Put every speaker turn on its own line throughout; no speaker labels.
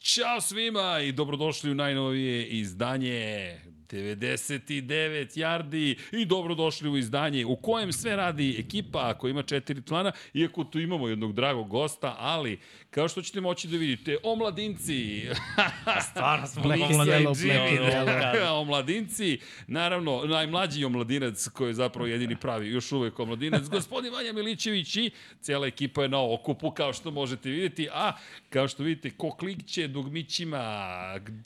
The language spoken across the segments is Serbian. Ćao svima i dobrodošli u najnovije izdanje 99 yardi i dobrodošli u izdanje u kojem sve radi ekipa koja ima četiri člana, iako tu imamo jednog dragog gosta, ali kao što ćete moći da vidite, omladinci,
Stvarno smo
Black
mogli
Yellow,
da
Black
izgledamo.
Yellow. omladinci, naravno, najmlađi omladinac koji je zapravo jedini pravi, još uvek omladinac, gospodin Vanja Milićević i cijela ekipa je na okupu, kao što možete vidjeti, a kao što vidite, ko klikće dugmićima,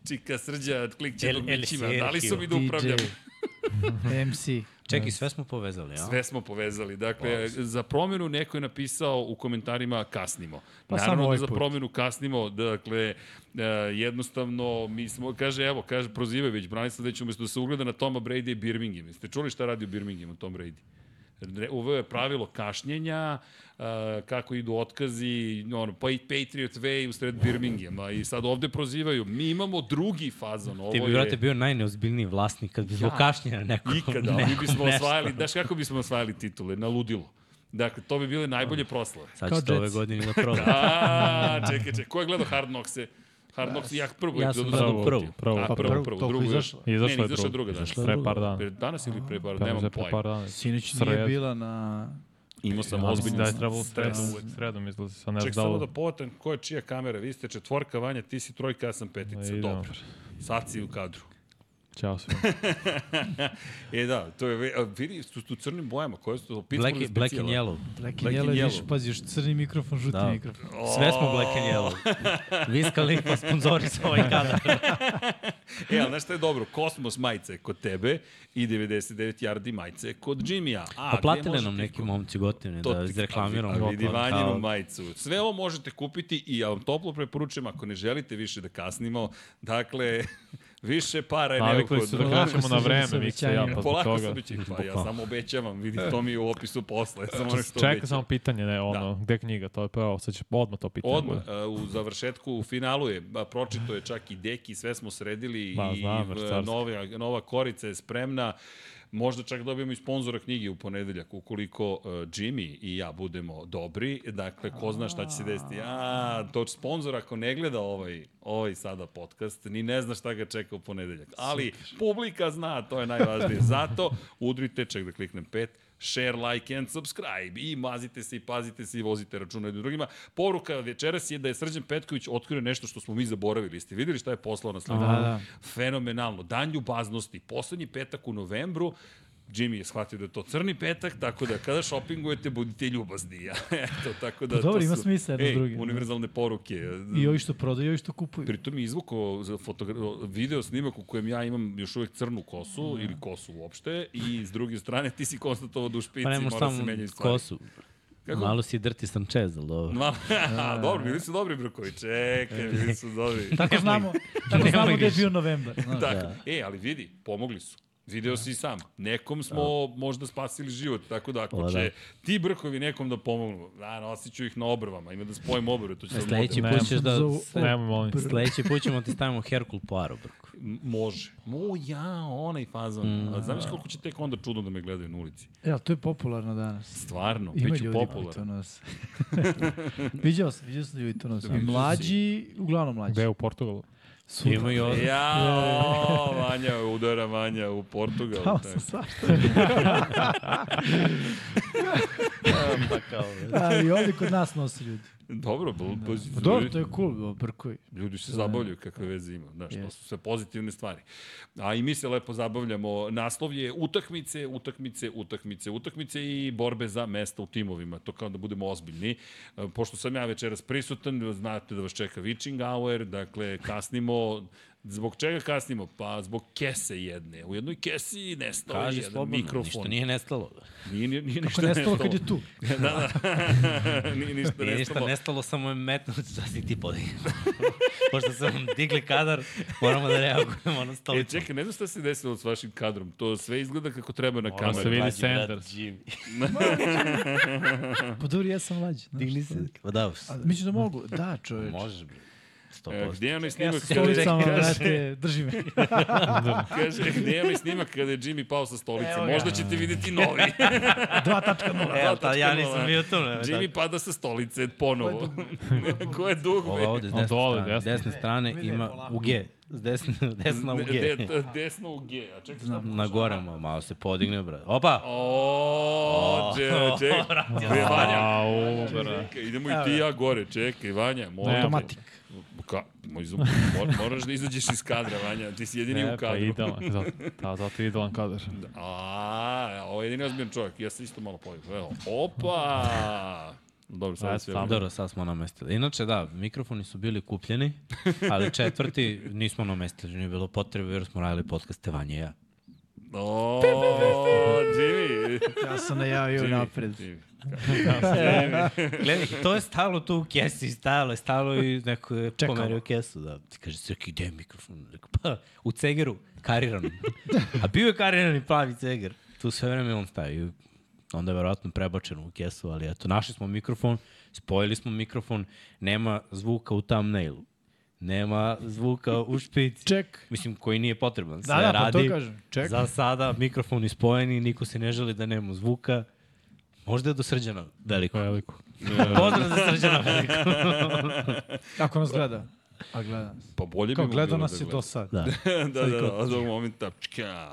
čika srđa klikće
El-
dugmićima,
El
da li su mi da
DJ.
upravljam?
Hmm. MC.
Čekaj, sve smo povezali, a?
Sve smo povezali. Dakle, za promjenu neko je napisao u komentarima kasnimo.
Pa samo
Naravno da
ovaj
za
put.
promjenu kasnimo, dakle, e, jednostavno mi smo, kaže, evo, kaže, prozive već Branislav Deću, umesto da se ugleda na Toma Brady i Birmingham. Jeste čuli šta radi u Birminghamu Tom Brady? Re- Uveo je pravilo kašnjenja, e, kako idu otkazi, ono, pa i Patriot Way u sred Birminghama i sad ovde prozivaju. Mi imamo drugi fazon. Ovo
Ti bi,
je-
brate, bio najneozbiljniji vlasnik kad bi zbog kašnjena neko...
Ikada,
neko
mi bismo
nešto.
osvajali, znaš kako bismo osvajali titule, na ludilo. Dakle, to bi bile najbolje proslave.
Sad
Kao
ćete ove
Jets.
godine da probam.
A, čekaj, čekaj, ko je gledao Hard Knocks-e? Hard Knocks, ja prvu
Ja sam
epizodu
gledao
sam
prvu,
upamtio.
prvu.
A,
Pa
prvu,
prvu,
prvu,
toliko
drugu.
izašla.
Ne, ne,
Izašla je da.
izašla je druga danas.
Izašla je
Pre
druga.
par dana.
Pre danas ili pre par,
Pa
nemam
za
pojma.
pre par dana.
Sinoć
Sred.
Znači, nije bila na...
Imao sam
Ja mislim
ozbiljno
da je trebalo
stres.
sredom, sredom izlazi, sad ne
Ček
znam da
samo da
li...
povatam ko je čija kamera. Vi ste četvorka, Vanja, ti si trojka, ja sam
Ma,
petica.
idemo.
Dobro. Sad si u kadru.
Ćao svima.
E da, to je, ve- a, vidi, su tu crnim bojama. Koje su to?
Black,
Pittsburgh
Black and
specijala.
Yellow.
Black
and
and Yellow,
Yellow.
viš, pazi, još crni mikrofon, žuti
Da.
mikrofon.
Sve smo Black and Yellow. Wiz Khalifa sponzori sa
Da,
ovaj kadar.
E, ali znaš šta je dobro? Kosmos majice je kod tebe i 99 yardi majice je kod Jimmy-a.
Pa
A
gde
platile
možete
nam neki
kupiti?
momci gotine
To
da
ti-
izreklamiramo.
a Vidi
kao-
vanjenu majicu. Sve ovo možete kupiti i ja vam toplo preporučujem ako ne želite više da kasnimo. Dakle, više para je
Navikli su da
neophodno.
Polako
krećemo
se
na
za
vreme,
sve
Miksa i ja, pa zbog
Polako
toga.
sam bići, pa ja samo obećavam, vidi, to mi je u opisu posla, ja samo nešto
Čeka
obećavam.
samo pitanje, ne, ono, gde je knjiga, to je pa evo, sad će odmah to pitanje.
Odmah,
bude.
a, u završetku, u finalu je, ba, pročito je čak i deki, sve smo sredili
Ba,
i
znam,
v-
vrcarski.
nova, nova korica je spremna. Možda čak dobijemo i sponzora knjige u ponedeljak, ukoliko uh, Jimmy i ja budemo dobri. Dakle, ko zna šta će se desiti. A, to će sponzor ako ne gleda ovaj, ovaj sada podcast, ni ne zna šta ga čeka u ponedeljak. Ali publika zna, to je najvažnije. Zato udrite, ček da kliknem pet, share, like and subscribe i mazite se i pazite se i vozite računa jednim drugima. Poruka večeras je da je Srđan Petković otkrio nešto što smo mi zaboravili. Ste videli šta je poslao na sliku?
Da, da.
Fenomenalno. Dan ljubaznosti. Poslednji petak u novembru Jimmy je shvatio da je to crni petak, tako da kada šopingujete budite ljubazni. Eto, tako da
Pa dobro,
to
ima
su,
smisla jedno s
ej,
drugim.
univerzalne poruke.
I ovi što prodaju, i ovi što kupuju.
Pritom je izvukao za fotogra- video snimak u kojem ja imam još uvek crnu kosu
Da.
ili kosu uopšte i s druge strane ti si konstatovao da u špici
Pa
pa
nemo
mora se
samo
menjaju stvari.
kosu.
Kako?
Malo si drti Sanchez, ali dobro.
Ma, dobro, bili su dobri Brkovi, čekaj, bili su dobri.
Tako znamo, tako
Nemoj
znamo
ga.
da je bio novembar. Znaš.
Tako.
Da.
E, ali vidi, pomogli su. Video si i sam. Nekom smo
Da.
možda spasili život, tako da ako
Pa
O, da.
će ti brkovi nekom da pomognu, da, nosit ću ih na obrvama, ima da spojim obrve, to će
E,
da
Sledeći
Nemam.
put ćeš da...
Zovu-
Nemoj, molim.
Sledeći put ćemo ti stavimo Herkul Poirot, brko.
Može. Mo ja, onaj fazon. Mm. A znaš koliko će tek onda čudno da me gledaju na ulici?
E, ali to je popularno danas.
Stvarno,
Ima
bit ću
ljudi koji to
popularan.
nose. viđao sam, viđao sam ljudi to nose. I mlađi, uglavnom mlađi.
Gde je u Portugalu?
Sutra.
Ima i ovo.
Ja, Vanja udara Vanja u Portugal.
Tamo
tako.
sam svašta.
Pa kao...
Ali ovde Da, kod nas nose ljudi.
Dobro, bl, da.
Pa dobro, to je cool, bro, brkovi.
Ljudi se
Da.
zabavljaju kakve veze ima, znaš, to
Jest.
su sve pozitivne stvari. A i mi se lepo zabavljamo. Naslov je utakmice, utakmice, utakmice, utakmice i borbe za mesta u timovima. To kao da budemo ozbiljni. E, Pošto sam ja večeras prisutan, znate da vas čeka Witching Hour, dakle kasnimo Zbog čega kasnimo? Pa zbog kese jedne. U jednoj kesi nestao je
Kaži
jedan
slobodno,
mikrofon.
ništa nije nestalo.
Nije, nije, nije ništa
Ako nestalo kad je tu.
da, da. nije ništa
Nije ništa
nestalo.
Da nestalo, samo je metno da si ti podigao. Pošto sam vam digli kadar, moramo da reagujemo na
E,
stolicu.
čekaj, ne znam šta se desilo s vašim kadrom. To sve izgleda kako treba na
Ona se
kameru.
vidi
Mlađi brat
Sanders.
Jimmy.
Pa dobro, ja sam mlađi. znaš.
Digli se. Pa da,
A, Misliš da mogu? Da, čoveč.
možeš. bre.
E,
100%.
Gde je onaj
Ja
snimak
sa
kada
stolicama,
kaže-
vrate, drži me.
Kaže, gde je onaj snimak kada je Jimmy pao sa stolice? Možda ćete videti novi.
2.0.
E, ali tad ja
2.0.
nisam bio tu. Ne,
Jimmy pada sa stolice ponovo. Ko je
Ova
dugme?
ovde, s
Od
desne
dole,
strane, E, desne strane
desne.
Vidi,
ima
polako.
u G. S desne, desna u G.
De- de- Desno u G. A čekaj, šta?
Na gore, ma- malo se podigne, brate. Opa!
O, če- čekaj. Bre, Vanja.
Au, brate.
Čekaj, idemo i ti i ja gore. Čekaj, Vanja, molim. te.
Automatik.
Ka, moj zoom, mor, moraš da izađeš iz kadra, Vanja. Ti si jedini
Ne,
u
pa
kadru.
idealan. Zato, da, zato je idealan kadar.
A, ovo je jedini ozbiljan čovjek. Ja se isto malo pojavim. Evo, opa! Dobro,
Ajde,
sad sve.
tamo.
Dobro, sad smo namestili. Inače, da, mikrofoni su bili kupljeni, ali četvrti nismo namestili, nije bilo potrebe jer smo radili podcaste Vanja i ja.
O, Jimmy!
Ja sam najavio napred.
Jimmy.
Gledaj, to je stalo tu u kesi, stalo je, stalo i neko je
Čekamo.
pomerio kesu. Da. Ti kaže, Srki, gde je mikrofon? Rekao, pa, u cegeru, kariranom. A bio je kariran i plavi ceger. Tu sve vreme on staje. i Onda je verovatno prebačen u kesu, ali eto, našli smo mikrofon, spojili smo mikrofon, nema zvuka u thumbnailu. Nema zvuka u špici.
Ček.
Mislim, koji nije potreban. Sve
Da, da, pa
radi.
to kažem. Ček.
Za sada mikrofoni spojeni, niko se ne želi da nema zvuka. Možda je do srđana veliko.
Veliko.
Pozdrav za srđana veliko.
Ako nas gleda. A gleda nas.
Pa bolje bi
Kao
mu
gleda
bilo
nas
da
je do sad.
Da.
gleda. da, da, da, od ovog momenta. Čka.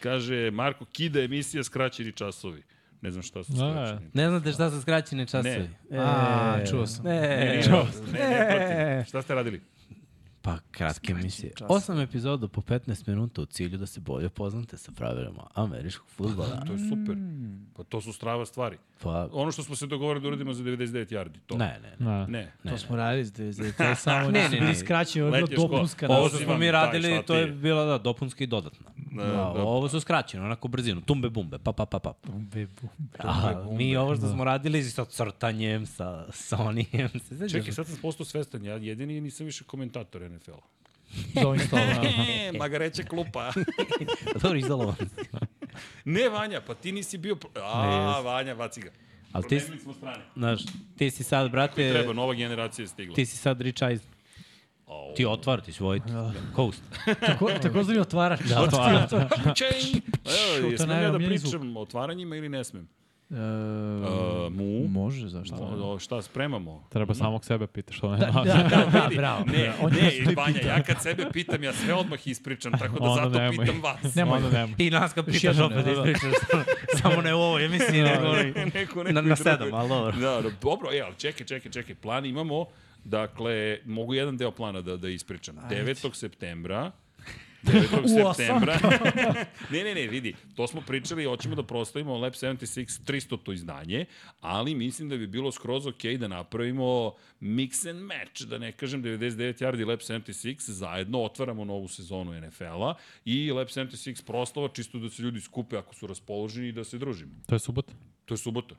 Kaže, Marko, kida emisija skraćeni časovi. Ne znam šta su
Da.
skraćeni.
Ne znate šta su skraćene časovi?
E,
Ne.
A, čuo sam.
Ne.
Ne, ne, protiv. Šta ste radili?
Pa, kratke emisije.
časovi.
Osam epizoda po 15 minuta u cilju da se bolje poznate sa pravilama američkog futbola.
To je super. Pa to su strava stvari.
Pa,
Ono što smo se dogovorili da uradimo za 99 yardi, to.
ne, ne, ne.
Da.
Ne.
To smo radili s 99. Samo
Ne, ne,
ne, ne,
ne.
bili skraćeni, ovo je
Letiš ko-
bilo dopunska
Pa
Ovo
ovo
što
si
smo
vam
mi
taj,
radili,
šta
to je
ti je?
bila da, dopunska i dodatna. Da,
da.
Ovo su skraćene, onako brzinu, tumbe bumbe, pa pa pa pa.
bebu.
A, mi ovo
da.
što smo radili sa crtanjem, sa Sonyjem, se sećaš?
Čekaj, sad sam postao svestan, ja jedini nisam više komentator NFL-a.
Za ovim stolom.
E, magareće klupa.
Dobro, izolovan.
ne, Vanja, pa ti nisi bio... pro- A, Vanja, vaci ga.
Ali ti,
Promenili smo strane.
znaš, ti si sad, brate,
Treba, nova generacija je stigla.
ti si sad Rich Eisen. Da.
Au.
Ti otvar, ti si vojit. Coast.
Tako, tako zvani otvarač.
Da, otvar.
Čeng! Evo, jesam li ja da
najomiljeniji zvuk.
pričam o otvaranjima ili ne smem?
E,
Uh, mu?
Može, zašto?
Da,
ne?
O, o, šta, spremamo?
Treba samog sebe pitaš, što ne da,
Da, da, da, bravo.
Ne,
On je
ne,
vas
Vanja,
pita.
ja kad sebe pitam, ja sve odmah ispričam, tako da
Onda
zato
nemoj.
pitam vas.
Nemoj.
Nemoj.
Onda nemoj.
I nas kad pitaš
jednom,
opet
da,
da,
da.
ispričaš. Samo ne u ovoj emisiji, nego
Neko,
na, na
neko drugo.
sedam, ali dobro.
Da, da, dobro, e, ali čekaj, čekaj, čekaj, plan imamo, dakle, mogu jedan deo plana da, da ispričam. 9. septembra, 9.
osam.
septembra, ne, ne, ne, vidi, to smo pričali, hoćemo da proslavimo Lab 76 300 to izdanje, ali mislim da bi bilo skroz ok da napravimo mix and match, da ne kažem 99 yardi Lab 76, zajedno otvaramo novu sezonu NFL-a i Lab 76 proslava čisto da se ljudi skupe ako su raspoloženi i da se družimo.
To je subota.
To je subota.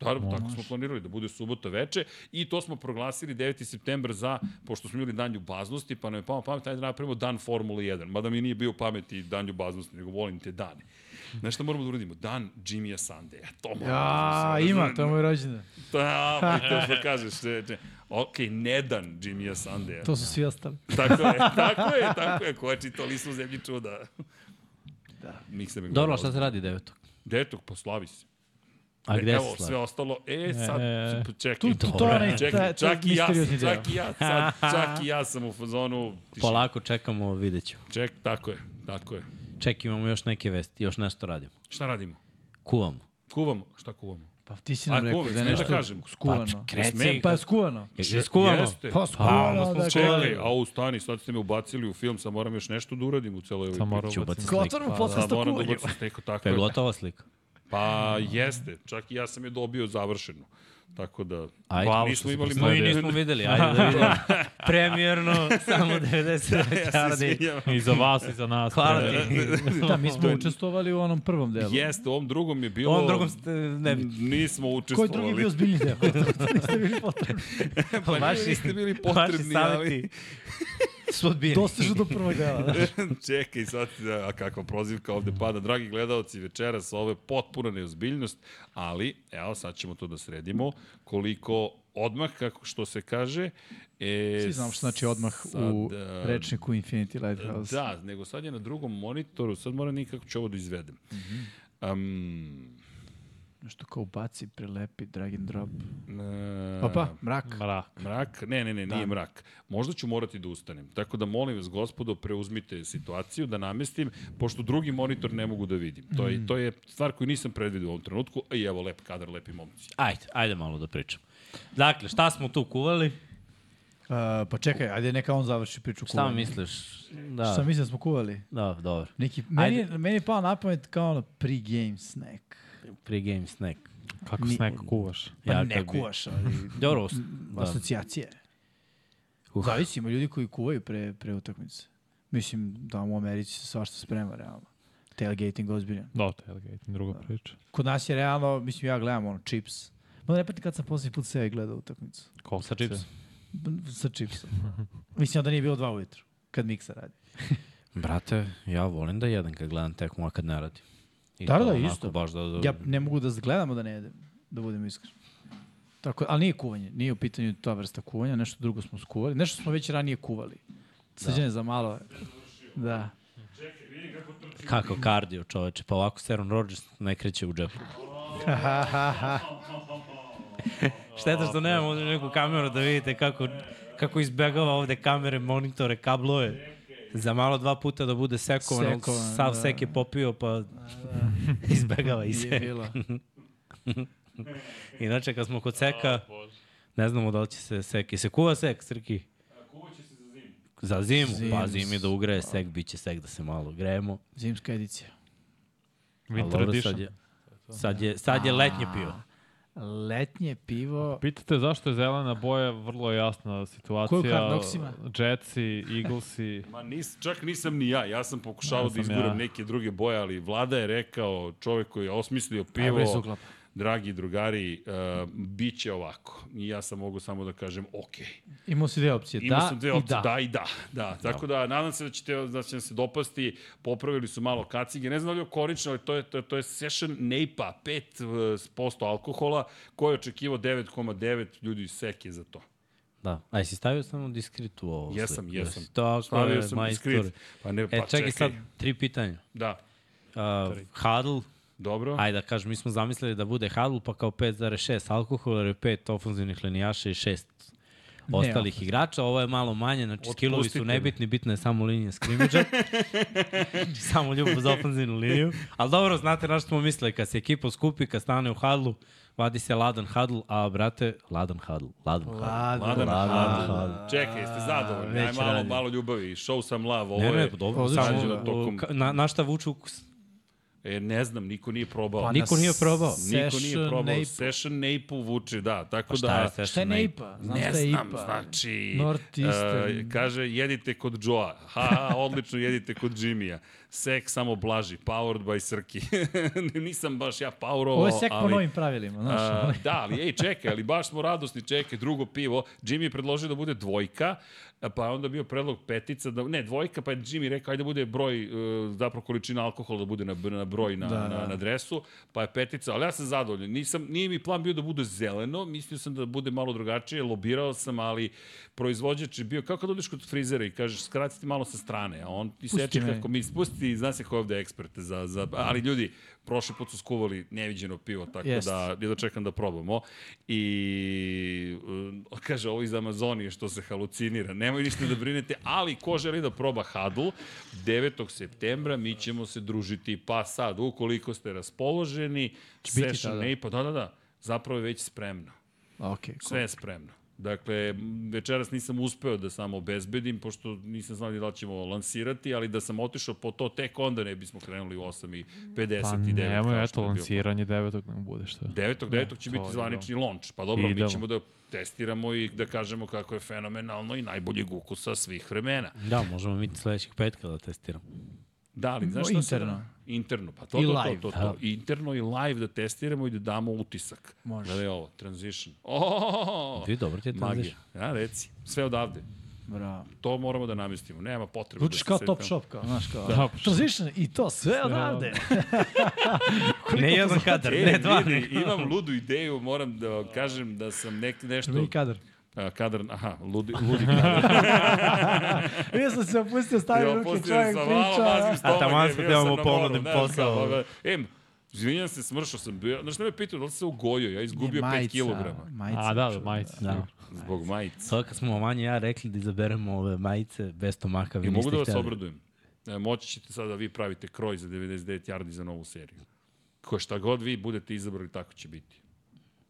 Dobro.
Da, tako smo planirali da bude subota veče i to smo proglasili 9. septembar za, pošto smo imali dan ljubaznosti, pa nam je pao na pamet, ajde da napravimo dan Formule 1. Mada mi nije bio pameti dan ljubaznosti, nego volim te dane. Znaš šta moramo da uradimo? Dan Jimmy'a Sunday. E, To moramo.
Ja,
da se-
ima, to je moj rođendan.
Da, pa i to što kažeš. Ne, ne. Ok, ne dan Jimmy'a Sunday.
To su svi ostali.
Tako je, tako je, tako je. Koči to listu u zemlji čuda. Da. Mikse
Dobro, šta se radi devetog?
Detog, poslavi se.
A gde
Evo,
se
sve
slavi?
ostalo, e, sad,
E.
e, čekaj.
Tu, tu, to je onaj,
Čekaj,
taj- taj
čak i ja,
misteriozni deo.
čak i ja, sad, čak i ja sam u fazonu. tišina.
Polako čekamo, vidjet ćemo.
Ček, tako je, tako je.
Ček, imamo još neke vesti, još nešto radimo.
Šta radimo?
Kuvamo.
Kuvamo. Šta kuvamo?
Pa ti si
A,
nam rekao
kuvec,
da je
ne da
nešto
kažem.
skuvano.
smem.
Kreci,
Pa je skuvano.
Jesi skuvamo?
Jeste.
Pa
onda smo
skuvano, da
Čekaj,
je
a stani, sad ste me ubacili u film, sad moram još nešto da uradim u celoj ovoj
Sad moram
priči.
Ću ubaciti
Ko
sliku.
otvorimo
Sad
podcast o
moram da
kuvanju.
ubacim neko tako.
To je
je.
gotova slika.
Pa jeste, čak i ja sam je dobio završenu. Tako da,
Ajde.
Hvala
nismo
što si
imali
prosledio.
Pa, Mi
Ajde.
nismo videli, ajde da vidimo. Premijerno, samo 90
ja se
yardi.
izvinjam.
I za vas i za nas.
Hvala
Pre-
ti.
Da, mi smo učestvovali u onom prvom delu.
Jeste, u ovom drugom je
U
bilo...
ovom drugom ste ne bi.
Nismo
Koji
učestvovali.
drugi je bio zbiljni deo? Niste bili potrebni.
Pa
Vaši-
vaši, niste bili
Vaši
potrebni, ali...
savjeti su odbijeni.
Dostižu do prvog dela. Da.
Čekaj, sad, da, a kakva prozivka ovde pada. Dragi gledalci, večeras ovo je potpuna neozbiljnost, ali, evo, sad ćemo to da sredimo, koliko odmah, kako što se kaže. E,
Svi znamo što znači odmah u
sad, e,
rečniku Infinity Lighthouse.
Da, nego sad je na drugom monitoru, sad moram nikako ću ovo da izvedem. Mm
Mhm.
um,
Nešto kao baci, prelepi, drag and drop.
e,
Pa pa, mrak.
Mrak.
Mrak? Ne, ne, ne,
Da.
nije mrak. Možda ću morati da ustanem. Tako da molim vas, gospodo, preuzmite situaciju da namestim, pošto drugi monitor ne mogu da vidim. To
Mm.
je, to je stvar koju nisam predvidio u ovom trenutku. I evo, lep kadar, lepi momci.
Ajde, ajde malo da pričam. Dakle, šta smo tu kuvali?
Da.
A, pa čekaj, ajde neka on završi priču
Šta
kuvanja.
misliš? Da,
Šta mislim da smo kuvali?
da, dobro.
Neki, meni, je- meni je pao na pamet kao ono pre-game snack.
Pre-game snack.
Kako
Ni-
snack kuvaš?
Pa
Ja
ne
kad bi-
kuvaš, ali
Dobro, os-
da.
da.
asocijacije.
Uh.
Uh. Zavisi, ima ljudi koji kuvaju pre, pre utakmice. Mislim da u Americi se svašta sprema, realno. Tailgating ozbiljan.
Da, tailgating, druga priča.
Kod nas je realno, mislim, ja gledam ono, chips. Ma ne pati kad sam posljednji put sve gledao utakmicu.
Koliko
Sa čipsom.
B- Sa chipsom. mislim da nije bilo dva ujutru, kad miksa radi.
Brate, ja volim da jedem kad gledam tekmu, a kad ne radim. I
Da,
to
da,
onako
isto.
Baš da, da,
Ja ne mogu da gledamo da ne jedem, da budem iskren. Tako, ali nije kuvanje, nije u pitanju ta vrsta kuvanja, nešto drugo smo skuvali, nešto smo već ranije kuvali. Srđane za malo. Da.
Kako kardio, čoveče. Pa ovako se Aaron Rodgers ne kreće u džepu. Šteta što nemamo ovde neku kameru da vidite kako, kako izbegava ovde kamere, monitore, kablove. Za malo dva puta da bude sekovan, ali
Sekovan,
sav
da.
sek je popio, pa izbegava i
Nije
se.
bilo.
Inače, kad smo kod seka, ne znamo da li će se sek. I se kuva sek, Srki? Za zimu,
Zimu
pa zimi da ugreje sek, bit će sek da se malo grejemo.
Zimska edicija.
Ali
Winter
dobro, sad
edition.
je, sad je, sad je letnje pivo.
Letnje pivo.
Pitate zašto je zelena boja, vrlo je jasna situacija.
Koju kartu Noxima?
Jetsi, Eaglesi. Pa
Ma nis, čak nisam ni ja. Ja sam pokušao
Ja
da
sam
izguram
ja.
neke druge boje, ali vlada je rekao, čovek koji je osmislio pivo,
bre, se uklapa.
dragi drugari, uh, bit će ovako. I ja sam mogu samo da kažem, okej.
Imao si dve opcije.
Imao
da
sam dve
i
opcije,
da.
da. da i da. da. Tako da, nadam se da ćete, da će nam se dopasti, popravili su malo kacige, ne znam da li je okorično, ali to je, to je, to je session napa, 5% alkohola, koji je očekivao 9,9 ljudi iz seke za to.
Da. Aj, si stavio samo diskrit u ovo?
Jesam,
sliku?
jesam.
Jesi To,
Stavio sam diskret. Pa ne, pa
E, čekaj,
čekaj.
sad tri pitanja.
Da,
Uh, huddle,
dobro.
ajde da kažem, mi smo zamislili da bude huddle, pa kao 5,6 alkohola, jer je 5 ofenzivnih linijaša i 6 ostalih igrača. Ovo je malo manje, znači
Otpustite
skillovi su
me.
nebitni, bitna je samo linija skrimidža. Znači, samo ljubav za ofenzivnu liniju. Ali dobro, znate na što smo mislili, kad se ekipa skupi, kad stane u huddle, vadi se ladan huddle, a brate, ladan huddle, ladan huddle.
Lada.
Mladen
Mladen
Hadl.
Hadl.
Čekaj, jeste zadovoljni?
Već
Aj malo,
radi.
malo ljubavi. Show sam love. Ovo
Ne, ne,
je,
pa dobro,
odlično.
samo
Rađeno tokom-
ka- na, na šta vuču ukus.
e, ne znam, niko nije probao.
Pa
Pa,
na
Niko nije probao.
niko nije
Session
probao.
Nape.
Session Nape vuče, da. Tako
Pa šta
da,
je session
Šta je
nape?
Neipa? Znam
Ne
šta je
znam,
IPA.
znači...
Northeastern.
e, kaže, jedite kod Joa. Ha, ha, odlično, jedite kod Jimmy-a. Sek samo blaži. Powered by Srki. Nisam baš ja powerovao,
Ovo je sek po
ali...
novim pravilima, znaš.
A, da, ali ej, čekaj, ali baš smo radosni, čekaj, drugo pivo. Jimmy je predložio da bude dvojka, pa je onda bio predlog petica, da, ne, dvojka, pa je Jimmy rekao, ajde da bude broj, e, zapravo količina alkohola da bude na, br- na broj na, da, na, na dresu, pa je petica, ali ja sam zadovoljan. Nisam, nije mi plan bio da bude zeleno, mislio sam da bude malo drugačije, lobirao sam, ali proizvođač je bio, kako kad odeš kod frizera i kažeš, skratite malo sa strane, a on ti seče
me.
kako mi spusti, zna se ko je ovde ekspert za, za, ali ljudi, prošli put su skuvali neviđeno pivo, tako
Jeste.
da ja da čekam da probamo. I um, kaže, ovo iz Amazonije što se halucinira. Nemoj ništa da brinete, ali ko želi da proba Hadl, 9. septembra mi ćemo se družiti. Pa sad, ukoliko ste raspoloženi,
biti
session
tada?
ne, pa da, da, da, zapravo je već spremno.
Ok, cool.
Sve je spremno. Dakle, m, večeras nisam uspeo da samo obezbedim, pošto nisam znao ni da li ćemo lansirati, ali da sam otišao po to, tek onda ne bismo krenuli u 8.59.
Pa nemoj, eto, lanciranje devetog nam bude što.
9. 9. će
to
biti
je
zvanični launch. Pa dobro,
Idemo.
mi ćemo da testiramo i da kažemo kako je fenomenalno i najboljeg ukusa svih vremena.
Da, možemo mi sledećeg petka da testiramo.
Da, ali znaš
No,
šta se
interno.
da- Interno, pa to,
I
to,
live,
to, to,
da.
to. Interno i live da testiramo i da damo utisak.
Može.
Gledaj ovo, transition. Oh,
Vi dobro ti je
magija.
transition.
Ja, reci. Sve odavde.
Bravo.
To moramo da namestimo. Nema potrebe.
Zvučiš
da se
kao
setimo.
top shop, kao, znaš, kao.
Da.
Transition i to, sve odavde.
Ne jedan kadar,
E,
ne dva.
vidi,
nego-
imam ludu ideju, moram da vam kažem da sam nek, nešto...
Prvi kadar.
A, kadar, aha, ludi, ludi kadar.
Ja sam se opustio,
Ja
stavio ruke,
opustio
čovjek
sam malo,
priča.
mazim stomak.
taman
je,
sam
bio
teo
sam
mu
na moru,
ponudim
znaš, kao, ba,
posao.
ba. Em, izvinjam se, smršao sam bio. Znaš, ne me pitao da li se ugojio, ja izgubio 5 kilograma.
Majica.
A, da, da, majica.
Da.
Zbog majice.
Sada kad smo Vanja i ja rekli da izaberemo ove majice bez tomaka, vi
I mogu
niste
da vas
hteli. да
obradujem. E, Moći ćete sada da vi pravite kroj za 99 yardi za novu seriju. Ko šta god vi budete izabrali, tako će biti.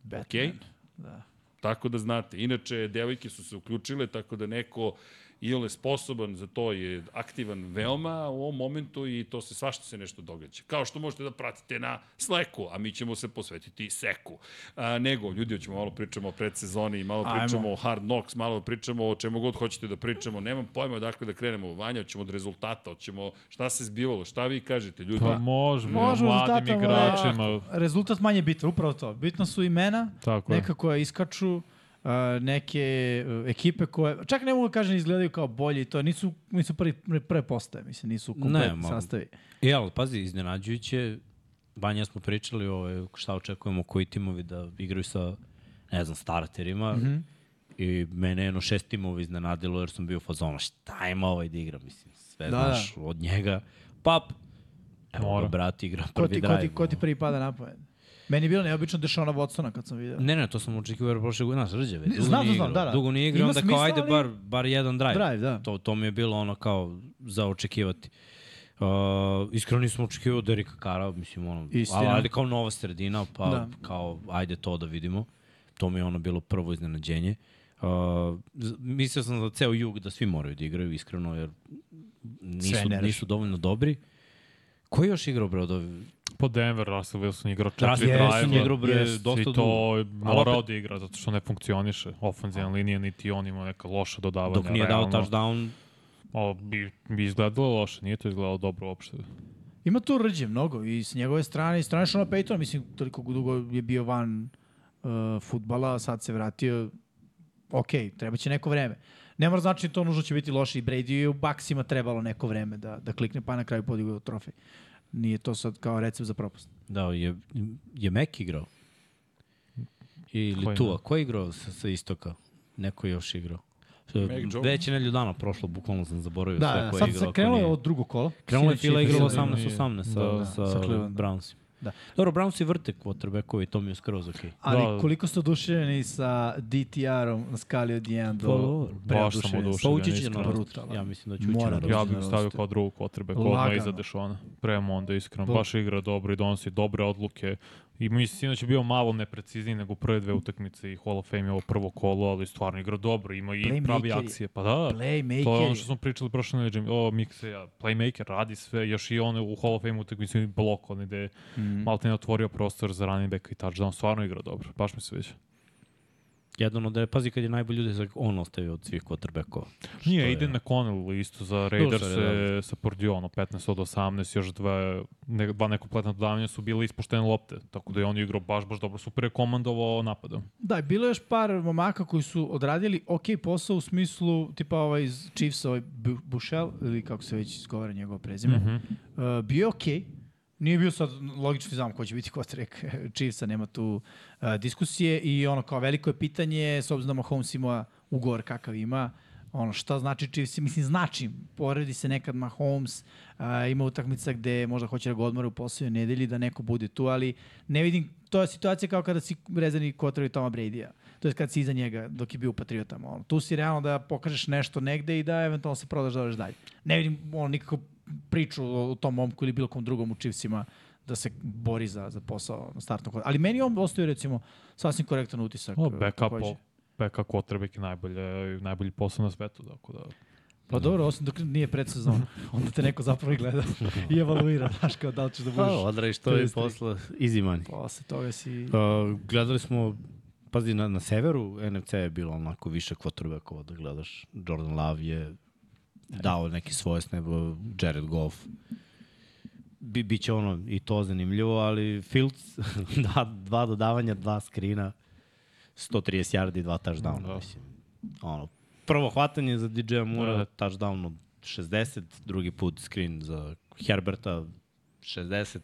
Batman.
Okej?
Da.
Tako da znate. Inače, devojke su se uključile, tako da neko iole sposoban za to je aktivan veoma u ovom momentu i to se svašta se nešto događa. Kao što možete da pratite na Slacku, a mi ćemo se posvetiti Seku. A, nego, ljudi, ćemo malo pričamo o predsezoni, malo
Ajmo.
pričamo o Hard Knocks, malo pričamo o čemu god hoćete da pričamo. Nemam pojma odakle da krenemo. Vanja, hoćemo od rezultata, hoćemo šta se zbivalo, šta vi kažete, ljudi.
Pa možemo,
Možemo
mladim
rezultatom,
da.
igračima.
Rezultat manje bitan, upravo to. Bitna su imena,
Tako je.
neka koja iskaču, uh, neke uh, ekipe koje, čak ne mogu da kažem, izgledaju kao bolje i to, nisu, nisu prvi, prve postaje, mislim, nisu
Ne,
kompletni
ma-
sastavi.
E, ali pazi, iznenađujuće, Banja smo pričali o šta očekujemo koji timovi da igraju sa, ne znam, starterima. Mm
Mhm.
-hmm. I mene je jedno šest timova iznenadilo jer sam bio u fazonu šta ima ovaj da igra, mislim, sve
Da,
da, znaš od njega. Pap, evo Mora.
Mora.
ga brat igra
Ko
prvi
ti, ko,
drive.
ti, ko ti prvi pada na pamet? Meni je bilo neobično Dešona Watsona kad sam video.
Ne, ne, to sam očekivao jer prošle godine, znaš, rđave.
Ne,
Dugo
znam,
nije
znam,
igrao,
da, da.
Dugo nije igrao,
Ima
onda kao
smisla,
ajde
ali-
bar, bar jedan drive.
Drive, da.
To, to mi je bilo ono kao za očekivati. Uh, iskreno nisam očekivao Derika Kara, mislim ono,
Istina.
ali, ali kao nova sredina, pa
Da.
da. kao ajde to da vidimo. To mi je ono bilo prvo iznenađenje. Uh, z- mislio sam za ceo jug da svi moraju da igraju, iskreno, jer nisu,
nereš.
nisu dovoljno dobri. Ko je još igrao, bre, od ovih?
Po Denver Russell Wilson igrao
Russell
četiri
Wilson
drive-a.
igrao, bre, dosta
I
dugo.
to je morao
opet-
da igra, zato što ne funkcioniše. Ofenzivna linija, niti on ima neka loša dodavanja.
Dok nije dao
realno.
touchdown,
O, bi, bi izgledalo loše, nije to izgledalo dobro uopšte.
Ima tu rđe mnogo i s njegove strane, i strane Šona Paytona, mislim, toliko dugo je bio van uh, futbala, sad se vratio, ok, treba će neko vreme. Ne mora znači to nužno će biti loše i Brady je u Baksima trebalo neko vreme da, da klikne, pa na kraju podigao trofej. Nije to sad kao recept za propust.
Da, je, je Mek igrao. Ili
Ko je
Tua. Ko je igrao sa, sa istoka? Neko je još igrao.
Jones?
Već je nedelju dana prošlo, bukvalno sam zaboravio
Da,
sve
da,
ko je
sad
igrao.
se
ko
krenulo je
nije.
od drugo kola.
Krenulo je
Sinoć
Fila igrala
bilo-
Fila,
18-18 sa,
da,
sa,
sa Clevelandom.
Brownsima.
Da.
Dobro, Brownsi vrte quarterbackovi, to mi je skroz okej.
Ali
Da.
koliko ste oduševljeni sa DTR-om na skali od 1
Pa
do
dobro.
Baš sam
preoduševljeni?
Pa
oduševljen.
ući će
iskreno.
na rost.
Brutalan.
Ja mislim da će ući
Mora
na rost.
da uđe.
Ja
Rosen
bih
na
stavio
roster.
kao drugog quarterbacka odmah
Lagano.
iza Dešona. Prema onda iskreno.
Bo-
Baš igra dobro i donosi dobre odluke. I mislim sinoć je bio malo neprecizniji nego prve dve utakmice i Hall of Fame je ovo prvo kolo, ali stvarno igra dobro, ima i
Playmaker
pravi
je.
akcije. Pa da,
Playmaker.
to je ono
je.
što smo pričali prošle nedelje, Jimmy- o Mikseja, playmaker radi sve, još i on u Hall of Fame utakmici i blok, on ide
Mhm.
Mhm.
mm. malo ne otvorio prostor za running back i touchdown, stvarno igra dobro, baš mi se viđa.
Jedan od, pazi kad je najbolji ljudi, za- on ostavio od svih quarterbackova.
Nije,
je?
ide na Connell isto za Raiders
sorry, da,
sa Pordiono, 15 od 18, još dva, ne, dva nekompletna dodavanja su bile ispuštene lopte, tako da je on igrao baš, baš dobro, super je komandovao napadom.
Da, bilo je još par momaka koji su odradili ok posao u smislu, tipa ovaj iz Chiefs, ovaj Bu- Bushel, ili kako se već izgovara njegovo prezime, mm -hmm. uh, bio je ok. Nije bio sad, logično znam ko će biti kotrek Chiefsa, nema tu uh, diskusije i ono kao veliko je pitanje, s obzirom da Mahomes ima ugovor kakav ima, ono šta znači Chiefs, mislim znači, poredi se nekad Mahomes, a, ima utakmica gde možda hoće da ga odmore u poslednjoj nedelji, da neko bude tu, ali ne vidim, to je situacija kao kada si rezani kotrovi Toma Brady-a, to je kad si iza njega dok je bio u Patriotama, ono. tu si realno da pokažeš nešto negde i da eventualno se prodaš da odeš dalje. Ne vidim ono, nikako priču o, o tom momku ili bilo kom drugom u Chiefsima da se bori za, za posao na startnom kodu. Ali meni on ostaje recimo sasvim korektan utisak.
O,
e,
backup,
takođe.
backup quarterback je najbolje, najbolji posao na svetu, tako da...
Pa dobro, osim dok nije predsezon, onda te neko zapravo i gleda i evaluira, znaš kao da li ćeš da budeš.
Pa, odradiš to i
53.
posla easy money.
Posle toga si...
Uh, gledali smo, pazi, na, na severu NFC je bilo onako više quarterbackova da gledaš. Jordan Love je dao neki svoje snebo, Jared Goff. Bi, biće ono i to zanimljivo, ali Fields, da, dva dodavanja, dva skrina, 130 yardi i dva touchdowna, da.
Da.
mislim. Ono, prvo hvatanje za DJ Moore,
Da.
da. touchdown od 60, drugi put screen za Herberta 60,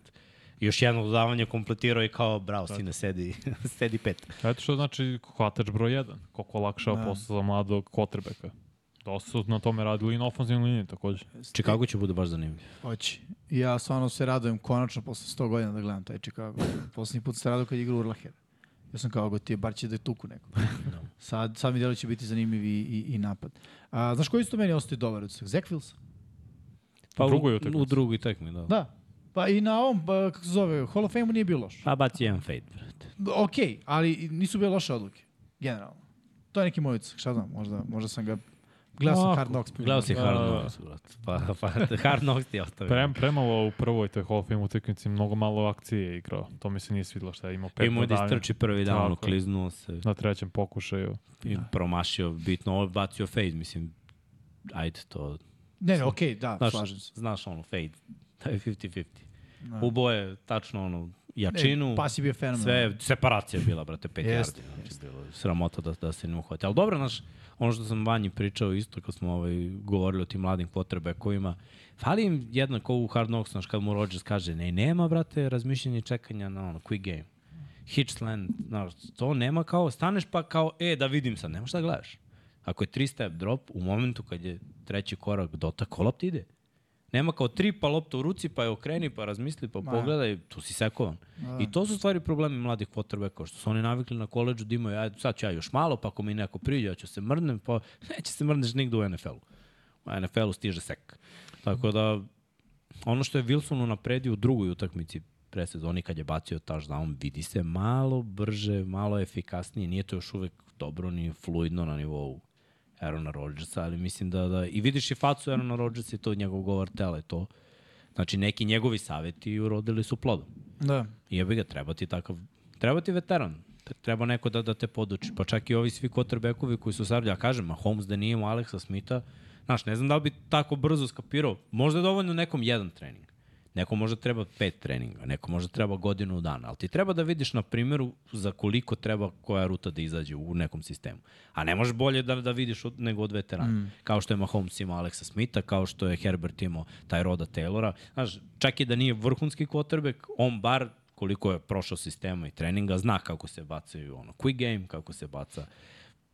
I još jedno dodavanje kompletirao i kao, bravo, sine, sedi, sedi pet.
Eto što znači hvatač broj 1, koliko olakšava
Da.
posao za mladog quarterbacka. Dosta su na tome radili i na ofenzivnoj liniji takođe.
Chicago će bude baš zanimljiv.
Hoće. Ja stvarno se radujem konačno posle 100 godina da gledam taj Chicago. Poslednji put se radujem kad je igra Urlacher. Ja sam kao gotio, bar će da tuku nekog. Sad, sad mi delo će biti zanimljiv i, i, i napad. A, znaš koji su to meni ostaje dobar od svega? Zach Wilson.
Pa u drugoj
U
utakmici.
drugoj tekmi, da.
Da. Pa i na ovom, ba, kako se zove, Hall of Fame nije bio loš.
Pa baci jedan fade, brate.
Okej, ali nisu bile loše odluke. Generalno. To je neki moj utisak, šta znam, možda, možda sam ga... Gledao sam
Ovako,
Hard Knocks.
Gledao si
Da,
Hard
da, da.
Knocks, brate. Pa, pa Hard Knocks ti je ostavio.
Prem, premalo u prvoj toj Hall of Fame utakmici, mnogo malo akcije je igrao. To mi se nije svidilo šta je imao pet
Imao je da
dodavanja
istrči prvi dan,
Tako je.
okliznuo se
na trećem pokušaju.
i promašio bitno. Ovo je bacio fade, mislim, ajde to.
Ne, ne, okej, da,
Znaš,
slažem se.
znaš ono, fade, to je 50-50. Ubo je tačno ono,
Ne,
jačinu,
E, Pas je bio fenomen.
sve, separacija je bila, brate, 5
Jeste,
yardi. Znači, bilo je sramota da, da se ne uhvati. Ali dobro, znaš, ono što sam vanji pričao isto kad smo ovaj, govorili o tim mladim potrebe kojima, fali im jednako u Hard Knocks, znaš, kad mu Rodgers kaže, ne, nema, brate, razmišljanje i čekanja na ono, quick game. Hitchland, znaš, to nema kao, staneš pa kao, e, da vidim sad, nema šta da gledaš. Ako je 3 step drop, u momentu kad je treći korak dotak, lopta ide. Nema kao tri pa lopta u ruci, pa je okreni, pa razmisli, pa
Ma.
pogledaj, tu si sekovan. I to su stvari problemi mladih quarterbacka, što su oni navikli na koleđu da imaju, ajde, sad ću ja još malo, pa ako mi neko priđe, ja ću se mrnem, pa neće se mrneš nigde u NFL-u. U NFL-u stiže sek. Tako da, ono što je Wilson napredio u drugoj utakmici presezoni kad je bacio touchdown, vidi se malo brže, malo efikasnije, nije to još uvek dobro ni fluidno na nivou Aarona Rodgersa, ali mislim da, da i vidiš i facu Aarona Rodgersa i to njegov govor tela je to. Znači neki njegovi saveti urodili su plodom.
Da.
I ja bi ga, treba ti takav, treba ti veteran, Te- treba neko da, da te poduči. Pa čak i ovi svi kotrbekovi koji su sad, ja kažem, ma Holmes da nije imao Aleksa Smitha, znaš, ne znam da li bi tako brzo skapirao. Možda je dovoljno nekom jedan trening. Neko možda treba pet treninga, neko možda treba godinu dana, ali ti treba da vidiš na primjeru za koliko treba koja ruta da izađe u nekom sistemu. A ne možeš bolje da, da vidiš od, nego od veterana. Mm. Kao što je Mahomes imao Aleksa Smitha, kao što je Herbert imao taj Roda Taylora. Znaš, čak i da nije vrhunski quarterback, on bar koliko je prošao sistema i treninga, zna kako se bacaju ono quick game, kako se baca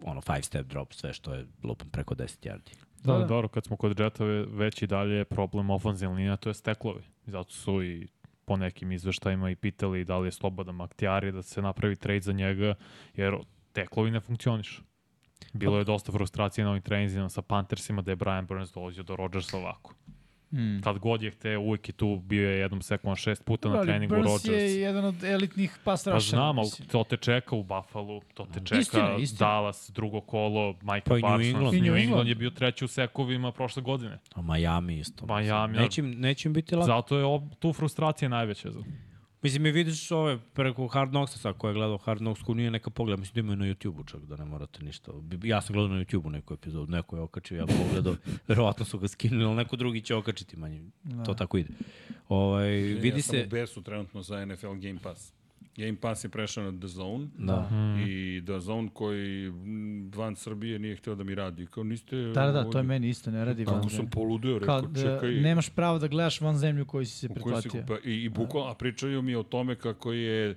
ono five step drop, sve što je lupom preko 10 yardi.
Da,
Da,
da.
da, dobro, kad smo kod Jeta ve- već i dalje je problem ofenzivna linija, to je steklovi. I Zato su i po nekim izveštajima i pitali da li je slobodan Maktijari da se napravi trade za njega, jer teklovi ne funkcionišu.
Pa-
Bilo je dosta frustracije na ovim treninzima sa Panthersima da je Brian Burns dolazio do Rodgersa ovako.
Mm.
Kad god je hteo, uvek je tu bio je jednom sekovan šest puta na
Ali
treningu
Burns
Rodgers.
je jedan od elitnih pass
Pa
rushera.
znam, ali
mislim. Da.
to te čeka u Buffalo, to te čeka
Istina, istina.
Dallas, drugo kolo, Mike
Pa i
pa
New
Parsons.
England.
I New
New England
England.
je bio treći u sekovima prošle godine.
A Miami isto.
Miami, da.
Neće, im- neće im biti lako.
Zato je ob, tu frustracija najveća. za-
Mislim, i vidiš ove preko Hard Knocksa, sad ko je gledao Hard Knocks, ko nije neka pogleda, mislim da imaju na YouTube-u čak, da ne morate ništa. Bi- Ja sam gledao na YouTube-u neku epizodu, neko je okačio, ja pogledao, verovatno su ga skinuli, ali neko drugi će okačiti manje. Da. To tako ide. Ovaj, vidi
ja sam
se...
u besu trenutno za NFL Game Pass. Game Pass je prešao na The Zone
Da.
Mhm.
i The Zone koji m, van Srbije nije hteo da mi radi. Kao niste...
Da, da, da, to je meni isto, ne radi
Kako
van
sam
zemlje.
poludeo,
Kao,
rekao,
da,
čekaj.
nemaš pravo da gledaš van zemlju koju si se
u kojoj se
pretplatio. Da.
kupa- I, i bukvalno, a pričaju mi o tome kako je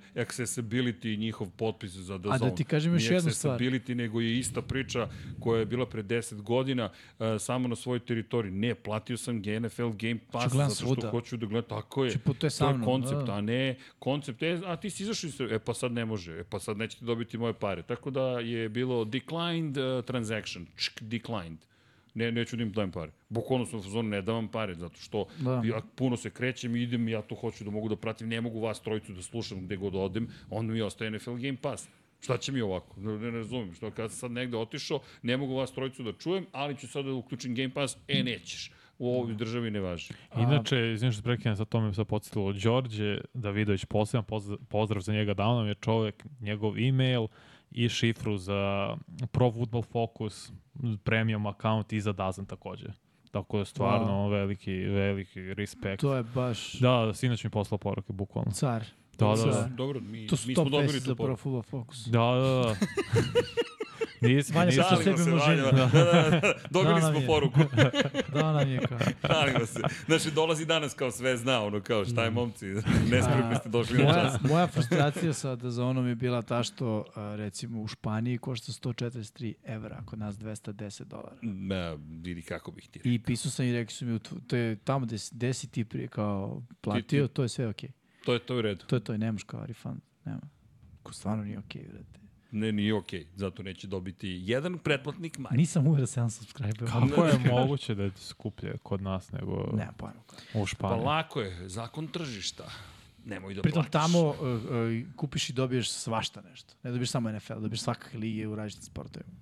accessibility njihov potpis za The
A da
Zone.
ti kažem još
Nije
jednu stvar.
accessibility, nego je ista priča koja je bila pre 10 godina e, samo na svojoj teritoriji. Ne, platio sam NFL Game Pass
gledam
zato što
svuda.
hoću da gledam. Tako je.
Ću, pa to je sa mnom,
koncept,
da.
a ne koncept. E, a ti si izašao iz Srbije. E pa sad ne može. E pa sad nećete dobiti moje pare. Tako da je bilo declined uh, transaction. Čk, declined. Ne, neću da im dajem pare. Bukvalno sam u fazonu, ne davam pare, zato što
Da.
da. ja puno se krećem, idem, ja to hoću da mogu da pratim, ne mogu vas trojicu da slušam gde god odem, onda mi ostaje NFL Game Pass. Šta će mi ovako? Ne, ne razumem. Što kad sam sad negde otišao, ne mogu vas trojicu da čujem, ali ću sad da uključim Game Pass, e nećeš. U ovoj
Da.
državi ne važi.
Inače, izvim što prekidam, sad to me sad podsjetilo, Đorđe Davidović, poseban pozdrav, pozdrav za njega, dao nam je čovek njegov e-mail i šifru za Pro Football Focus, premium account i za Dazan takođe. Tako da stvarno
Wow.
veliki, veliki respekt.
To je baš
Da, da, sinoć mi je poslao poruke, bukvalno.
car.
Da, da,
Car.
da.
Dobro, mi,
To
mi smo
su top 10
dobili
za
tu
Pro
poruku.
Football Focus.
Da, da, da. Nismo,
Vanja,
nismo.
što
Šalimo
sebi
se,
možemo.
Vanja, da, da, da. Dobili
Da,
smo
nam je.
poruku.
Da, nam je kao.
Šalimo se. Znači, dolazi danas kao sve zna, ono kao šta
Mm.
je momci, nespremni ste došli
Da.
na čas.
Moja, moja frustracija sada za onom je bila ta što, a, recimo, u Španiji košta 143 evra, a kod nas 210 dolara.
Na, Da, vidi kako bih ti.
I pisao sam i rekli su mi, u tv- to je tamo gde, si- gde si ti prije kao platio, to je sve okej.
To je to je u redu.
To je to i nemaš kao refund, nema. Ko stvarno nije okej, okay, vrate.
Ne, nije okej. Zato neće dobiti jedan pretplatnik manje.
Nisam uvjer da se jedan subscribe.
Kako je moguće da je skuplje kod nas nego
Nemam pojma.
u
Pa
Španiji?
lako je, zakon tržišta. Nemoj da
Pritom
plaćaš.
tamo uh, uh, kupiš i dobiješ svašta nešto. Ne dobiješ samo NFL, dobiješ svakakve lige u različitim sportovima.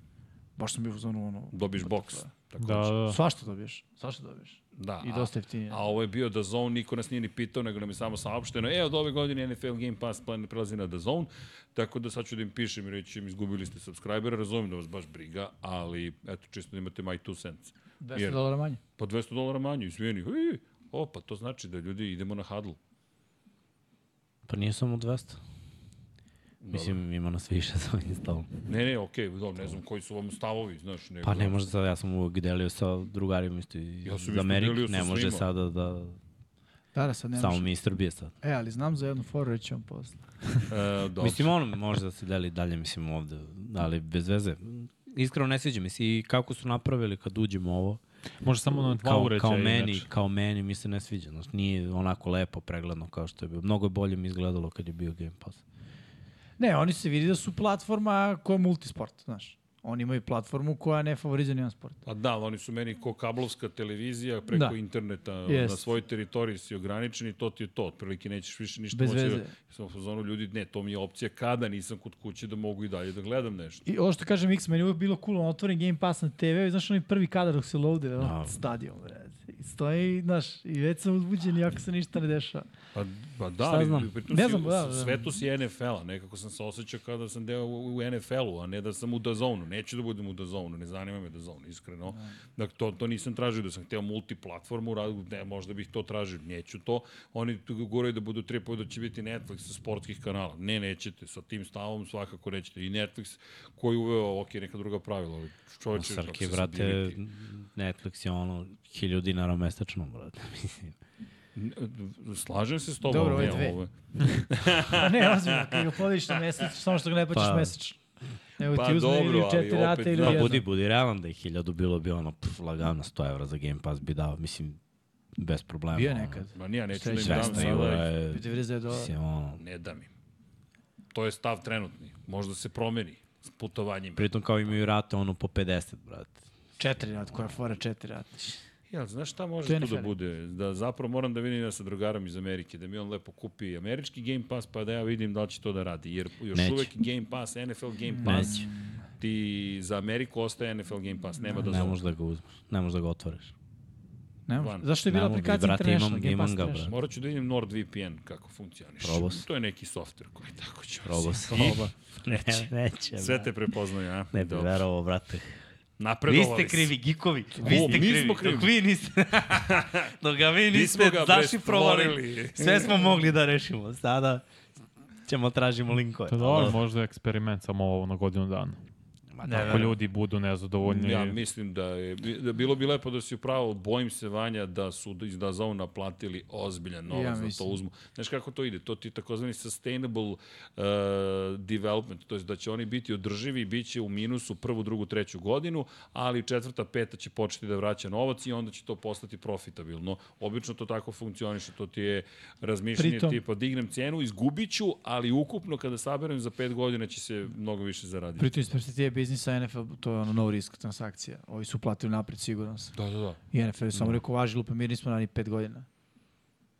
Baš sam bio u zonu ono...
Dobiješ boks. Tako
Da, da.
Svašta dobiješ, svašta dobiješ.
da.
I
a-
dosta jeftinije.
A ovo je bio da Zone, niko nas nije ni pitao, nego nam je samo saopšteno, e, od ove godine NFL Game Pass plan prelazi na The Zone, tako da sad ću da im pišem i reći im, izgubili ste subscribera, razumijem da vas baš briga, ali eto, čisto da imate my two cents.
200
Jer-
dolara manje.
Pa 200 dolara manje, izvijeni. Ui, o, pa to znači da ljudi idemo na hadl.
Pa nije samo 200. Mislim, ima nas više sa ovim stavom.
Ne, ne, okej, okay, dobro, ne znam koji su vam stavovi, znaš. Nego,
Pa ne može sada, ja sam uvek delio sa drugarima isto iz
da. Ja sam
iz
isto delio
Amerike,
sa
ne može
svima.
sada da,
Da, da, sad nemaš.
samo mi iz Srbije sad.
E, ali znam za jednu foru, reći vam posle.
E, dobro.
Mislim, ono može da se deli dalje, mislim, ovde, ali bez veze. Iskreno ne sviđa mi se i kako su napravili kad uđemo ovo,
Može samo na dva
kao,
uređaja.
kao meni,
inače.
kao meni mi se ne sviđa. Znači, nije onako lepo pregledno kao što je bio. Mnogo je bolje mi izgledalo kad je bio Game Pass.
Ne, oni se vidi da su platforma koja je multisport, znaš. Oni imaju platformu koja ne favorizuje nijedan sport.
Pa da, ali oni su meni ko kablovska televizija preko
Da.
da. interneta
Jest.
na svojoj teritoriji si ograničen i to ti je to. Otprilike nećeš više ništa
Bez
moći.
veze.
Da, sam u fazonu ljudi, ne, to mi je opcija kada nisam kod kuće da mogu i dalje da gledam nešto.
I ovo što kažem X, meni je uvijek bilo cool, on otvoren Game Pass na TV, znaš onaj prvi kadar dok se loade, no.
Da.
stadion, vred. I stoji, znaš, i već sam uzbuđen i ako se ništa ne dešava.
Pa, pa da,
Šta
ali
znam?
pritom
Ne
si
znam,
u
da, da.
svetu si NFL-a. Nekako sam se osjećao kao da sam deo u, u NFL-u, a ne da sam u Dazonu. Neću da budem u Dazonu, ne zanima me Dazon, iskreno. Dakle, to, to nisam tražio, da sam hteo multiplatformu, ra- ne, možda bih to tražio, neću to. Oni tu guraju da budu tri da će biti да Netflix sa sportskih kanala. Ne, nećete, sa tim stavom svakako nećete. I Netflix koji je uveo, ok, neka druga pravila, ali čoveče, kako
Srke,
da se
brate,
sadiviti.
Netflix je ono, hiljadu dinara mesečno, brate, mislim.
N- Slažem se s tobom.
Dobro, ovo je
ne,
dve. Pa ne, ozbiljno, kad ga podiš na mesec, samo što ga ne plaćaš
Pa.
mesečno. Nego
Pa
ti uzme
dobro,
ili
ali
četiri
opet,
rata ili
da,
Pa
jedno.
budi, budi realan da je hiljadu bilo bi ono, pf, lagano 100 evra za Game Pass bi dao, mislim, bez problema.
Bio
ono.
nekad.
Ma nije, neću da im dam
Svesno
Svesno
sada.
evra je,
99 dolara.
mislim, ono,
Ne dam im. To je stav trenutni. Možda se promeni s putovanjima.
pritom kao imaju rate ono po 50, brate.
Četiri rata, koja fora četiri rata.
Ja, znaš šta može
To je
tu da
nefer.
bude? Da zapravo moram da vidim ja sa drugarom iz Amerike, da mi on lepo kupi američki Game Pass, па да pa da ja vidim da li će to da radi. Jer još
Neće.
uvek Game Pass, NFL Game Pass,
Neće,
ti za Ameriku ostaje NFL Game Pass,
pa
да nema da
ne
zove.
možeš da ga uzmeš, ne možeš da ga otvoriš.
Ne može.
Van.
Zašto je bila
Ne mogu,
aplikacija
brate,
International
imam-
Game Pass
imam ga,
International?
Morat ću da vidim NordVPN kako funkcioniš.
Probao si.
To je neki softver koji tako će.
Probao si.
Proba.
Neće. Neće,
Sve
brate.
te prepoznaju, a?
Ne bi
Dobro.
verovao, brate. Vi
Napredovali
ste
si.
krivi, gikovi.
O,
Vi ste
mi
krivi.
smo krivi.
Dok vi niste, dok ga
Mi
vi
smo
niste
ga
zašifrovali.
prestvorili.
Sve smo mogli da rešimo. Sada ćemo tražimo linkove.
Pa dobro, možda je eksperiment samo ovo na godinu dana.
Ma
Ne,
da,
Ako ljudi budu nezadovoljni.
Ja mislim da je da bilo bi lepo da si upravo, bojim se Vanja da su da za on naplatili ozbiljan novac
Ja
ja, da to
mislim.
uzmu. Znaš kako to ide? To ti je takozvani sustainable uh, development, to je da će oni biti održivi i bit će u minusu prvu, drugu, treću godinu, ali četvrta, peta će početi da vraća novac i onda će to postati profitabilno. Obično to tako funkcioniše, to ti je razmišljanje Pritom...
Pritom-
tipa dignem cenu, izgubit ću, ali ukupno kada saberem za pet godina će se mnogo više zaraditi.
Pritom iz perspektive biznisa NFL, to je ono no risk transakcija. Ovi su platili napred, siguran sam.
Da, da, da.
I NFL je samo rekao, važi lupa, mi nismo na ni pet godina.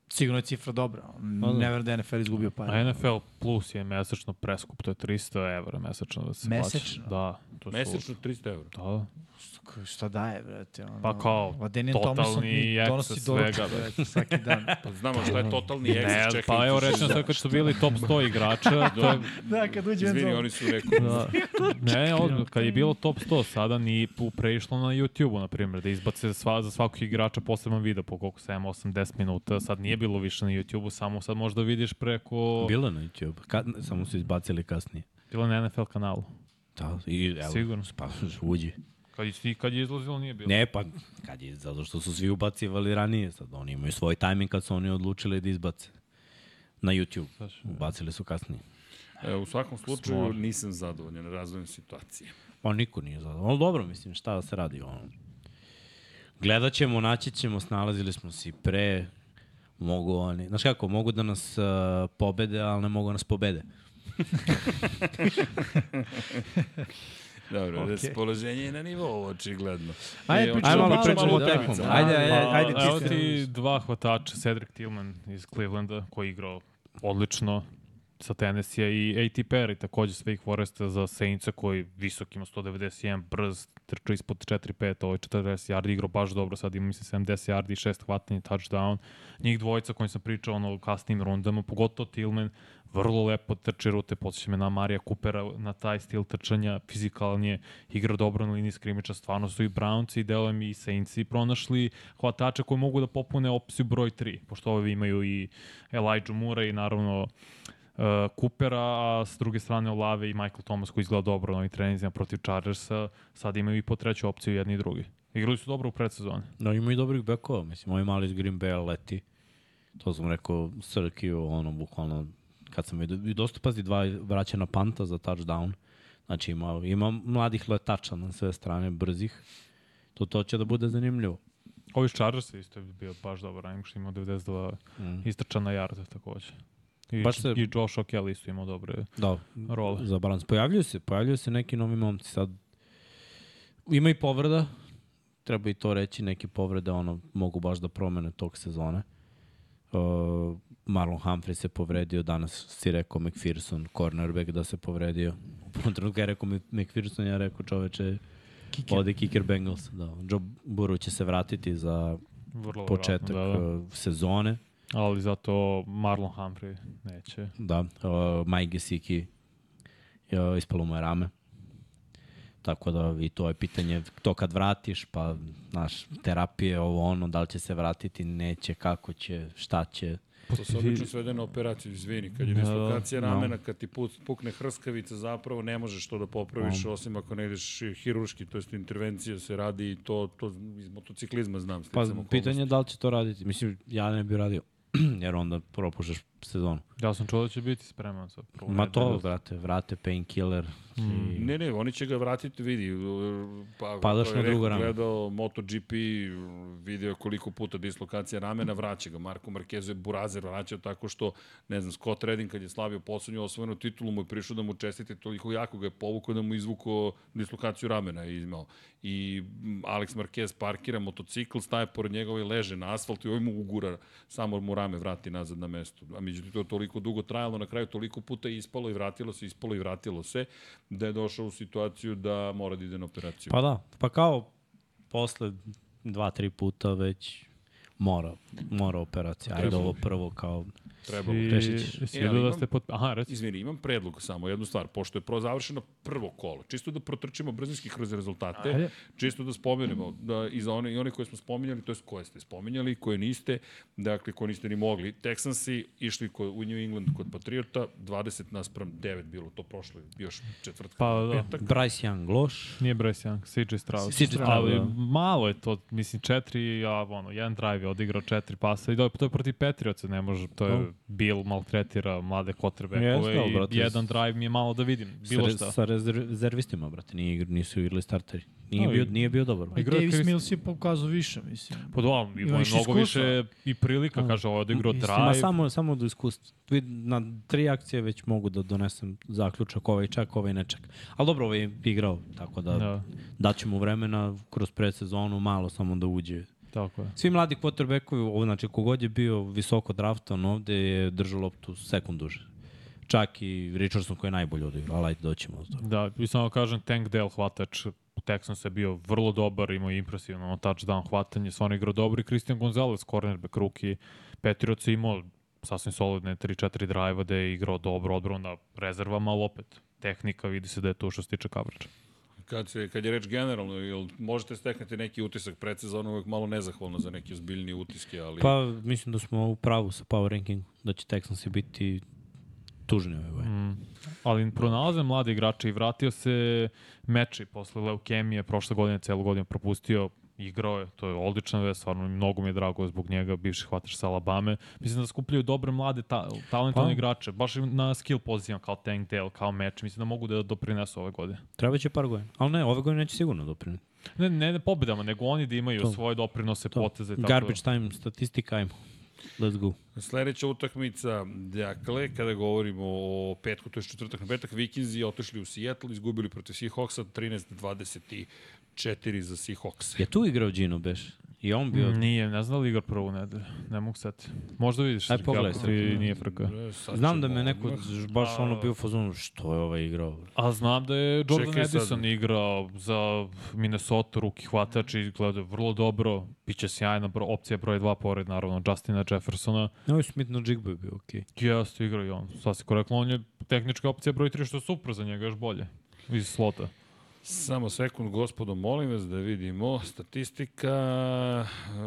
Sigurno je cifra dobra.
Pa da.
Ne verujem da je NFL izgubio
A
pare.
NFL Plus je mesečno preskup, to je 300 evra mesečno da se plaća.
Mesečno?
Da. To su-
Mesečno 300 evra.
Da, da.
K- Šta daje, brate? Ono,
Pa kao,
Ladenian
totalni
Tomlinson mi
eksces
donosi
svega,
doručak,
brate.
brate, svaki dan.
Pa znamo šta je totalni Da.
Ne,
eksces, čekaj.
pa evo rečeno sad kad su bili top 100 igrača, to je,
da, kad uđe
Izvini,
endzone.
oni su rekli.
Da. Ne, odmah, kad je bilo top 100, sada ni pu- prešlo na YouTube-u, na primjer, da izbace sva, za svakog igrača poseban video po koliko 7, 8, 10 minuta, sad nije bilo više na YouTube-u, samo sad možda vidiš preko,
Bilo je na YouTube, Kad, samo su izbacili kasnije.
bilo na NFL kanalu.
Da, i evo,
Sigurno.
Pa, uđi.
Kad je, kad je izlazilo nije bilo.
Ne, pa, kad je, zato što su svi ubacivali ranije, sad oni imaju svoj tajming kad su oni odlučili da izbace. Na YouTube. Ubacili su kasnije.
E, u svakom slučaju Smor. nisam zadovoljan razvojem situacije.
Pa niko nije zadovoljan. Ali dobro, mislim, šta da se radi. Ono. Gledat ćemo, naći ćemo, snalazili smo se i pre. Mogu oni, znaš kako, mogu da nas uh, pobede, ali ne mogu da nas pobede.
Dobro, okay. raspoloženje je na nivou, očigledno.
Ajde,
E,
pričamo
hoćemo
Ajmo
da
malo pričamo o
da.
tekmama.
utakmicama.
Ajde, ajde,
Pa,
ajde,
evo
ti.
ti dva hvatača, Cedric Tillman iz Clevelanda, koji je igrao odlično sa Tennessee i AT Perry, takođe Wake Foresta za Saintsa koji visok ima 191, brz, trčao ispod 4-5, ovo je 40 yardi, igrao baš dobro, sad ima mislim 70 yardi, šest hvatanja, touchdown. Njih dvojica kojim sam pričao ono, u kasnim rundama, pogotovo Tillman, vrlo lepo trče rute, podsjeća me na Marija Kupera, na taj stil trčanja, fizikalan je, igra dobro na liniji skrimiča, stvarno su i Brownci, i deluje mi i Saintsi pronašli hvatače koji mogu da popune opciju broj 3, pošto ovi imaju i Elijah Moore i naravno uh, Coopera, a s druge strane Olave i Michael Thomas koji izgleda dobro na ovim trenizima protiv Chargersa, sad imaju i po treću opciju jedni i drugi. Igrali su dobro u predsezoni.
No, ima i dobrih bekova, mislim, ovaj mali iz Green Bay leti. To sam rekao Srkiju, ono, bukvalno, kad sam vidio, i dosta pazi, dva vraćena panta za touchdown. Znači, ima, ima mladih letača na sve strane, brzih. To, to će da bude zanimljivo.
Ovi iz Chargersa isto je bio baš dobar running, što je imao 92
Mm.
istrča na jarde takođe. I,
Baš se-
i Josh O'Kelly isto imao dobre
Da,
role.
za balans. Pojavljuju se, pojavljuju se neki novi momci sad. Ima i povreda, treba i to reći, neke povrede ono, mogu baš da promene tog sezone. Uh, Marlon Humphrey se povredio, danas si rekao McPherson, cornerback da se povredio. U prvom trenutku je rekao Mc- McPherson, ja rekao čoveče, kicker. ode kicker Bengals. Da. Joe Burrow će se vratiti za
Vrlo
početak
verovatno, da, da.
uh, sezone.
Ali zato Marlon Humphrey neće.
Da, uh, Mike Gesicki uh, ispalo mu je rame. Tako da i to je pitanje to kad vratiš, pa znaš, terapije, ovo ono, da li će se vratiti, neće, kako će, šta će.
To se obično svede na operaciju, izvini, kad je
Da,
dislokacija ramena, kad ti put, pukne hrskavica, zapravo ne možeš to da popraviš, osim ako ne ideš hiruški, to jest intervencija se radi i to, to iz motociklizma znam.
Pa
sticam okolnosti.
pitanje je da li će to raditi. Mislim, ja ne bih radio, jer onda propušaš sezonu.
Ja sam čuo da će biti spreman za prvu
Ma to, da,
nedelju.
vrate, vrate, painkiller. Mm.
Ne, ne, oni će ga vratiti, vidi. Pa,
Padaš
ko je
na
rekao,
drugu ranu.
Gledao da, MotoGP, video je koliko puta dislokacija ramena, vraća ga. Marko Marquez je burazer vraćao tako što, ne znam, Scott Redding kad je slavio poslednju osvojenu titulu, mu je prišao da mu čestite toliko jako ga je povukao da mu izvuko dislokaciju ramena i izmao. I mm, Alex Marquez parkira motocikl, staje pored njega i leže na asfaltu i ovaj mu ugura, samo mu rame vrati nazad na mesto. A međutim, to je toliko dugo trajalo, na kraju toliko puta je ispalo i vratilo se, ispalo i vratilo se, da je došao u situaciju da mora da ide na operaciju.
Pa da, pa kao posle dva, tri puta već mora, mora operacija. Ajde,
Trebalo
ovo prvo kao
Trebalo.
I-
Rešić.
jesi vidio
ali
da
imam-
ste pot... Aha, reci.
Izvini, imam predlog samo, jednu stvar, pošto je pro završeno prvo kolo, čisto da protrčimo brzinski kroz rezultate,
Ajde.
čisto da spomenemo, da, i za one, i one koje smo spominjali, to je koje ste spominjali, koje niste, dakle, koje niste ni mogli. Texansi išli ko, u New England kod Patriota, 20 naspram 9 bilo to prošlo, još četvrtka.
Pa da.
Bryce Young loš,
Nije Bryce Young, CJ Stroud.
CJ Stroud,
Ali
da.
malo je to, mislim, četiri, a ono, jedan drive je odigrao četiri pasa i do, to je protiv Patriotsa, ne može, to je
No.
Bill maltretira mlade
Da. Jeste,
quarterbackove
ali,
i
brate,
jedan drive mi je malo da vidim, bilo
sa, re-
šta.
Sa rezerv- rezervistima, brate, nije, igr- nisu igrali starteri. Nije,
No,
bio,
i- Pa
nije bio dobar.
Pa I
Igrao je
Davis
Chris-
Mills je pokazao više, mislim.
Pa da, ali imao je
Imaš
mnogo
iskustva.
više i prilika,
Da.
kaže, ovo je odigrao
Istina.
drive.
Ma samo, samo do iskustva. Vid- Na tri akcije već mogu da donesem zaključak, ovaj čak, ovaj ne čak. Ali dobro, ovaj je igrao, tako da, da.
Da,
daću mu vremena kroz predsezonu, malo samo da uđe.
tako je.
Svi mladi quarterbackovi, ovo, znači kogod je bio visoko draftan ovde je držao loptu sekund duže. Čak i Richardson koji je najbolje odigrao, ali ajde doćemo do toga.
Da, i samo kažem, Tank Dell hvatač Texans je bio vrlo dobar, imao je impresivno ono, touchdown hvatanje, stvarno igrao dobro i Christian Gonzalez, cornerback ruki, Patriots je imao sasvim solidne 3-4 drive-a da je igrao dobro odbrana na rezervama, ali opet tehnika, vidi se da je to što se tiče coverage.
Kad, se, kad je reč generalno, jel možete steknati neki utisak predsezona, uvek malo nezahvalno za neke ozbiljnije utiske, ali...
Pa
Dakle,
mislim da smo u pravu sa power rankingu, da će Texansi biti tužni ove godine.
Mm. ali pronalaze mlade igrače i vratio se meči posle leukemije, prošle godine celu godinu propustio igrao je, to je odlična vest, stvarno mnogo mi je drago zbog njega, bivši hvatač sa Alabame. Mislim da skupljaju dobre mlade ta, talentovne
Pa.
igrače, baš i na skill pozicijama kao Tank Dale, kao meč, mislim da mogu da doprinesu ove godine.
Treba će par godina. Ali ne, ove godine neće sigurno doprineti.
Ne, ne, ne pobedama, nego oni da imaju
To.
svoje doprinose,
To.
poteze i tako. da.
Garbage time, statistika, ajmo. Let's go.
Sledeća utakmica, dakle, kada govorimo o petku, to je četvrtak na petak, Vikinzi otišli u Seattle, izgubili protiv Seahawksa 13-24 za Seahawkse.
Je tu igrao Gino, beš? I on bio... Mm.
Nije, ne znam da li igra prvu nedelju, ne mogu seti. Možda vidiš
Aj,
Srki,
pogledaj,
ako
Srki,
ti
da.
nije frka.
E, sad
Znam
ćemo
da me neko
odmah.
ž- baš
Pa,
ono bio u fazonu, što je ovaj igrao?
A znam da je Jordan
Čekaj sad.
Edison igrao za Minnesota, ruki hvatač i gleda vrlo dobro. Biće sjajna bro, opcija broj 2 pored, naravno, Justina Jeffersona.
Ne, ovaj Smith na Jigbo je bio okej.
Jeste igrao i on, sad si korektno. On je tehnička opcija broj 3, što je super za njega, još bolje. Iz slota.
Samo sekund, gospodo, molim vas da vidimo statistika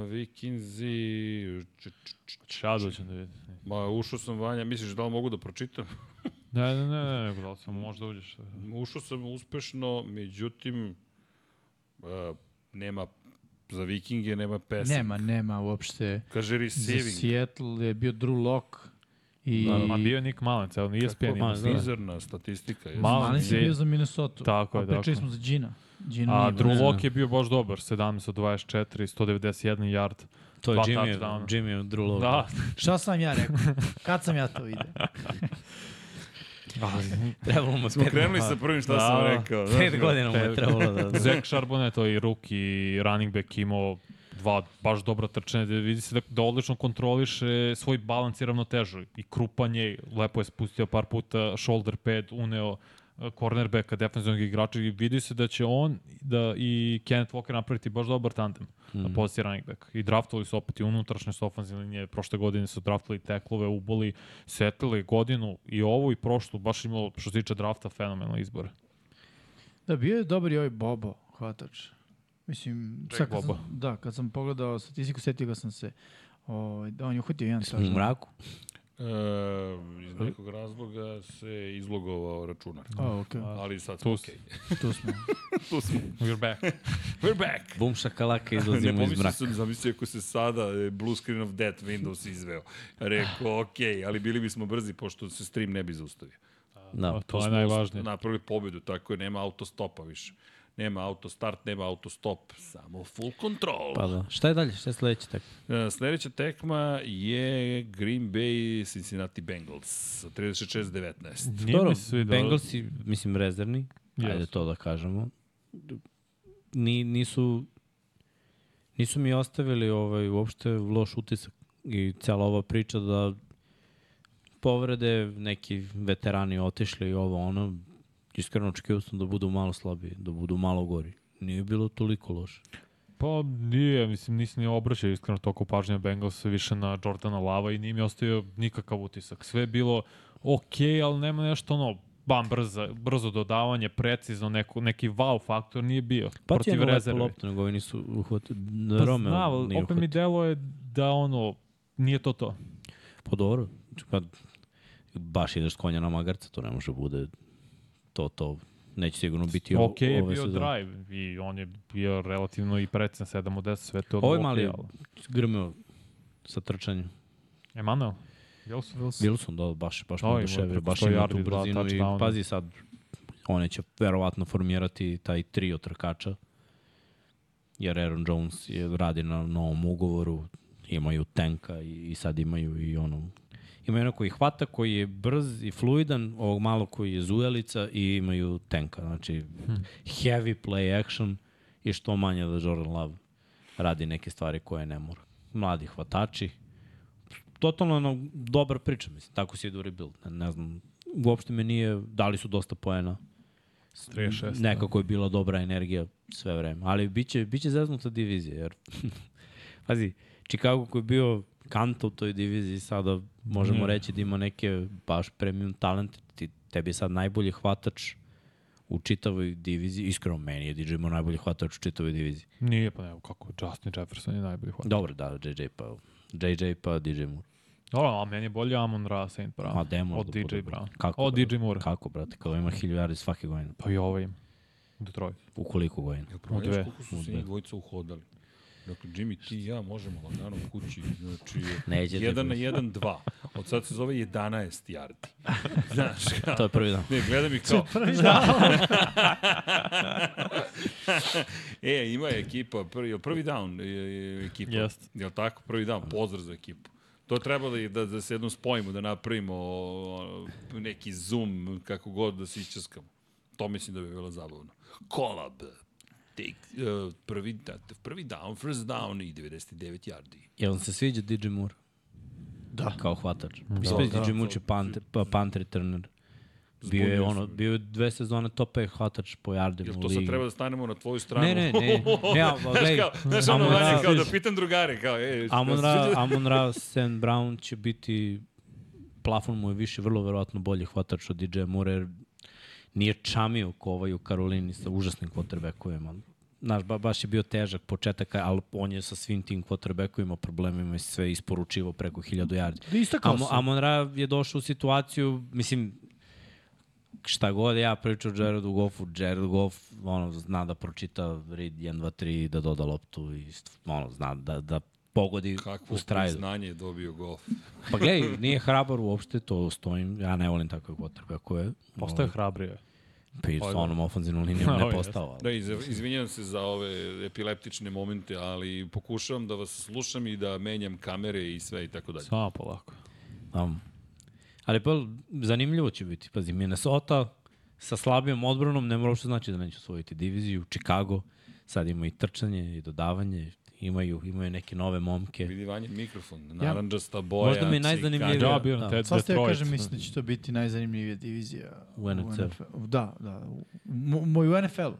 Vikinzi... č- č- č-
Šado ću da vidim.
Ma, ušao sam vanja, misliš da li mogu da pročitam?
Ne, ne, ne, ne, nego da li sam možda uđeš.
Ušao sam uspešno, međutim, e, nema za Vikinge nema pesma.
Nema, nema uopšte.
Kaže
Za
receiving.
Seattle je bio Drew Lock i...
Ma Da, bio je Nick Malen, celo, nije ESPN ima.
Malen?
Kako da. mizerna statistika. Je.
Ma- Malen
Malen je
je-
bio za Minnesota.
Tako je,
A pričali
tako.
smo za Gina. Gina
A
nije baš-
Drew Lock je bio baš dobar, 17 od 24, 191 yard.
To je
Dva
Jimmy,
touchdowna.
Jimmy Drulo.
Da,
Šta sam ja rekao? Kad sam ja to vidio?
ali
Trebalo mu
Smo
pet
krenuli sa prvim šta
Da.
sam rekao. znaš
Pet
kao.
godina mu je trebalo da...
Zach Charbonnet, ovaj ruki running back imao dva baš dobra trčanja, da vidi se da, da odlično kontroliše svoj balans i ravnotežu. I krupanje, lepo je spustio par puta shoulder pad, uneo e, cornerbacka, defensivnog igrača i vidi se da će on da i Kenneth Walker napraviti baš dobar tandem mm. na poziciji running back. I draftovali su opet i unutrašnje s ofenzivne linije, prošle godine su draftovali teklove, uboli, setili godinu i ovu i prošlu, baš imao što se tiče drafta fenomenalne izbore.
Da, bio je dobar i ovaj Bobo, hvatač. Mislim,
Jack
sad kad
Bobo.
Sam, da, kad sam pogledao statistiku, setio ga sam se. O, da, on je uhvatio jedan
U mraku.
E, iz nekog razloga se izlogovao računar.
O, ok,
Ali sad smo
Tu
okej.
si.
tu smo.
Tu smo.
We're back.
We're back.
Bum šakalaka
Ne
izlazimo iz
pomislio
mraka.
sam, zamislio ako se sada e, Blue Screen of Death Windows izveo. Rekao, okej, ali bili bismo brzi pošto se stream ne bi zaustavio.
Da.
A Pa to je
smo
najvažnije.
Napravili pobedu, tako je, nema autostopa više. Nema autostart, nema autostop, samo full control.
Pa da. Šta je dalje? Šta je sledeće tako?
E, Sledeća tekma je Green Bay Cincinnati Bengals sa 36-19.
Nije mi se svidelo.
Bengalsi, mislim, rezervni. Ajde
Jesu.
to da kažemo. Ni, nisu, nisu mi ostavili ovaj, uopšte loš utisak. I cela ova priča da povrede, neki veterani otišli i ovo ono, iskreno očekio sam da budu malo slabiji, da budu malo gori. Nije bilo toliko loše.
Pa nije, mislim, nisam ni obraćao iskreno toliko pažnje Bengalsa više na Jordana Lava i nije mi ostavio nikakav utisak. Sve je bilo okej, okay, ali nema nešto ono, bam, brzo, brzo dodavanje, precizno, neko, neki wow faktor nije bio.
Pa ti je
protiv
lepo
rezerve.
loptu, nego ovi nisu uhvatili.
Pa
Pa Romeo
zna, ali
nije
opet mi
uhvatio.
delo je da ono, nije to to.
Pa dobro, pa, baš ideš s konja na magarca, to ne može bude to, to. Neće sigurno biti ovo,
Okej je
ove
bio
sezone.
drive i on je bio relativno i precizan 7 od 10, sve to je
Ovo je
okej,
Ovaj mali
ali-
grmeo sa trčanjem.
Emanuel, jel su?
Wilson, da, baš, baš
Da,
me
ima
oduševio,
preko
baš
100
ima tu
yardi, dva
brzinu i
touchdowna.
pazi sad, one će verovatno formirati taj trio trkača, jer Aaron Jones je, radi na novom ugovoru, imaju tenka i, i sad imaju i ono, imaju ono koji hvata, koji je brz i fluidan, ovog malo koji je zujelica i imaju tenka, znači
Hm.
heavy play action i što manje da Jordan Love radi neke stvari koje ne mora. Mladi hvatači, totalno ono, dobra priča, mislim, tako si ide u rebuild. Ne, ne znam, uopšte me nije, dali su dosta poena,
36.
nekako je bila dobra energija sve vreme, ali biće, biće zeznuta divizija, jer, pazi, Chicago koji je bio kanta u toj diviziji, sada
Mm.
možemo reći da ima neke baš premium talente, ti, tebi je sad najbolji hvatač u čitavoj diviziji, iskreno meni je DJ Moore najbolji hvatač u čitavoj diviziji.
Pa. Nije, pa ne, kako, Justin Jefferson je najbolji hvatač.
Dobro, da, JJ pa, JJ pa DJ Moore.
Dobro, a meni je bolje Amon Ra Saint Brown.
Ma, Demon
Od
da
DJ
bude,
Brown.
brate. Kako,
Od
brate?
DJ Moore.
Kako, brate, kao ima hiljade svake godine.
Pa i ovo ima. Detroit.
U koliko godina?
Jel provjeriš
dve.
koliko su se njih dvojica uhodali? Dakle, Jimmy, ti i ja možemo lagano kući. Znači,
Nećete,
jedan na
brate.
jedan, dva. Od sad se zove 11 yardi. Znaš, kao,
To je prvi dan.
Ne, gledam ih kao... e, ima je ekipa, prvi, prvi down je, je ekipa.
Jeste.
Jel tako? Prvi down, pozdrav za ekipu. To treba da, da, da se jednom spojimo, da napravimo o, neki zoom, kako god da se iščaskamo. To mislim da bi bilo zabavno. Collab. Take, uh, prvi, da, prvi down, first down i 99 yardi.
Jel vam se sviđa DJ Moore? Da. Kao hvatač. Da,
da,
Ispred DJ Moore
to-
je punt, pa, punt returner. Bio je,
Zbunio
ono,
sam.
bio je dve sezone top 5 hvatač po jardima
Jel
u
to sad
ligi.
treba da stanemo na tvoju stranu?
Ne, ne, ne. ne al, al,
Znaš,
gledaj,
kao, znaš ono
Amon Ra-
vanje, kao da pitam drugare, kao, e, šta
Amon
se
Ra,
sviđa?
Amon Ra, Sam Brown će biti, plafon mu je više, vrlo verovatno bolji hvatač od DJ Moore, jer nije čamio ko ovaj u Karolini sa užasnim quarterbackovima. Znaš, ba, baš je bio težak početak, ali on je sa svim tim quarterbackovima problemima i sve isporučivo preko 1000 yardi.
Da istakao
Amo,
se.
Amon Ra je došao u situaciju, mislim, šta god ja pričam Jaredu Goffu, Jared Goff ono, zna da pročita read 1, 2, 3, da doda loptu i st- ono, zna da, da pogodi
Kakvo
u strajdu.
priznanje je dobio Goff.
Pa gledaj, nije hrabar uopšte, to stojim, ja ne volim takve gotrbe, ako je.
Postao je hrabrije.
Pa i s onom ofenzivnom linijom
Ovo
ne
je.
postao. ali-
Da, iz- izvinjam se za ove epileptične momente, ali pokušavam da vas slušam i da menjam kamere i sve i tako dalje.
Samo polako.
Um, ali pa zanimljivo će biti. Pazi, Minnesota sa slabijom odbranom ne mora uopšte znači da neće osvojiti diviziju. Chicago sad ima i trčanje i dodavanje. Imaju, imaju neke nove momke.
Vidi vanje mikrofon, naranđasta boja.
Možda mi je
Chicago.
najzanimljivije-
Ja bio na
Da.
te
Sad
Detroit.
ste ja kažem, mislim da će to biti najzanimljivija divizija
U NFL.
-u. Da, da. U, mo- moj u NFL-u.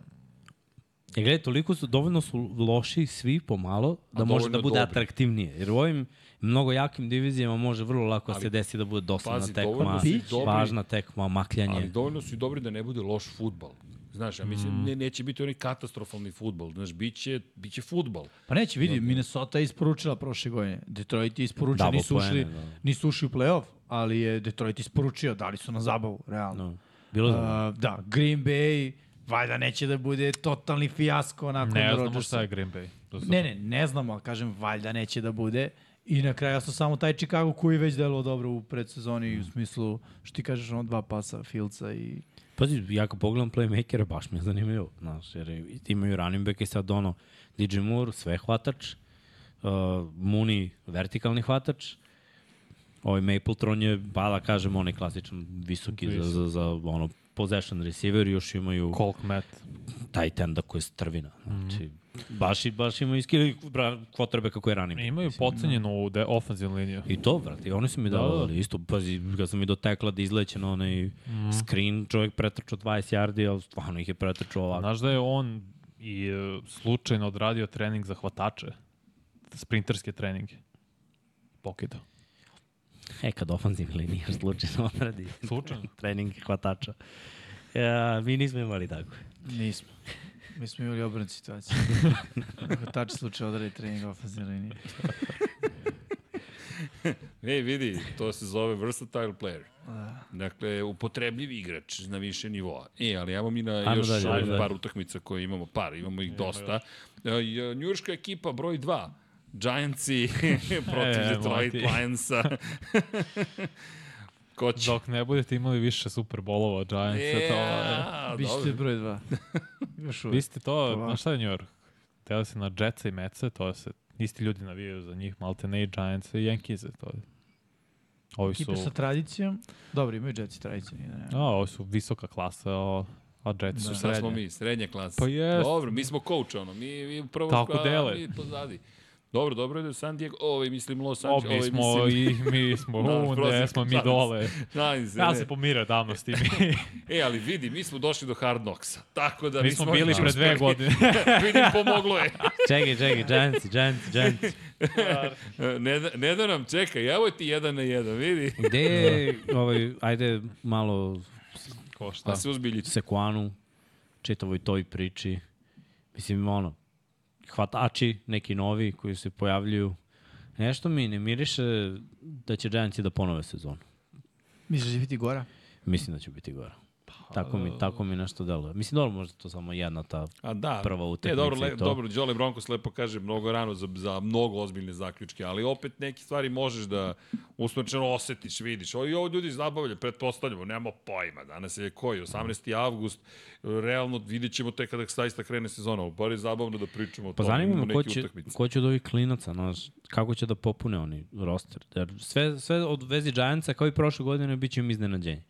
E gledaj, toliko su, dovoljno su loši svi pomalo da
A
može da
dovoljno
bude
dobri.
atraktivnije. Jer u ovim mnogo jakim divizijama može vrlo lako da
Ali,
se desi da bude dosadna
pazi, dovoljno
tekma,
su i dobri-
važna tekma, makljanje.
Ali dovoljno su i dobri da ne bude loš futbal. Znaš, ja mislim,
Mm.
ne, neće biti onaj katastrofalni futbal. Znaš, bit će, bit će futbal.
Pa neće, vidi, Minnesota je isporučila prošle godine. Detroit je isporučio,
Double
nisu ušli,
poene, da.
nisu ušli u play-off, ali je Detroit isporučio, dali su na zabavu, realno.
No. Bilo da.
Uh, da, Green Bay, valjda neće da bude totalni fijasko nakon
Ne znamo
Rodgersa.
šta je Green Bay. To sam-
Ne, ne, ne znamo, ali kažem, valjda neće da bude. I na kraju su samo taj Chicago koji je već delo dobro u predsezoni,
Mm.
u smislu, što ti kažeš, ono dva pasa, Filca i...
Pazi, ja kad pogledam playmakera, baš mi je zanimljivo, znaš, jer imaju running back i sad ono, DJ Moore, sve hvatač, uh, Mooney, vertikalni hvatač, ovaj Mapletron je, pa da kažem, onaj klasičan visoki za, za, za ono, possession receiver, još imaju Ko?
Colk Matt.
tight enda koji je strvina, znači, mm. baš, i- baš imaju iskili kvotrebe kako je running back.
Mhm. Imaju pocenjenu ovu de- ofenzivnu liniju.
da. I to, brate, i oni su mi
Da, da. Mhm.
davali isto, pazi, kad sam mi dotekla da izleće na onaj
Mm.
screen, čovjek pretrčao 20 yardi, ali stvarno ih je pretrčao ovako.
Znaš da je on i e, slučajno odradio trening za hvatače. Sprinterske treninge. Pokidao.
E, kad ofanzivni linijar slučajno odradi
Slučajno.
trening hvatača. Ja, mi nismo imali tako.
Nismo. Mi smo imali obrnu situaciju. Tač slučaj odradi trening ofenzivne linije.
Ej, vidi, to se zove versatile player.
Da.
Dakle, upotrebljiv igrač na više nivoa. E, ali evo mi na
Ajmo
još
dalje,
ovaj
ajmo dalje.
par utakmica koje imamo, par, imamo ih dosta. E, Njurška ekipa broj 2. Giantsi protiv
E,
Detroit
mati.
Lionsa. Ko će?
Dok ne budete imali više Super Bowlova od Giantsa, to e, je...
Ja,
Bićete
dobro.
broj dva. Još
Vi
uvijek.
ste to,
Hvala.
na šta je New York? Teo se na Jetsa i Metsa, to se isti ljudi navijaju za njih, malte ne i Giants i Yankees, to je. Ovi su,
Ekipe sa tradicijom. Dobro, imaju Jetsi tradiciju. nije da ne.
a, ovi su visoka klasa, a, a Jets su
Su, Sad smo
srednje.
mi, srednja klasa.
Pa jest.
Dobro, mi smo coach, ono, mi, mi prvo,
Tako
a,
dele.
mi pozadi. Dobro, dobro je da je San Diego, ovaj, mislim Los
O,
Angeles,
mi
ovaj,
smo
mislim...
i mi smo
Da,
unde,
prozivka,
smo mi
šalim se.
dole.
Šalim se,
Ja
ne.
se pomira davno s tim. Mi,
E, ali vidi, mi smo došli do Hard Knocksa. Tako da
mi
nismo
smo bili
ničim
pre dve
uspeli.
godine.
Vidim, pomoglo je.
Čekaj, čekaj, Giantsi, Giantsi, Giantsi.
Ne, da- ne da nam čekaj, evo ti jedan na jedan, vidi.
Gde je, ovaj, ajde malo
Ko šta?
Da se uzbilji.
Sekuanu, čitavoj toj priči. Mislim, ono, hvatači, neki novi koji se pojavljuju. Nešto mi ne miriše da će Giantsi da ponove sezonu.
Misliš da će biti gora?
Mislim da će biti gore. Tako mi, tako mi nešto deluje. Mislim, dobro, možda to samo jedna ta...
A da,
Prva
e,
utakmica
dobro,
i
le,
to.
dobro, Đole Broncos lepo kaže mnogo rano za, za mnogo ozbiljne zaključke, ali opet neke stvari možeš da usmrčeno osetiš, vidiš. O, I ovo ljudi zabavlja, pretpostavljamo, nemamo pojma. Danas je koji, 18. avgust, realno vidit ćemo tek kada zaista krene sezona, ali bar je zabavno da pričamo o
Pa
tome,
zanima
imamo
me ko
neke
će,
utakmice.
ko će od ovih klinaca, znaš, kako će da popune oni roster. Jer sve, sve od vezi Giantsa, kao i prošle godine, bit će im iznenađenje.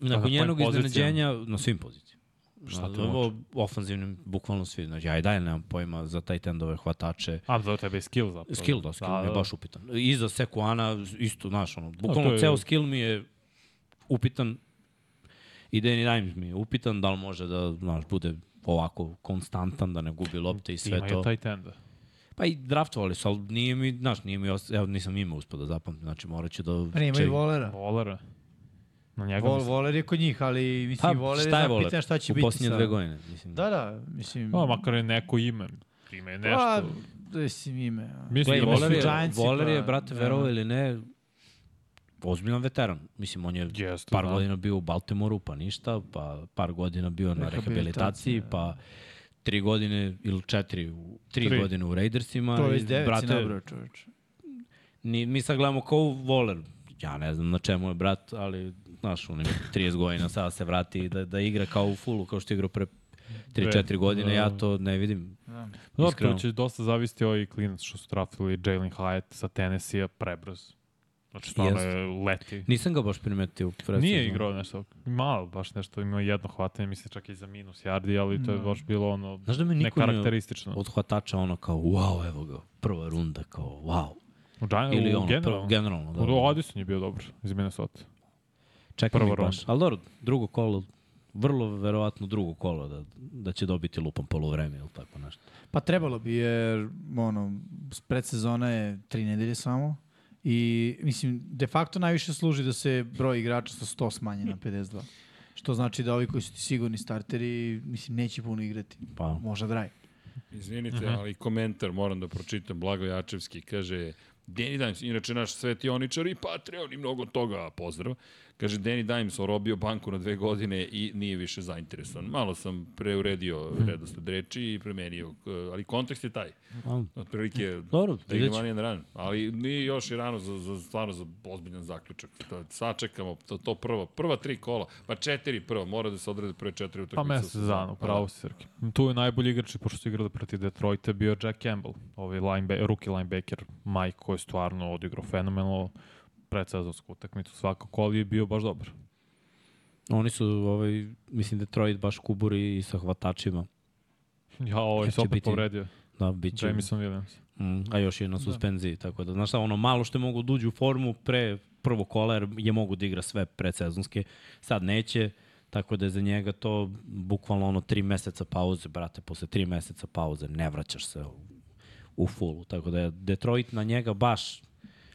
na
Nakon
kojim
njenog
pozicijama?
iznenađenja, na svim pozicijama.
Šta
Na-
to znači?
ovo Ofanzivnim, bukvalno svi. Znači, ja i dalje nemam pojma za taj tendove hvatače.
A, da tebe je skill zapravo.
Skill, da, skill mi je baš upitan. I za Sekuana, isto, znaš, ono, bukvalno
to je-
ceo skill mi je upitan. I Danny Dimes mi je upitan, da li može da, znaš, bude ovako konstantan, da ne gubi lopte i sve
Ima
to.
je taj tenda.
Pa i draftovali su, ali nije mi, znaš, nije mi, os... evo nisam ime uspio da zapamtim, znači morat ću da...
Pa nema i
ček-
volera.
Volera. Na njega
Vol,
mislim.
voler je kod njih, ali
Pa,
mislim, voler je
šta je
da
Voler?
pitanje šta će
u
biti.
posljednje
sa-
dve godine, mislim.
Da, da, mislim...
Pa, makar je neko ime. Ime je nešto.
Pa, da mislim ime. a.
Mislim,
Gledaj,
ime
Voler
su
je,
Giantsi,
Voler je,
pa,
brate,
da.
verovo ili ne, ozbiljan veteran. Mislim, on je
Jeste,
par
da.
godina bio u Baltimoru, pa ništa, pa par godina bio na
Rehabilitaciji,
rehabilitaciji, pa tri godine ili četiri, u- tri,
Tri.
godine u Raidersima.
To je
i,
iz devet si
brate,
nabrao čoveč.
ni, mi sad gledamo kao Voler, ja ne znam na čemu je brat, ali znaš, on ima 30 godina, sada se vrati da, da igra kao u fulu, kao što je igrao pre
Pre,
3-4 godine, ja
da.
to ne vidim.
Da.
Dobro,
Iskreno.
to će dosta zavisti ovaj klinac što su trafili Jalen Hyatt sa Tennessee-a prebrz. Znači, stvarno
Jeste. da.
je leti.
Nisam ga baš primetio. Pred
Nije
sezonom.
igrao nešto, malo baš nešto, imao jedno hvatanje, mislim čak i za minus yardi, ali to je baš bilo ono
Znaš da mi niko nije
nekarakteristično.
od hvatača ono kao, wow, evo ga, prva runda, kao, wow.
U, Giant,
Ili
E, u
ono, generalno,
generalno.
generalno da.
U Odison je bio dobar iz Minnesota.
Čekam
prva
ih baš.
runda.
Ali dobro, drugo kolo, vrlo verovatno drugo kolo da, da će dobiti lupan polovreme ili tako nešto.
Pa trebalo bi jer, ono, predsezona je tri nedelje samo i, mislim, de facto najviše služi da se broj igrača sa 100 smanji na 52. Što znači da ovi koji su ti sigurni starteri, mislim, neće puno igrati.
Pa,
Možda draj.
Izvinite, ali komentar moram da pročitam. Blago Jačevski kaže Danny Dimes, inače naš svetioničar i Patreon i mnogo toga, pozdrav. Kaže, Danny Dimes orobio banku na dve godine i nije više zainteresovan. Malo sam preuredio redosled reči i promenio, e, ali kontekst je taj.
a,
Otprilike,
Dobro,
da ide
vidjet ću.
manijan ran. Ali nije još i rano za, za, stvarno za ozbiljan zaključak. Da sačekamo to, to prvo, prva tri kola, pa četiri prvo, mora da se odrede pre četiri utakmice.
Pa
u
mesec
sezoni.
dana,
Pa
pravo si Srki. Tu je najbolji igrač, i pošto su igrali protiv Detroita, bio Jack Campbell, ovaj lineba rookie linebacker, Mike, koji je stvarno odigrao fenomenalno predsezonsku utakmicu svakako, ali je bio baš dobar.
Oni su, ovaj, mislim, Detroit baš kuburi i sa hvatačima.
Ja, ovaj
Kad
se
će
opet
biti-
povredio,
Da, bit će,
Jamison Williams.
mm, a još je na suspenziji, tako da, znaš šta, ono malo što je mogu da uđu u formu pre prvo kola, jer je mogu da igra sve predsezonske, sad neće, tako da je za njega to bukvalno ono tri meseca pauze, brate, posle tri meseca pauze ne vraćaš se u, u fullu, tako da je Detroit na njega baš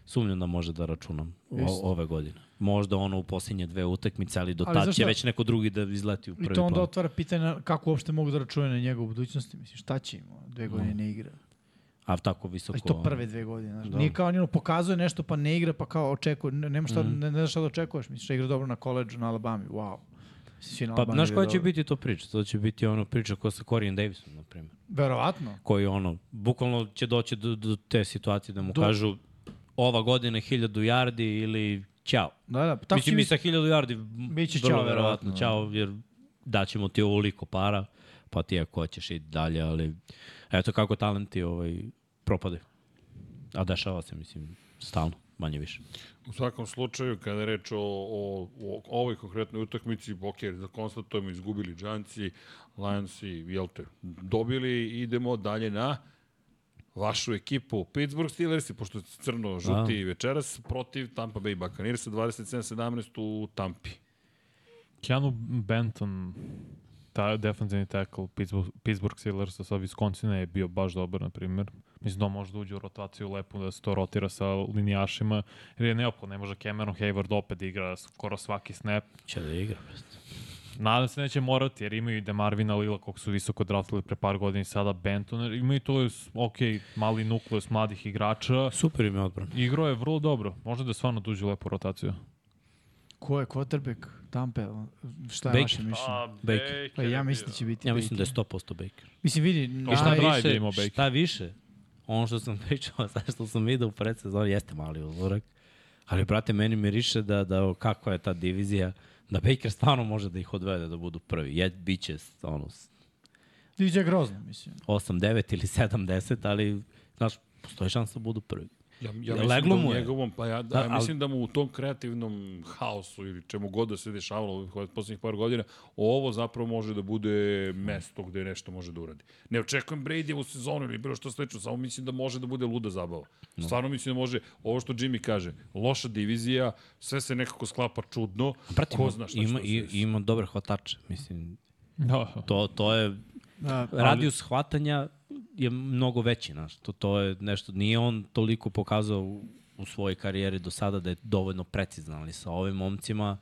sumnjam da može da računam o, ove godine. Možda ono u posljednje dve utakmice, ali do
Ali
tad
znaš
će
šta?
već neko drugi da izleti u prvi
I to onda
plan.
otvara pitanje na- kako uopšte mogu da računaju na njegovu budućnosti. Mislim, šta će im? ono, Dve godine ne igra.
A tako Da. visoko...
Ali Znači, to prve dve godine. Znaš. Nije kao on ono, pokazuje nešto pa ne igra pa kao očekuje. Ne, nema šta,
Mhm.
ne, ne znaš šta da očekuješ. Misliš da igra dobro na koleđu na Alabami. Wow. Mislim, svi na
Pa,
Alabami
znaš koja
igraju
će
dobro.
biti to priča? To će biti ono priča koja sa Corian Davisom, na primjer.
Verovatno.
Koji ono, bukvalno će doći do, do te situacije da mu kažu ova godina je 1000 yardi ili ćao.
Da, da. pa Tako
Mislim,
će
mi
biti-
sa 1000 yardi
Biće
vrlo
ćao,
verovatno
verovatno. da.
ćao, jer daćemo ti ovoliko para, pa ti ako hoćeš i dalje, ali eto kako talenti ovaj, propade. A dešava se, mislim, stalno, manje više.
U svakom slučaju, kada je reč o, o, o ovoj konkretnoj utakmici, ok, da konstatujemo, izgubili Giantsi, Lionsi, jel te, dobili, idemo dalje na vašu ekipu Pittsburgh Steelersi, pošto je crno žuti da. večeras, protiv Tampa Bay Buccaneersa 27-17 u Tampi.
Keanu Benton, ta defensivni tackle Pittsburgh, Pittsburgh Steelersa sa Wisconsina je bio baš dobar, na primjer. Mislim da on može da uđe u rotaciju lepo, da se to rotira sa linijašima, jer je neophodno, ne može Cameron Hayward opet da igra skoro svaki snap.
Će da igra, prosto.
Nadam se neće morati, jer imaju i Demarvina Lila, kog su visoko draftili pre par godina i sada Benton. Imaju to, ok, mali nukleus mladih igrača.
Super im je odbran.
Igro je vrlo dobro. Možda da stvarno duđu lepu rotaciju.
Ko je quarterback? Tampe? Šta je
Baker.
vaše mišljenje?
Baker.
Pa ja mislim da će biti
Ja mislim da je
Baker.
100% Baker.
Mislim, vidi, naj...
I
šta
šta drive je imao Baker?
Šta više, ono što sam pričao, sad što sam vidio u predsezoni, jeste mali uzorak, ali, brate, meni miriše da, da o, kako je ta divizija, da Baker stvarno može da ih odvede da budu prvi. Je, biće, ono, s-
DJ je grozno, mislim.
8-9 ili 7-10, ali, znaš, postoji šansa da budu prvi.
Ja, ja
Ja,
mislim
leglo
da
mu
u
je.
njegovom, pa ja, da,
Da,
ja
ali-
mislim da mu u tom kreativnom haosu ili čemu god da se dešavalo u ovih poslednjih par godina, ovo zapravo može da bude mesto gde nešto može da uradi. Ne očekujem Brady u sezonu ili bilo što slično, samo mislim da može da bude luda zabava. Stvarno mislim da može, ovo što Jimmy kaže, loša divizija, sve se nekako sklapa čudno,
Brate,
ko
ima-
zna šta
ima,
će
i,
da se desi.
ima dobre hvatače, mislim,
Da.
to, to je
Da,
Radijus hvatanja je mnogo veći, znaš, to, to je nešto, nije on toliko pokazao u, u svojoj karijeri do sada da je dovoljno precizan, ali sa ovim momcima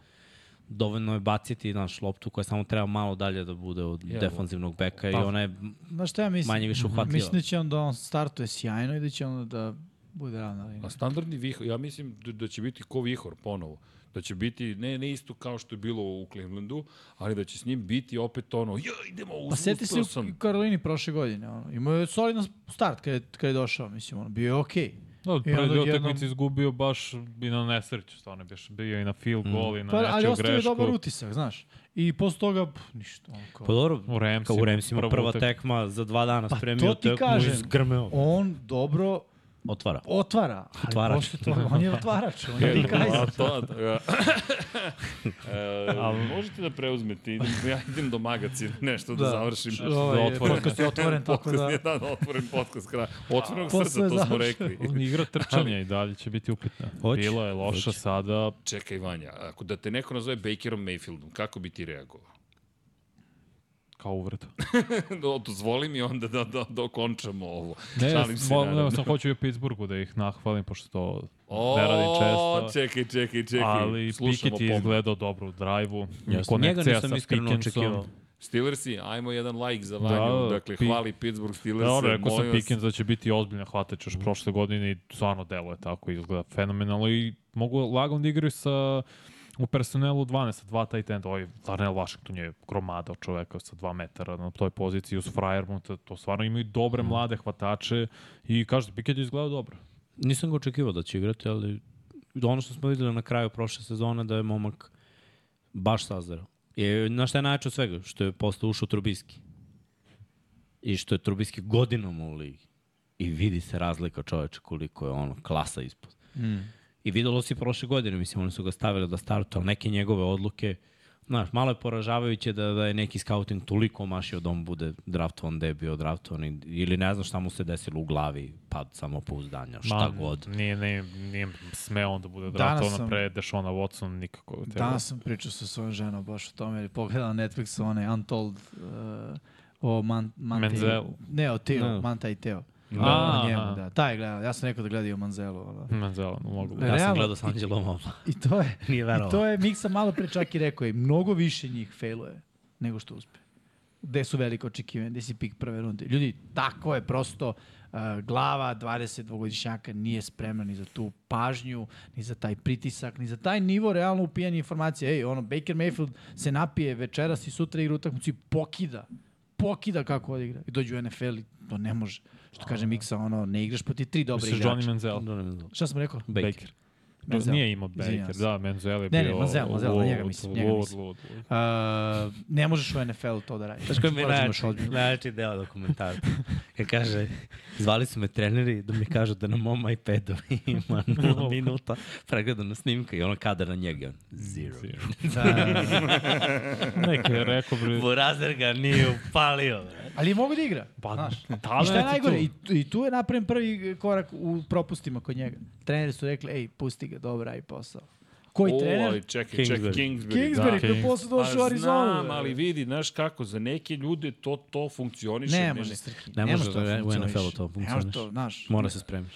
dovoljno je baciti, znaš, loptu koja samo treba malo dalje da bude od
Jel.
defanzivnog beka i
Pa.
ona je
znaš šta ja mislim?
manje više uhvatljiva.
Mislim da će on da on startuje sjajno i da će on da bude ravna linija.
A standardni vihor, ja mislim da, da će biti ko vihor ponovo. Da će biti, ne, ne isto kao što je bilo u Clevelandu, ali da će s njim biti opet ono, ja idemo,
Pa seti se
uspio
u
sam.
Karolini prošle godine. Ono. Imao je solidan start kada je, kad je došao, mislim, ono, bio je okej. Okay.
Da, od
I onda
prve dve
odjednom-
utakmice izgubio baš i na nesreću, stvarno bio, bio i na field
Mm.
goal i na
Pa, ali
nečiju
ostavio je
grešku.
dobar utisak, znaš. I posle toga, pff, ništa. Ono, kao.
Pa dobro,
U Ramsima,
kao u Remsima,
prva
prva
utak-
tekma za dva dana
Pa
spremio
to ti
tekmu
kažem.
i zgrmeo.
On dobro
Otvara.
otvara. Ali
Otvarač.
posle toga, on je otvarač, on je
E, a
Kaiser.
to, a, e, da. možete da preuzmete, idem, ja idem do magacina nešto da,
Da.
završim.
Ovaj,
otvoren.
podcast je otvoren, tako da... Pa,
Podcast je da, otvoren podcast kraja. Otvorenog
Posle
srca, to smo
završeno.
rekli.
Igra trčanja i dalje će biti upitna.
Hoće,
Bila je loša
hoće.
sada.
Čekaj, Vanja, ako da te neko nazove Bakerom Mayfieldom, kako bi ti reagovao?
Kao uvreda.
Do- Dozvoli mi onda da, da, da okončamo ovo.
Ne,
Šalim se,
mo,
naravno.
ne, sam hoću i u Pittsburghu da ih nahvalim, pošto to
O,
ne radim često.
Čekaj, čekaj, čekaj.
ali
Slušamo
Piketty je
pomoć.
izgledao dobro u drive-u.
Njega
Konekcija
nisam
sa
iskreno
Pickensom.
očekivao.
Steelersi, ajmo jedan like za Vanju.
Da,
dakle,
Pi-
hvali Pittsburgh Steelers.
Da, rekao sam Pickens da će biti ozbiljna hvatač
Mhm.
još prošle godine i stvarno delo je tako, izgleda fenomenalno i mogu lagano da igraju sa u personelu 12, sa dva tight enda, ovaj Darnell Washington je gromada od čoveka sa 2 metara na toj poziciji uz Friarmont, to, to stvarno imaju
Mhm.
dobre mlade hvatače i kažete, Pickett je izgledao dobro.
Nisam ga očekivao da će igrati, ali da ono što smo videli na kraju prošle sezone da je momak baš sazreo. I znaš šta je najjače od svega? Što je posle ušao Trubiski. I što je Trubiski godinama u ligi. I vidi se razlika čoveče koliko je ono klasa ispod.
Mm.
I videlo se i prošle godine, mislim, oni su ga stavili da startu, ali neke njegove odluke, znaš, malo je poražavajuće da, da je neki scouting toliko mašio da on bude draftovan, da je bio draftovan, i- ili ne znam šta mu se desilo u glavi, pad samopouzdanja, šta
Ma,
god.
Nije, nije, nije smeo onda bude
Danas
draftovan
sam-
pre Dešona Watson nikako. da. Te-
Danas sam pričao sa svojom ženom baš o tome, jer je pogledala Netflix onaj Untold uh, o Man, Mante,
Manzelu.
Ne, o Teo,
Da.
Manta i Teo.
A,
o njemu,
aha.
da. Taj gleda, ja sam rekao da gleda o Manzelu. Ali.
Manzela, mogu.
E,
Ja sam
Realno.
gledao sa Anđelom Obla.
I to je,
Nije
i to je Miksa malo pre čak i rekao je, mnogo više njih failuje nego što uspe. Gde su velike očekivanja, gde si pik prve runde. Ljudi, tako je prosto, uh, glava 22-godišnjaka nije spremna ni za tu pažnju, ni za taj pritisak, ni za taj nivo realno upijanja informacije. Ej, ono, Baker Mayfield se napije večeras i sutra igra utakmicu i pokida pokida kako odigra. I dođe u NFL i to ne može. Što kaže Miksa, ono, ne igraš proti tri dobre
Misliš da
igrača.
Johnny Manziel?
Šta sam rekao?
Baker.
Manziel.
Da, Nije imao Baker,
Izvinjavam se.
da, Menzel je bio...
Ne, ne, Manziel, Manziel,
lud,
njega mislim, njega
lud,
mislim.
lud, lud.
Uh, ne možeš u NFL to da radiš.
Znaš koji mi je
Moraš da imaš
najjači,
ozbiljnu-
najjači deo dokumentarca? Kad kaže, zvali su me treneri da mi kažu da na mom iPadu ima 0 minuta pregledana snimka i ono kadar na njega. on, Zero.
Da.
Neko je rekao, bre,
Borazer ga nije upalio. bre.
Ali je mogu da igra.
pa
znaš. I
talent
šta je
je
najgore? I,
tu.
I tu je napravljen prvi korak u propustima kod njega. Treneri su rekli, ej, pusti ga, dobro, radi posao. Koji
O,
trener?
ali čekaj, čekaj,
Kingsbury.
Kingsbury.
Kingsbury,
da.
koji je posle došao u
Pa
Arizonu.
znam,
bre.
ali vidi, znaš kako, za neke ljude to, to funkcioniše.
Ne može, Srki.
Ne može
to
da u
funkcioniš.
NFL-u to
Ne može to,
funkcioniš.
znaš.
Mora se spremiš.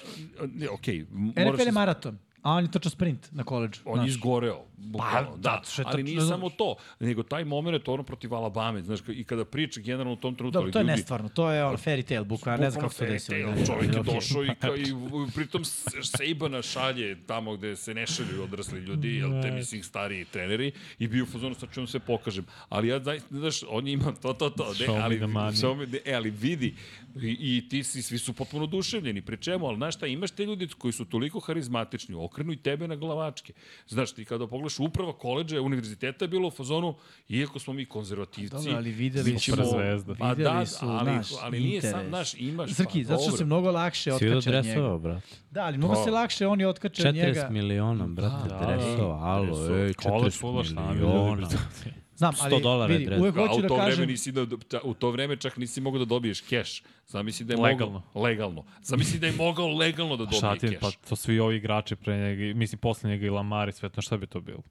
Ne, okej, okay, moraš...
NFL je
da se-
maraton. A on je trčao sprint na koleđu.
On je izgoreo, bukvalno.
Pa,
da,
zato što je
ali
to-
nije samo to, nego taj moment ono protiv Alabama, znaš, i kada priča generalno u tom trenutku,
Dobro,
ali
to je
ljudi,
nestvarno, to je ono fairy tale, bukvalno, ne znam kako se to desilo.
Evo,
Da,
Čovjek
da,
je
okej.
došao i, ka, i u- pritom S- Sejbana šalje tamo gde se ne šalju odrasli ljudi, jel te mislim stariji treneri i bio u fazonu sa čemu se pokažem. Ali ja zaista, znaš, on ima to, to, to. Ne,
Show me
ali,
the money.
show me the- e, ali vidi, i, i ti si, svi su potpuno oduševljeni, pri čemu, ali znaš šta, imaš te ljudi koji su toliko harizmatični, okrenu i tebe na glavačke. Znaš, ti kada pogledaš uprava koleđa, univerziteta je bilo u fazonu, iako smo mi konzervativci,
Dobro, ali videli
mi
su-
Znači, ćemo-
Zvezda.
Pa da,
Videli su,
ali,
znaš,
ali nije sam,
interes.
znaš, imaš,
Srki,
pa
zato što
dobro. Pa,
se mnogo lakše
Svi od
otkače od njega.
dresova, brate.
Da, ali mnogo
To.
se lakše oni otkače od
40
njega.
miliona, brate,
Da,
da,
da,
dresova. Alo,
dresova.
ej,
Kola
40
fulašna,
miliona.
Znam,
100 dolara
ali
je
vidi,
dres.
uvek
A u
hoću da
to vreme
kažem,
nisi da, ta- u to vreme čak nisi mogao da dobiješ keš. Zamisli da je
Legalno.
mogao legalno. Zamisli da je mogao legalno da dobije
Šatin,
keš.
pa to svi ovi igrači pre njega, i- mislim posle njega i Lamar i sve to, šta bi to bilo?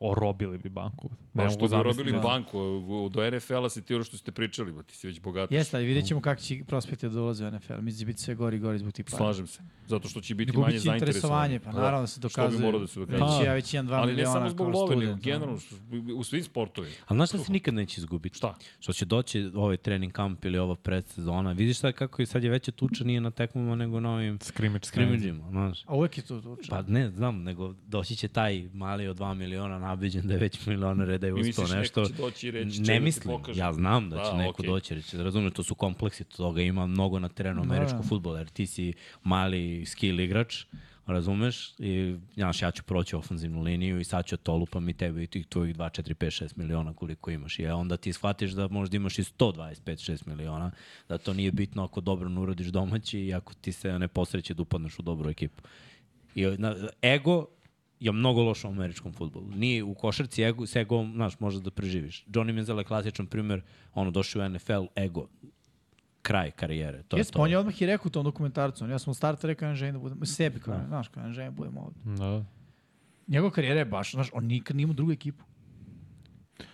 Orobili bi banku.
Pa što bi
zamisliti
robili
da-
banku, u- do NFL-a si ti ono što ste pričali, ba, ti si već bogat.
jeste, ali vidjet ćemo kako će prospekte da ulaze u NFL. Mislim da će biti sve gori i gori zbog tih para.
Slažem se. Zato što će biti manje
Gubit će
zainteresovanje.
pa- interesovanje, pa naravno da se dokazuje.
Što bi morao da se dokazuje.
Već je, ja već imam 2 miliona
Ali ne samo zbog
kao
love, nego
student, da.
generalno, što- u svim sportovima.
Ali znaš šta se nikad neće izgubiti?
Šta?
Što će doći ovaj trening kamp ili ova predsezona. Vidiš sad kako je sad je veća tuča nije na tekmama nego na ovim
Scrimmage, scrimmage.
skrimidžima, znaš.
A uvek je to tuče.
Pa ne, znam, nego doći će taj mali od 2 miliona nabeđen da je već milionere da je
I misliš,
uspao
neko
nešto.
će doći i reći,
ne
"Čekaj da ti
mislim,
pokažem."
ja znam da će
Da,
neko
okej.
doći, reći, razumem, to su kompleksi toga, ima mnogo na terenu američkog futbola, jer ti si mali skill igrač, razumeš, i znaš, ja ću proći ofenzivnu liniju i sad ću to lupam i tebe i tih tvojih 2, 4, 5, 6 miliona koliko imaš. I e onda ti shvatiš da možda imaš i 125, 6 miliona, da to nije bitno ako dobro ne uradiš domaći i ako ti se ne posreće da upadneš u dobru ekipu. I, na, ego je mnogo loš u američkom futbolu. Nije u košarci ego, s egom, znaš, možeš da preživiš. Johnny Manziel je klasičan primer, ono, došao u NFL, ego, kraj karijere. To
Jes,
je to.
on je odmah i rekao u tom dokumentarcu. on, Ja sam u startu rekao, ja ne želim da budem, sebi kao, znaš, kao, ja ne želim da budem ovde.
Da.
Njegova karijera je baš, znaš, on nikad nije imao drugu ekipu.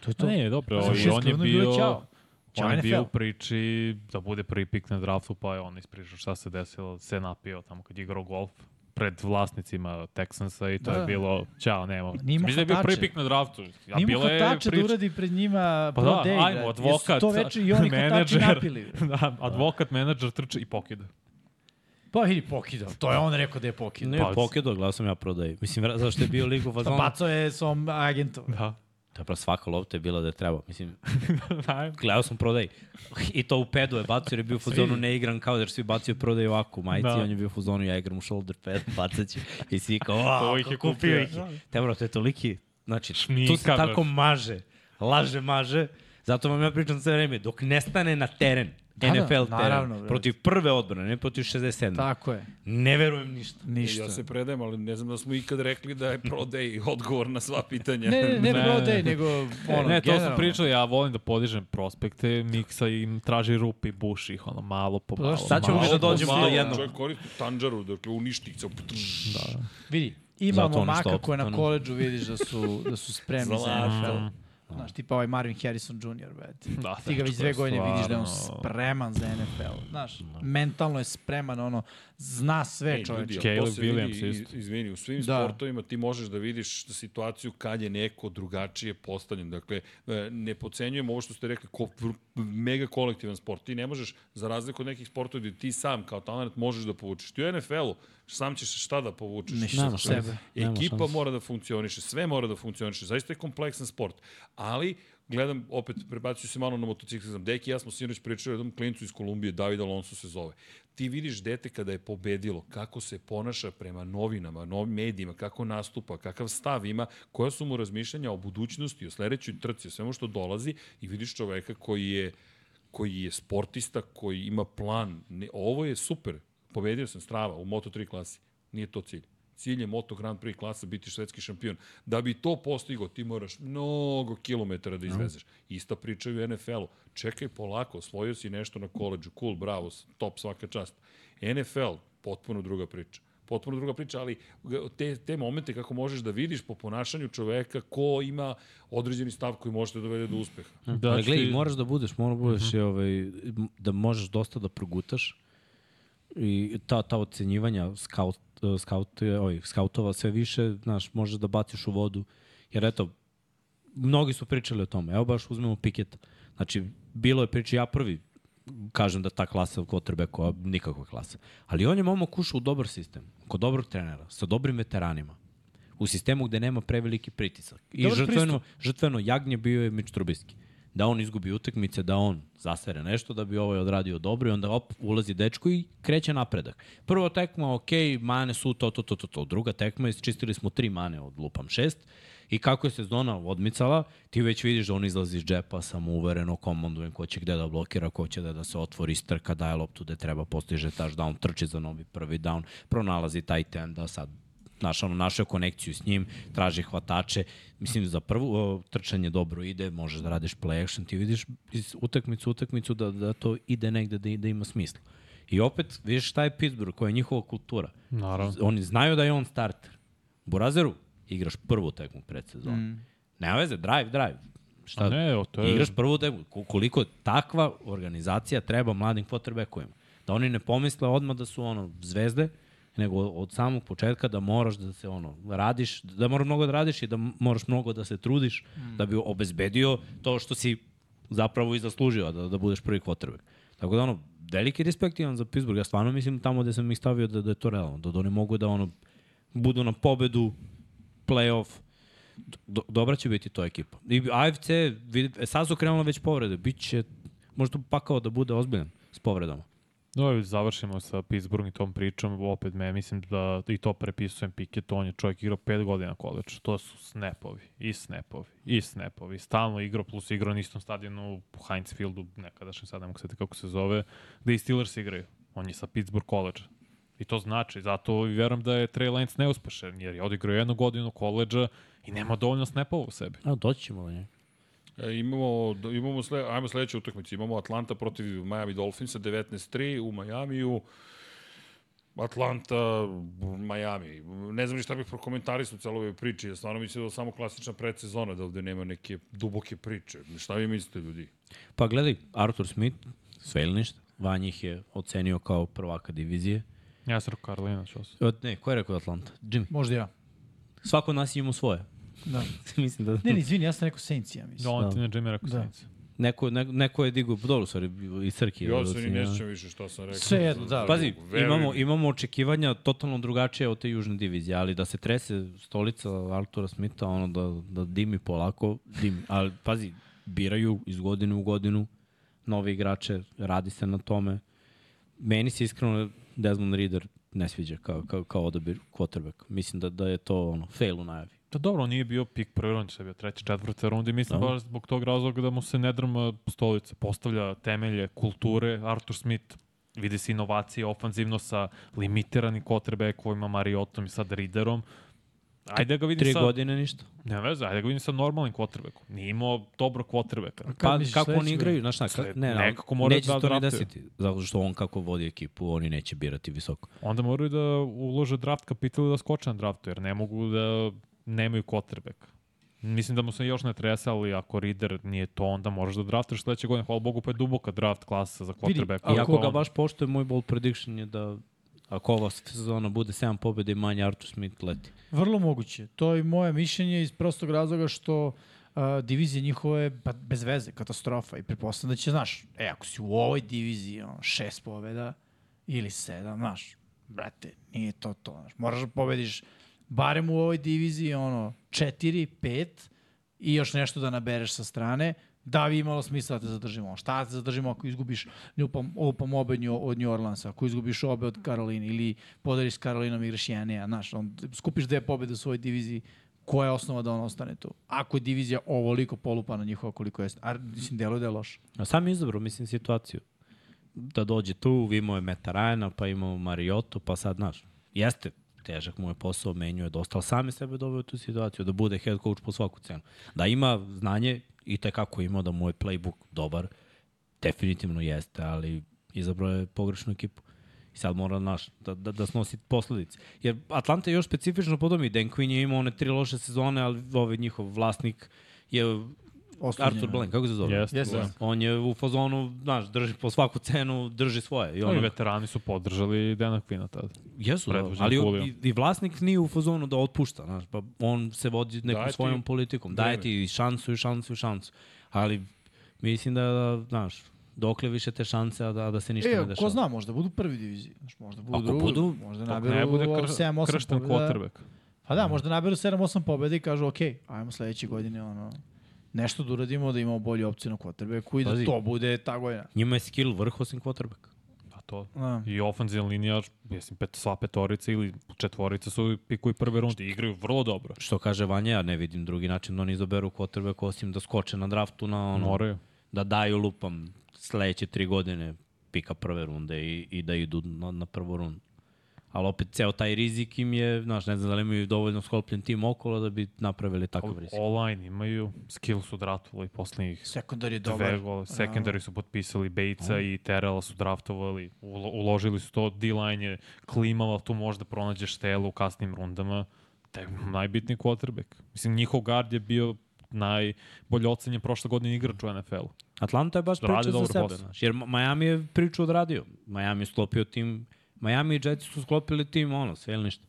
To je to.
Ne, dobro,
Znaš,
i on je
iskreno bilo,
bio...
"Ćao." Ćao,
on je bio
NFL.
u priči da bude prvi pik na draftu, pa je on ispričao šta se desilo, se napio tamo kad je igrao golf pred vlasnicima Texansa i to
Da,
je
da.
bilo, ćao, nema.
Nije imao
Mislim da je bio
hvatače.
prvi pik na draftu.
Ja,
Ja,
nije imao
bila je
hvatača da
priča-
uradi pred njima
Pa
pro
da,
day,
ajmo,
brate. Jer su
advokat,
To veče i oni hvatači
menadžer.
napili. brate.
da, advokat, menadžer trče i pokida.
Pa vidi pokida, to je on rekao da je pokida.
Ne,
Pa-
pa, pokedo, gledao sam ja prodaj. Mislim, vra- zašto je bio ligu
Pa
fazon?
bacao je svom agentom.
Da.
Da, pa svaka lopta je bila da je treba. Mislim,
da.
gledao sam prodaj. I to u pedu je bacio, jer je bio u fazonu ne igram kao, da jer svi bacio prodaj ovako u majici,
Da.
da. on je bio u fazonu, ja igram u shoulder pad, bacat ću. I svi kao, "A,
To ih je
kako
kupio."
ih je. Te bro, to je toliki, znači,
Šminka,
tu se tako
brate.
maže, laže maže. Zato vam ja pričam sve vreme, dok ne stane na teren,
Da, da,
NFL teren,
naravno, brate.
protiv prve odbrane, ne protiv 67.
Tako je,
Ne verujem ništa.
ništa.
Ja se predajem, ali ne znam da smo ikad rekli da je prodej odgovor na sva pitanja.
Ne, ne, ne,
Ne,
pro
ne.
day, nego ono,
ne, to
generalno.
sam pričao, ja volim da podižem prospekte, miksa im traži rupi, buši ih, ono, malo po
Pa
malo.
znaš, sad ćemo
malo
mi da
po
dođemo
malo.
do jednog.
Čovjek koristi tanđaru, dakle uništi se. Da.
Vidi,
Zato
imamo
ono
maka
što
koje na
opet, ono-
koleđu vidiš da su, da su spremni za
Zalažu.
NFL. Znaš, tipa ovaj Marvin Harrison Jr. Bet.
Da,
Ti ga već
dečko
dve
je
godine vidiš da je on
stvarno-
spreman za NFL. Znaš, mentalno je spreman, ono, zna sve
Ej,
čoveče.
ljudi, ali to
Caleb
se vidi,
Williams
iz-
isto.
izvini, u svim
Da.
sportovima ti možeš da vidiš situaciju kad je neko drugačije postavljen. Dakle, e, ne pocenjujem ovo što ste rekli, ko, vr- mega kolektivan sport. Ti ne možeš, za razliku od nekih sportova gde ti sam kao talent možeš da povučeš. Ti u NFL-u sam ćeš šta da povučeš.
Ništa. Nema
Sve.
šanse.
Nema
Ekipa
šanse.
mora da funkcioniše, sve mora da funkcioniše. Zaista je kompleksan sport. Ali, gledam, opet prebacuju se malo na motociklizam. Deki i ja smo sinoć pričali o jednom klincu iz Kolumbije, David Alonso se zove. Ti vidiš dete kada je pobedilo, kako se ponaša prema novinama, novim medijima, kako nastupa, kakav stav ima, koja su mu razmišljanja o budućnosti, o sledećoj trci, o svemu što dolazi i vidiš čoveka koji je koji je sportista, koji ima plan. Ne, ovo je super. Pobedio sam strava u Moto3 klasi. Nije to cilj. Cilj je Moto Grand Prix klasa biti svetski šampion. Da bi to postigo, ti moraš mnogo kilometara da izvezeš. Ista priča i u NFL-u. Čekaj polako, osvojio si nešto na koleđu. Cool, bravo, top, svaka čast. NFL, potpuno druga priča potpuno druga priča, ali te, te momente kako možeš da vidiš po ponašanju čoveka ko ima određeni stav koji može da dovede do uspeha.
Da,
ali gledaj,
ti-
moraš da budeš, moraš da budeš i ovaj, da možeš dosta da progutaš i ta, ta ocenjivanja scout, scout, ovih, scoutova sve više, znaš, možeš da baciš u vodu. Jer eto, mnogi su pričali o tome. Evo baš uzmemo Piketa. Znači, bilo je priče, ja prvi kažem da ta klasa quarterbackova nikakva klasa. Ali on je momak ušao u dobar sistem, kod dobrog trenera, sa dobrim veteranima, u sistemu gde nema preveliki pritisak. I
Dobar
žrtveno, žrtveno jagnje bio je Mić Trubiski. Da on izgubi utakmice, da on zasere nešto, da bi ovaj odradio dobro i onda op, ulazi dečko i kreće napredak. Prvo tekma, ok, mane su to, to, to, to, to. Druga tekma, isčistili smo tri mane od lupam šest. I kako je sezona odmicala, ti već vidiš da on izlazi iz džepa samouvereno, komandujem ko će gde da blokira, ko će gde da se otvori, strka, daje loptu gde treba, postiže touchdown, trči za novi prvi down, pronalazi taj ten da sad znaš, ono, našao konekciju s njim, traži hvatače. Mislim, za prvo o, trčanje dobro ide, možeš da radiš play action, ti vidiš iz utakmicu u utakmicu da, da to ide negde da, da ima smisla. I opet, vidiš šta je Pittsburgh, koja je njihova kultura.
Naravno.
Oni znaju da je on starter. U Burazeru igraš prvu tekmu predsezona. Mm. Nema veze, drive, drive. Šta,
A ne, evo, to je-
Igraš prvu tekmu. Ko- Koliko takva organizacija treba mladim quarterbackovima. Da oni ne pomisle odmah da su ono zvezde, nego od samog početka da moraš da se ono radiš, da moraš mnogo da radiš i da moraš mnogo da se trudiš mm. da bi obezbedio to što si zapravo i zaslužio a da, da budeš prvi quarterback. Tako da ono, veliki respekt imam za Pittsburgh. Ja stvarno mislim tamo gde sam ih stavio da, da je to realno. Da, da oni mogu da ono budu na pobedu, playoff, do, dobra će biti to ekipa. I AFC, vidi, e, sad su krenule već povrede, bit će možda pakao da bude ozbiljan s povredama.
No, evo, završimo sa Pittsburgh i tom pričom. Opet me, mislim da i to prepisujem Piket, on je čovjek igrao 5 godina koleč. To su snapovi, i snapovi, i snapovi. Stalno igrao, plus igrao na istom stadionu u Heinz Fieldu, nekadašnjem sad ne mogu sveti kako se zove, gde i Steelers igraju. On je sa Pittsburgh koleđa. I to znači, zato i verujem da je Trey Lance neuspešan, jer je odigrao jednu godinu koleđa i nema dovoljno snapova u sebi.
A, doći ćemo do njega.
E, imamo, imamo sle, ajmo sledeću utakmicu. Imamo Atlanta protiv Miami Dolphinsa 19-3 u Majamiju. Atlanta, Miami. Ne znam ni šta bih prokomentarisao u celoj ovoj priči. Ja stvarno mislim da je samo klasična predsezona, da ovde nema neke duboke priče. Šta vi mislite, ljudi?
Pa gledaj, Arthur Smith, sve ili ništa. Van ih je ocenio kao prvaka divizije.
Ja sam rekao Karolina, što sam.
E, Ne, ko je rekao Atlanta? Jimmy.
Možda ja.
Svako od nas ima svoje.
Da.
Mislim da
Ne, ne, izvini, ja sam rekao Saints, ja mislim.
Valentina Jimmy rekao
Da.
da.
neko, ne, neko je digao, dobro, sorry, i Srki. je
Ja se ni
ocenio.
ne sjećam više šta sam rekao.
Sve jedno, da.
Pazi,
Veruj
imamo,
mi.
imamo očekivanja totalno drugačije od te južne divizije, ali da se trese stolica Artura Smitha, ono da, da dimi polako, dimi. Ali pazi, biraju iz godine u godinu nove igrače, radi se na tome. Meni se iskreno Desmond Reader ne sviđa kao, kao, kao odabir quarterback. Mislim da, da je to ono, fail u najavi.
Da dobro, on nije bio pik prve runde, sad je bio treći, četvrte runde i mislim
Da.
baš zbog tog razloga da mu se ne drma stolica, postavlja temelje kulture, Arthur Smith vidi se inovacije ofanzivno sa limitiranim quarterbackovima, Mariotom i sad Riderom. Ajde da ga vidim
Tri
sa...
godine ništa.
Ne veze, ajde da ga vidim sa normalnim quarterbackom. Nije imao dobro quarterbacka.
Kad
Pa,
misliš,
kako
sledeće
oni
godine?
igraju, znaš šta, ka, ne, ne,
Nekako moraju
neće
da
se to ni
draftuju.
desiti, zato što on kako vodi ekipu, oni neće birati visoko.
Onda moraju da ulože draft kapital i da skoče na draftu, jer ne mogu da nemaju quarterbacka. Mislim da mu se još ne trese, ali ako Reader nije to, onda moraš da draftaš sledeće godine. Hvala Bogu, pa je duboka draft klasa za
Vidi,
quarterbacka.
I ako
Onda-
ga baš poštoje, moj bold prediction je da ako ova sezona bude 7 pobjede i manje, Arthur Smith leti.
Vrlo moguće. To je moje mišljenje iz prostog razloga što a, divizija njihova je pa, bez veze, katastrofa i pretpostavljam da će, znaš, e, ako si u ovoj diviziji on, šest pobjeda ili sedam, znaš, brate, nije to to. Znaš, moraš da pobediš barem u ovoj diviziji ono, četiri, pet i još nešto da nabereš sa strane da bi imalo smisla da te zadržimo. Šta da te zadržimo ako izgubiš lupam, lupam obe nju- od New Orleansa, ako izgubiš obe od Karoline ili podariš s Karolinom igraš 1-1, znaš, on, skupiš dve pobede u svojoj diviziji, koja je osnova da on ostane tu? Ako je divizija ovoliko polupana njihova koliko jeste, a mislim, deluje da je loše.
A sam je izabrao, mislim, situaciju. Da dođe tu, imao je Meta Ryana, pa imao Mariotu, pa sad, znaš, jeste težak mu je posao, menjuje dosta, ali sam je sebe doveo u tu situaciju, da bude head coach po svaku cenu. Da ima znanje, i tekako ima da mu je playbook dobar, definitivno jeste, ali izabrao je pogrešnu ekipu. I sad mora naš, da, da, da snosi posledice. Jer Atlanta je još specifično po tome i Dan Quinn je imao one tri loše sezone, ali ovaj njihov vlasnik je
oslonjena.
Arthur Blank, kako se zove?
Jeste. da.
Jeste.
Blank.
On je u fazonu, znaš, drži po svaku cenu, drži svoje. I
Ovi
ono,
veterani su podržali Dena Kvina tada.
jesu, da,
predvođen
ali on,
Kulijom.
i, i vlasnik nije u fazonu da otpušta, znaš, pa on se vodi nekom
Daje ti
svojom politikom. Daje
vreme.
ti i šansu, i šansu, i šansu. Ali mislim da, da znaš, dokle više te šanse, a da, da se ništa ne
E,
dešava.
ko zna, možda budu prvi diviziji. Znaš, možda budu
Ako
drugi,
budu,
možda
Dok ne
naberu
bude kr
7-8
kršten
pobjeda.
quarterback.
Pa da, možda naberu 7-8 pobjeda i kažu, ok, ajmo sledeće godine ono, nešto da uradimo da imamo bolju opciju na quarterbacku i da
Pazi.
to bude ta godina.
Njima je skill vrh osim quarterback.
A Pa to.
Da.
I ofenzivna linija, mislim, pet, sva petorica ili četvorica su pikuju prve runde. Igraju vrlo dobro.
Što kaže Vanja, ja ne vidim drugi način da oni izoberu quarterback osim da skoče na draftu na ono,
Moraju.
da daju lupam sledeće tri godine pika prve runde i, i da idu na, na prvu rundu. Ali opet ceo taj rizik im je, znaš, ne znam da li imaju dovoljno sklopljen tim okolo da bi napravili takav rizik.
Online imaju, skill su draftovali poslednjih
Sekundar je
dve
dobar.
gole. Secondary su potpisali Bejca i Terela su draftovali, ulo, uložili su to, D-line je klimava, tu možda pronađeš telo u kasnim rundama. Taj najbitniji quarterback. Mislim, njihov guard je bio najbolje ocenjen prošle godine igrač u NFL-u.
Atlanta je baš
Rade
priča za
dobar
sebe,
posao.
znaš, jer Ma- Miami je priču odradio. Miami je sklopio tim, Miami i Jetsi su sklopili tim, ono, sve ili ništa.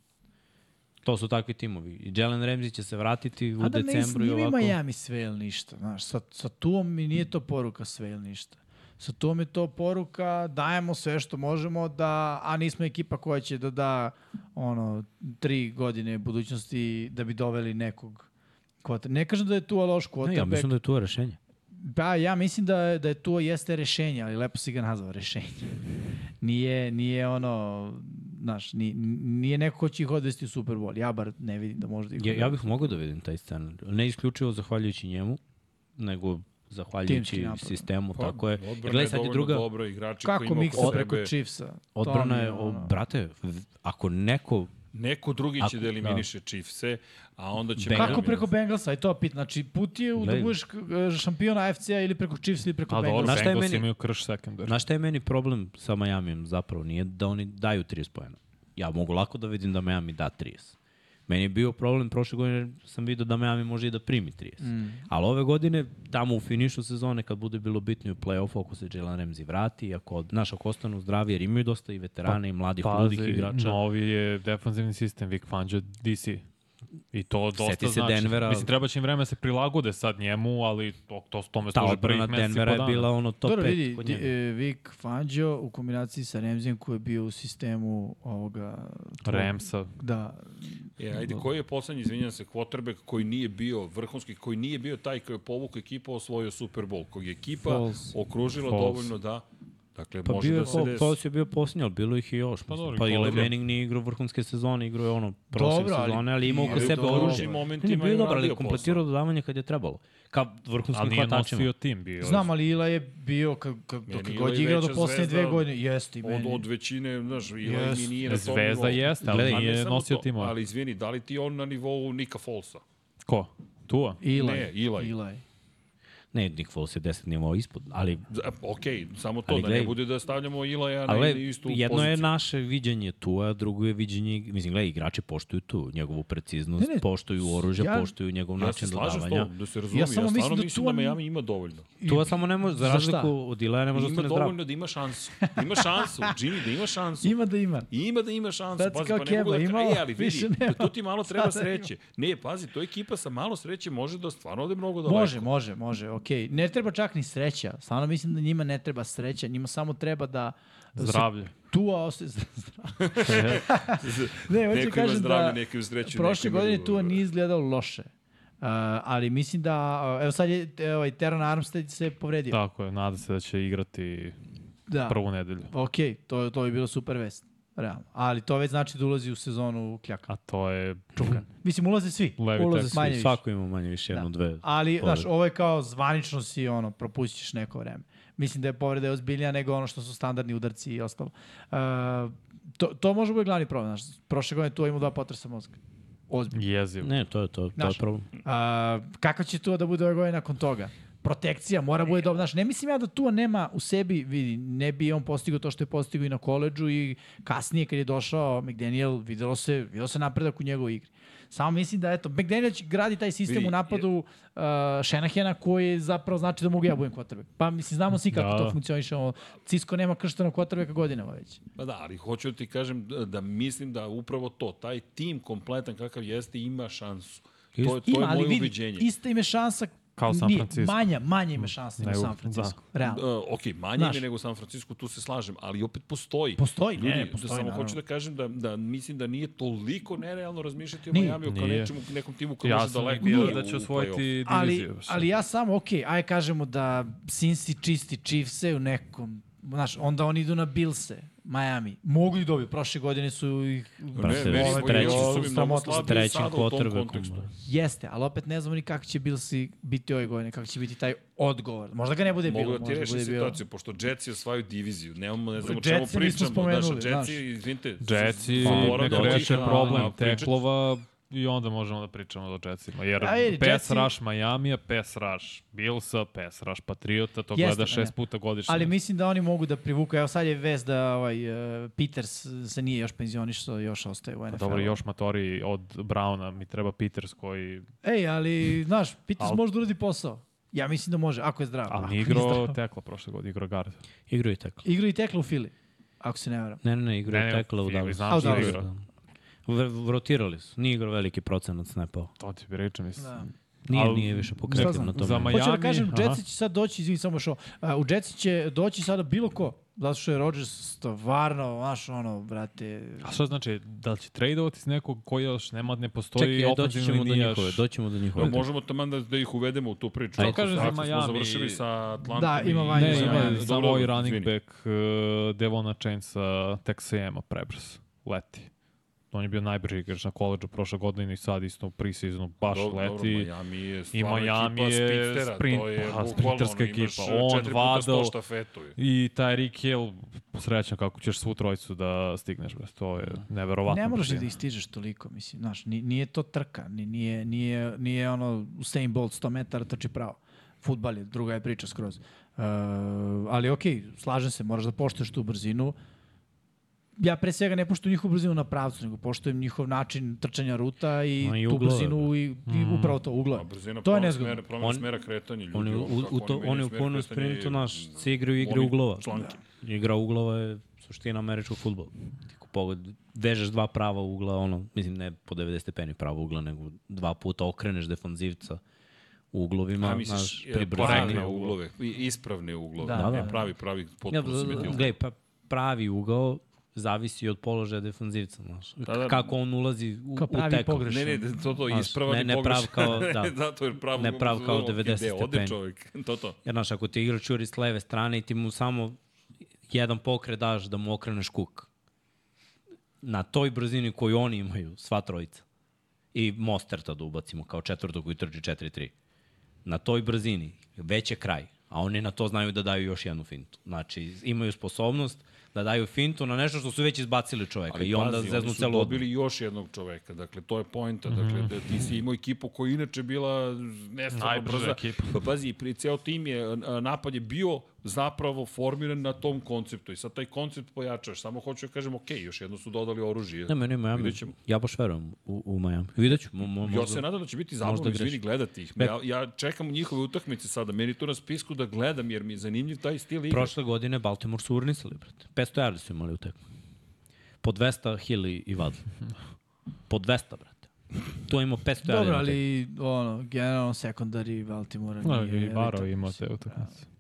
To su takvi timovi. I Jalen Ramsey će se vratiti u
A da ne
decembru i
snimi
ovako.
Miami sve ili ništa. Znaš, sa, sa tuom mi nije to poruka sve ili ništa. Sa tuom je to poruka dajemo sve što možemo, da, a nismo ekipa koja će da da ono, tri godine budućnosti da bi doveli nekog kvota. Ne kažem da je tu loš
Ne, ja
quarterback.
mislim da je to rešenje.
Pa ja mislim da, je- da je to jeste rešenje, ali lepo si ga nazvao rešenje. Nije, nije ono, znaš, ni- nije neko ko će ih odvesti u Super Bowl. Ja bar ne vidim da možda ih
Ja, ja bih mogao da vidim taj scenar. Ne isključivo zahvaljujući njemu, nego
Timski
zahvaljujući
napad.
sistemu,
Pa,
tako je. Jer
Odbrana
gledaj,
je
sad je
dovoljno
druga,
dobra, igrači koji
Kako
ima
Miksa
oko
preko
sebe.
Chiefsa? To
odbrana
mi
je, o,
ono-
brate, v- ako neko,
Neko drugi će
Ako-
da eliminiše Chiefse, a onda će...
Bengals.
Kako
Miami-
preko Bengalsa? I to pit. Znači, put je u da
Gledaj.
budeš k- šampion AFC-a ili preko Chiefs ili preko
A dobro,
Bengalsa.
Znaš šta je
Bengals
meni-
imaju krš secondary.
znaš šta je meni problem sa Miamijem zapravo, nije da oni daju 30 pojena. Ja mogu lako da vidim da Miami da 30. Meni je bio problem, prošle godine sam vidio da Miami može i da primi 30. Mm. Ali ove godine, tamo u finišu sezone, kad bude bilo bitno i u play-offu, ako se Jalen Ramsey vrati, ako, znaš, ako ostanu zdravi, jer imaju dosta i veterana i mladih,
Pazi,
ludih igrača.
novi je defanzivni sistem Vic Fangio DC. I to dosta
Seti se
znači.
Denvera.
Mislim, treba će im vreme da se prilagode sad njemu, ali to, to tome
Ta
služi
odbrana
prvih mesec i po
Denvera je
dana.
bila ono top
Dobro,
5
vidi,
kod
di-
njega.
e, Vic Fangio u kombinaciji sa Remzijem koji je bio u sistemu ovoga... tvog-
Ramsa.
Da.
E, ajde, koji je poslednji, izvinjam se, quarterback koji nije bio vrhunski, koji nije bio taj koji je povukao ekipa osvojio Super Bowl, kog je ekipa
False.
okružila
False.
dovoljno da... Dakle,
Pa
može
bio
da se
je,
desi.
Foles je bio posljednji, ali bilo ih i još. Pa,
dobro,
pa
i
i
Collier.
Manning nije igrao vrhunske sezone, igrao je ono prošle
Dobro, ali-
sezone, ali imao
ali
kod sebe
dobro,
oružje.
u
Ne,
momentima
ne, bio je
je
dobar, ali
uradio
je kompletirao dodavanje kad je trebalo. Ka
Ali
vrhunskim
nije
hvatačima.
nosio tim bio.
Znam, ali Ila je bio, kad, kad,
Meni
dok je
Ila
god
je
je igrao do
veća
poslednje dve
zvezda
godine. Jeste i
Od,
meni.
od većine, znaš, i yes.
Yes.
mi nije na tom
Zvezda
nivou.
jeste, ali
Gledaj,
A ne
nije
samo
nosio
to,
tim.
Ali izvini, da li ti on na nivou Nika Folsa?
Ko? Tua?
Ila
Ne,
je.
Eli.
Ila je.
Ne, Nick Foles je 10 nivoa ispod, ali,
Da, Ok, samo to,
Ali
da ne
gledaj-
bude da stavljamo Ilaja na
ali
istu
jedno
poziciju.
je naše viđenje tu, a drugo je viđenje, mislim, gledaj, igrači poštuju tu, njegovu preciznost,
Ne, ne,
poštuju oružje,
ja-
poštuju njegov
Ja
način
se slažem s
dodavanja.
tobom, da se razumije. Ja,
Ja samo
ja
mislim
stvarno
da
mislim da
tu-
Miami ima dovoljno.
Tu samo ne može, za
Za šta?
razliku od Ilaja, ne može
Ima
ostane zdrav.
dovoljno da ima šansu. Ima šansu, Jimmy, da ima šansu.
Ima da ima.
Ima da ima šansu,
Sad si
pazi,
kao
pa ne mogu da...
Keba,
Ima,
imao,
e, ali vidi,
više nema.
tu ti malo treba
Sada ima.
sreće. Ne, pazi, to ekipa sa malo sreće može da stvarno ode mnogo daleko.
Može, može, može, okej. Ne treba čak ni sreća. Stvarno mislim da njima ne treba sreća. Njima samo treba da... da se
Zdravlje.
Tua osje... ne, hoću
Neko ima
kažem
zdravlje,
da
neko ima sreću.
prošle
neko ima
godine
drugo.
Tua nije izgledao loše. Uh, ali mislim da, uh, evo sad je te, ovaj, Teron Armstead se povredio. Da.
Tako je, nada se da će igrati
da.
prvu nedelju.
Ok, to, to bi bilo super vest. Realno. Ali to već znači da ulazi u sezonu kljaka.
A to je...
Čukan. Mislim, ulaze svi.
Levi
Ulaze
Texas.
Manje
svi,
više.
svako ima Pa manje više jedno, dve.
Ali,
povrede.
znaš, ovo je kao zvanično si, ono, propustiš neko vreme. Mislim da je povreda je ozbiljnija nego ono što su standardni udarci i ostalo. Uh, to, to može da bude glavni problem, znaš. Prošle godine tu imao dva potresa mozga. Ozbiljno.
Jezivo.
Ne, to je to, to je
Znaš,
problem.
Uh, kako će tu da bude ove godine nakon toga? protekcija mora bude dobra. Znaš, ne mislim ja da tu nema u sebi, vidi, ne bi on postigao to što je postigao i na koleđu i kasnije kad je došao McDaniel, videlo se, videlo se napredak u njegovoj igri. Samo mislim da, eto, McDaniel će- gradi taj sistem
Vidi,
u napadu uh, Šenahena koji zapravo znači da mogu ja budem quarterback. Pa mislim, znamo svi kako
Da.
to funkcioniše. Ono, Cisco nema krštenog quarterbacka godinama već.
Pa da, ali hoću da ti kažem da- da mislim da upravo to, taj tim kompletan kakav jeste ima šansu. To, je- to je
Ima, ali
moje
vidi,
ubeđenje.
ista im je šansa
Kao San
nije,
Francisco.
Manja, manja im je šansa nego
Nego-
da.
San Francisco. Realno.
Uh, ok, manje
Znaš.
mi je nego u San Francisco, tu se slažem, ali opet postoji.
Postoji,
Ljudi,
ne,
da
postoji,
samo
naravno.
hoću da kažem da, da mislim da nije toliko nerealno razmišljati o
Nije.
Miami kao
Nije.
nečemu, nekom timu koji
Ja
može
sam
daleko.
bio
u-
da će
u play-off.
osvojiti
ali,
diviziju.
ali ja samo, ok, aj kažemo da Cincy čisti Chiefse u nekom, znaš, onda oni idu na Bilse, Miami. Mogu i dobiju, prošle godine su ih...
Brate,
Ne, meni
s
su
trećim-
Bilsi su mi mnogo
sramotno.
slabiji
S trećim
sada u tom
quarterbackom. da.
kontekstu.
Jeste, ali opet ne znamo ni kako će Bilsi biti ove godine, kako će biti taj odgovor. Možda ga ne bude
Mogu
bilo.
da ti
možda
rešim
bude bilo.
situaciju, pošto Jetsi osvaju diviziju. Nemamo, ne znam o
Jetsi
čemu
nismo
pričamo. Znaš,
spomenuli, znaš.
Jetsi, izvinite. su-
Jetsi
su- moram
nek
da otišli
reše
na- na
problem
pričat.
teklova i onda možemo da pričamo o Jetsima. Jer
Ajde,
pass
Jetsi-
rush Majamija, pass rush Billsa, pass rush Patriota, to
Jeste,
gleda
ne,
šest
ne.
puta godišnje.
Ali mislim da oni mogu da privuku. Evo sad je vez da ovaj, uh, Peters se nije još penzionišao, još ostaje u NFL.
Dobro, još matori od Brauna, mi treba Peters koji...
Ej, ali, znaš, Peters
Al-
može da uradi posao. Ja mislim da može, ako je zdrav.
Ali
Ako
nije
je
igrao
zdrav.
tekla prošle godine, igrao guard.
Igraju i tekla.
Igra i tekla u Fili, ako se ne varam.
Ne, ne, ne, igraju
Ne,
i
ne,
tekla u
igraju, znači
Dallasu.
znam
A, u Dallasu.
Igraju, da. V- v- Rotirali su. Nije igrao veliki procenat snapova.
To ti bi reče, mislim.
Da.
Nije,
Al-
nije više
Šta
pokretiv
znam,
na tome.
za Maj-
Hoću da
Miami,
kažem,
aha.
Jetsi će sad doći, izvini samo šo, a, u Jetsi će doći sada bilo ko, zato što je Rodgers stvarno, znaš, ono, brate,
A šta znači, da li će tradeovati s nekog koji još nema, ne postoji
Čekaj, doći
ofenzivni
ćemo do
linijaš?
njihove. Doći ćemo do
Da,
njihove.
možemo taman da, da ih uvedemo u tu priču.
Ajde.
Ako
Kažem
smo-
za
ako
Miami-
Smo završili sa Atlantom.
Da, ima
i-
Vanja
Ne,
za
ima
Miami.
samo
Dobro,
ovaj running
izvini.
back uh, Devona Chainsa Texajema prebrz. Leti. On je bio najbrži igrač na koleđu prošle godine i sad isto u preseasonu baš
Dobro, dobro,
leti.
Miami je
I
stvarno
Miami
ekipa
je
sprinterska,
sprint,
to je
pa,
bukvalno,
sprinterska
ono, imaš
ekipa. On,
četiri puta sto
Vadel
štafetu je.
i taj Rick Hill. Srećan kako ćeš svu trojicu da stigneš. Brez. To je neverovatno.
ne moraš da ih stižeš toliko, mislim, znaš, ni- nije to trka, ni- nije, nije, nije ono Usain Bolt 100 metara trči pravo. Futbal je, druga je priča skroz. Uh, ali okej, slažem se, moraš da poštuješ tu brzinu. Ja pre svega ne poštujem njihovu brzinu na pravcu, nego poštujem njihov način trčanja ruta i,
Ma i
tu
uglove,
brzinu i,
Mm.
i upravo to,
A
uglove.
Pa brzina
To je
promena
nezgodno.
smera, promena
On-
smera kretanja ljudi.
On je
ono,
u,
kako
u, to,
oni
on je
menjaju
u
smer
punom
kretanja i-
sprintu, znaš, svi igraju igre
Oni
uglova. Da.
članke.
Igra uglova je suština američkog futbola. Ako pogod, vežeš dva prava ugla, ono, mislim ne po 90 stepeni pravo ugla, nego dva puta okreneš defanzivca u uglovima,
A misliš,
znaš,
e,
pri brzini.
pravilne uglove, i- ispravne uglove.
Da,
ne
da.
Pravi, pravi,
Ja,
potpuno sam idiot.
gledaj, pa pravi ugao zavisi od položaja defanzivca, znaš.
Da, da.
Kako on ulazi u,
Kao
u
pravi
tekmu.
pogrešan.
Ne, ne, to to je
Znaš,
ispravan
ne-
i
ne prav
pogrešan.
kao- da.
Zato jer pravo...
Ne prav kao
ono,
90
gde ode
stepeni.
čovjek, to to.
Jer, znaš, ako ti igrač juri s leve strane i ti mu samo jedan pokret daš da mu okreneš kuk. Na toj brzini koju oni imaju, sva trojica. I Mosterta da ubacimo kao četvrtog koji trči 4-3. Na toj brzini već je kraj. A oni na to znaju da daju još jednu fintu. Znači, imaju sposobnost da daju fintu na nešto što su već izbacili čoveka. I onda
E, pazi, oni
zeznu
su
celu odbranu. Mhm.
dobili još jednog čoveka, dakle, to je poenta. Dakle, da ti si imao ekipu koja je inače bila nestvarno
Najbrža
brza.
ekipa.
Pa pazi, i pri ceo tim je, a, a, napad je bio zapravo formiran na tom konceptu i sad taj koncept pojačaš. Samo hoću da kažem, ok, još jedno su dodali oružje.
Ne, meni Miami.
Vidjet ćemo.
Ja baš verujem u, u Miami. Vidjet ću. Mo, mo,
Ja se
možda-
nadam da će biti zabavno,
možda grešim.
izvini, gledati ih. Ja, ja čekam njihove utakmice sada, meni je to na spisku da gledam, jer mi je zanimljiv taj stil igre.
Prošle godine Baltimore su urnisali, brate. 500 yardi su imali u tekmu. Po 200 Hill i i Waddle. Po 200, brate. Tu imamo 500
Da,
yardi.
Dobro,
na tekmi.
ali ono, generalno sekundari Baltimora
No,
nije...
I Baro
elitan,
ima
mislim. da.
te utakmice.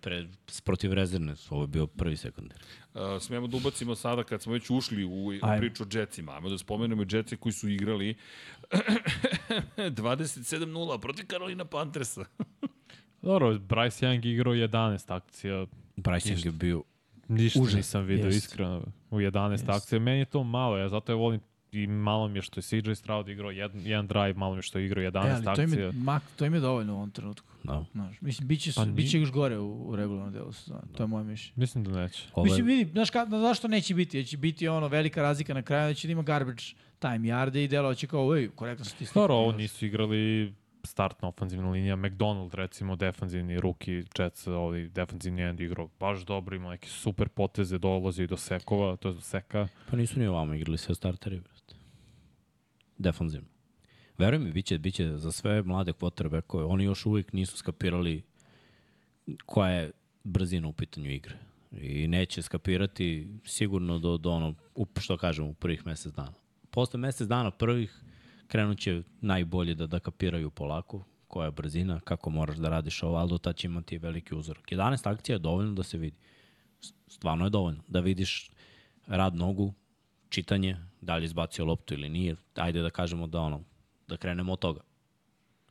Pre, protiv rezervne su, ovo je bio prvi sekundar.
Uh, smemo da ubacimo sada kad smo već ušli u, u
Ajmo.
priču o Jetsima. Ajmo da spomenemo i Jetsi koji su igrali 27-0 protiv Carolina Panthersa.
Dobro, Bryce Young igrao 11 akcija.
Bryce Young je bio...
Ništa
Užas.
nisam video,
Jeste.
iskreno. U 11
Jeste.
akcija. Meni je to malo, ja zato je volim i malo mi je što je CJ Stroud igrao jedan, jedan drive, malo mi je što je igrao 11
E,
akcija.
ali to im, je, mak, to im je dovoljno u ovom trenutku.
Da.
Znaš, mislim, bit će,
Pa
pa
ni-
bit će još gore u, u regularnom delu sezone. To je moje mišljenje.
Mislim da neće.
Ovo
Mislim,
je,
vidi, znaš ka, na- zašto neće biti? Jer će biti ono velika razlika na kraju, da će da ima garbage time yarde i delo će kao, ej, korektno su ti
Staro,
stigli.
ovo nisu igrali startna ofanzivna linija, McDonald recimo, defanzivni ruki, Jets, ovaj defanzivni end igrao baš dobro, ima neke super poteze, dolazi i do sekova, to je do seka.
Pa nisu ni ovamo igrali sve starteri, brate. Defanzivno. Veruj mi, biće, biće za sve mlade quarterbackove, oni još uvijek nisu skapirali koja je brzina u pitanju igre. I neće skapirati sigurno do, do ono, u, što kažem, u prvih mesec dana. Posle mesec dana prvih krenut će najbolje da, da kapiraju polako koja je brzina, kako moraš da radiš ovo, ali do tada će imati veliki uzorak. 11 akcija je dovoljno da se vidi. S- Stvarno je dovoljno. Da vidiš rad nogu, čitanje, da li je izbacio loptu ili nije, ajde da kažemo da ono, da krenemo od toga.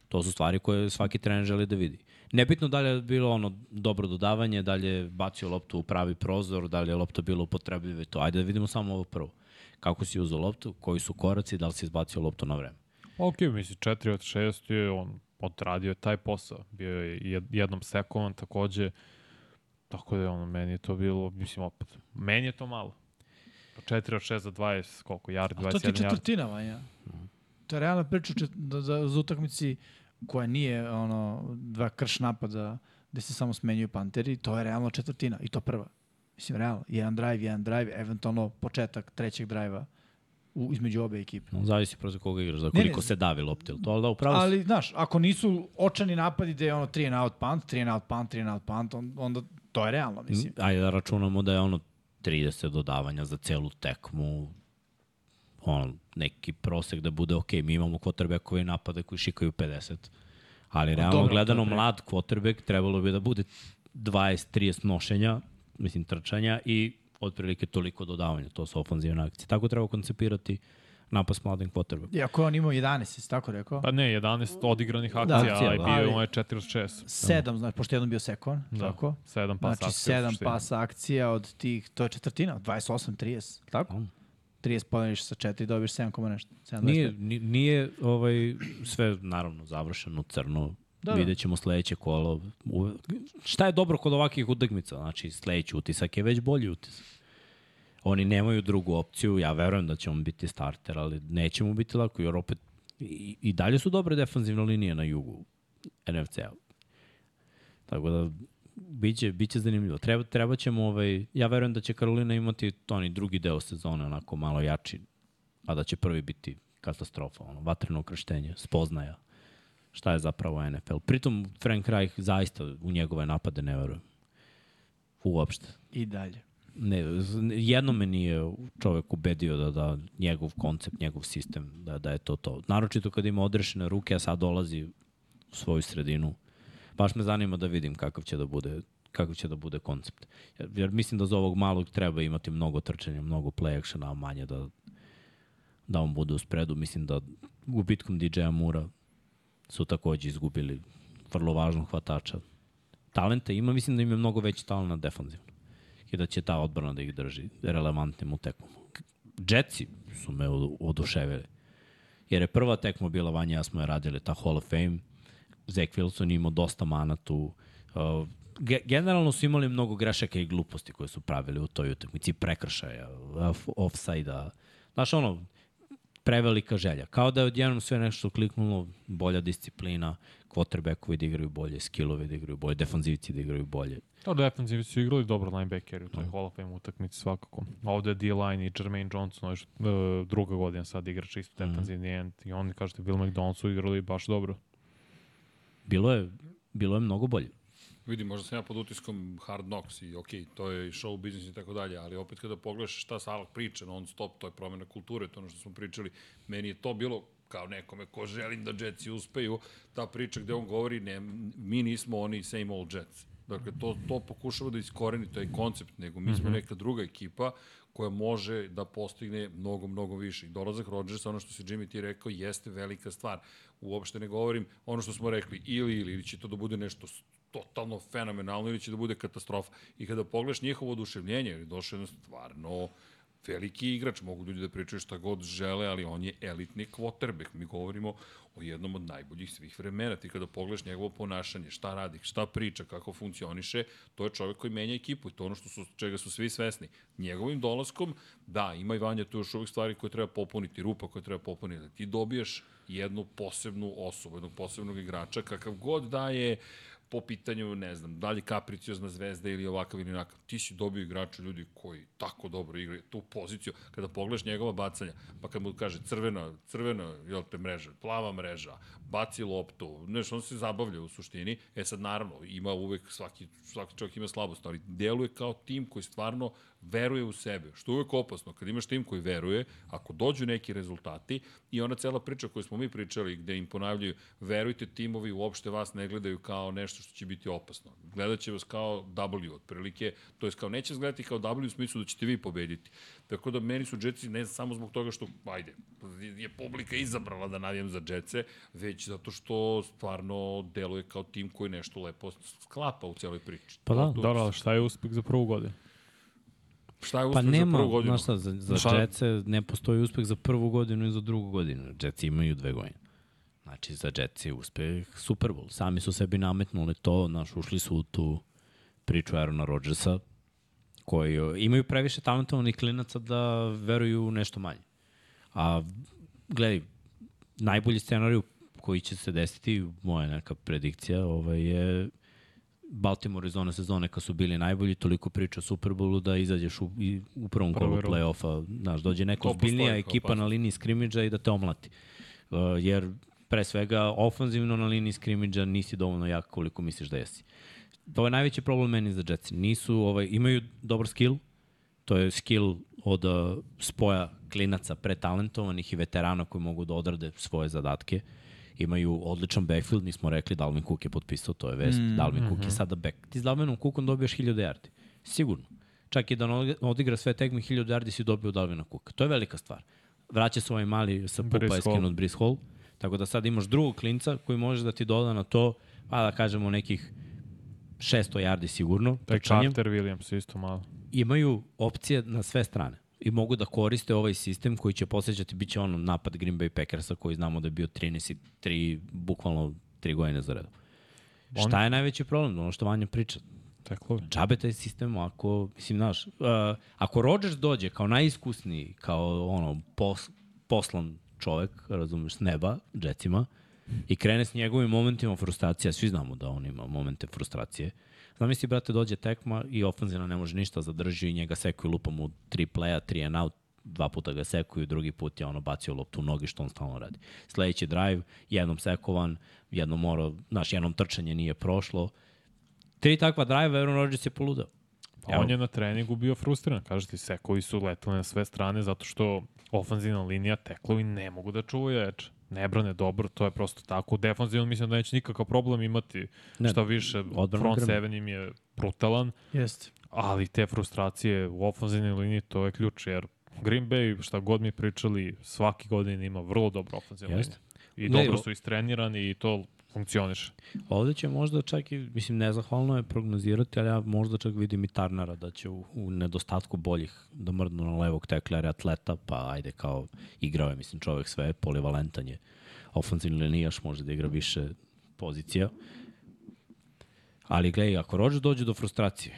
To su stvari koje svaki trener želi da vidi. Nebitno da li je bilo ono dobro dodavanje, da li je bacio loptu u pravi prozor, da li je lopta bila upotrebljiva i to. Ajde da vidimo samo ovo prvo. Kako si uzeo loptu, koji su koraci, da li si izbacio loptu na vreme.
Pa okej, okay, misli, 4 od 6 je on odradio je taj posao. Bio je jed- jednom sekovan takođe, tako da je ono, meni je to bilo, mislim, opet, meni je to malo. Pa 4 od 6 za 20, koliko, jardi,
A to ti je
27 jardi.
četvrtina, Vanja.
Mhm.
To je realna priča čet, da, da, za utakmici koja nije ono, dva krš napada gde se samo smenjuju panteri, to je realno četvrtina i to prva. Mislim, realno, jedan drive, jedan drive, eventualno početak trećeg drive-a u, između obe ekipe.
No, zavisi protiv koga igraš, za
ne,
koliko ne, ne. se davi lopte. ili To, ali da, upravo ali,
Ali, znaš, ako nisu očani napadi gde je ono 3 and out punt, 3 and out punt, 3 and out punt, on, onda to je realno, mislim.
ajde da računamo da je ono 30 dodavanja za celu tekmu, ono, neki prosek da bude ok, mi imamo quarterbackove napade koji šikaju 50, ali realno
Pa dobro,
dobro, gledano
dobro.
mlad quarterback trebalo bi da bude 20-30 nošenja, mislim trčanja i otprilike toliko dodavanja, to su ofanzivne akcije. Tako treba koncipirati napas mladim quarterbackom.
Iako je on imao 11, jesi tako rekao?
Pa ne, 11 odigranih akcija, da,
akcija,
a i
da.
bio je
Ali-
onaj 4 od 6.
7, znači, pošto je jednom bio sekon, da.
Da,
tako?
7
Pa
pasa
znači, 7 pas akcija od tih, to je četvrtina, 28, 30, tako? 30 podeliš sa 4, dobiješ 7, koma nešto. 7,
Nije, ni- nije ovaj, sve naravno završeno crno.
Da,
Da,
da.
Vidjet ćemo sledeće kolo. U, šta je dobro kod ovakvih utakmica? Znači, sledeći utisak je već bolji utisak. Oni nemaju drugu opciju, ja verujem da će on biti starter, ali neće mu biti lako, jer opet i, i dalje su dobre defanzivne linije na jugu NFC-a. Tako da, biće, biće zanimljivo. Treba, treba ćemo, ovaj, ja verujem da će Karolina imati oni drugi deo sezone onako malo jači, a da će prvi biti katastrofa, ono, vatreno ukrštenje, spoznaja šta je zapravo NFL. Pritom Frank Reich zaista u njegove napade ne verujem. Uopšte.
I dalje.
Ne, z- n- jednom me nije čovek ubedio da, da njegov koncept, njegov sistem, da, da je to to. Naročito kad ima odrešene ruke, a sad dolazi u svoju sredinu. Baš me zanima da vidim kakav će da bude kakav će da bude koncept. Jer, jer mislim da za ovog malog treba imati mnogo trčanja, mnogo play actiona, a manje da, da on bude u spredu. Mislim da gubitkom DJ-a Mura su takođe izgubili vrlo važnog hvatača. Talenta ima, mislim da im je mnogo veći talent na defanzivno i da će ta odbrana da ih drži relevantnim u tekmama. Jetsi su me odu- oduševili. Jer je prva tekma bila vanja, ja smo je radili, ta Hall of Fame. Zach Wilson je imao dosta mana tu. Uh, ge- generalno su imali mnogo grešaka i gluposti koje su pravili u toj utakmici, prekršaja, off- offside-a. Znaš, ono, prevelika želja. Kao da je odjednom sve nešto kliknulo, bolja disciplina, quarterbackovi da igraju bolje, skillovi da igraju bolje, defanzivci da igraju bolje.
To defensivi su igrali dobro linebackeri u toj
Da.
Hall of Fame utakmici svakako. Ovde je D-line i Jermaine Johnson, još, uh, druga godina sad igrač isto
Mhm.
defensivni end i oni kažete Bill McDonald su igrali baš dobro.
Bilo je, bilo je mnogo bolje.
Vidi, možda sam ja pod utiskom hard knocks i okej, to je i show business i tako dalje, ali opet kada pogledaš šta Salak priča non stop, to je promjena kulture, to je ono što smo pričali, meni je to bilo kao nekome ko želim da Jetsi uspeju, ta priča gde on govori, ne, mi nismo oni same old Jets. Dakle, to, to pokušava da iskoreni taj koncept, nego mi smo neka druga ekipa koja može da postigne mnogo, mnogo više. I dolazak Rodgersa, ono što si Jimmy ti rekao, jeste velika stvar. Uopšte ne govorim ono što smo rekli, ili, ili, ili će to da bude nešto s- totalno fenomenalno ili će da bude katastrofa. I kada pogledaš njihovo oduševljenje, jer je došao jedno stvarno veliki igrač, mogu ljudi da pričaju šta god žele, ali on je elitni quarterback. Mi govorimo o jednom od najboljih svih vremena. Ti kada pogledaš njegovo ponašanje, šta radi, šta priča, kako funkcioniše, to je čovjek koji menja ekipu i to je ono što su, čega su svi svesni. Njegovim dolaskom, da, ima i Vanja tu još uvijek stvari koje treba popuniti, rupa koje treba popuniti. Ti dobiješ jednu posebnu osobu, jednog posebnog igrača, kakav god da je po pitanju, ne znam, da li kapriciozna zvezda ili ovakav ili onakav. Ti si dobio igrača ljudi koji tako dobro igraju tu poziciju. Kada pogledaš njegova bacanja, pa kad mu kaže crvena, crvena, jel te mreža, plava mreža, baci loptu, znaš, on se zabavlja u suštini. E sad, naravno, ima uvek, svaki, svaki čovjek ima slabost, ali deluje kao tim koji stvarno veruje u sebe, što je uvek opasno. Kad imaš tim koji veruje, ako dođu neki rezultati i ona cela priča koju smo mi pričali, gde im ponavljaju, verujte, timovi uopšte vas ne gledaju kao nešto što će biti opasno. Gledat će vas kao W, otprilike, to je kao neće vas gledati kao W u smislu da ćete vi pobediti. Tako da meni su Jetsi ne samo zbog toga što, ajde, je publika izabrala da navijem za Jetse, već zato što stvarno deluje kao tim koji nešto lepo sklapa u celoj priči.
Pa da,
Dobro, ali šta je uspeh za prvu godinu?
Šta je
Pa
uspeh za
nema,
prvu godinu?
znaš šta, za, za
Šta?
Jetsa ne postoji uspeh za prvu godinu i za drugu godinu. Jetsi imaju dve godine. Znači, za Jets je uspeh Super Bowl. Sami su sebi nametnuli to, znaš, ušli su u tu priču Aarona Rodgersa, koji o, imaju previše talentovanih klinaca da veruju u nešto manje. A, gledaj, najbolji scenariju koji će se desiti, moja neka predikcija, ovaj je Baltimore iz one sezone kad su bili najbolji, toliko priča o Superbowlu da izađeš u, i u prvom
Prvi
kolu
rund.
play-offa, znaš, dođe neka
To postoji
ozbiljnija
kao
ekipa
opasnost.
na liniji skrimidža i da te omlati. Uh, jer pre svega ofanzivno na liniji skrimidža nisi dovoljno jak koliko misliš da jesi. To je najveći problem meni za Jetsi. Nisu, ovaj, imaju dobar skill, to je skill od uh, spoja klinaca pretalentovanih i veterana koji mogu da odrade svoje zadatke. Imaju odličan backfield, mi smo rekli Dalvin Cook je potpisao, to je vest. Mm, Dalvin Cook je sada back. Ti s Dalvinom Cookom dobijaš 1000 yardi. Sigurno. Čak i da on odigra sve tekme 1000 yardi si dobio Dalvina Cooka. To je velika stvar. Vraća se ovaj mali sa pupa
Brees
je
Hall.
skinut Brees Hall. Tako da sad imaš drugog klinca koji može da ti doda na to, pa da kažemo nekih 600 yardi sigurno.
Taj
trčanjem
Carter Williams isto malo.
imaju opcije na sve strane i mogu da koriste ovaj sistem koji će posjećati, bit će ono napad Green Bay Packersa koji znamo da je bio 13 i 3, bukvalno 3 godine za redom.
On-
Šta je najveći problem? Ono što Vanja priča.
Teklovi.
Džabe taj sistem ako, mislim, znaš, uh, ako Rodgers dođe kao najiskusniji, kao ono, pos, poslan čovek, razumeš, s neba, džecima, i krene s njegovim momentima frustracija, svi znamo da on ima momente frustracije, Znam misli, brate, dođe tekma i ofenzivno ne može ništa, zadrži i njega sekuju lupom u tri playa, tri and out, dva puta ga sekuju, drugi put je ono bacio loptu u noge što on stalno radi. Sledeći drive, jednom sekovan, jednom morao, znaš, jednom trčanje nije prošlo, tri takva drive, Aaron Rodgers je poludeo.
Pa on je na treningu bio frustriran, kaže ti, sekovi su letali na sve strane zato što ofanzivna linija teklovi ne mogu da čuvaju jače. Ne brane dobro, to je prosto tako. Defanzivno mislim da neće nikakav problem imati.
Ne,
Šta više,
odbrana
front
grmi.
seven im je brutalan,
Jeste.
ali te frustracije u ofanzivnoj liniji to je ključ, jer Green Bay, šta god mi pričali, svaki godin ima vrlo dobro ofanzivnu liniju.
Jeste. Ne,
I dobro
o-
su istrenirani i to funkcioniše.
Ovde će možda čak i, mislim, nezahvalno je prognozirati, ali ja možda čak vidim i Tarnara da će u, u nedostatku boljih da mrdnu na levog tekla, jer je atleta, pa ajde kao igrao je, mislim, čovek sve, polivalentan je. Ofenzivni linijaš može da igra više pozicija. Ali gledaj, ako Rodgers dođe do frustracije,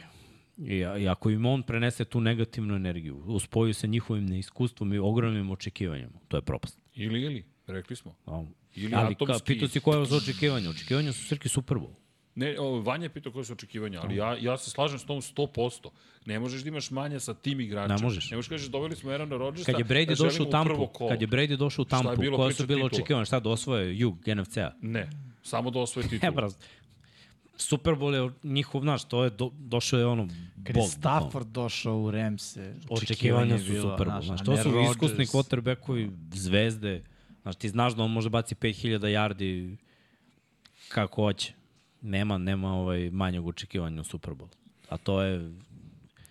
I, a- i ako im on prenese tu negativnu energiju, uspoju sa njihovim neiskustvom i ogromnim očekivanjima, to je propast.
Ili, ili, rekli smo.
A,
Ili
ali
atomski-
kao, pitao si koje su očekivanja. Očekivanja su Srki Super Bowl.
Ne, o, Vanja je pitao koje su očekivanja, ali ja, ja se slažem s tom 100%. Ne možeš da imaš manje sa tim igračem.
Ne možeš.
Ne možeš kažeš, doveli smo Aaron Rodgersa, da
Kad je Brady došao u Tampu, kad je Brady došao u
Šta je
Tampu,
bilo
koja
priča
su bila
titula?
očekivanja, šta da osvoje jug NFC-a?
Ne, samo da osvoje
E,
titul.
braz, Super Bowl je njihov, znaš, to je do, došao je ono...
Kad je
bog,
Stafford došao u Remse,
ono. Očekivanja su Super Bowl, znaš, to su iskusni quarterbackovi, zvezde, znaš, ti znaš da on može baci 5000 yardi kako hoće. Nema, nema ovaj manjeg očekivanja u Super Bowl. A to je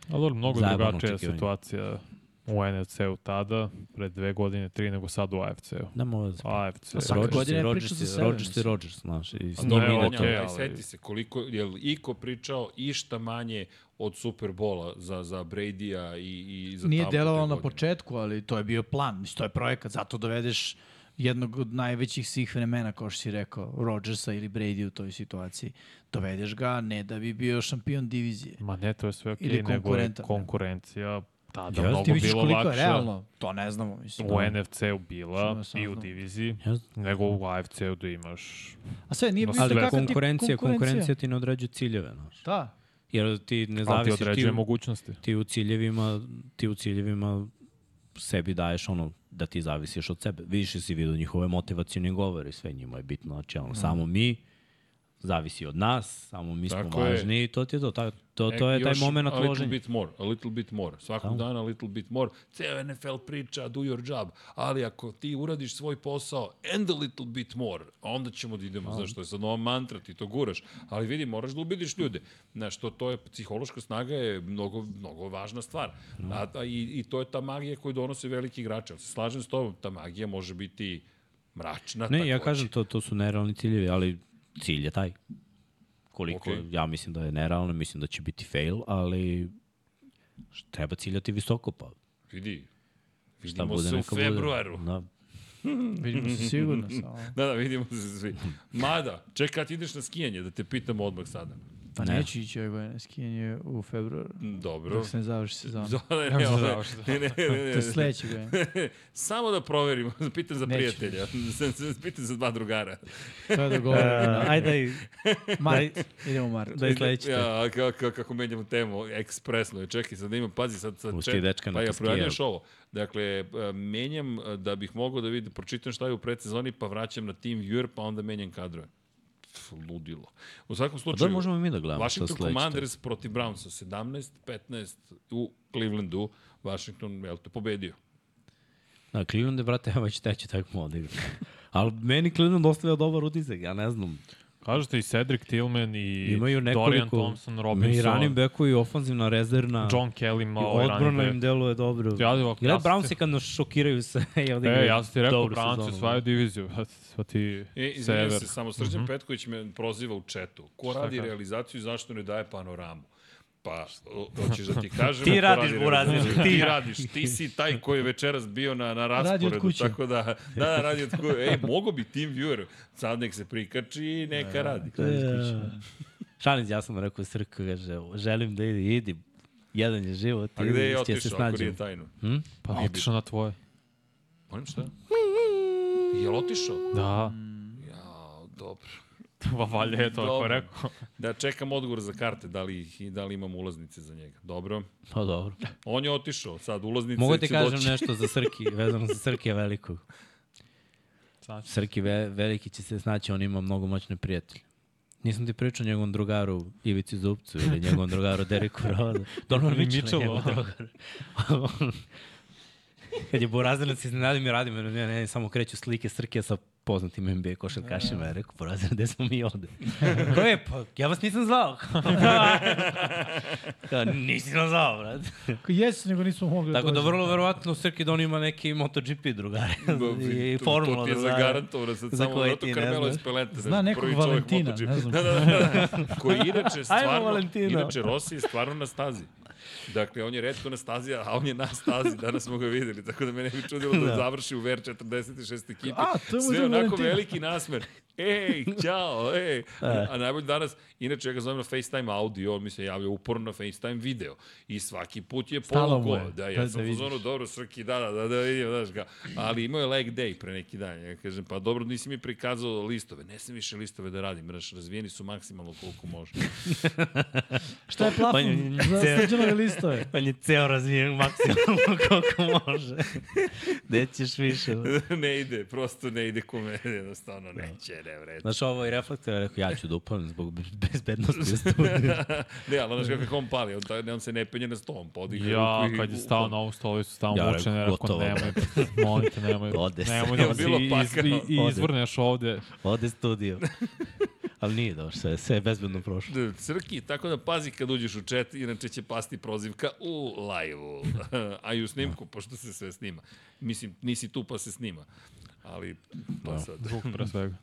Ali dobro, mnogo je
Zajebano
drugačija
očekivanje.
situacija u NFC-u tada, pre dve godine, tri, nego sad u AFC-u.
Da mu
AFC.
A svake
Rodgers je
godine priča
Rodgers,
za
je
sebe,
Rodgers, je
mislim.
Rodgers, znaš. I
A
s
dobro,
ne,
Vanja,
dominantno.
E,
okej,
ali
ali-
seti se koliko je li iko pričao išta manje od Superbola za za Bradya i i za
Nije
Tamu te
delovalo na
godine?
početku, ali to je bio plan. Mislim, to je projekat, zato dovedeš jednog od najvećih svih vremena, kao što si rekao, Rodgersa ili Brady u toj situaciji. Dovedeš ga ne da bi bio šampion divizije.
Ma ne, to je sve okej,
Ili
okay, nego je
konkurentan.
konkurencija tada
Ja, ti
mnogo
Ti vidiš
bilo da.
koliko
lakša.
je realno, to ne znamo. Mislim,
Da.
U NFC-u bila
Što sam
i u
znao.
diviziji,
Ja znam.
nego u AFC-u da imaš...
A sve, nije
No,
bilo
ali
kakva
Ali
ti
konkurencija, konkurencija ti ne određuje ciljeve, znaš.
Da,
Jer ti ne
Ali ti
zavisiš, ti,
određuje
ti, u,
mogućnosti.
ti u ciljevima, ti u ciljevima sebi daješ ono da ti zavisiš od sebe. Više si vidio njihove motivacijne govore, sve njima je bitno, znači
Mhm.
ono, samo mi, zavisi od nas, samo mi smo
Tako je.
važni i to ti je to. Ta, to,
E,
to je taj
još
moment
a little
loženja.
bit more, a little bit more. Svakog dana a little bit more. Ceo NFL priča, do your job. Ali ako ti uradiš svoj posao and a little bit more, onda ćemo da idemo. Znaš, to je sad nova mantra, ti to guraš. Ali vidi, moraš da ubediš ljude. Znaš, to, to je, psihološka snaga je mnogo, mnogo važna stvar. A, a, i, I to je ta magija koju donose veliki igrači. Ali se slažem s tobom, ta magija može biti mračna.
Ne,
takođe.
ja kažem, to, to su nerealni ciljevi, ali cilj je taj. Koliko,
Okej.
okay. ja mislim da je nerealno, mislim da će biti fail, ali š- treba ciljati visoko, pa
Vidi,
šta
vidimo
bude
se u
neka bude.
februaru.
Da.
vidimo se sigurno samo.
Da, da, vidimo se svi. Mada, čekaj, kad ideš na skijanje, da te pitam odmah sada.
Pa
Ne.
neću ići ove godine, skijanje u februaru.
Dobro.
Dok se ne završi sezona.
Da, ne, ne,
Kako se
ne,
završi?
ne, ne, ne,
To je
ne, ne.
sledeće godine.
Samo da proverim, pitam za
Neću.
prijatelja, pitam za dva drugara.
To je dogovoreno.
Uh, ajde,
Mart, idemo u mart.
da je sledeći. Ja.
Ja, kako, kako menjamo temu, ekspresno. je. Čekaj, sad da imam, pazi, sad, sad
Pusti dečka na
pa ja
kaskijel.
proradim još ovo. Dakle, e, menjam e, da bih mogao da vidim, pročitam šta je u predsezoni, pa vraćam na Team Viewer, pa onda menjam kadrove. Pff, ludilo. U svakom
Da
slučaju...
možemo i mi da gledamo šta
Washington
sledeće.
Commanders protiv Brownsa 17-15 u Clevelandu. Washington je te pobedio.
Da, Cleveland je, brate, evo već teče takmo odigra. Ali meni Cleveland ostavlja dobar utisak, ja ne znam.
Kažete i Cedric Tillman i
Imaju nekoliko...
Dorian Thompson,
I
Robinson,
running backovi, i ofanzivna rezervna.
John Kelly
I
malo i running
odbrana
back.
im deluje dobro.
Ja, evo,
Gleda,
ja sam
Brown
ti-
se kad nas šokiraju se. I onda
E,
igraju
ja sam ti rekao,
dobru
Branci
sezonu. da.
osvajaju diviziju. Sva ti
E, izvinjam
sever.
se, samo Srđan Petković me proziva u četu. Ko
Šta
radi
kaže?
realizaciju i zašto ne daje panoramu? Pa, o- hoćeš da ti kažem...
Ti
ko
radiš,
radi
Buraz,
realizaciju?
ti.
Ti radiš, ti si taj koji je večeras bio na, na
od
rasporedu.
kuće.
Tako da, da, da, radi od kuće. Ej, mogo bi Team Viewer, sad nek se prikači i
Da.
neka radi.
Da, Šalim, E, ja sam rekao Srko, kaže, želim da idi, idi. Jedan je život.
A
idi,
gde je
će se Hm?
otišao, ako
snađemo.
nije tajno?
Pa otišao na tvoje.
Molim šta? Je li otišao?
Da,
Ja, dobro.
pa valje je to ako
Dobro.
je rekao.
Da, čekam odgovor za karte, da li, ih- da li imam ulaznice za njega. Dobro.
Pa dobro.
On je otišao, sad ulaznice
Mogu
će
ti kažem
doći.
nešto za Srki, vezano za Srkija velikog.
Znači,
Srki ve, veliki će se snaći, on ima mnogo moćne prijatelje. Nisam ti pričao o njegovom drugaru Ivici Zupcu ili njegovom drugaru Deriku Roda. Donovan
Ili
Mitchell je
Mitchell,
njegov drugar. Kad je Borazanac iznenadio mi radim, jer ne, ne, samo kreću slike Srkija sa poznatim NBA košarkašima. Ja rekao, Borazanac, gde smo mi ovde? Ko je? Pa, ja vas nisam zvao. Kao, nisi nas zvao, brate.
Ako jesu, nego nismo mogli
Tako
dođemo.
da vrlo verovatno Srki da on ima neki MotoGP drugare i
To-
formula da
To ti je
drugare.
zagarantovano, sad
Za
samo
koje
Roto
ti ne
Carmelo
znaš.
Espeleta. ne
Zna
znam,
nekog
da prvi čovjek
Valentina,
MotoGP.
ne znam.
Da, da, da, da. Koji inače stvarno,
Valentino.
inače Rossi je stvarno na stazi. Dakle, on je redko na stazi, a on je na stazi, danas smo ga videli, tako da me ne bi čudilo da, završi u VR 46 ekipi.
A, to je mu
Sve
drugi
onako
Valentino.
veliki nasmer. Ej, ćao, ej. A najbolje danas, inače ja ga zovem na FaceTime audio, on mi se javlja uporno na FaceTime video. I svaki put je
Stalo
polo
mu
go.
je,
Da,
da,
pa
ja
da
sam u
vidiš.
zonu dobro, Srki, da, da, da, da vidim, znaš ga. Ali imao je leg day pre neki dan. Ja kažem, pa dobro, nisi mi prikazao listove. Ne sam više listove da radim. Znaš, razvijeni su maksimalno koliko može.
Šta je plafon
Vanja,
za
ceo-
srđanove listove?
On je ceo razvijen maksimalno koliko može. Gde ćeš više?
ne ide, prosto ne ide ko mene, jednostavno neće, ne vreći.
Znaš, ovo i reflektor je rekao, ja ću da upalim zbog be- bezbednosti u studiju.
Ne, ali znaš kako je on pali, on, taj- on se ne penje na stolom, podigne
ja,
ruku i-
kad je stao na ovu stolicu, stao
Ja
ja,
rekao,
mučen, ja rekao,
gotovo,
nemoj, molim te, nemoj,
Ode se,
nemoj
ode.
da se
Bilo
iz,
pakao.
i, i
Ode.
izvrneš ovde.
Ode studio. Ali nije dobro, sve, sve je bezbedno prošlo.
D- Crki, tako da pazi kad uđeš u chat, inače će pasti prozivka u live-u, a i u snimku, pošto se sve snima. Mislim, nisi tu pa se snima. Ali, pa sad.
Zvuk pre svega.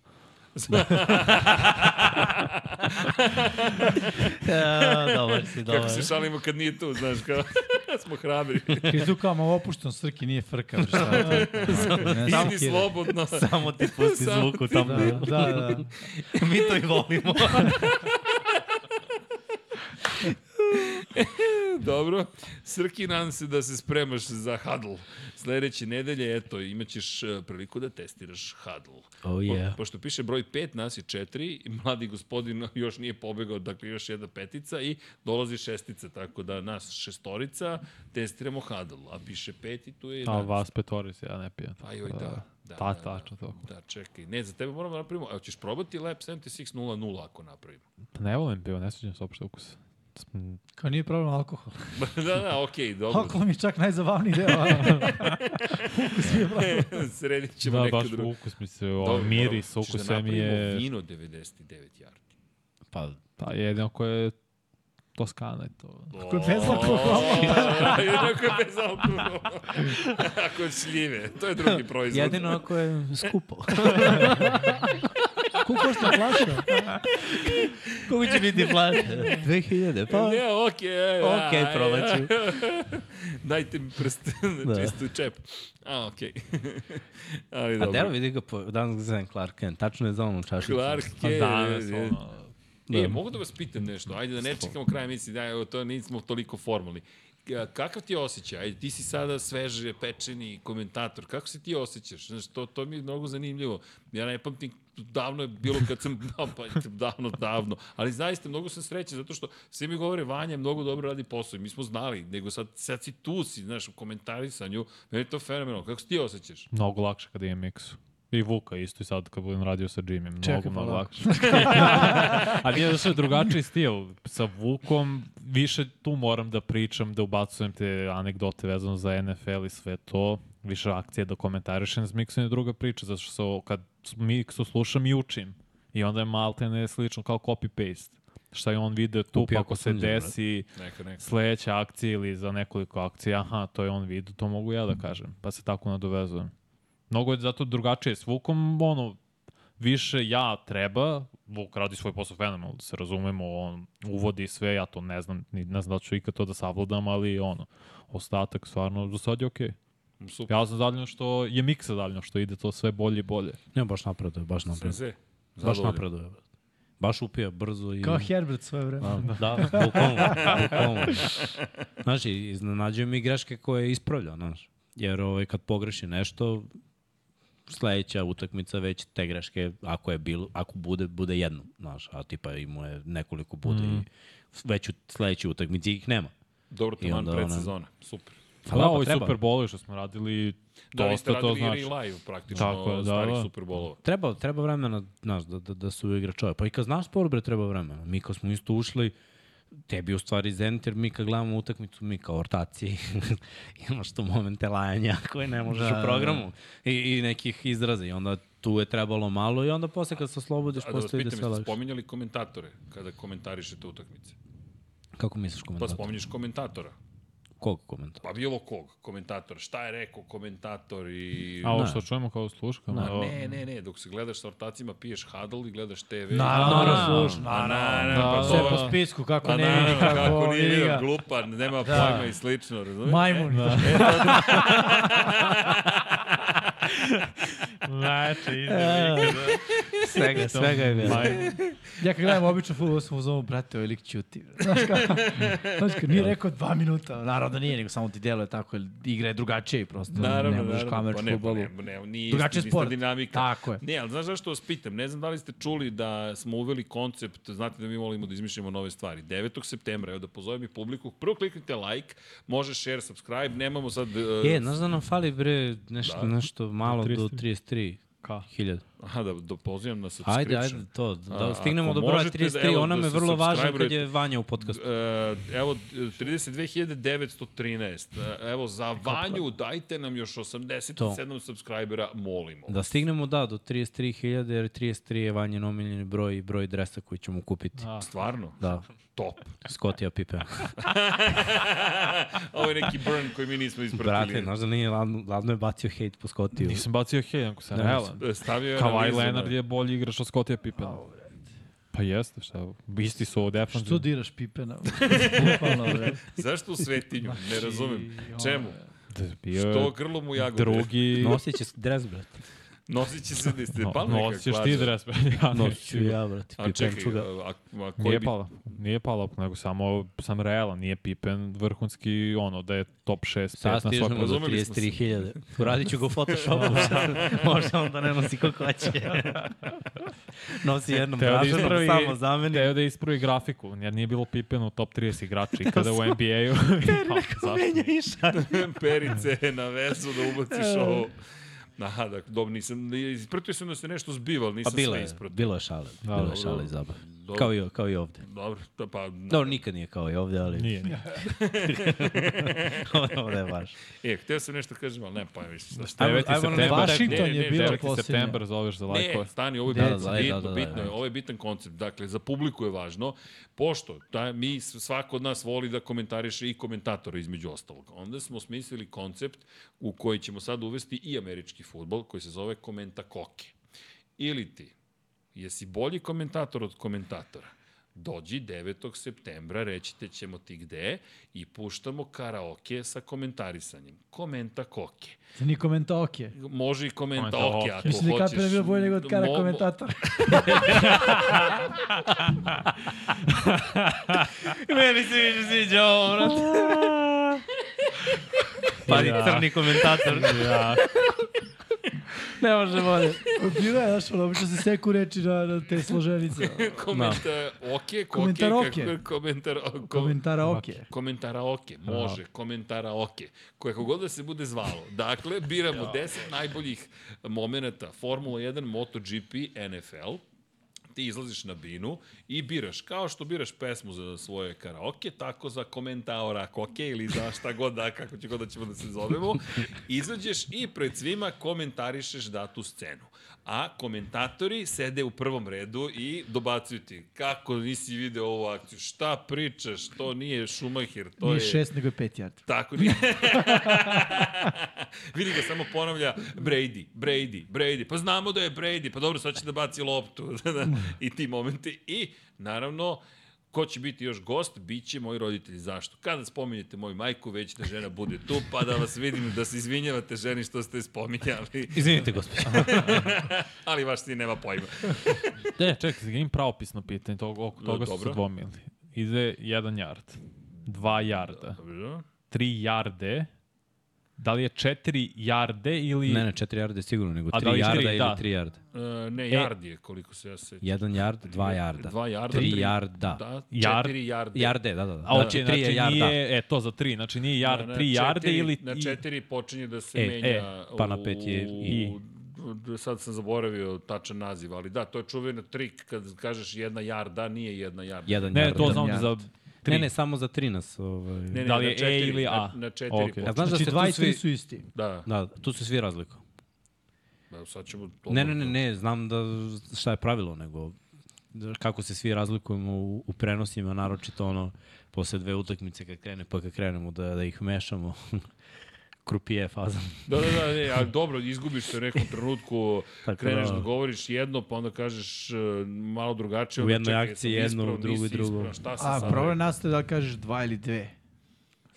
E, dobar
Da,
si,
Kako
dobar.
se šalimo kad nije tu, znaš, kao smo hrabri.
Krizu kao malo opušten Srki, nije frka. Šta, da. ne,
Da.
samo
Idi
kida.
slobodno.
Samo ti pusti
Samo
zvuk u tam.
Da, da, da.
Mi to i volimo.
Dobro. Srki, nadam se da se spremaš za Huddle. Sledeće nedelje, eto, imaćeš eh, priliku da testiraš Huddle.
Oh yeah.
Po, pošto piše broj 5, nas je 4, mladi gospodin još nije pobegao, dakle još jedna petica i dolazi šestica, tako da nas šestorica testiramo Huddle, a piše 5 i tu je...
A
11.
vas petorice, ja ne pijem.
Pa joj, da. da
Ta,
da,
tačno to.
Da, čekaj. Ne, za tebe moramo da napravimo. Evo, ćeš probati Lab 7600 ako napravimo.
Pa ne volim pivo, ne sviđam se uopšte ukus.
Kao nije problem alkohol.
da, da, okej, dobro.
Alkohol mi je čak najzabavniji deo.
Sredit ćemo
Da,
neko
baš
drugo.
ukus mi se, ovaj miris,
moramo- ćeš
ukus sve mi
da napravimo
je...
vino 99 jardi.
Pa,
Pa jedino koje je Toskana i to.
Ako
je bez alkohola.
Ako je bez alkohola. Ako je šljive. To je drugi proizvod.
jedino ako je skupo.
Kako što plaća?
Koliko će biti plaća? 2000, pa...
Ne, okej. Okay,
Okej, probat ću.
Dajte mi prst, da.
Da.
čisto u čep. A, okej. Ali
A
dobro.
delo vidi ga po danas ga zovem Clark Kent, tačno je za onom čašicu.
Clark
Pa
je...
danas,
je-
ono,
E,
Da.
mogu da vas pitam nešto? Ajde da ne čekamo kraj emisije, da, evo, to nismo toliko formalni. K- Kakav ti je osjećaj? Ajde, ti si sada sveže pečeni komentator. Kako se ti osjećaš? Znaš, to, to mi je mnogo zanimljivo. Ja ne pamtim, davno je bilo kad sam, da, pa, davno, davno. Ali zaista, mnogo sam srećen, zato što svi mi govore, Vanja mnogo dobro radi posao i mi smo znali, nego sad, sad si tu, si, znaš, u komentarisanju. Meni je to fenomenalno. Kako se ti osjećaš?
mnogo lakše kada imam miksu. I Vuka isto i sad kad budem radio sa Jimmy, mnogo,
Čekaj, pa
mnogo
da.
lakše. A nije da su drugačiji stil. Sa Vukom više tu moram da pričam, da ubacujem te anegdote vezano za NFL i sve to. Više akcije da komentarišem s miksom je druga priča, zato što se, o- kad miksu slušam i učim. I onda je maltene slično kao copy-paste. Šta je on video tu,
Kupio
pa ako se
kosunđe, brate.
desi,
Neka, neka.
sledeća akcija ili za nekoliko akcija, aha, to je on vidio, to mogu ja da kažem, pa se tako nadovezujem. Mnogo je zato drugačije s Vukom, ono, više ja treba, Vuk radi svoj posao fenomenalno, da se razumemo, on uvodi sve, ja to ne znam, ni, ne znam da li ću ikad to da savladam, ali ono, ostatak stvarno za sad je okej.
Super.
Ja sam zadovoljan što je miksa zadovoljan što ide to sve bolje i bolje.
Ne, baš napreduje, baš
Sve,
napreduje.
sve.
Baš
Zadovoljan.
napreduje. Baš upija brzo i...
Kao Herbert svoje vreme.
Da, da, bukvalno, bukvalno. Znaš, i- iznenađuju mi greške koje ispravlja, znaš. Jer ovaj, kad pogreši nešto, sledeća utakmica već te greške, ako je bilo, ako bude, bude jedno, znaš, a tipa imao je nekoliko bude mm. i već u sledećoj utakmici ih nema.
Dobro,
I
taman
onda ona-
predsezona. Super.
Pa da, ovo je Super Bowl što smo radili,
Da, vi ste
dosta to
radili znači.
znači.
i live praktično
Tako je, da,
starih
da.
Superbolova.
Treba, treba vremena, znaš, da, da, da se uigra čovjek. Pa i kad znaš sport, bre, treba vremena. Mi kad smo isto ušli, tebi je u stvari zent, jer mi kad gledamo utakmicu, mi kao ortaci, imaš tu momente lajanja koje ne možeš da, u programu i, i nekih izraza. I onda tu je trebalo malo i onda posle kad se oslobodiš,
A da vas
postoji da
pitam,
sve
jeste
lakše.
spominjali komentatore kada komentarišete utakmice?
Kako misliš
Pa
komentator?
spominješ komentatora.
Kog komentator?
Pa bilo kog komentatora. Šta je rekao komentator i...
A ovo
Ne.
što čujemo kao sluškama.
A
ovo-
ne, ne, ne, dok se gledaš sa ortacima, piješ huddle i gledaš TV.
Naravno, slušaj,
Pa naravno,
Da,
pa
da.
Sve
to...
po spisku, kako
Pa
ne vidi,
naravno, kako nije
vidi
vidio,
ga.
glupa, nema pojma i slično, razumiješ?
Majmun. Da.
Znači, ide
Svega, svega je bilo.
Ja kad gledam obično fudbal sam u zovu, brate, ovaj lik ćuti. Znaš kako? Znaš kako,
Da.
nije rekao dva minuta. Naravno da nije, nego samo ti deluje tako, jer igra je drugačije i prosto.
Naravno,
ne možeš
naravno.
kamerač
pa
pa
ne, pa
fudbalu.
ne, ne, nije
Drugačiji
isti, ista
sport.
dinamika.
Tako je.
Ne, ali znaš zašto vas pitam? Ne znam da li ste čuli da smo uveli koncept, znate da mi volimo da izmišljamo nove stvari. 9. septembra, evo da pozovem i publiku, prvo kliknite like, može share, subscribe,
E,
nemamo sad... Uh,
Je, znaš da nam fali, bre, nešto,
Da.
nešto malo do
33.
33
Ka?
hiljada.
Aha, da, da pozivam na subscription.
Ajde, ajde, to. Da
A,
stignemo
ako
do broja
možete da-
33,
evo,
ona
da
me
se
vrlo važna kad
subscriberujete.
je Vanja u podcastu.
E, evo, 32.913. E, Evo, za Vanju dajte nam još 87 subscribera, molimo.
Da stignemo, da, do 33.000, jer 33 je Vanjen omiljeni broj i broj dresa koji ćemo kupiti.
A,
Stvarno,
Da,
top.
Skotija Pipe.
Ovo je neki burn koji mi nismo ispratili.
Brate, znaš da nije, ladno, ladno je bacio hejt po Skotiju.
nisam bacio hej, ako sam
Ne,
realan.
E, Stavio je
Kawhi
analizu,
Leonard
da.
je bolji igrač od Scottija Pippena.
Па,
Pa jeste, šta, isti su ovo defensivno.
Što diraš Pipena? Bukvalno, bre.
Zašto u svetinju?
Znači-
Ne razumem.
Значи,
Čemu?
Da, Bio je
Što grlo mu jagode?
drugi...
Nosit će dres, brate.
Nosit će se da ste
No,
pali nekak
nosiš ti
plaža.
dres, bre, ja
Nosit ću
neću.
ja, brate.
A čekaj,
Pipenčuga.
a, a koji
Nije
bi...
pala, nije pala, nego samo sam realan, nije Pippen vrhunski, ono, da je top 6, 5
Sad
na
stižemo
svakom.
do
razumeli smo se.
33.000. Uradit ću ga u Photoshopu. Možda onda ne nosi kako hoće. nosi jednom
Teo da
brašnom,
ispravi-
samo za mene.
Teo da ispravi grafiku, jer nije bilo Pippen u top 30 igrača ikada u
smo-
NBA-u.
Peri
Pa,
neko
zašto
menja i šalje.
Perice na vezu da ubaciš ovo. Aha, da, dobro, nisam, ispratio sam da se nešto zbiva, ali
Pa
nisam
bilo
sve
je,
ispratio.
bilo je šale.
Da,
Bilo je
dobro.
šale i zabave.
Dobro.
Kao i, kao i ovde.
Dobro, da, pa...
Dobro, nikad nije kao i ovde, ali
Nije, nije.
ovde je baš.
E, hteo sam nešto kažem, ali ne pojma više šta.
9.
ajmo na
septembar.
Washington
Ne, ne, ne,
je bila
9.
posljednja.
9. septembar zoveš za lajkove.
Ne, stani, ovo je
Da,
bitno,
da, da,
bitno,
da, da,
bitno je,
da.
ovo je bitan koncept. Dakle, za publiku je važno, pošto da, mi, s- svako od nas voli da komentariše i komentatora između ostalog. Onda smo smislili koncept u koji ćemo sad uvesti i američki futbol, koji se zove komenta koke. Ili ti, jesi bolji komentator od komentatora? Dođi 9. septembra, rećite ćemo ti gde i puštamo karaoke sa komentarisanjem. Komenta koke.
Ni komenta okej.
Može i komenta
Komenta
oke
oke.
ako hoćeš.
Mislim da je Kapira bio bolje nego od kara
Mo- mo-
komentatora.
Meni se više sviđa ovo, brate. Pazi,
Ja.
crni komentator.
Ja,
Ne može bolje.
Bilo je, znaš, ono, obično se seku reči na, na te složenice.
Komentar oke, koke,
Komentar
koke,
oke.
komentar oke.
Komentara okej.
Komentara oke, može, komentara oke. Kako god da se bude zvalo. Dakle, biramo 10 najboljih momenta Formula 1, MotoGP, NFL. Ti izlaziš na binu i biraš, kao što biraš pesmu za svoje karaoke, tako za komentara koke ili za šta god da, kako će god da ćemo da se zovemo, izađeš i pred svima komentarišeš datu scenu. A komentatori sede u prvom redu i dobacuju ti kako nisi video ovu akciju, šta pričaš, to nije Schumacher, to
Nije
je...
šest, nego je pet jardi.
Tako nije. Vidi ga samo ponavlja Brady, Brady, Brady. Pa znamo da je Brady, pa dobro, sad će da baci loptu. I ti momenti. I, naravno, ko će biti još gost, bit će moji roditelji. Zašto? Kada spominjete moju majku, već da žena bude tu, pa da vas vidim da se izvinjavate ženi što ste je spominjali.
Izvinite, gospođo.
Ali vaš sin nema pojma.
Ne, čekaj, imam pravopisno pitanje, toga, oko
No,
toga su se
dobro.
dvomili. Ide jedan jard, dva jarda,
Dobro.
tri jarde, da li je četiri jarde ili...
Ne, ne, 4 jarde sigurno, nego
A da li
3 jarda
četiri?
ili
Da.
3 jarda.
E, ne, Jardi je koliko se ja sećam.
1 jard, 2 jarda.
Dva jarda.
3 jarda.
Da,
Jar-
četiri jarde.
Jarde, da, da. da.
A, okej,
znači, tri
znači
je jarda.
nije, e, to za tri, znači nije
Na-
jard,
na
tri jarde
četiri-
ili...
Na četiri počinje da se
E,
e, menja...
e, pa na pet je i.
u- Sad sam zaboravio tačan naziv, ali da, to je čuveno trik kad kažeš jedna jarda, nije jedna jarda.
1
Ne,
jarda.
to znam
jard.
za tri.
da. Ne, ne, samo za 13. Ovaj.
Ne, ne,
Da
da
li
li
je E
na četiri,
ili A?
Na, na četiri
Okej.
počinje.
A znaš da
Znači,
se
dva
tu
i tri
svi...
su isti.
Da,
Da, tu su svi razlikuju.
da, sad ćemo... To
Ne, ne, ne, ne, znam da šta je pravilo, nego kako se svi razlikujemo u, u prenosima, naročito ono, posle dve utakmice kad krene, pa kad krenemo da, da ih mešamo, krupije faza.
Da, da, da, ne, ali dobro, izgubiš se u nekom trenutku,
Tako
kreneš
da.
da govoriš jedno, pa onda kažeš e, malo drugačije.
U
onda
jednoj
čekaj,
akciji
jesam
jedno, u
ispravan,
drugoj
nisi
drugo.
ispravan, Šta sam
A
sad?
problem nastaje da li kažeš dva ili dve.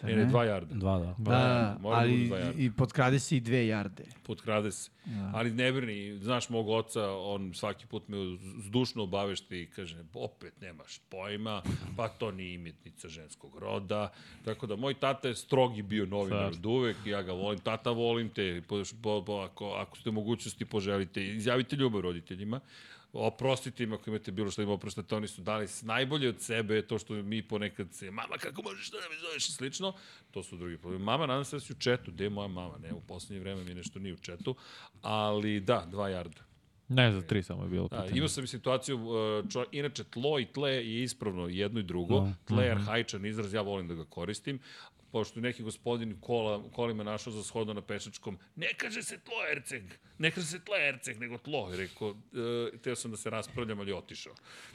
rekao? Ne, ne, dva jarda.
Dva, da.
Da, da,
mora da bude
ali
dva jarda.
i potkrade se i dve jarde.
potkrade se. Da. Ali ne brini, znaš mog oca, on svaki put me zdušno obavešti i kaže, opet nemaš pojma, pa to ni imetnica ženskog roda. Tako da, moj tata je strogi bio novinar od uvek, ja ga volim, tata volim te, po, po, po, ako, ako ste u mogućnosti poželite, izjavite ljubav roditeljima, oprostite im ako imate bilo da što im oprostate, oni su dali s- najbolje od sebe, to što mi ponekad se, mama kako možeš da me zoveš i slično, to su drugi problemi. Mama, nadam se da si u četu, gde je moja mama, ne, u poslednje vreme mi nešto nije u četu, ali da, dva jarda.
Ne, za tri samo je bilo
Da,
pitanje.
imao sam i situaciju, uh, čo, inače tlo i tle je ispravno jedno i drugo.
Da.
No. Tle
Mhm.
je arhaičan izraz, ja volim da ga koristim pošto je neki gospodin kola, kolima našao za shodno na pešačkom, ne kaže se tlo Erceg, ne kaže se tlo Erceg, nego tlo. I rekao, e, teo sam da se raspravljam, ali je otišao.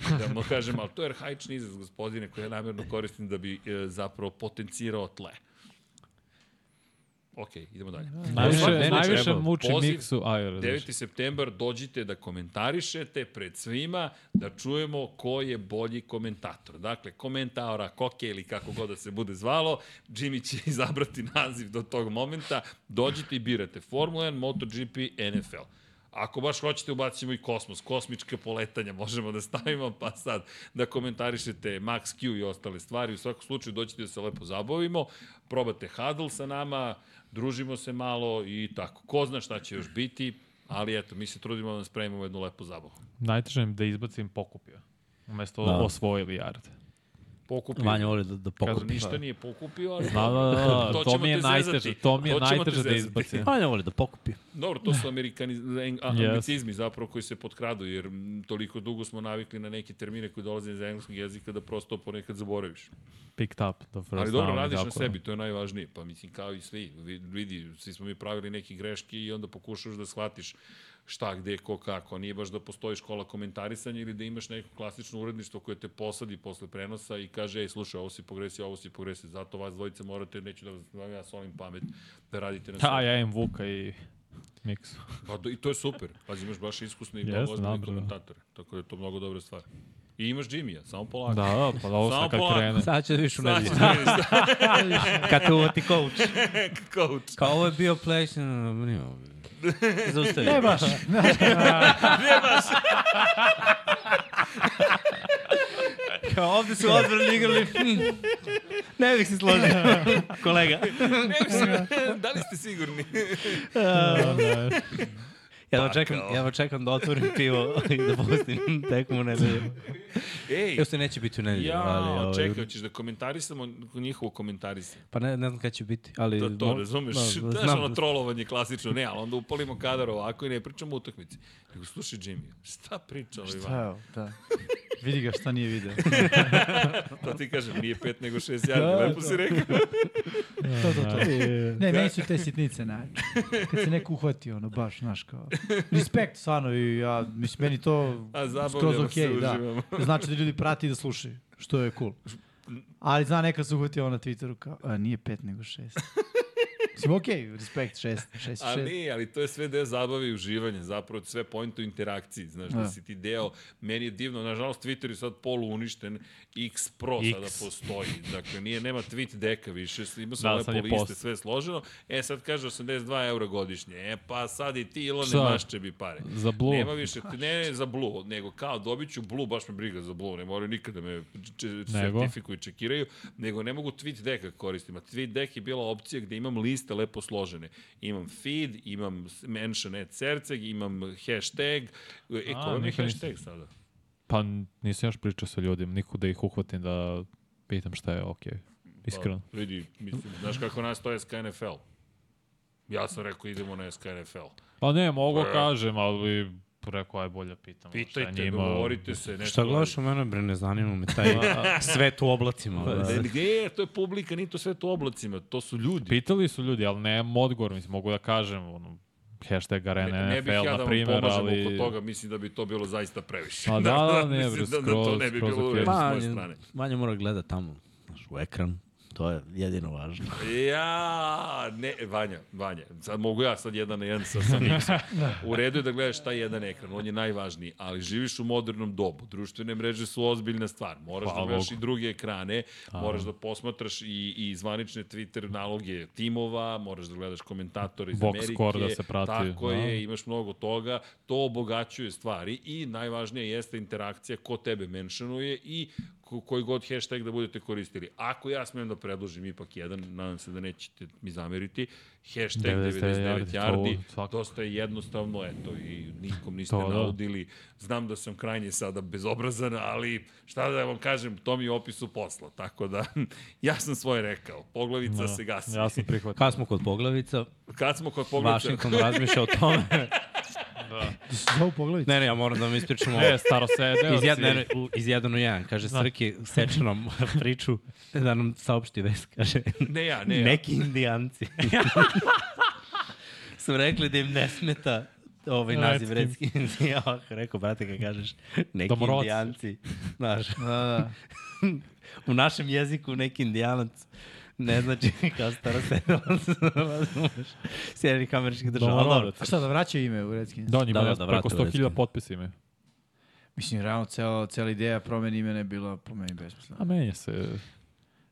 Da mu kažem, ali to je arhaični izraz, gospodine, koji ja namjerno koristim da bi e, zapravo potencirao tle. Ok, idemo dalje.
Najviše,
Mene
najviše
treba.
muči
Poziv-
Miksu Ajer.
9. septembar dođite da komentarišete pred svima, da čujemo ko je bolji komentator. Dakle, komentatora, koke ili kako god da se bude zvalo, Jimmy će izabrati naziv do tog momenta. Dođite i birate Formula 1, MotoGP, NFL. Ako baš hoćete, ubacimo i kosmos, kosmičke poletanja možemo da stavimo, pa sad da komentarišete Max Q i ostale stvari. U svakom slučaju dođete da se lepo zabavimo, probate Huddle sa nama, družimo se malo i tako. Ko zna šta će još biti, ali eto, mi se trudimo da vam spremimo jednu lepu zabavu.
Najteže mi je da izbacim pokupio. Umesto
Da.
osvojili Jarde.
Pokupio.
Vanja voli da, da
Kažu,
pokupi.
ništa nije pokupio, ali...
Da, da, da,
To
to,
ćemo
mi je
te zezati.
najteže, to mi je
To ćemo te
najteže da
zezati.
izbacim.
Vanja voli da pokupi.
Dobro, to su amerikani, eng- a-
Yes.
anglicizmi zapravo koji se potkradu, jer m, toliko dugo smo navikli na neke termine koji dolaze iz engleskog jezika da prosto ponekad zaboraviš.
Picked up the first
Ali dobro,
down i
radiš na
Da tako.
sebi, to je najvažnije. Pa mislim, kao i svi, vi- vidi, svi smo mi pravili neke greške i onda pokušaš da shvatiš šta, gde, ko, kako. Nije baš da postoji škola komentarisanja ili da imaš neko klasično uredništvo koje te posadi posle prenosa i kaže, ej, slušaj, ovo si pogrešio, ovo si pogrešio, zato vas dvojica morate, neću da vas da vam ja solim pamet, da radite na
Da,
sebi.
ja imam Vuka i Miksu.
Pa, do, I to je super. Pazi, imaš baš iskusne i
Jeste,
mnogo ozbiljne
naravno.
komentatore. Tako da je to mnogo dobra stvar. I imaš Jimmy-a, samo polako.
Da, da, pa da ovo
Samo
sad kad
polako.
krene.
Sad će da vidiš u
Sad
nedelju.
ćeš da vidiš šta
Kad te uvati coach.
je coach.
Kao ovo je bio play, no, no, no, zaustavi.
Ne baš.
Kao ovde su odvrni igrali. hm. Ne bih se složio, kolega.
Ne mislim, da li ste sigurni?
Ja
Pa,
da čekam, ja da čekam da otvorim pivo i da pustim tekmu u nedelju.
Ej,
Evo se neće biti u nedelju, ali...
Ja,
ovaj,
čekaj, ćeš da komentarisamo njihovo komentarisanje.
Pa ne, ne znam kada će biti, ali...
To, to
mo-
razumeš, da, znaš
E, znam.
ono trolovanje klasično, ne, ali onda upalimo kadar ovako i ne pričamo o utakmici. Nego, slušaj, Jimmy, šta priča ovaj Ivan?
Evo, da. Vidi ga šta nije video.
To ti kažem, nije pet nego šest jardi, lepo si rekao.
To,
Da.
to, to. Ne, meni su te sitnice najče. Kad se neko uhvati, ono, baš, znaš, kao... Respekt, stvarno, i ja, mislim, meni to
A
skroz
zabavljamo
okej,
se,
da.
uživamo.
Znači da ljudi prati i da slušaju, što je cool. Ali zna, neka se uhvati ono na Twitteru kao, a, nije pet, nego šest. Mislim, okej, respekt, šest, šest,
A
šest.
nije, ali to je sve deo zabave i uživanja, zapravo sve point u interakciji, znaš, da
Da.
si ti deo, meni je divno, nažalost Twitter je sad polu uništen, X Pro X.
X.
sada postoji, dakle nije, nema tweet deka više, ima
Da,
sam da,
sad
lepo
je
liste,
post.
sve složeno, e sad kaže 82 eura godišnje, e pa sad i ti Ilone
Šta?
mašče bi pare.
Za Blue.
Nema više, ne za Blue, nego kao dobit ću Blue, baš me briga za Blue, ne moraju nikada me če,
Nego?
sertifikuju i čekiraju, nego ne mogu tweet deka koristim. A tweet dek je bila opcija gde imam liste lepo složene. Imam feed, imam s- mention at Serceg, imam hashtag. E,
A,
ko mi je
nikad nisam-
hashtag sada?
Pa n- nisam još pričao sa ljudima, niko da ih uhvatim da pitam šta je okej. Iskreno.
Pa, vidi, mislim, znaš kako nas to je SKNFL. Ja sam rekao idemo na SKNFL.
Pa ne, mogu
Pa-
kažem, ali rekao aj bolje pitam.
Pitajte, dogovorite se. Nešto
Šta gledaš u mene, bre, ne zanima me taj a, svet u oblacima. Da.
Pa. Ne, Gde je, to je publika, nije to sve to oblacima, to su ljudi.
Pitali su ljudi, ali nemam odgovor, mislim, mogu da kažem, ono, hashtag arena
Ne, ne bih
NFL,
ja da
na
vam
primjer,
pomažem ali...
ali...
oko toga, mislim da bi to bilo zaista previše.
Pa da, da, ne,
mislim
bre,
da, da to
skroz,
ne bi
skroz
bilo u
okej.
redu s moje
Vanja,
strane.
Vanja mora gleda tamo, znaš, u ekran. To je jedino važno.
Ja, ne, Vanja, Vanja, sad mogu ja sad jedan na jedan sa, sa Niksom. U redu je da gledaš taj jedan ekran, on je najvažniji, ali živiš u modernom dobu, društvene mreže su ozbiljna stvar, moraš
Hvala
da gledaš
Bogu.
i druge ekrane, moraš da posmatraš i, i zvanične Twitter naloge timova, moraš da gledaš komentatore iz
Box
Amerike,
score da se prati,
tako
da.
je, imaš mnogo toga, to obogaćuje stvari i najvažnije jeste interakcija ko tebe mentionuje i ko- koji god hashtag da budete koristili. Ako ja smem da predložim ipak jedan, nadam se da nećete mi zameriti, hashtag 99
99
yardi,
to svakako.
dosta je jednostavno, eto, i nikom niste
To da.
naudili. Znam da sam krajnje sada bezobrazan, ali šta da vam kažem, to mi je opisu posla, tako da ja sam svoje rekao, poglavica
Da,
se gasi.
Ja sam prihvatio.
Kad smo kod poglavica,
Kad smo kod poglavica,
Washington razmišlja o tome
Da.
Da se zovu pogledajte.
Ne, ne, ja moram da vam ispričam ovo.
E, starosedeoci.
Iz jedan, ne, ne, u- iz jedan u jedan, kaže Srki, seče nam priču, da nam saopšti vest, kaže,
Ne ja, ne
ne,
ja.
neki indijanci su rekli da im ne smeta ovaj naziv
Redski.
redski indijan. Rekao, brate, kad kažeš neki
Domoroci.
indijanci, znaš,
Da, da.
u našem jeziku neki indijanac ne znači kao starosedelac, razumeš, Sjedinih američkih država, ali dobro.
Domorodac.
A šta, da vraća ime u Redskins?
Da, njima
Da, da,
da,
da,
da, preko
vrate u
100.000
Redskins.
potpisa imaju.
Mislim, realno, cela, cela ideja promene imena je bila po meni besmislena.
A menja se.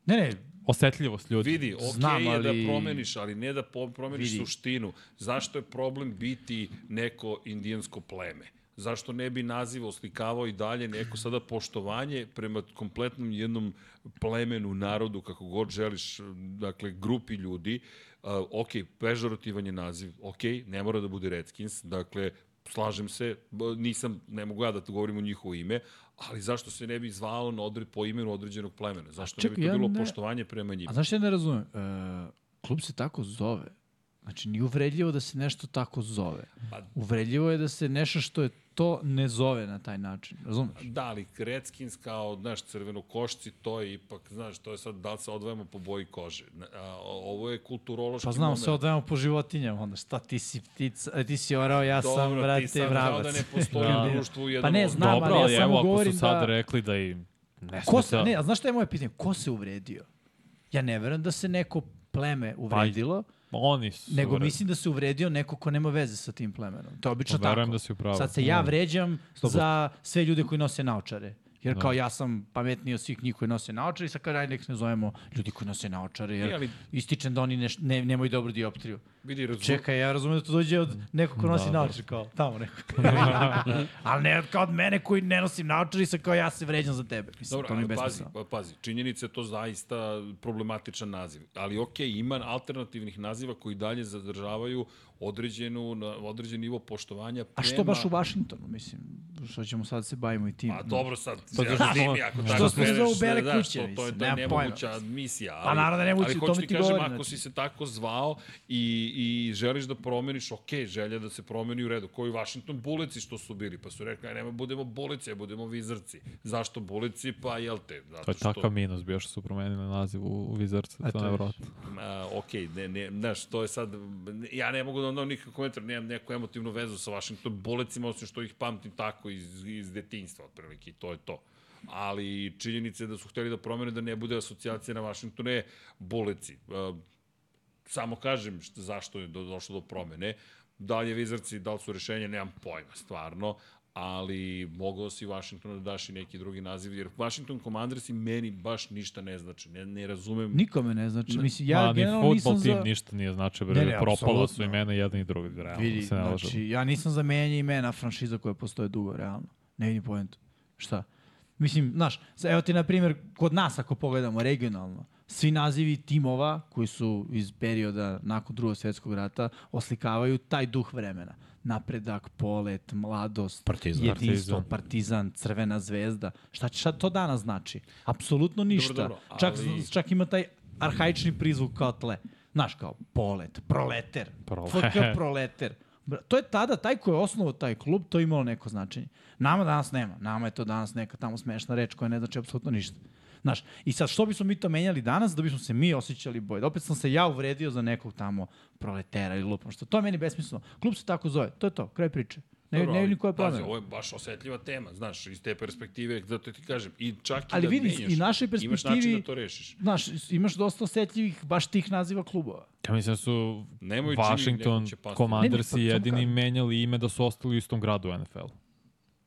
Ne, ne,
Osetljivost ljudi.
Vidi, okej
Znam,
je
ali-
da promeniš, ali ne da po- promeniš
Vidi.
suštinu. Zašto je problem biti neko indijansko pleme? Zašto ne bi naziv oslikavao i dalje neko sada poštovanje prema kompletnom jednom plemenu, narodu, kako god želiš, dakle, grupi ljudi. Uh, ok, pežorativan je naziv, ok, ne mora da bude Redskins, dakle, slažem se, b- nisam, ne mogu ja da to govorim u njihovo ime, ali zašto se ne bi zvalo na odre, po imenu određenog plemena? Zašto
čekaj,
ne bi
ja
to bilo
ne-
poštovanje prema njima?
a znaš što ja ne razumem? E, klub se tako zove. Znači, nije uvredljivo da se nešto tako zove.
Pa-
Uvredljivo je da se nešto što je to ne zove na taj način. Razumeš?
Da, ali Redskins kao, znaš, crvenokošci, to je ipak, znaš, to je sad, da li se odvajamo po boji kože. Na- A, ovo je kulturološki
Pa znamo
moment.
se odajemo po životinjama, onda šta ti si ptica, e, ti si orao, ja sam,
Dobro, ti
brate,
sam znao
vrabac.
da ne postoji
Da.
u društvu jedan
Pa ne,
odnos.
znam, ali
Dobro,
ja
ali
samo
evo, ako
govorim
su sad
da-
rekli da im ne
Ko se,
smeta-
ne, a znaš šta je moje pitanje? Ko se uvredio? Ja ne verujem da se neko pleme uvredilo,
Oni su...
nego
vre-
mislim da se uvredio neko ko nema veze sa tim plemenom. To je obično
Verujem
tako.
da si u pravu.
Sad se ja
Mm.
vređam
Sto
za sve ljude koji nose naočare. Jer
Da.
kao ja sam pametniji od svih njih koji nose naočare i sad kao aj nek ne zovemo ljudi koji nose naočare jer
Ne, E, ali-
ističem da oni neš, ne, nemaju dobru dioptriju.
Vidi, razum...
Čekaj, ja razumem da to dođe od nekog ko nosi
Da, da.
naočare, kao tamo neko. Ali ne kao od mene koji ne nosim naočare i sad kao ja se vređam za tebe. Mislim,
Dobro,
to mi je
ali pazi,
besmisleno.
pa- pazi, činjenica je to zaista problematičan naziv, ali ok, ima alternativnih naziva koji dalje zadržavaju određenu, na- određen nivo poštovanja prema...
A što baš u Vašingtonu, mislim? Što ćemo sad da se bavimo i tim?
Pa dobro sad,
Pa
pa,
zato
ja
što smo-
zimi, ako
što
tako
smo
kreneš,
za u bele
da,
kuće,
što, to,
mislim,
je, to je
nema pojma.
nemoguća misija. Ali,
naravno da je nemoguća,
ali
o
hoću
tome ti
kažem,
govorim,
ako
znači.
si se tako zvao i, i želiš da promeniš, ok, želja da se promeni u redu. Koji Washington buleci što su bili, pa su rekli, aj nema, budemo buleci, a budemo vizarci. Zašto buleci? Pa jel te,
To
zato
je
što...
takav minus bio što su promenili naziv u, u Wizards,
Eto,
to je nevratno.
A, ok, ne, ne, znaš, to je sad, ja ne mogu da onda nikakav komentar, nemam neku emotivnu vezu sa Washington bolecima, osim što ih pamtim tako iz, iz detinjstva, otprilike, i to je to. Ali činjenica je da su hteli da promene da ne bude asocijacija na Washingtone boleci. A, samo kažem što, zašto je do, došlo do promene. Da li je Vizarci, da li su rešenje, nemam pojma, stvarno ali mogao si Washingtonu da daš i neki drugi naziv, jer Washington Commanders i meni baš ništa ne znači. Ne, ne razumem
Nikome ne znači. Mislim, ja
Ma, pa ni
generalno nisam
fudbal
za...
tim ništa nije značio, bre,
Ne, ne,
propalo su
apsolutno.
imena jedan i drugi, realno,
Vidi,
se ne lažemo.
znači, ja nisam za menjanje imena franšiza koja postoje dugo, realno. Ne vidim pojentu. Šta? Mislim, znaš, sa- evo ti na primjer, kod nas ako pogledamo regionalno, svi nazivi timova koji su iz perioda nakon drugog svjetskog rata oslikavaju taj duh vremena. Napredak, polet, mladost,
Partizan.
jedinstvo,
Partizan.
partizan. crvena zvezda. Šta, će- šta to danas znači? Apsolutno ništa.
dobro,
čak,
ali-
čak ima taj arhaični prizvuk kao tle. Znaš, kao polet, proleter,
Proleter.
FK proleter. Bra- To je tada, taj ko je osnovao taj klub, to je imalo neko značenje. Nama danas nema. Nama je to danas neka tamo smešna reč koja ne znači apsolutno ništa. Znaš, i sad što bismo mi to menjali danas da bismo se mi osjećali bolje. Opet sam se ja uvredio za nekog tamo proletera ili lupom, što to je meni besmisleno. Klub se tako zove, to je to, kraj priče. Ne,
Dobro,
ne
ali
vidim koja je
pazi,
promena.
Ovo je baš osetljiva tema, znaš, iz te perspektive, zato ti kažem, i čak i
Ali
da
vidi,
menjaš,
i našoj
imaš način
perspektivi-
da to rešiš.
Znaš, imaš dosta osetljivih baš tih naziva klubova.
Ja mislim da su
Nemoj čini,
Washington
neko će pasti.
Commanders
Ne, ne, pa samo
jedini
kažem.
menjali ime da su ostali u istom gradu u NFL.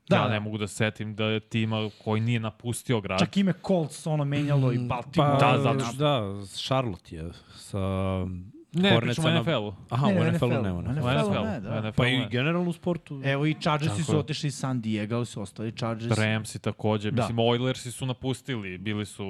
Da,
Da, ja
da.
ne mogu da setim da je tima koji nije napustio grad.
Čak ime Colts ono menjalo i Baltimore. Pa,
da, zato što-
Pa, Da, Charlotte je sa
ne, pričamo o
Hornetsama-
NFL-u.
Aha,
Ne,
u
ne,
NFL-u
NFL-u,
nema.
u
ne.
U
NFL-u,
NFL-u.
ne, da.
NFL-u
Pa i
ne.
generalno u sportu.
Evo i Chargersi
Tako
su
je.
otišli iz San Diego, ali su ostali Chargersi.
Ramsi takođe,
Da.
mislim Oilersi su napustili, bili su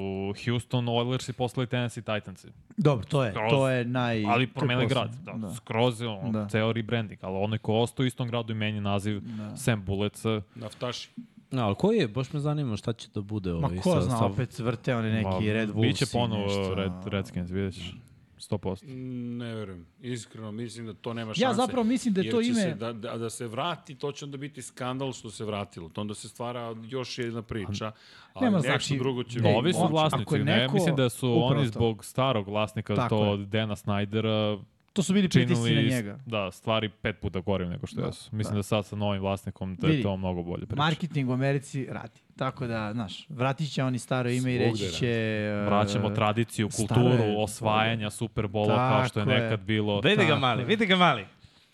Houston Oilersi, postali Tennessee Titansi.
Dobro, to je,
Skroz.
to je naj...
Ali promenili
to je
grad,
posao.
da, skroz je on,
Da.
ceo rebranding, ali onaj ko ostao u istom gradu i menja naziv
Da.
Sam Bullets,
Naftaši.
No, ali koji je, baš me zanima šta će da bude
Ma
ovaj
pa
ko zna, opet vrte one neki Red Bulls.
Biće ponovo Red, Redskins, vidjet ćeš. 100%.
Ne verujem. Iskreno, mislim da to nema šanse.
Ja zapravo mislim da je
Jer
to
će
ime-
Se da, da, da se vrati, to će onda biti skandal što se vratilo. To onda se stvara još jedna priča, ali
Nema,
nešto
znači,
drugo će...
Ej,
Novi su
on- ako
vlasnici,
je
ne?
neko-
Mislim da su
upravo
oni
to.
zbog starog vlasnika,
Tako
to
je.
od Dana Snydera,
To su bili pritisci na
činili
njega.
da, stvari pet puta gorim nego što
Da,
jesu. Mislim da. sad sa novim vlasnikom da je
Vidi,
to mnogo bolje priča.
Marketing u Americi radi. Tako da, znaš, vratit će oni staro ime i
Svugde
reći će... e,
Vraćamo tradiciju,
staro
kulturu,
je.
osvajanja Super Bola kao što je
Tako je.
nekad bilo.
Vidi ga
Tako
mali,
je.
vidi ga mali.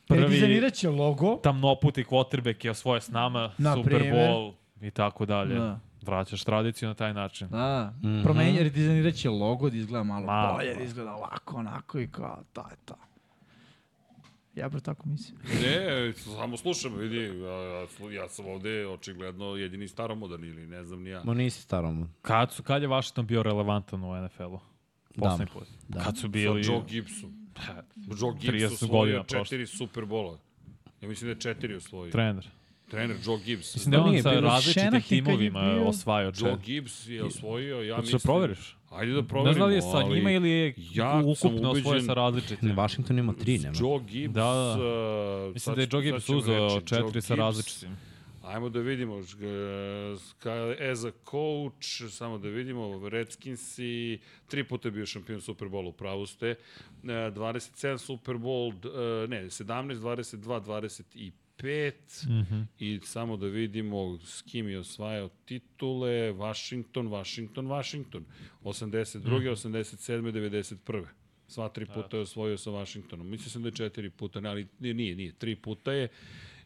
prvi-
Redizajnirat će logo.
Tamnoputi quarterback je osvoje s nama
Na
Super
primer.
Bowl i tako dalje.
Da.
Vraćaš tradiciju na taj način.
Da, mm
Mhm.
-hmm. promenja, redizajnirat će logo da izgleda malo,
Malo.
malo bolje, da izgleda ovako, onako i kao, to je to. Ja bro tako mislim.
Ne, samo slušam, vidi, ja, ja, slu- ja sam ovde očigledno jedini staromodan ili ne znam ni ja.
Ma nisi starom.
Kad, su, kad je Washington bio relevantan u NFL-u? Poslednji put.
Da.
Kad su
Sa
bili...
Joe Gibson. Joe
30
Gibson
godina
osvojio
prošlo.
četiri Superbola. Ja mislim da je četiri osvojio.
Trener.
Trener Joe Gibbs.
Mislim da je
Da
on
nije
sa
bilo
različitim
Shanahan kad je
timovima
bio-
osvajao
Joe
čet.
Gibbs je osvojio, ja
Hoćeš da
mislim...
proveriš?
Ajde da
Ne
proverimo,
znam da li je sa
ali
njima ili je
ja sam
ukupno osvojio
ubeđen-
sa različitim.
Washington ima tri, nema.
Joe Gibbs...
Da, da.
uh,
Mislim
sad-
da je Joe
sad
Gibbs
ćemo reći,
uzeo
Joe
četiri sa
Gibbs.
različitim.
Ajmo da vidimo, ž- g- ska- as a coach, samo da vidimo, Redskins i tri puta je bio šampion Superbola, u pravu ste, E, 27 Superbol, e, ne, 17, 22, 25 i samo da vidimo s kim je osvajao titule, Washington, Washington, Washington, 82, 87, 91. Sva tri puta je osvojio sa Washingtonom. Mislio sam da je četiri puta, ne, ali nije, nije, nije, tri puta je.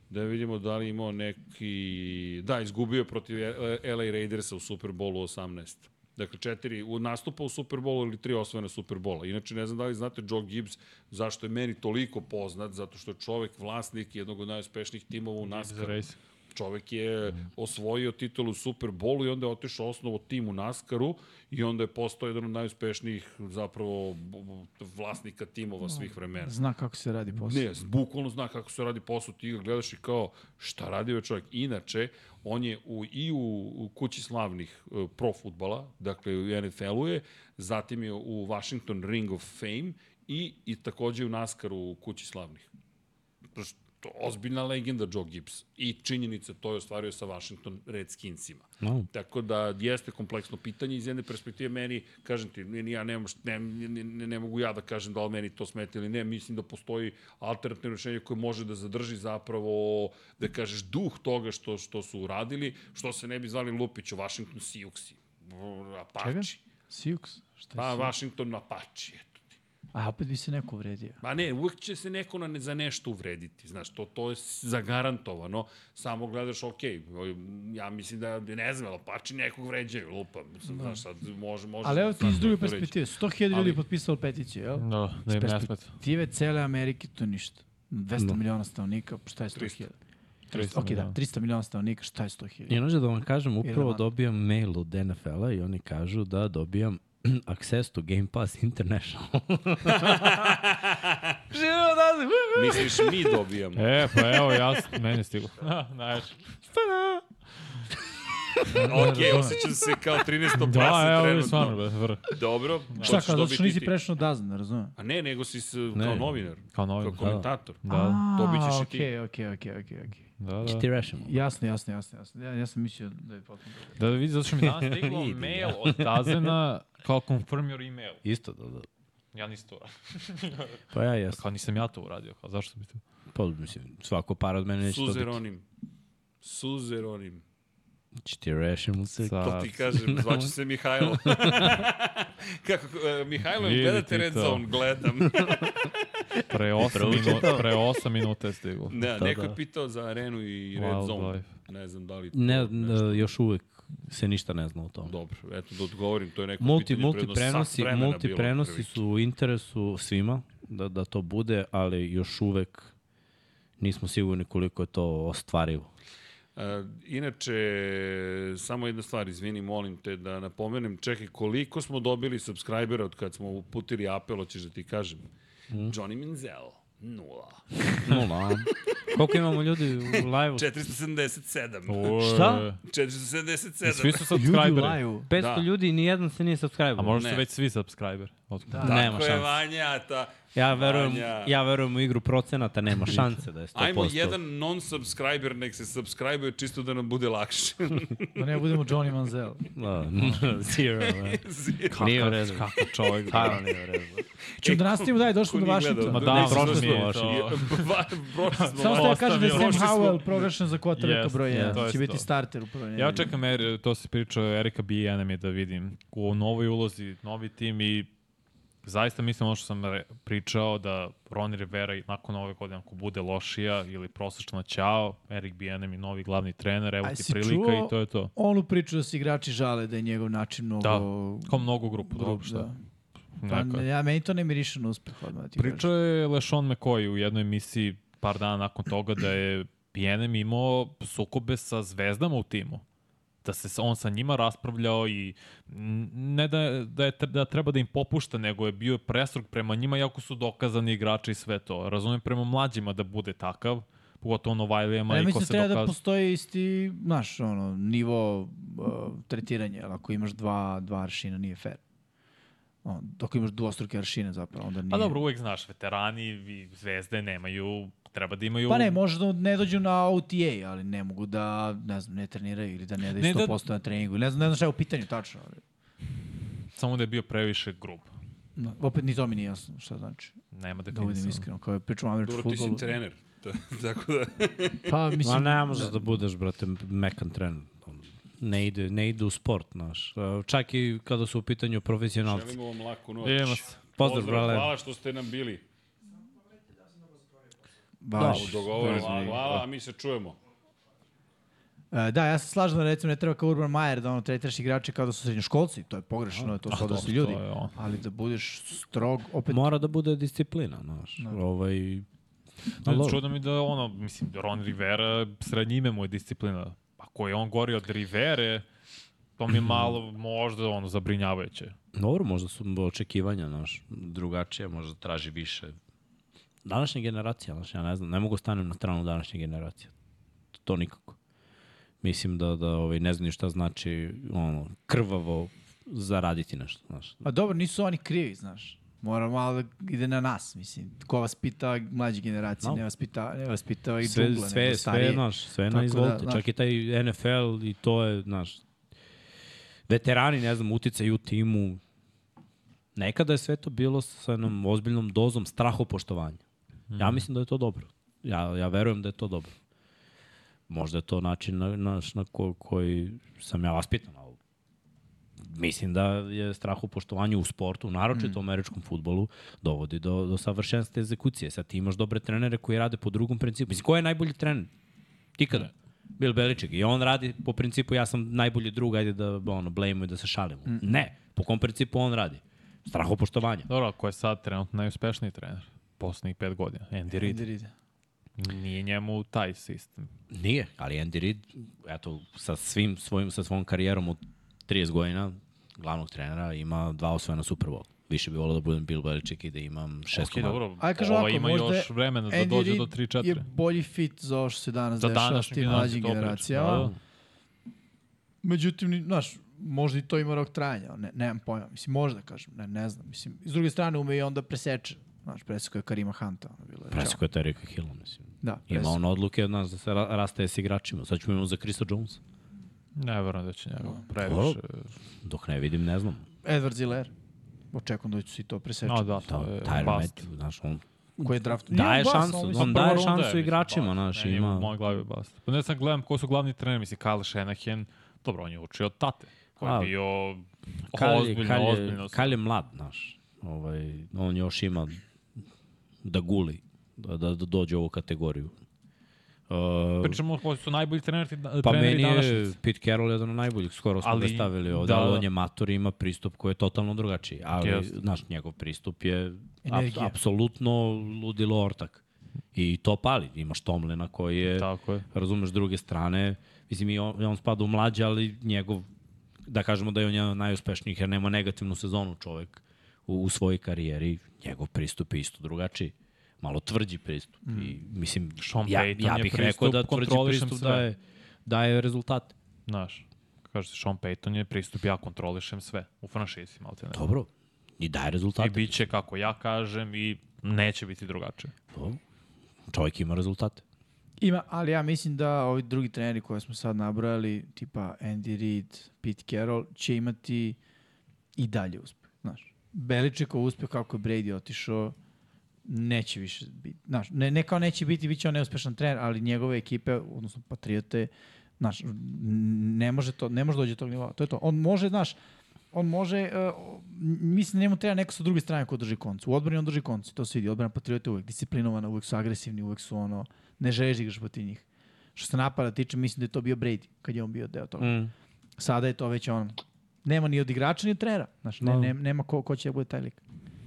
Da vidimo da li je imao neki... Da, izgubio je protiv LA Raidersa u Superbolu 18. Dakle, četiri u nastupa u Superbolu ili tri osvojena Superbola. Inače, ne znam da li znate Joe Gibbs, zašto je meni toliko poznat, zato što je čovek vlasnik jednog od najuspešnijih timova u NASCAR.
Race.
Čovek je osvojio titulu u Superbolu i onda je otišao osnovo tim u NASCAR-u i onda je postao jedan od najuspešnijih zapravo b- b- vlasnika timova svih vremena.
Zna kako se radi posao.
Ne, bukvalno zna kako se radi posao, ti ga gledaš i kao šta radi ovaj čovjek. Inače, on je u, i u, u kući slavnih e, pro futbala, dakle u NFL-u je, zatim je u Washington Ring of Fame i, i takođe u NASCAR-u u kući slavnih. Prosto, ozbiljna legenda Joe Gibbs i činjenica to je ostvario sa Washington Redskinsima.
No.
Tako da jeste kompleksno pitanje iz jedne perspektive meni, kažem ti, ni- ni ja nemam, št- ne, ne, ne, ne mogu ja da kažem da li meni to smeta ili ne, mislim da postoji alternativno rešenje koje može da zadrži zapravo, da kažeš, duh toga što, što su uradili, što se ne bi zvali Lupić u Washington Siuxi,
Čega?
Apache.
Siux? Šta
znači. Pa,
je Siux?
Washington Apache, eto ti.
A opet bi se neko uvredio.
Ma ne, uvek će se neko na, za nešto uvrediti, znaš, to, to je s- zagarantovano, samo gledaš, ok, ovaj, ja mislim da, ne znam, ali pači nekog vređaju, lupam, mislim, znaš, sad da može, može...
Da. Ali evo ti
sad
iz druge
neko reći. Mm.
perspektive, 100.000 ljudi je potpisalo peticiju, jel?
Da, da im ne smeta.
Perspektive cele Amerike to ništa. 200
Da.
miliona stanovnika, šta je 100.000?
300
Ok, da,
miliona.
300 miliona stanovnika, šta je 100.000?
I nože da vam kažem, upravo
Irelevantno.
dobijam mail od NFL-a i oni kažu da dobijam access to Game Pass International. Živimo da
Misliš, mi dobijamo.
E, pa evo, ja, meni je stiglo. Najviše.
ok, osjećam se kao 13.
Da,
da,
evo,
trenutno.
mi stvarno, be, vr.
Dobro,
Šta
hoćeš
kao, zato
dobiti
što nisi
ti.
prešao dazno, ne razumem?
A ne, nego si s, kao
Ne.
novinar,
Kao
kao
novin. Da,
komentator.
da,
Dobit ćeš i ti.
Pa, okej, okej, okej, okej, okej.
da. da.
Či ti rešimo.
Jasno, jasno, jasno, jasno. Ja, ja sam mislio da je potpuno.
Da vidi, zato što mi danas stiglo
Vidi,
mail od Tazena kao confirm your email.
Isto da, da.
Ja nisam to uradio.
Pa ja jesam.
Kao nisam ja to uradio, kao zašto bi to?
Pa, mislim, svako par od mene neće dobiti.
Suzeronim. Suzeronim.
Či ti rešimo se.
Sa-
To ti kažem, zvače se Mihajlo. Kako, e, Mihajlo,
Vidi
gledate
ti
Red
to.
Zone? Gledam.
Pre 8, minu, pre 8 minuta je stiglo.
Ne,
Da,
neko je
da.
pitao za Arenu i Red
Wild
Zone.
Life.
Ne znam da li... to
Ne,
nešto-
ne, još uvek se ništa ne zna o tom.
Dobro, eto da odgovorim, to je neko
Multi,
pitanje
multi
pre jedno sat
prenosi,
vremena bilo
multi prenosi
otprilike.
su u interesu svima da, da to bude, ali još uvek nismo sigurni koliko je to ostvarivo.
E, inače, samo jedna stvar, izvini, molim te da napomenem, čekaj, koliko smo dobili subscribera od kad smo uputili apel, hoćeš da ti kažem? Johnny Manziel, nula.
Nula. Koliko imamo ljudi u live-u?
477.
Uj,
Šta?
477.
Svi su subscriberi.
live-u.
500
Da.
ljudi, nijedan se nije subscribe.
A možda su
Ne.
već svi subscriber. Otkud?
Da. Nema
Tako je,
šanse.
Vanja, ta...
Ja verujem,
Vanja.
ja verujem u igru procenata, nema šanse da je 100%.
Ajmo jedan non-subscriber, nek se subscribe čisto da nam bude lakše.
Da ne budemo Johnny Manziel.
Da, zero. da. Nije u redu. Kako čovjek. Stvarno nije u redu.
Ču da nastavimo dalje, došli smo do
Ma
Vašingtona.
da,
Ne,
prošli
smo
smo
loši.
to.
Va- Prošli smo.
Samo ste ja
vas.
kažem da je
Ostavio.
Sam
Prošli smo.
Howell proglašen za kvotarnika
Jest,
broj
jest,
1.
to je
Će biti
to.
starter u broj 1.
Ja čekam, er, to se pričao Erika B. Enemy da vidim u novoj ulozi, novi tim i zaista mislim ono što sam re, pričao da Ronny Rivera i nakon ove godine ako bude lošija ili prosječno ćao, Erik B. Enemy novi glavni trener, evo
A
ti
si
prilika
čuo-
i to je to.
Onu priču da se igrači žale da je njegov način mnogo...
Da, kao mnogo grupu,
grup,
dobro šta.
da. Pa,
Neka.
ne, ja, meni to ne miriše na uspeh odmah da ti kažem.
Pričao je Lešon McCoy u jednoj emisiji par dana nakon toga da je PNM imao sukobe sa zvezdama u timu. Da se s- on sa njima raspravljao i n- ne da, je- da, je, tre- da treba da im popušta, nego je bio prestrog prema njima, jako su dokazani igrači i sve to. Razumem prema mlađima da bude takav, pogotovo Novajlijama
Ja
i ko
mislim
se
da treba
dokazao.
da postoji isti, znaš, ono, nivo uh, tretiranja, jer ako imaš dva, dva aršina nije fair. On, dok imaš dvostruke aršine zapravo, onda nije.
Pa dobro, uvek znaš, veterani i zvezde nemaju, treba da imaju...
Pa ne, možda ne dođu na OTA, ali ne mogu da, ne znam, ne treniraju ili da ne daju
Ne da-
100% na treningu. Ne znam, ne znam šta je u pitanju tačno. Ali,
Samo da je bio previše grub.
no, opet ni to mi nije jasno šta znači.
Nema
Da budem
definicije.
iskreno, kao je pričao o američkom
Dobro, ti si
futbolu.
trener. To- Tako da...
Pa
Ma
mislim,
ne možeš da budeš, brate, mekan trener. Ne ide, ne ide u sport, znaš. E, Čak i kada su u pitanju profesionalci.
Želimo vam laku noć.
Idemo se.
Pozdrav, brale.
Hvala što ste nam bili. Da,
baš. da,
Dogovoreno. Hvala, a mi se čujemo.
E, da, ja se slažem da recimo ne treba kao Urban Mayer da ono tretiraš igrače kao da su srednjoškolci, to je pogrešno, to da su odrasli
dobro,
ljudi.
to je ono.
Ali da budeš strog, opet
Mora da bude disciplina, znaš.
Da.
Ovaj, ali dobro.
Čudno mi da ono, mislim, Ron Rivera, srednje ime mu je disciplina. Ako je on gori od Rivere, to mi je malo možda ono zabrinjavajuće.
Dobro, možda su očekivanja naš drugačije, možda traži više. Današnja generacija, znaš, ja ne znam, ne mogu stanem na stranu današnje generacije. To nikako. Mislim da, da ovaj, ne znam ni šta znači ono, krvavo zaraditi nešto, znaš.
Pa dobro, nisu oni krivi, znaš. Mora malo da ide na nas, mislim. Ko vas pita, mlađe generacije,
No.
ne vas pita, ne vas pita i
Sve,
džungla,
sve,
nego
sve,
starije.
znaš, sve
Tako
na
da,
izvolite.
znaš.
Čak i taj NFL i to je, znaš, veterani, ne znam, uticaju u timu. Nekada je sve to bilo sa jednom ozbiljnom dozom strahopoštovanja.
Mhm.
Ja mislim da je to dobro. Ja, ja verujem da je to dobro. Možda je to način na, naš, na ko, koji sam ja vaspitan, ali mislim da je strah u poštovanju u sportu, naročito u
Mhm.
američkom futbolu, dovodi do, do savršenstva egzekucije. Sad ti imaš dobre trenere koji rade po drugom principu. Mislim, ko je najbolji trener?
Mhm.
Ikada. Bill Belichick. I on radi po principu ja sam najbolji drug, ajde da ono, blejimo i da se šalimo.
Mhm.
Ne. Po kom principu on radi? Strahopoštovanja.
Dobro, ako je sad trenutno najuspešniji trener poslednjih pet godina, Andy Reid.
Ide, ide.
Nije njemu taj sistem.
Nije, ali Andy Reid, eto, sa, svim svojim, sa svom karijerom od 30 godina, glavnog trenera, ima dva osvojena Super Bowl. Više bi volao da budem Bill Belichick i da imam šest
Ok,
okay, komada.
dobro,
Aj, kaže
ova
ovako,
Ovaj ima
možda
još vremena da
Andy
dođe do
Reid
3-4.
je bolji fit za ovo što se danas
Za
dešava s
današnju
tim
generaciju,
mlađim
to pričam,
generacijama.
da.
Međutim, ni- znaš, možda i to ima rok trajanja, ne, nemam pojma. Mislim, možda kažem, ne, ne znam. Mislim, s druge strane ume i onda preseče. Znaš, presekao je Karima Hanta. Ono bilo je, čao.
Presiko je Terika Hill, mislim.
Da,
Ima
presekao.
on odluke od nas da se ra rastaje s igračima. Sad ćemo imamo za Krista Jonesa.
Ne verujem da će njega
Dobro.
previše.
Dok ne vidim, ne znam.
Edward Ziller. Očekujem da će se i to preseče.
No da,
Ta,
to je
Tyler
bast.
Matthew, znaš, on
Koji je draft? Nije
daje
on bas,
šansu,
ali
Pa
mislim-
on
Prva
daje
runda je,
šansu
mislim,
igračima,
bast.
znaš,
Meni je U
ima...
mojoj glavi je bast. Pa ne sad gledam ko su glavni treneri, mislim, Kyle Shanahan, dobro, on je učio od tate, koji
A,
je bio
Kalje,
ozbiljno,
kalje,
ozbiljno.
kalje mlad, znaš. Ovaj, on još ima da guli, da, da, da dođe u ovu kategoriju. Uh,
Pričamo koji su najbolji treneri, da,
Pa
treneri
meni je
današnjice.
Pete Carroll jedan od najboljih, skoro smo
Ali-
ga stavili ovde,
da,
ali
da.
on je mator i ima pristup koji je totalno drugačiji. Ali,
Jeste.
znaš, njegov pristup je ap-
Energija.
apsolutno ludilo ortak. I to pali. Imaš Tomlina koji je,
Tako je.
razumeš, druge strane. Mislim, i on, on spada u mlađe, ali njegov, da kažemo da je on jedan od najuspešnijih, jer nema negativnu sezonu čovek u, u svojoj karijeri. Njegov pristup je isto drugačiji malo tvrđi pristup.
Mm.
I, mislim,
Sean
ja,
Payton
ja
je
bih rekao
pristup,
da tvrđi
kontrolišem
pristup
sve.
da je, daje rezultate.
Znaš, kaže se Sean Payton je pristup, ja kontrolišem sve u franšizi, malo te ne.
Dobro, i daje
I
rezultate.
bit će kako ja kažem i neće biti drugačije.
To, čovjek ima rezultate.
Ima, ali ja mislim da ovi drugi treneri koje smo sad nabrojali, tipa Andy Reid, Pete Carroll, će imati i dalje uspeh. Znaš, Beličekov uspeh kako je Brady otišao, neće više biti. Znaš, ne, ne kao neće biti, bit će on neuspešan trener, ali njegove ekipe, odnosno Patriote, znaš, n- ne može, to, ne može dođe do tog nivoa. To je to. On može, znaš, on može, uh, mislim da njemu treba neko sa druge strane ko drži koncu. U odbrani on drži koncu, to se vidi. Odbrana Patriota je uvek disciplinovana, uvek su agresivni, uvek su ono, ne želiš da igraš protiv njih. Što se napada tiče, mislim da je to bio Brady, kad je on bio deo toga.
Mm.
Sada je to već ono, nema ni od igrača, ni od trenera. Znaš, ne,
Da.
ne, nema ko, ko će da bude taj lik.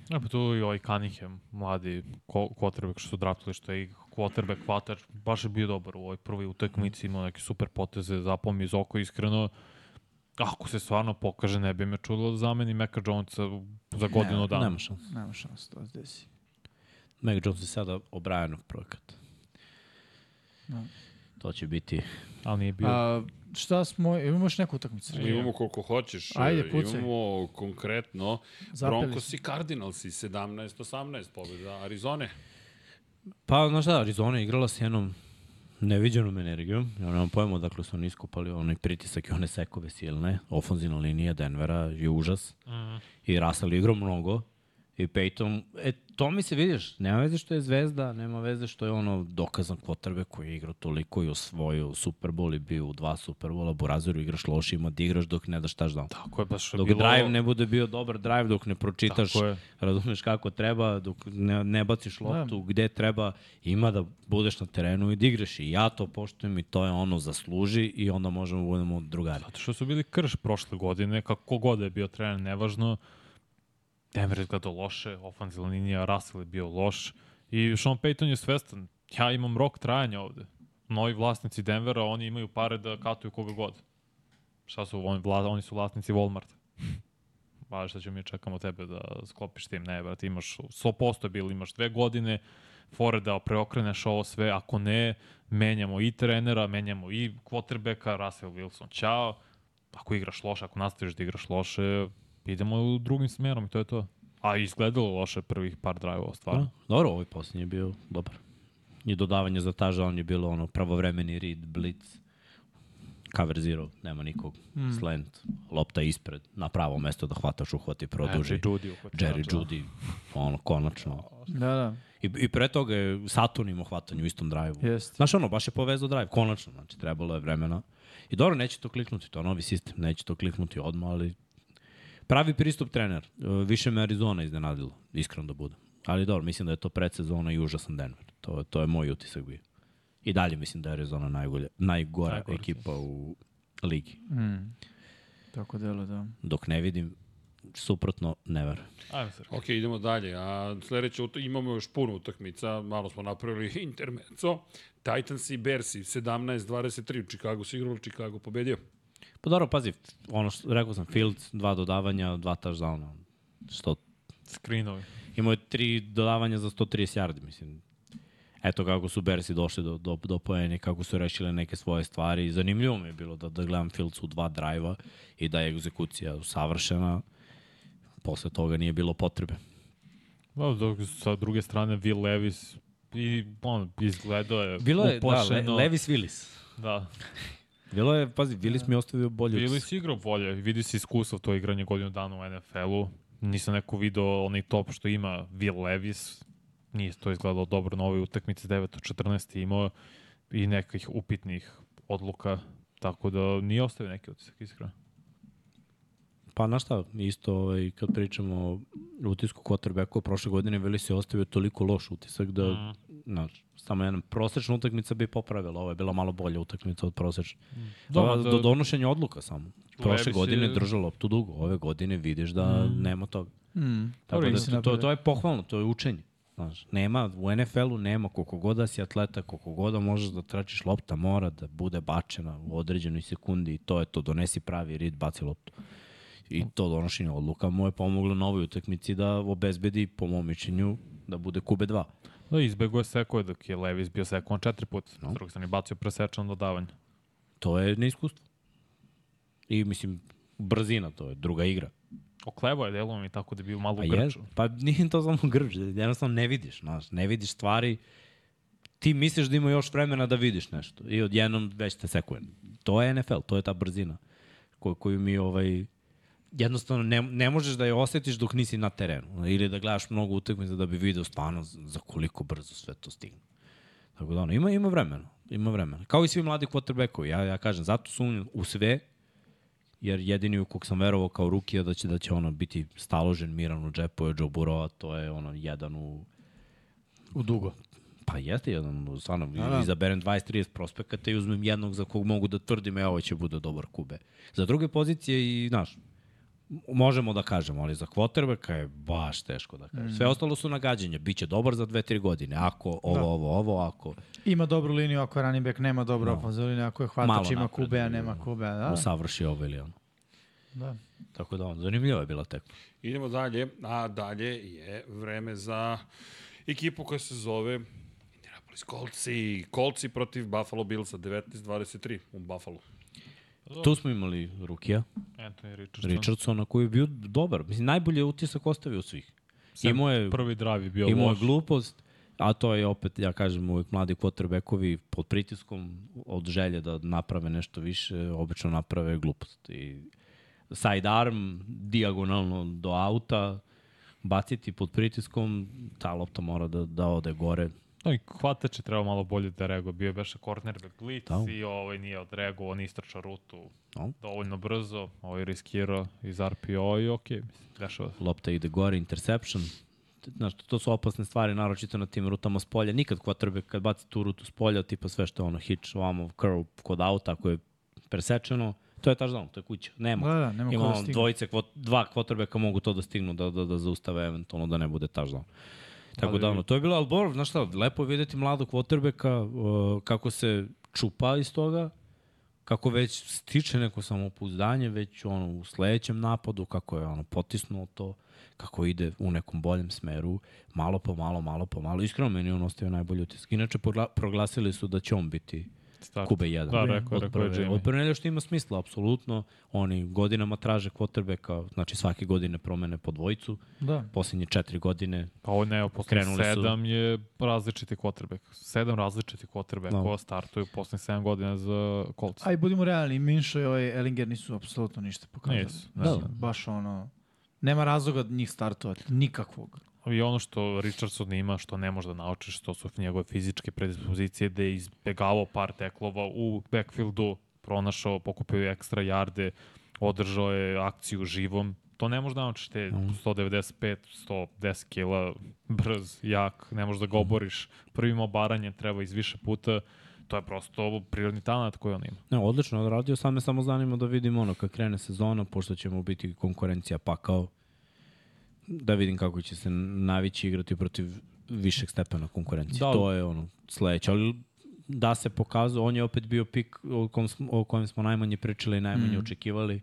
Ja, pa tu i ovaj Cunningham, mladi ko- quarterback što su draftili, što je i quarterback hvatar, baš je bio dobar u ovoj prvoj utakmici, imao neke super poteze, zapao mi iz oko iskreno. Ako se stvarno pokaže, ne bi me čudilo da zameni Meka Jonesa za godinu dana.
Nema šanse.
Nema šanse to da se desi.
Mac Jones je sada obrajanov projekat.
Da.
To će biti
Ali nije bio.
A, šta smo, imamo još neku utakmicu?
Ali Imamo koliko hoćeš.
Ajde,
e,
pucaj.
Imamo konkretno
Zapeli
Broncos i Cardinals i 17-18 pobjeda Arizone.
Pa, znaš šta, Arizona je igrala s jednom neviđenom energijom. Ja nemam pojma odakle su oni iskopali onaj pritisak i one sekove silne. Ofanzivna linija Denvera je užas. I Russell igrao mnogo. I Peyton, e, to mi se vidiš, nema veze što je zvezda, nema veze što je ono dokazan kvotrbe koji je igrao toliko i osvojio Super Bowl i bio u dva Super Bowl, Burazeru igraš loš, ima da igraš dok ne daš taš down.
Tako je baš
Dok
bilo...
drive ne bude bio dobar drive, dok ne pročitaš,
Tako je.
razumeš kako treba, dok ne, ne baciš loptu gde treba, ima da budeš na terenu i da igraš. I ja to poštujem i to je ono zasluži i onda možemo da budemo drugari.
Zato što su bili krš prošle godine, kako god da je bio trener, nevažno. Denver je gledao loše, ofenzivna linija, Russell je bio loš. I Sean Payton je svestan, ja imam rok trajanja ovde. Novi vlasnici Denvera, oni imaju pare da katuju koga god. Šta su, oni, vla, oni su vlasnici Walmarta. Valjda šta ćemo mi čekamo tebe da sklopiš tim, ne, brate, imaš 100% bil, imaš dve godine, fore da preokreneš ovo sve, ako ne, menjamo i trenera, menjamo i quarterbacka, Russell Wilson, čao, ako igraš loše, ako nastaviš da igraš loše, idemo u drugim smerom i to je to. A izgledalo loše prvih par drive-ova,
Da,
stvarno.
dobro, ovaj posljednji je bio dobar. I dodavanje za taža, on je bilo ono pravovremeni read, blitz, cover zero, nema nikog, mm. slant, lopta ispred, na pravo mesto da hvataš, uhvati, produži.
Jerry Jeudy uhvatio,
Jerry
da.
Judy, ono, konačno.
Da, da.
I, I pre toga je Saturn imao hvatanje u istom drive-u.
Jeste.
Znaš, ono, baš je povezao drive, konačno, znači, trebalo je vremena. I dobro, neće to kliknuti, to je novi sistem, neće to kliknuti odmah, ali pravi pristup trener. E, Više me Arizona iznenadilo, iskreno da budem. Ali dobro, mislim da je to predsezona i užasan Denver. To, to je moj utisak bio. I dalje mislim da je Arizona najgolja, najgora
Najgora.
ekipa u ligi.
Mm. Tako delo, da.
Dok ne vidim, suprotno, ne verujem.
Ajme, Srki.
Ok, idemo dalje. A sledeće ut- imamo još puno utakmica. Malo smo napravili intermezzo. Titans i Bersi 17-23 u Chicago su igrali, Chicago pobedio.
Pa dobro, pazi, ono što rekao sam, Fields, dva dodavanja, dva touchdowna. Što
Screenovi.
Imao je tri dodavanja za 130 yardi, mislim. Eto kako su Bersi došli do, do, do poene, kako su rešile neke svoje stvari. Zanimljivo mi je bilo da, da gledam Fields u dva drajva i da je egzekucija savršena. Posle toga nije bilo potrebe.
Da, dok sa druge strane Will Levis i on izgledao je
Bilo je,
uplašeno.
da, Le, Levis Willis.
Da.
Bilo je, pazi, Willis mi je ostavio bolje
Bili
utisak.
si igrao bolje, vidi se iskustvo to igranje godinu dana u NFL-u. Nisam neko video onaj top što ima Will Levis. Nije to izgledalo dobro na ovoj utakmici 9 od 14 je imao i nekih upitnih odluka. Tako da nije ostavio neki utisak, iskreno.
Pa na šta, isto ovaj, kad pričamo o utisku quarterbacka prošle godine, Willis je ostavio toliko loš utisak da, mm.
Mhm.
znaš, samo jedna prosečna utakmica bi popravila, ovo je bila malo bolja utakmica od prosečne. Dobro,
Dobro, da-
da, do donošenja odluka samo. Prošle
Levis
godine
je- Mhm.
je... držao loptu dugo, ove godine vidiš da mm. nema toga.
Mm.
Tako
Dobro,
da,
mislim
to,
da
to,
bude.
to je pohvalno, to je učenje. Znaš, nema, u NFL-u nema, koliko god da si atleta, koliko god da možeš da tračiš lopta, mora da bude bačena u određenoj sekundi i to je to, donesi pravi rid, baci loptu. I to donošenje odluka mu je pomoglo na ovoj utakmici da obezbedi, po mom mišljenju, da bude kube 2.
Da, izbego je sekao dok je Levis bio sekovan četiri puta. No. S druge strane, bacio presečan dodavanje.
To je neiskustvo. I mislim, brzina, to je druga igra.
oklevao je delom i tako da je bio malo
Pa,
u
je,
grču.
pa nije to samo grč, jednostavno ne vidiš, znaš, ne vidiš stvari, ti misliš da ima još vremena da vidiš nešto i odjednom već te sekuje. To je NFL, to je ta brzina koju, koju mi ovaj, jednostavno ne, ne možeš da je osjetiš dok nisi na terenu ili da gledaš mnogo utakmica da bi video stvarno za koliko brzo sve to stigne. Tako da ono, ima, ima vremena, ima vremena. Kao i svi mladi quarterbackovi, ja, ja kažem, zato sumnjam u sve jer jedini u kog sam verovao kao rukija da će da će ono biti staložen miran u džepu je Joe Burrow, a to je ono jedan u
U dugo.
pa jeste jedan u stvarno da. izaberem 20 30 prospekata i uzmem jednog za kog mogu da tvrdim e ovo će bude dobar kube. Za druge pozicije i znaš možemo da kažemo, ali za quarterbacka je baš teško da
Mm.
kažem. Sve ostalo su nagađanja, biće dobar za 2-3 godine, ako ovo, da. ovo, ovo, ako
Ima dobru liniju ako je running back, nema dobro no. ofanzivnu liniju, ako je
Malo
hvatač, ima
napred,
kube, a
ali,
nema kube, da?
usavrši ovo ili ono.
da.
Tako da on, zanimljiva je bila tekma.
Idemo dalje, a dalje je vreme za ekipu koja se zove Indianapolis Colts i Colts protiv Buffalo Billsa 19-23 u Buffalo.
Tu smo imali Rukija,
Anthony Richardson.
Richardsona koji je bio dobar. Mislim, najbolji je utisak ostavio od svih.
Sem
Imao je,
Prvi drive je bio
imao je
loš.
glupost, a to je opet, ja kažem, uvijek mladi quarterbackovi pod pritiskom od želje da naprave nešto više, obično naprave glupost. I side arm, dijagonalno do auta, baciti pod pritiskom, ta lopta mora da, da ode gore.
No i hvatač je trebao malo bolje da reaguje. Bio je beše cornerback blitz
Da.
i ovaj nije odreagovao, on istrača rutu
No.
dovoljno brzo. Ovaj riskirao iz RPO i okej, mislim, dešava se.
lopta ide gore, interception. Znaš, to su opasne stvari, naročito na tim rutama s polja. Nikad quarterback kad baci tu rutu s polja, tipa sve što je ono hitch, vamo, curl kod auta, ako je presečeno, to je touchdown, to je kuća. Nema.
Da, da, nema ko
Ima
da
ono
stigne.
dvojice, kvot, dva quarterbacka mogu to da stignu, da, da, da zaustave eventualno, da ne bude touchdown. Tako
Ali-
da ono, to je bilo, ali Borov, znaš šta, lepo je videti mladog quarterbacka, uh, kako se čupa iz toga, kako već stiče neko samopouzdanje, već ono u sledećem napadu, kako je ono potisnuo to, kako ide u nekom boljem smeru, malo po malo, malo po malo. Iskreno meni je on ostaje najbolji utisak. Inače, progla- proglasili su da će on biti
Start.
Kube 1.
Da, rekao je-
od
rekao je
prve-
Jimmy.
Od prve nedelje što ima smisla, apsolutno. Oni godinama traže quarterbacka, znači svake godine promene po dvojicu.
Da.
Poslednje četiri godine
Pa ovo ne, evo, posle
Krenuli su-
sedam je različiti quarterback. Sedam različiti quarterback
Da.
no. koja startuju posle sedam godina za Colts.
A i budimo realni, Minšo i ovaj Ellinger nisu apsolutno ništa pokazali.
Nisu,
da.
Mislim, Baš ono, nema razloga od njih startovati, nikakvog.
I ono što Richardson ima, što ne može da naučiš, to su njegove fizičke predispozicije, da je izbegavao par teklova u backfieldu, pronašao, pokupio je ekstra jarde, održao je akciju živom. To ne može da naučiš te 195, 110 kila, brz, jak, ne možeš da ga oboriš. Prvim obaranjem treba iz više puta, to je prosto prirodni talent koji on ima.
Ne, odlično odradio, sad me samo zanima da vidim ono kad krene sezona, pošto će mu biti konkurencija pakao, da vidim kako će se navići igrati protiv višeg stepena konkurencije.
Da.
Da, to je ono sledeće, ali da se pokazao, on je opet bio pik o, kom smo, o kojem smo najmanje pričali i najmanje
Mhm.
mm. očekivali,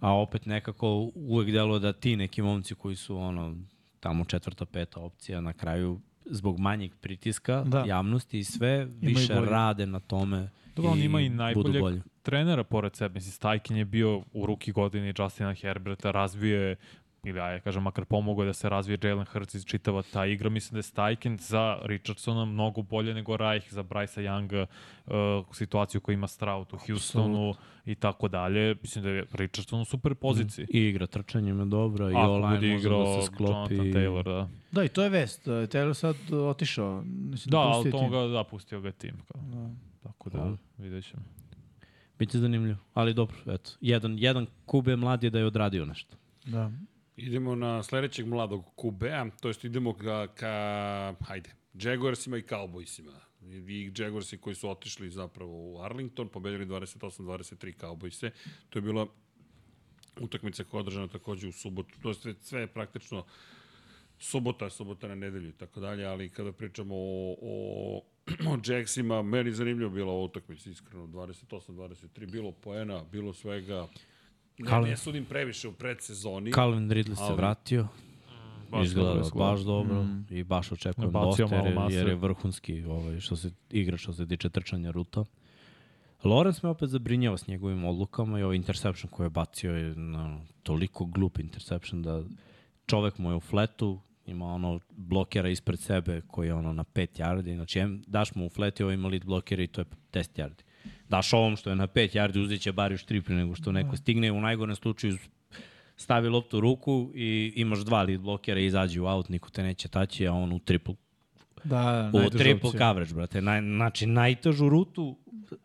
a opet nekako uvek delo da ti neki momci koji su ono tamo četvrta, peta opcija na kraju zbog manjeg pritiska
Da.
da. javnosti i sve, više
bolje.
rade na tome
Dobro, on ima i
budu
najboljeg
bolji. Mhm.
trenera pored sebe. Mislim, Stajkin je bio u ruki godini Justina Herberta, razvio je ili ajde, kažem, makar pomogao je da se razvije Jalen Hurts iz čitava ta igra. Mislim da je Steichen za Richardsona mnogo bolje nego Reich za Bryce Younga, uh, situaciju koju ima Stroud u Houstonu i tako dalje. Mislim da je Richardson u super poziciji.
I igra trčanjem je dobra, Mm. i
Ako
online
bude
može
igrao
da se sklopi.
Jonathan Taylor, da.
Da, i to je vest. e, Taylor sad e, otišao. Mislim,
Da, ali
pustio
to
tim.
ga, da, pustio ga je tim. Kao.
Da.
Tako da,
Dobro.
vidjet ćemo.
Biće zanimljivo, ali dobro, eto. Jedan, jedan kube mlad je da je odradio nešto.
Da.
Idemo na sledećeg mladog Kubea, to jest idemo ka, ka hajde, Jaguarsima i Cowboysima. I Jaguarsi koji su otišli zapravo u Arlington, pobedili 28-23 Cowboyse. To je bila utakmica koja je održana takođe u subotu. To je sve, sve je praktično subota, subota na nedelju i tako dalje, ali kada pričamo o, o, o Jacksima, meni zanimljivo bila ova utakmica, iskreno, 28-23, bilo poena, bilo svega, Ne,
Kalin.
ne sudim previše u predsezoni.
Calvin Ridley se
Ali-
vratio,
Mm, Baš dobro
izgleda
je
baš dobro mm. i baš očekujem
Bacio
dosta jer,
malo
je-
mase.
jer je vrhunski ovaj, što se igra što se tiče trčanja ruta. Lorenz me opet zabrinjava s njegovim odlukama i ovaj interception koji je bacio je no, toliko glup interception da čovek mu je u fletu, ima ono blokera ispred sebe koji je ono na 5 yardi, znači em, daš mu u flet i ovo ima lead blokera i to je 10 yardi. Daš ovom što je na 5 yardi, uzet će bar još 3 pre nego što neko stigne i u najgorem slučaju stavi loptu u ruku i imaš dva lead blokera i izađe u out, niko te neće taći, a on u triple
Da,
u triple coverage, brate. Naj, znači, najtežu rutu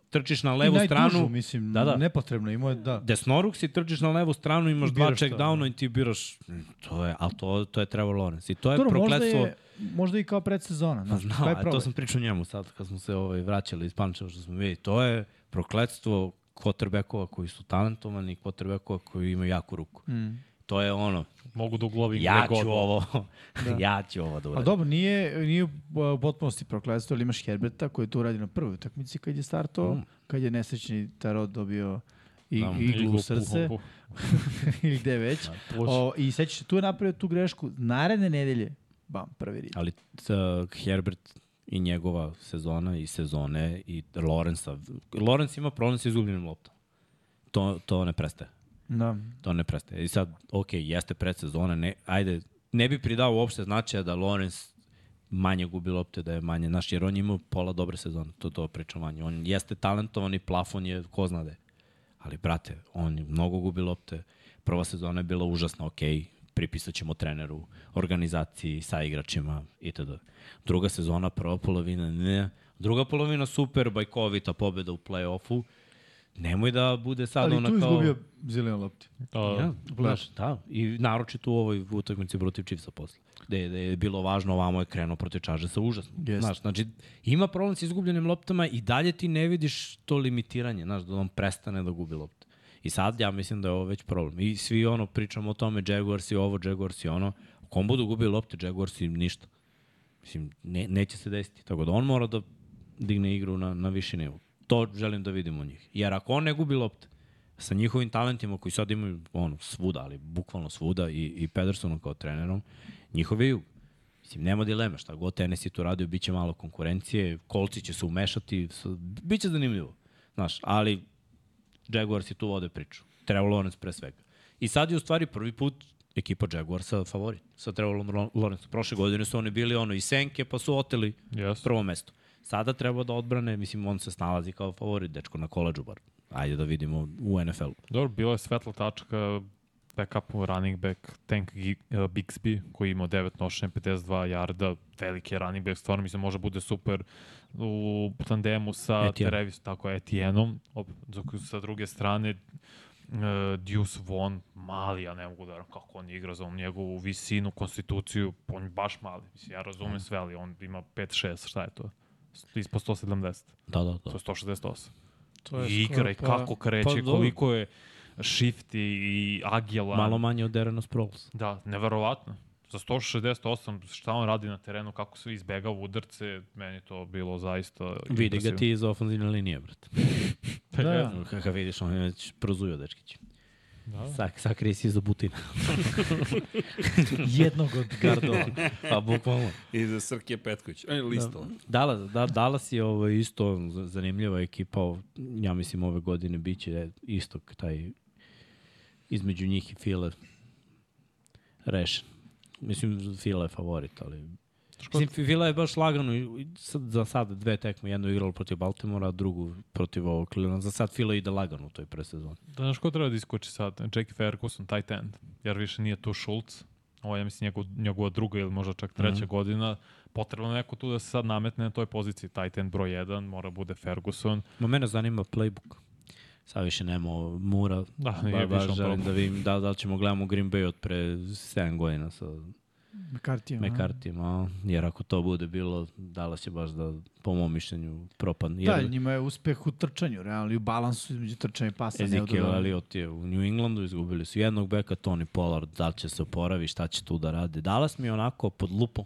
trčiš na levu stranu,
mislim,
Da, da.
nepotrebno. Imao je, da.
desnoruk si, trčiš na levu stranu, imaš
I
dva
biraš da.
check
šta,
downa i ti biraš. mm, To je, ali to, to je Trevor Lawrence. I to je
Dobro, možda,
prokletstvo.
je, možda i kao predsezona.
Pa
Znaš,
znam,
Kaj je
a to
problem?
sam pričao njemu sad kad smo se ovaj, vraćali iz Pančeva što smo vidjeli. To je prokletstvo quarterbackova koji su talentovani i quarterbackova koji imaju jaku ruku.
Mm.
To je ono,
Mogu da uglavim
ja
gde god.
ću ovo, ja ću ovo da
A
uradim.
dobro, nije, nije u potpunosti prokletstvo, ali imaš Herberta koji je to uradio na prvoj utakmici kad je startovao,
Mm.
kad je nesrećni Tarot dobio i,
Da,
iglu
Iglu,
u srce
puh, puh.
ili gde već.
Plus,
O, I sećaš, se, tu je napravio tu grešku. Naredne nedelje, bam, prvi rid.
Ali uh, Herbert i njegova sezona i sezone i Lorenza. Lorenz ima problem sa izgubljenim loptom. To, to ne prestaje.
Da.
To ne prestaje. I sad, ok, jeste predsezona, ne, ajde, ne bi pridao uopšte značaja da Lorenz manje gubi lopte, da je manje, znaš, jer on ima pola dobre sezone, to to pričam manje. On jeste talentovan i plafon je, ko zna da je. Ali, brate, on je mnogo gubi lopte. Prva sezona je bila užasna, ok, pripisat ćemo treneru, organizaciji, sa igračima, itd. Druga sezona, prva polovina, ne. Druga polovina super, bajkovita pobjeda u play-offu. Nemoj da bude sad
Ali
ona
tu
kao...
izgubio zelenu loptu.
a,
Ja,
u
znaš, da. I naročito u ovoj utakmici protiv Chiefsa posle. Da je, da je bilo važno, ovamo je krenuo protiv Chargersa sa užasno.
Jeste.
Znaš, znači, ima problem sa izgubljenim loptama i dalje ti ne vidiš to limitiranje, znaš, da on prestane da gubi lopte. I sad ja mislim da je ovo već problem. I svi ono pričamo o tome, Jaguars i ovo, Jaguars i ono. Ako on budu gubili lopte, Jaguars i ništa. Mislim, ne, neće se desiti. Tako da on mora da digne igru na, na viši nivo. To želim da vidim u njih. Jer ako on ne gubi lopte, sa njihovim talentima koji sad imaju ono, svuda, ali bukvalno svuda i, i Pedersonom kao trenerom, njihov je jug. Mislim, nema dileme, šta god tenis je tu radio, bit će malo konkurencije, kolci će se umešati, s- bit će zanimljivo. Znaš, ali Jaguars je tu vode priču. Trevor Lawrence pre svega. I sad je u stvari prvi put ekipa Jaguarsa favorit sa Trevor Lawrence. Prošle godine su oni bili ono i senke, pa su oteli
Jes.
prvo mesto. Sada treba da odbrane, mislim, on se snalazi kao favorit, dečko na koleđu bar. Ajde da vidimo u NFL-u.
Dobro, bila je svetla tačka backupu running back Tank Gi- eh, Bixby koji je imao 9 nošenja, 52 jarda, veliki je running back, stvarno mislim da može bude super u tandemu sa
Etienne.
Travis, tako Etienom, op, dok sa druge strane uh, Deuce Vaughn, mali, ja ne mogu da verujem kako on igra za onu njegovu visinu, konstituciju, on je baš mali, mislim, ja razumem sve, ali on ima 5-6, šta je to? Ispod 170,
Da, da, da.
to je 168.
To
I igra i kako
pa
kreće,
dobro.
koliko je shifty i agilan.
Malo manje od Derena Sproles.
Da, neverovatno. Za 168, šta on radi na terenu, kako se izbegava udarce, meni je to bilo zaista
Vidi ga
impresivno.
ti iz ofenzivne linije, brate.
Pa
Da.
Kaka vidiš, on je već prozujao, dečkić.
Da.
Sak, sakrije si iza butina.
Jednog od
Gardova. Pa bukvalno.
I za Srke Petković. E, listo.
Dallas, da, Dallas je ovo isto z- zanimljiva ekipa. o- Ja mislim ove godine biće isto k- taj između njih i File rešen. Mislim, Fila je favorit, ali... Mislim, Fila je baš lagano i- i sad, za sad dve tekme. Jednu igralo protiv Baltimora, a drugu protiv ovog Cleveland. Za sad Fila ide lagano u toj presezoni.
Da, znaš ko treba da iskoči sad? Jackie Ferguson, tight end. Jer više nije tu Schultz. Ovo je, ja mislim, njegov, njegova druga ili možda čak treća
Mhm.
mm. godina. Potrebno je neko tu da se sad nametne na toj poziciji. Tight end broj 1 mora bude Ferguson.
Ma mene zanima playbook. Sad više nema ovo Mura.
Da,
Ba,
nije
ba,
više on
želim
problem.
da vidim da, da li ćemo gledamo Green Bay od pre 7 godina sa
McCarthy.
McCarthy, ma, jer ako to bude bilo, dala će baš da, po mom mišljenju, propan.
Da,
Jer
njima je uspeh u trčanju, realno, i u balansu između trčanja i pasa.
Ezekiel
neodobrano.
Elliott je u New Englandu, izgubili su jednog beka, Tony Pollard, da li će se oporavi, šta će tu da rade. Dallas mi je onako pod lupom.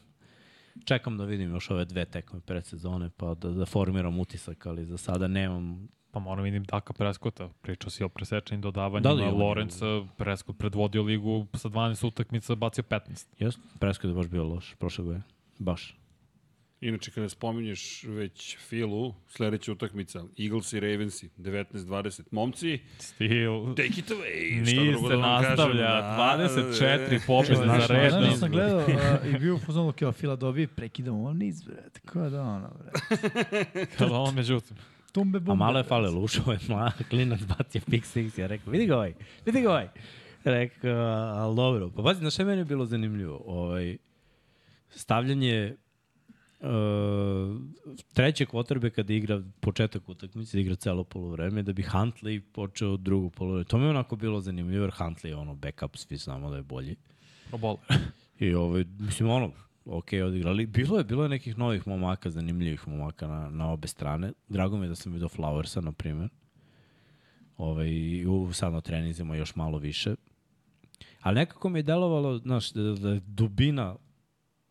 Čekam da vidim još ove dve tekme predsezone, pa da, da formiram utisak, ali za sada nemam
Pa moram vidim Daka Preskota, pričao si o presečnim
Da
dodavanjima,
li
da
je on-
Lorenca, Preskot predvodio ligu sa 12 utakmica, bacio 15.
Jeste, Prescott je baš bio loš prošle godine. Baš.
Inače, kada spominješ već Filu, sledeća utakmica, Eagles i Ravensi, 19-20. Momci,
Stil.
take it away. Šta
Niz
drugo
se
da vam kažem?
nastavlja,
Da,
24 pobjede
Znaš,
za
znaš, znaš,
redom.
sam gledao uh, i bio u fazonu kao Fila da dobije, prekidam ovom niz, brate. Ko da ono, brate.
Kada on međutim.
Tumbe bumbe.
A malo je
brate.
falilo, ušao je mlad klinac, bacio pick six, ja rekao, vidi ga ovaj, vidi ga ovaj. Rekao, ali dobro. Pa pazi, znaš šta je meni bilo zanimljivo? Ovaj, stavljanje uh, trećeg kvotrbe kada da igra početak utakmice, da igra celo polovreme, da bi Huntley počeo drugo polovreme. To mi je onako bilo zanimljivo, jer Huntley je ono backup, svi znamo da je bolji.
Probol.
I ovaj, mislim, ono, ok, odigrali. Bilo je, bilo je nekih novih momaka, zanimljivih momaka na, na obe strane. Drago mi je da sam vidio Flowersa, na primjer. Ovaj, i u sad na trenizima još malo više. Ali nekako mi je delovalo, znaš, da, da je dubina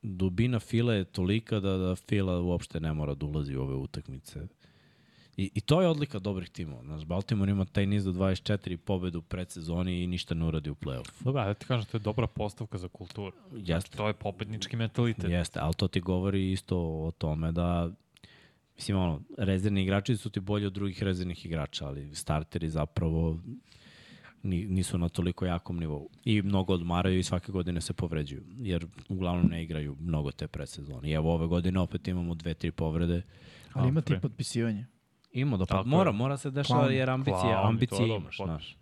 dubina fila je tolika da, da fila uopšte ne mora da ulazi u ove utakmice. I, I to je odlika dobrih timova. Znaš, Baltimore ima taj niz do 24 pobedu u predsezoni i ništa ne uradi u play-off.
Dobra, da ti kažem, to je dobra postavka za kulturu. Znači,
Jeste.
To je pobednički mentalitet.
Jeste, ali to ti govori isto o tome da mislim ono, rezervni igrači su ti bolji od drugih rezervnih igrača, ali starteri zapravo ni- nisu na toliko jakom nivou. I mnogo odmaraju i svake godine se povređuju, jer uglavnom ne igraju mnogo te predsezone. I evo ove godine opet imamo dve, tri povrede.
Ali ima ti
Alfred.
potpisivanje.
Ima da pa,
Tako je.
mora, mora se dešava
Clown.
jer ambicije,
Clown, to
ambicije
je dobro,
imaš,
potpuno.
znaš.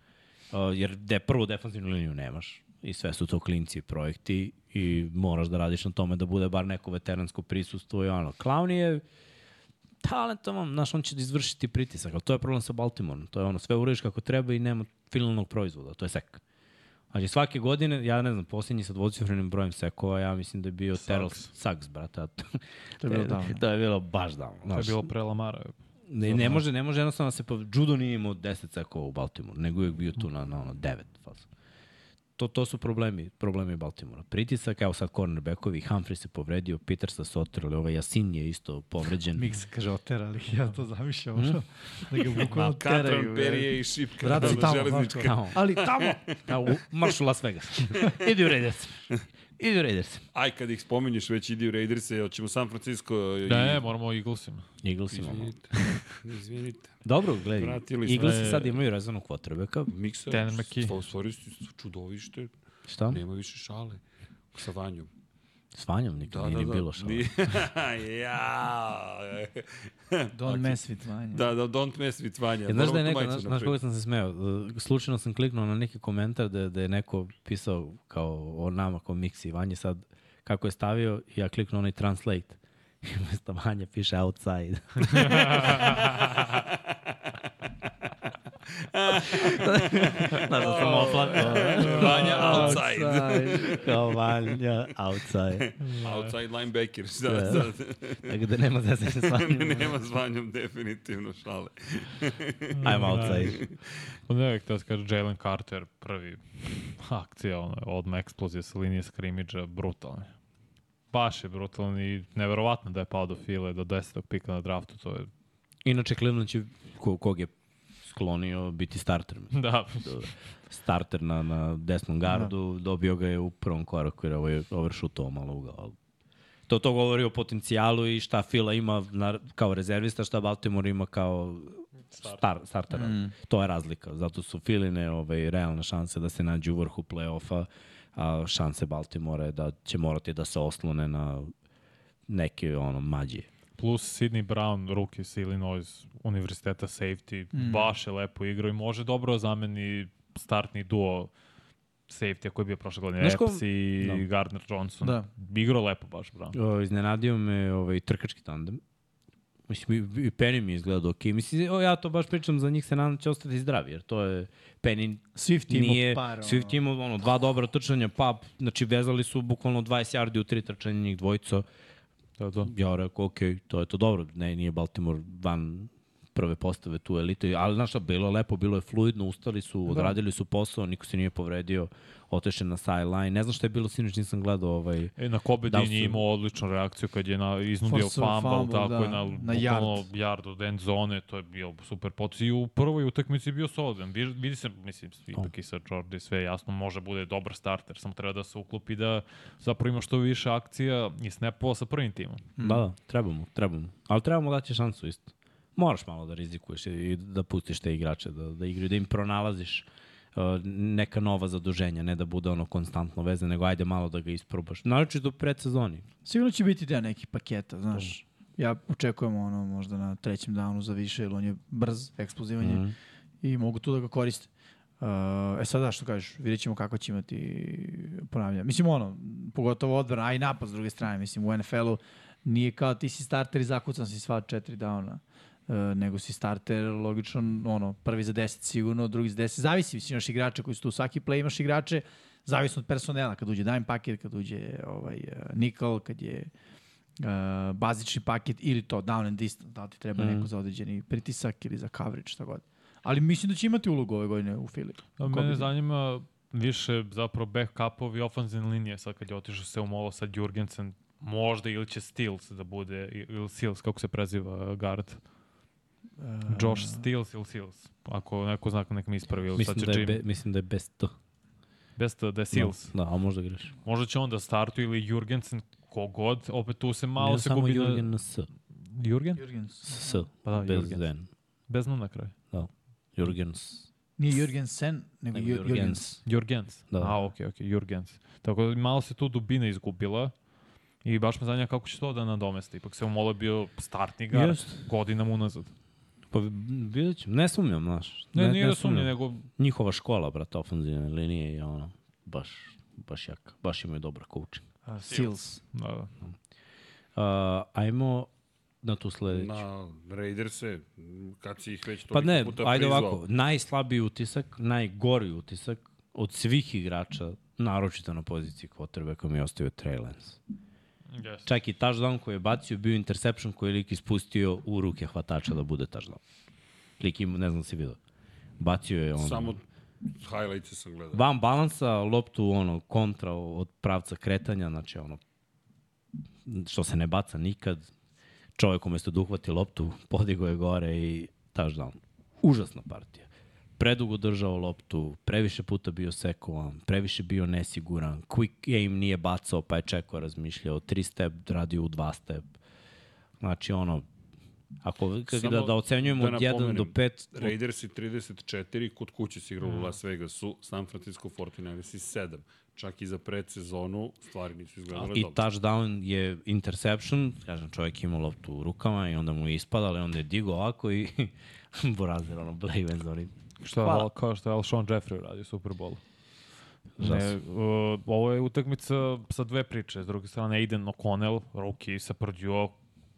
Uh, jer de, prvo defensivnu liniju nemaš i sve su to klinci i projekti i moraš da radiš na tome da bude bar neko veteransko prisustvo i ono. Clown je talentovan, znaš, on će da izvršiti pritisak, ali to je problem sa Baltimoreom. To je ono, sve uradiš kako treba i nema finalnog proizvoda, to je sek. Znači, svake godine, ja ne znam, posljednji sa dvocifrenim brojem sekova, ja mislim da je bio Terrell Suggs, brate. a To,
To je bilo davno.
to je bilo baš davno.
To je
znaš.
bilo pre Lamara.
Ne, ne može, ne može jednostavno da se pa judo nije imao 10 sekova u Baltimore, nego je uvijek bio tu na na ono 9 faza. To to su problemi, problemi Baltimora. Pritisak, evo sad cornerbackovi, Humphrey se povredio, Peters se otrli, ovaj Jasin je isto povređen.
Mix kaže oterali, ja to zamišljam. Mm. Da ga bukvalno teraju.
Katran, Perije i Šipka.
Vrat si
da,
tamo,
železnička.
znaš kao.
Tamo.
Ali tamo,
A, u, marš u Las Vegas. Idi u Raiders. Idi u Raiders.
Aj, kad ih spominješ, već idi u Raiderse, hoćemo San Francisco. i-
Da, ne, moramo o Eaglesima.
Eagles imamo.
Izvinite, izvinite.
Dobro, gledaj.
Vratili smo.
Eaglesi sad imaju razvanu kvotrbeka.
Miksa,
Tanner McKee.
stvari su čudovište,
Šta?
nema više šale sa vanjom.
S Vanjom nikad da, nije da, bilo šta.
Nije- ja.
Don Mesvit manje.
Da, da, don't mess with Vanja.
Ja, znaš da je
Moramo
neko,
tu
znaš,
majicu
znaš koga sam se smeo, Uh, slučajno sam kliknuo na neki komentar da, je- da je neko pisao kao o nama, kao Miksi, Vanje sad kako je stavio, ja kliknuo onaj translate. I umesto Vanja piše outside. znaš da sam oplatio.
Oh. Vanja outside.
kao Vanja outside.
Outside linebacker. Da, da.
Tako da nema zase s Vanjom.
Nema s Vanjom definitivno šale.
I'm outside.
Pa Ne, htio se kaže Jalen Carter, prvi akcija, ono, odmah eksplozija sa linije skrimidža, brutalno je. Baš je brutalan i neverovatno da je pao do file, do 10. pika na draftu, to je...
Inače, Cleveland će, ko, kog je sklonio, biti starter. mislim.
Da,
starter na, na desnom gardu, da. dobio ga je u prvom koraku jer ovo je overshootovao malo ugao. ali To to govori o potencijalu i šta Fila ima na, kao rezervista, šta Baltimore ima kao star, startera. Mm. To je razlika. Zato su Filine ovaj, realne šanse da se nađu u vrhu play-offa, a šanse Baltimore je da će morati da se oslone na neke ono, mađije.
plus Sidney Brown, ruki sa Illinois univerziteta safety,
Mhm.
baš je lepo igrao i može dobro da zameni startni duo safety koji je bio prošle godine,
Znaš ko-
Epps i
Da.
Gardner Johnson.
Da.
Igrao lepo baš Brown.
O, iznenadio me ovaj, trkački tandem. Mislim, i, i Penny mi je izgledao ok. Mislim, o, ja to baš pričam, za njih se nadam da će ostati zdravi, jer to je Penny
Swift je imao
nije,
par, ono.
Swift je imao ono, dva dobra trčanja, pa, znači vezali su bukvalno 20 yardi u tri trčanja njih dvojica.
Da, da.
Ja rekao, ok, to je to dobro, ne, nije Baltimore van prve postave tu elite, ali znaš šta, bilo je lepo, bilo je fluidno, ustali
Da.
su, odradili su posao, niko se nije povredio, otešen na sideline, ne znam šta je bilo, sinoć nisam gledao ovaj...
E, na Kobedin
Da li su-
je imao odličnu reakciju kad je na, iznudio
Forsao
fumble,
fumble,
tako
da,
je na,
na
na
yard.
yard. yard od end zone, to je bio super potis. I u prvoj utakmici je bio solidan. Vidi, vidi se, mislim, ipak i sa Jordi sve jasno, može bude dobar starter, samo treba da se uklopi da zapravo ima što više akcija i snapova sa prvim timom.
Da, da, trebamo, trebamo. Ali trebamo dati šansu isto. Moraš malo da rizikuješ i- i da pustiš te igrače, da, da igraju, da im pronalaziš uh, neka nova zaduženja, ne da bude ono konstantno vezan, nego ajde malo da ga isprobaš. Naročito u predsezoni.
Sigurno će biti deo nekih paketa, znaš. Ja očekujem ono možda na trećem downu za više, jer on je brz, eksplozivan je
Mm-hmm.
Mhm.
i mogu tu da ga koriste. Uh, e sad da, što kažeš, vidjet ćemo kako će imati ponavljanje. Mislim ono, pogotovo odbrana, a i napad s druge strane. Mislim, u NFL-u nije kao ti si starter i zakucan si sva četiri downa. Uh, nego si starter, logično, ono, prvi za 10 sigurno, drugi za 10. Zavisi, mislim, imaš igrače koji su tu, svaki play imaš igrače, zavisno od personela, kad uđe dime paket, kad uđe ovaj, uh, nickel, kad je uh, bazični paket ili to down and distance, da li ti treba mm. neko za određeni pritisak ili za coverage, šta god. Ali mislim da će imati ulogu ove godine u Fili.
A mene zanima više zapravo backupovi ofanzivne linije sad kad je otišao se umolo sa Jurgensen možda ili će Steels da bude i- ili Seals kako se preziva guard
E,
Josh Steels ili Seals ako neko zna nek mi ispravi ili sad
Mislim
će
da, je
Jim
be,
be...
mislim da je bez to.
best da je да,
Да.
Seals
Da, a možda greš.
možda će on da startuje ili Jurgensen kogod opet tu se malo
ne
se
samo
gubi
Jurgen
na...
na S.
Jurgen?
Jurgens.
S.
Pa da,
bez
Jurgen.
N.
Bez N na kraju
Jurgen S.
Nije Jurgensen, nego
Nego
Jur-
Jurgens.
Jurgens.
Jurgens.
Da.
A, okej, okej, Jurgens. Tako da malo se tu dubina izgubila i baš me zanima kako će to da nadomesti. Ipak se umolo bio startni gar
Jest.
godinama unazad.
Pa vidjet ćemo. Ne sumnjam, znaš.
Ne, nije da sumnje, nego
Njihova škola, brate, ofenzivne linije je ono, baš, baš jaka. Baš imaju dobar coaching.
Uh, Seals.
da, da.
Uh, ajmo na tu sledeću.
Na Raiders-e, kad si ih već
pa
toliko
ne,
puta
ajde
prizvao.
ovako, najslabiji utisak, najgori utisak od svih igrača, naročito na poziciji quarterbacka mi je ostavio Trey Lance.
Yes.
Čak i touchdown koji je bacio je bio interception koji je lik ispustio u ruke hvatača da bude touchdown. Lik ima, ne znam da si vidio. Bacio je ono...
Samo highlights sam gledao.
van balansa, loptu ono, kontra od pravca kretanja, znači ono, što se ne baca nikad. Čovjek umesto da uhvati loptu, podigo je gore i touchdown. Užasna partija. Predugo držao loptu, previše puta bio sekovan, previše bio nesiguran, quick game nije bacao pa je čekao razmišljao, tri step radio u dva step. Znači ono, ako kako
Samo
da, da ocenjujemo
da
od 1 do
napomenem,
5,
Raiders i 34, kod kuće se
Mm.
igralo u Las Vegasu, San Francisco 49ers i 7. Čak i za predsezonu stvari nisu izgledale
I
dobro.
touchdown je interception, kažem, čovjek ima loptu u rukama i onda mu je ispadala i onda je digo ovako i Borazer, ono, Blake Benzori.
Što je, Al- kao što je Alshon Jeffrey radio u Superbolu. Ne, uh, ovo je utakmica sa dve priče. S druge strane, Aiden O'Connell, rookie sa Purdue,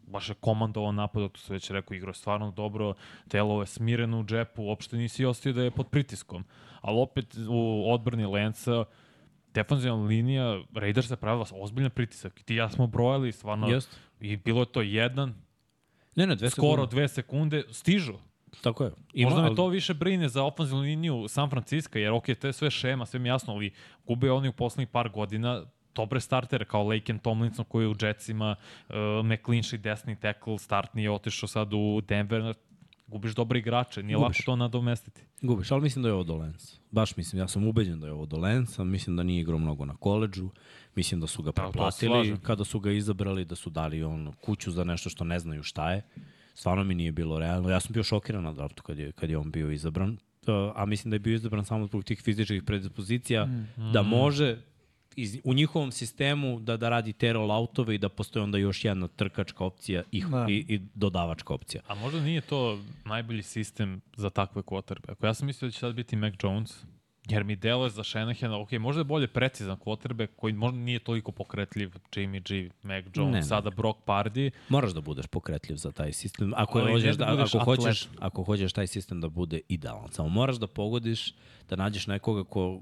baš je komandovao napad, to se već rekao, igrao je stvarno dobro, telo je smireno u džepu, uopšte nisi ostio da je pod pritiskom. Ali opet u odbrani Lenca, defanzivna linija, Raiders je pravila ozbiljan pritisak. I ti i ja smo brojali, stvarno,
Jeste.
i bilo je to jedan,
Ne, ne, dve
skoro
sekunde.
dve sekunde, stižu.
Tako je.
I Možda
ali-
me to više brine za ofenzivnu liniju San Francisco, jer ok, to je sve šema, sve mi je jasno, ali gube oni u poslednjih par godina dobre startere kao Laken Tomlinson koji je u Jetsima, uh, McClinchy desni tackle, startni je otišao sad u Denver, gubiš dobre igrače, nije
Gubiš.
lako to nadomestiti.
Gubiš, ali mislim da je ovo do Lensa. Baš mislim, ja sam ubeđen da je ovo do Lensa, mislim da nije igrao mnogo na koleđu, mislim da su ga
Da, to se
preplatili
slažem.
kada su ga izabrali, da su dali on kuću za nešto što ne znaju šta je. Stvarno mi nije bilo realno. Ja sam bio šokiran na draftu kad je, kad je on bio izabran, Uh, a mislim da je bio izabran samo zbog tih fizičkih predispozicija,
Mhm.
da može iz, u njihovom sistemu da, da radi te rolloutove i da postoji onda još jedna trkačka opcija i,
Da.
i, i dodavačka opcija.
A možda nije to najbolji sistem za takve quarterbacke. Ja sam mislio da će sad biti Mac Jones, jer mi deluje za Shanahana, ok, možda je bolje precizan quarterback koji možda nije toliko pokretljiv, Jimmy G, Mac Jones,
Ne, ne.
sada Brock Pardy,
Moraš da budeš pokretljiv za taj sistem. Ako
Ali
je
ne
hoćeš
da
da,
budeš
ako
atlet.
hoćeš, ako hoćeš taj sistem da bude idealan, samo moraš da pogodiš da nađeš nekoga ko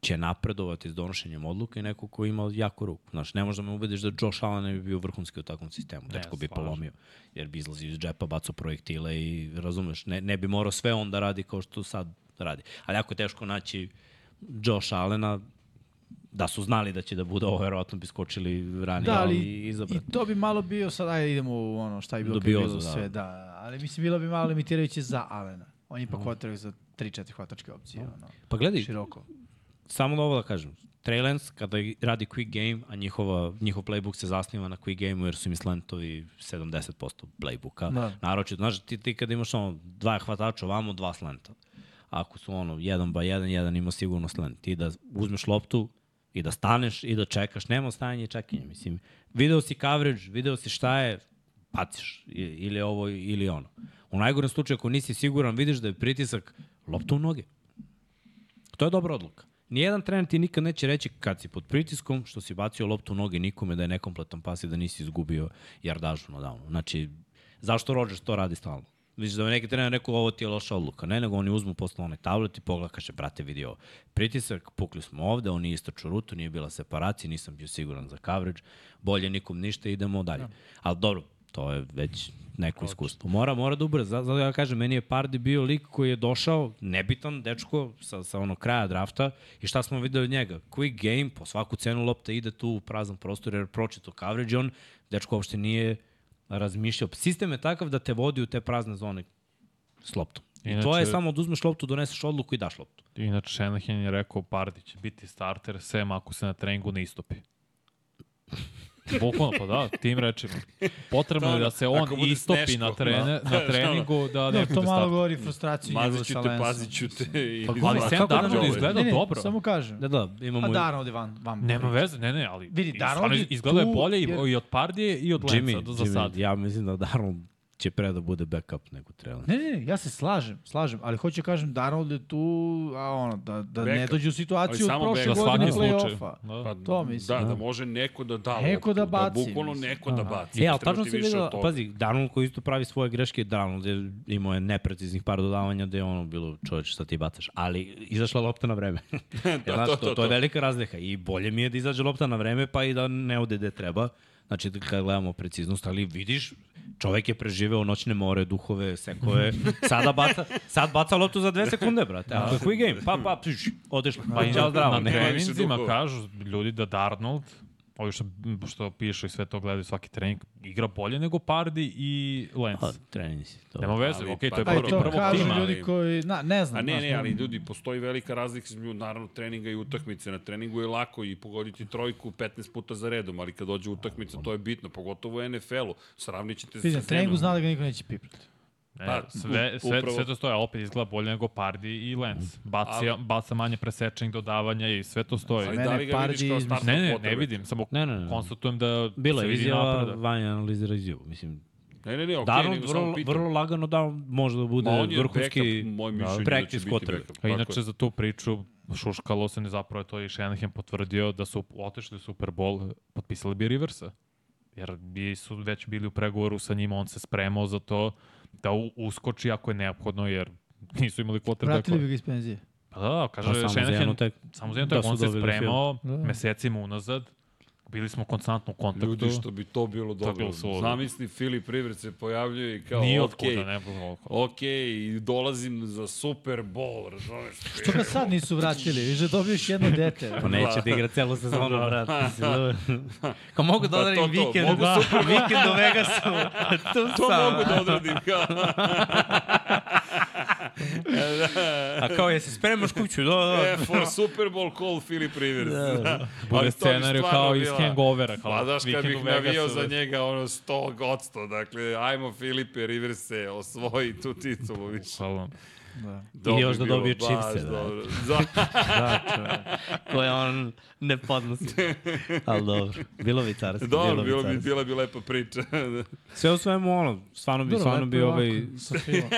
će napredovati s donošenjem odluka i neko ko ima jako ruku. Znaš, ne možda me ubediš da Josh Allen ne bi bio vrhunski u takvom sistemu. Dečko bi
slažem.
polomio, jer bi izlazio iz džepa, bacao projektile i razumeš, ne, ne bi morao sve on da radi kao što sad radi. Ali jako je teško naći Josh Allena, da su znali da će da bude ovo, verovatno bi skočili ranije
Da, ali
i izabrati.
i to bi malo bio, sad ajde idemo u ono šta je bilo kad je
Dubioza,
bilo
da.
sve, da. Ali mislim, bilo bi malo limitirajuće za Alena. On je ipak
Mhm.
hvatak za 3-4 hvatačke opcije, ono,
Pa gledaj,
široko.
samo da ovo da kažem. Trey Lance kada radi quick game, a njihova, njihov playbook se zasniva na quick game-u jer su im slantovi 70% playbooka.
Da.
Da. Naročito, znaš, ti, ti kada imaš ono, dva hvatača ovamo, dva slanta. Ako su ono, jedan ba jedan, jedan ima sigurno slant. Ti da uzmeš loptu i da staneš i da čekaš. Nema stajanja i čekanja, mislim. Video si coverage, video si šta je, baciš. I- Ili ovo, ili ono. U najgorem slučaju, ako nisi siguran, vidiš da je pritisak lopta u noge. To je dobra odluka. Nijedan trener ti nikad neće reći kad si pod pritiskom, što si bacio loptu u noge nikome da je nekompletan pas i da nisi izgubio jardažu na downu. Znači, zašto Rodgers to radi stalno? Vidiš da je neki trener rekao ovo ti je loša odluka. Ne, nego oni uzmu posle onaj tablet i pogleda kaže, e, brate, vidi ovo. Pritisak, pukli smo ovde, on nije istračao rutu, nije bila separacija, nisam bio siguran za coverage, bolje nikom ništa, idemo dalje. Ali dobro, to je već neko iskustvo. Mora, mora da ubrza. Zato ja kažem, meni je Pardi bio lik koji je došao, nebitan dečko sa, sa ono kraja drafta i šta smo videli od njega? Quick game, po svaku cenu lopta ide tu u prazan prostor jer pročito coverage, i on dečko uopšte nije razmišljao. Sistem je takav da te vodi u te prazne zone s loptom. I to
Inače-
je samo da uzmeš loptu, doneseš odluku i daš loptu.
Inače, Shanahan je rekao, Pardi će biti starter, sem ako se na treningu ne istopi. Bukvalno, pa da, tim rečima. Potrebno je da se on
Ako bude
istopi
sneško,
na, trene,
da.
na treningu
Da,
da ne
to malo
bude starter.
govori frustraciju njegovu
Mazit
sa
ću te,
Lensom.
pazit ću te. i-
Pa gledaj,
Pa,
Sam
kako
Darnold
da ne-
izgleda
Ne, ne,
dobro.
samo kažem.
Da, da, imamo...
Pa
i-
Darnold je van, van.
Nema veze, ne, ne, ali
Vidi,
i
Darnold
stvarno
je
izgleda je
tu,
bolje
jer-
i, i od Pardije i od Lenca
Jimmy,
do za
Jimmy,
sad.
ja mislim da Darnold će pre da bude backup nego Trelance.
Ne, ne, ne, ja se slažem, slažem, ali hoću da kažem Darnold je tu, a ono, da, da ne
Backup.
dođe u situaciju
Ali
od
samo
prošle
Za
backup.
godine
svaki slučaj.
play-offa.
Da.
to mislim,
Da, da
da.
može neko da da
Neko
loptu,
da baci,
Da bukvalno
mislim.
neko da baci.
E, ali
Ne treba
tačno
ti
se
više
vidjela,
od toga.
pazi, Darnold koji isto pravi svoje greške, Darnold je imao je nepreciznih par dodavanja gde je ono bilo čoveče šta ti bacaš, ali izašla lopta na vreme. da, znaš, to, to, to, je velika razlika i bolje mi je da izađe lopta na vreme pa i da ne ode gde treba. Znači, kad gledamo preciznost, ali vidiš, čovek je preživeo noćne more, duhove, sekove, sada baca, sad baca loptu za dve sekunde, brate. Ako je quick game, pa, pa, pš, odešla,
Pa
pa,
i
ćao, zdravo.
na, na
ne.
nema više
treninzima
duhova.
kažu ljudi da Darnold, ovi što, što pišu i sve to gledaju svaki trening, igra bolje nego Pardi i Lenz.
Pa, trening si. to.
Nema veze,
ali-
okej, to je
pa
Pa i
dobro,
prvi
to
prvog
kažu
tima.
ljudi
ali-
koji, na, ne znam.
A ne,
znaš,
ne, ali ljudi, postoji velika razlika između naravno treninga i utakmice. Na treningu je lako i pogoditi trojku 15 puta za redom, ali kad dođe utakmica to je bitno, pogotovo u NFL-u. Sravnit ćete se
Vidi,
sa
na
Semenom.
treningu zna da ga niko neće pipati.
Ne,
Pa,
E, sve,
u-
sve,
upravo. Mm.
sve to stoje, ali opet izgleda bolje nego Pardi i Lenz. Baci,
Ali-
baca manje presečnih dodavanja i sve to
Ali
stoje.
da
Mene
li ga
Pardi
vidiš kao
izmišlja-
startnog
Ne, ne, ne
quarterbacka?
vidim, samo
Ne, ne, ne.
konstatujem da
Bila
se
je
vidi
izjava,
napredak.
Vanja analizira izjavu. Mislim,
Ne, ne, ne, okej,
Darnold
nego
vrlo,
samo pitam.
vrlo lagano da može da bude
Ma on je
vrhunski
backup, moje mišljenje da će
practice
biti
quarterback.
backup.
A
Tako
Pa inače,
je.
za tu priču šuškalo se, ne zapravo je to i Shanahan potvrdio da su otešli u Super Bowl, potpisali bi Riversa. Jer bi su već bili u pregovoru sa njima, on se spremao za to da u, uskoči ako je neophodno, jer nisu imali
Vratili
quarterbacka.
bi ga iz penzije.
Pa da,
Pa
kaže
samo
pa,
za jednu
Shanahan,
tek.
samo za jedno
da
tako,
su
on se
dobili
spremao
Da.
mesecima unazad, bili smo konstantno u kontaktu.
Ljudi, što bi to bilo
je
dobro.
bilo suludo.
Zamisli, Filip Rivert se pojavljuje i kao,
Nije
okej,
otkuda, ne bilo
ok, dolazim za Super Bowl, razumeš?
Što ga sad nisu vratili? Viš da dobiješ jedno dete.
Pa neće da igra celu sezonu, brat. mislim, dobro. Kao mogu
Pa
da
to,
odradim
to,
vikend,
mogu
da, vikend u Vegasu. tu
To
sam.
mogu da odradim, kao.
A kao, jesi spremaš kuću? Da,
E,
da.
for Super Bowl call Filip Rivers. Da.
Bude scenariju kao Pa iz Hangovera. Kao
Pa daš kad
vikend u
bih navio
Vegasu.
za njega ono 100 od 100, dakle, ajmo Filipe Riverse, osvoji tu titulu više.
Bukvalno.
Da.
Dobro
još da
bi bilo,
dobije
baš
čipse, da.
dobro. Za,
Koje on ne podnosi. Ali dobro, bilo bi carski.
dobro, bilo bi,
carski.
bila bi lepa priča.
Sve u svemu ono, stvarno bi,
Dobro,
stvarno
lepo
bi
je
ovaj,
ovako, sa filmom.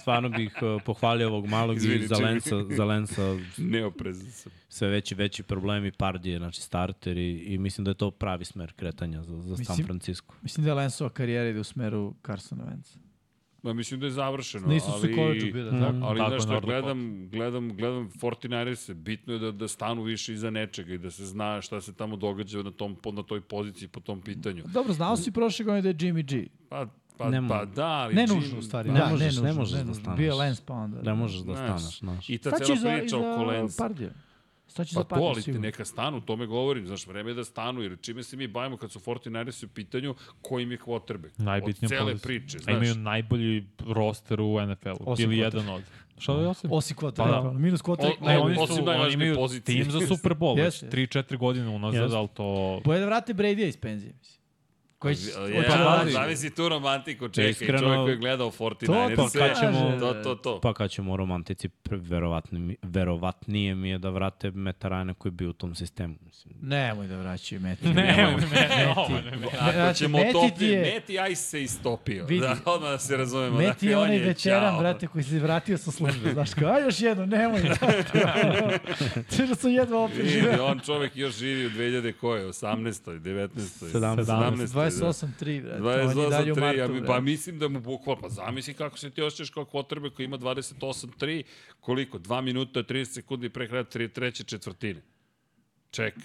stvarno bih uh, pohvalio ovog malog
Izvini,
i za
Jimmy.
Lensa, za Lensa
Neoprezan sam.
sve veći veći problemi Pardije, znači starter i, i mislim da je to pravi smer kretanja za, za San
Mislim-
Francisco.
Mislim da je Lensova karijera ide u smeru Carsona Wentz.
Ma mislim da je završeno,
Na Isusu
ali... Mhm.
Collegeu bio, da, tako?
Ali
Tako,
znaš šta,
Nordic
gledam, gledam, gledam 49ers, bitno je da, da stanu više iza nečega i da se zna šta se tamo događa na, tom, na toj poziciji po tom pitanju.
Dobro, znao si prošle godine da je Jimmy G.
Pa, pa,
Ne mo-
pa da, ali...
Ne
čim-
nužno, u stvari.
Ne
da,
možeš-
ne,
ne
nužno,
možeš da
nužno.
staneš.
Bio je Lance pa onda.
Ne možeš da
znaš.
staneš, znaš.
I ta
Sad će
cela
za, i
priča oko Lensa.
za Pardija. Sad će
Pa
za
to,
Pardija
ali te
sigurno.
neka stanu, o tome govorim, znaš, vreme je da stanu, jer čime se mi bavimo kad su 49ers u pitanju, kojim je quarterback?
Najbitnija
Od cele
pozicija.
priče,
A
znaš.
imaju najbolji roster u NFL-u.
Osim
Ili
kvota.
jedan od. Šta je osim?
Osi kvota,
Pa da.
pa, minus kvota.
O-
Ne,
o-
oni,
osim
su, oni
najvažnije
imaju
pozicije.
tim za Super Bowl, već
Jeste.
3-4 godine unazad,
Jeste.
ali to...
Boje da vrate Brady iz penzije, mislim. Koji će...
Ja,
hoće
pa,
da
da,
radi.
zavisi tu romantiku, čekaj,
Iskreno-
čovjek koji je gledao 49ers.
To, to,
kad ćemo-
To, to, to.
Pa kad ćemo o romantici, pr- verovatni mi- verovatnije mi je da vrate Metarajna koji je bio u tom sistemu. Mislim,
Nemoj da vraćaju Meti.
Ne, ne, ovo ne, ne.
Ako
Znači,
ćemo
Meti
topi,
ti je-
Meti Ice se istopio.
Vidi.
Da, odmah da se razumemo.
Meti je
Dakle, on
onaj večeran,
ćao.
brate, koji se vratio sa službe. Znaš, kao, a još jedno, nemoj. Sve što sam jedva opet
Vidi,
živeo.
on čovek još živi u 2000 koje, 18. 19.
17.,
da. 17.
28-3, brate. On je dalje u
28-3, ja
martu,
mi,
brate.
pa mislim da mu bukval, pa zamisli kako se ti osjećaš kao kvotrbe koji ima 28-3, koliko, 2 minuta, 30 sekundi pre kraja tre, treće četvrtine. Čekaj.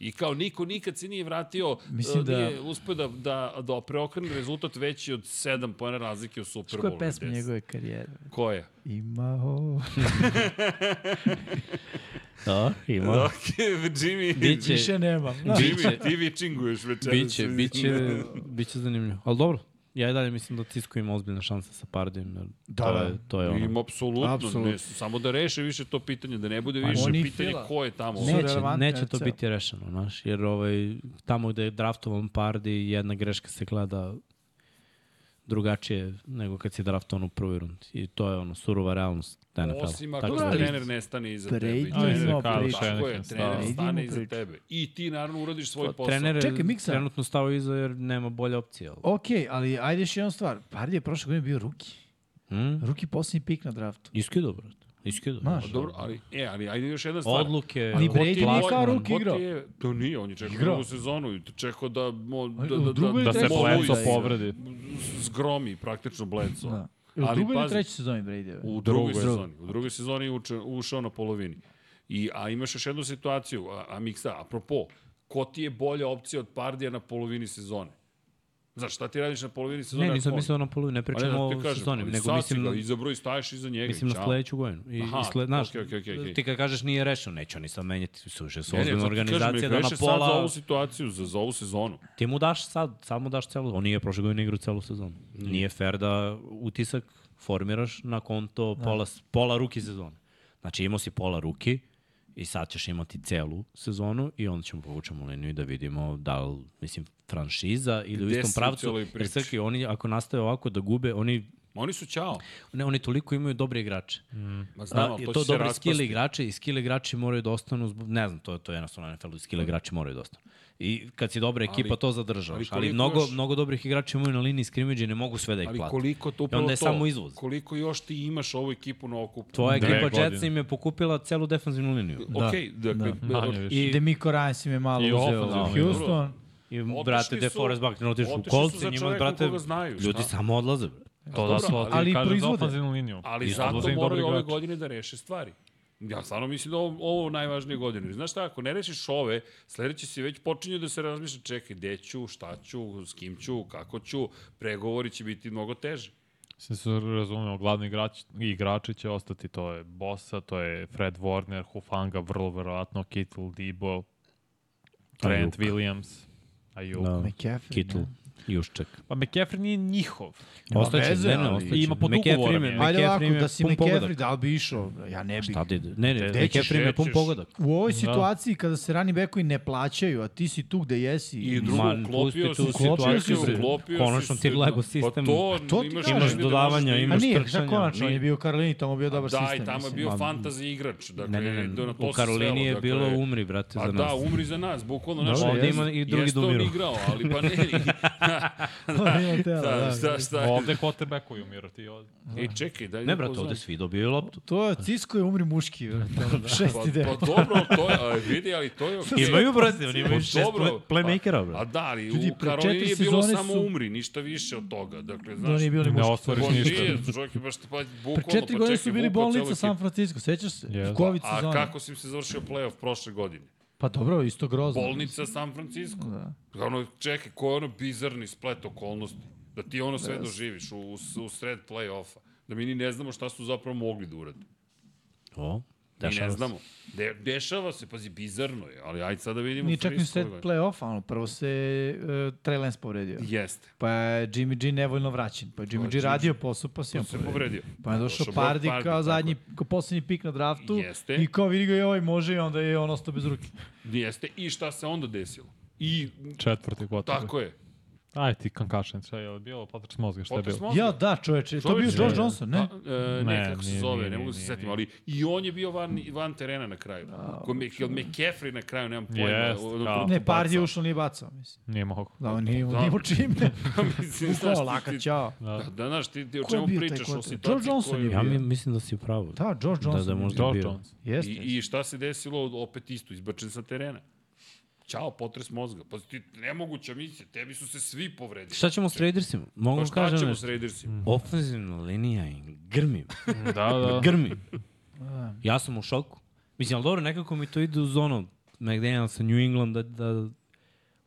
I kao niko nikad se nije vratio,
Mislim
mislim da...
da-
nije uspio da, da, da preokrene rezultat veći od 7 pojena razlike u Super Bowlu.
Koja je pesma
10?
njegove karijere?
Koja?
Imao...
da, ima. Da.
Ok, Jimmy,
Biće-
Više nemam.
Jimmy, ti vičinguješ večeras.
Biće, biće, biće zanimljivo. Ali dobro, ja i dalje mislim da Cisco ima ozbiljne šanse sa Pardijem. jer
Da,
to
da.
je, to je ono.
Im, apsolutno,
Apsolutno.
Ne, samo da reše više to pitanje, da ne bude
Pa
više
oni
pitanje
fila.
ko je tamo.
Ne,
Neće,
relevantno je
neće to
ceo.
biti rešeno, znaš, jer ovaj, tamo gde je draftovan Pardi, jedna greška se gleda drugačije nego kad si draftovan u prvoj rundi. I to je ono, surova realnost NFL.
Osim ako
da,
Tako
ali-
trener ne stane iza
Brady
tebe. i
ima
trener
priču.
kaže,
Brady
Tako je,
ima
trener
priču.
stane iza
Brady ima
tebe. I ti naravno uradiš svoj posao.
Trener je
Čekaj, Miksa.
trenutno stao iza jer nema bolje opcije. ali-
Ok, ali ajde još jedna stvar. Pardi je prošle godine bio ruki.
Mm?
Ruki posljednji pik na draftu.
Iskido, brate. Iskido.
Znaš.
Pa Dobro, ali, e, ali ajde još jedna stvar.
Odluke.
Ni
Ko ti je
Brady nije
Whiteman?
kao
Ko
rookie
ti
igrao.
je- To nije, on je čekao
Igrao.
drugu sezonu i čekao da, mo, da, da,
drugu
da,
ili
Da se
Treći
Bledso
da igra.
povredi.
zgromi praktično Bledso.
Da. Ili
Ali
drugoj ili
pazi-
trećoj sezoni Brady?
U drugoj
Drugoj.
sezoni. U drugoj sezoni je uče- ušao na polovini. I, a imaš još jednu situaciju, a, a Miksa, apropo, ko ti je bolja opcija od Pardija na polovini sezone? Znaš, šta ti radiš na polovini sezone?
Ne, nisam
ako on-
mislio na polovinu, ne
Pa
pričam
da ti
o
kažem,
sezoni,
ali
nego
sad si
mislim,
ga izabrao i staješ iza njega. i
mislim na
ćao.
sledeću godinu. I,
Aha,
i sle, znaš,
okej, okej, okej, okej.
ti kad kažeš nije rešeno, neće oni sad menjati, suže su
Ne, ne, sad ti
ozbiljna
kažem,
organizacija
neka
da na
reše Sad za
pola,
ovu situaciju, za, za ovu sezonu.
ti mu daš sad, sad mu daš celu, on nije prošle godine igrao celu sezonu.
Mm.
Nije fair da utisak formiraš na konto pola, s- pola ruki sezone. Znači imao si pola ruki i sad ćeš imati celu sezonu i onda ćemo povučemo liniju i da vidimo da li, mislim, franšiza ili u
Gde
istom
si u
pravcu.
celoj
Jer
priči?
Srki, oni ako nastave ovako da gube, oni
Ma oni su ćao.
Ne, oni toliko imaju dobre igrače. Mm.
Ma znam,
Da,
ali
to,
to, će se
to dobri skill
raspasti.
igrači i skill igrači moraju da ostanu, zbog, ne znam, to, to je jednostavno NFL, skill igrači moraju da ostanu. I kad si dobra ekipa,
Ali-
to zadržavaš.
ali
Ali,
koliko
mnogo,
još-
mnogo dobrih igrača imaju na liniji skrimidža i ne mogu sve da ih
Ali
plate.
koliko to
I
upravo
onda je
to,
samo izvoz.
Koliko još ti imaš ovu ekipu na okupu?
Tvoja
Dve
ekipa
godine.
Jetsa im je pokupila celu defanzivnu liniju.
Da, Okej, dakle,
Da, manje više.
I Demiko Ryan si me malo
I
uzeo
ofanzivno,
za
dobro.
Houston.
I,
Otišli
brate,
su-
DeForest Buckner otišao u
otišli su
kolce,
za
njima,
čoveka
brate,
koga znaju, šta?
ljudi samo odlaze. brate.
To da su
ali-
ali
ali
kažem za
proizvode.
ofenzivnu liniju.
Ali
I
zato
odlaze im dobri
moraju ove
igrači.
godine da reše stvari. Ja stvarno mislim da ovo, ovo najvažnije godine. Znaš šta, ako ne rešiš ove, sledeće si već počinju da se razmišlja čekaj, gde ću, šta ću, s kim ću, kako ću, pregovori će biti mnogo teže.
Mislim se razumemo, glavni igrač, igrači će ostati, to je Bosa, to je Fred Warner, Hufanga, vrlo verovatno, Kittle, Debo, Trent
Ayuk.
Williams, Ayuk.
Da.
McCaffrey.
Kittle, Jušček.
Pa McCaffrey nije njihov.
Ostaće,
veze,
ne, ne,
ali-
ostaće.
Ima pod
McCaffrey
ugovorom
me-
je.
Da. Ajde
McCaffrey
ovako,
me
da si
pun pogodak.
McCaffrey, da li bi išao? Ja ne bih.
Šta ti, ne, ne,
Gde ćeš,
McCaffrey me je pun
gde ćeš?
pogodak.
U
Da.
ovoj situaciji kada se rani bekovi ne plaćaju, a ti si tu gde jesi.
I
i-
drugo,
Ma,
uklopio
pusti tu
si
situaciju,
situaciju,
bre.
uklopio
Konačno
si
ti
se-
Lego
Pa
sistem.
to, da
to ti
imaš,
kažem.
imaš
Imaš dodavanja,
A
imaš
nije, šta
trčanja.
konačno, on
Nije.
je bio u Karolini, tamo je bio dobar
da,
sistem.
i tamo je
mislim.
bio fantasy igrač. Dakle,
Ne, ne, ne,
do na to
u
se
Karolini
svelo,
je
dakle,
bilo umri, brate,
Pa
za
da,
nas. Da,
umri za nas, bukvalno. Naš,
Dobro,
ovde ima
i drugi da
Jeste on
umiru.
igrao, ali pa ne.
Mimo tela,
Da,
da.
šta, šta?
Ovde quarterbackuju, Miro, ti ovde.
I čekaj, daj
Ne,
da
brate,
poznajem.
ovde svi dobijaju loptu.
To je Cisco je umri muški. brate, ono, Šest i
Pa,
devet.
pa dobro, to je, a, vidi, ali Pa to je okej.
Imaju, brate, oni imaju šest
dobro,
play- playmakera,
Pa, a
brate.
da, ali
Ljudi,
u
pre
Karolini
četiri
je bilo
sezone
samo
su-
umri, ništa više od toga. Dakle,
Da,
znaš,
nije bio ni
Ne
muški.
ostvoriš
Pa
ništa.
nije, čovjek je baš pa, bukvalno,
Pre četiri
pa
godine
čekaj,
su bili
bukvalno
bolnica
celu
San
ekipu.
Francisco, sećaš se?
Jeste.
U Covid
A
sezoni.
kako si se završio playoff prošle godine?
Pa dobro, isto grozno.
Bolnica San Francisco. Pa
Da.
Ono, čekaj, ko je ono bizarni splet okolnosti? Da ti ono sve doživiš u, u, u sred play-offa. Da mi ni ne znamo šta su zapravo mogli da urade.
O,
Mi
dešava
ne
se.
znamo. De, dešava se, pazi, bizarno je, ali ajde sad da vidimo.
Ni čak ni
Frisco
sred
ovaj.
play-offa, ono, prvo se uh, Trey Lance povredio.
Jeste.
Pa je Jimmy G nevoljno vraćen. Pa je Jimmy G
Jimmy G.
radio posao, pa se
On
on
se
povredio.
povredio.
Pa je došao
Došao
Pardi
Brock Purdy,
kao
tako
zadnji,
je.
kao poslednji pik na draftu
Jeste.
i kao vidi ga i ovaj može i onda je on ostao bez ruke.
Jeste. I šta se onda desilo? I
Četvrti quarterback.
tako je.
Aj ti kankašen, šta je bilo? Potres mozga, šta je
Potres
bilo?
mozga.
Ja, da, čoveče, to
Čoveče,
bio Josh
da.
Johnson, ne?
A, e, ne,
Ne,
kako se
nije,
zove,
nije,
ne mogu
nije,
se
nije,
setim,
nije.
ali i on je bio van, van terena na kraju. Ko me, jel McCaffrey na kraju, nemam pojma.
Jest,
ono-
kao.
Ne, Pardi je
baca.
ušao, nije bacao, mislim.
Nije mogo.
Da, on nije imao
Pa, Da.
da. čime.
Mislim, znaš,
Upravo,
ti-
laka,
ti-
čao.
Da, da, znaš, ti, ti o
Ko je
čemu
bio taj
pričaš, o
quarterback?
situaciji
George Johnson
koja je-
je
Ja mi, mislim da si u pravu.
Da, Josh Johnson.
Da, da
je
možda
George
bio.
Jones.
bio. Jeste.
I, I šta se desilo? Opet isto, izbačen sa terena. Ćao, potres mozga. Pa ti nemoguća misija, tebi su se svi povredili.
Šta ćemo s Raidersima? Mogu
Pa
vam
šta
kažem Mm,
ćemo s
nešto.
Raidersima?
Ofenzivna linija im grmi.
Da, da.
Grmi.
Da.
Ja sam u šoku. Mislim, ali dobro, nekako mi to ide u zonu McDaniel sa New England da, da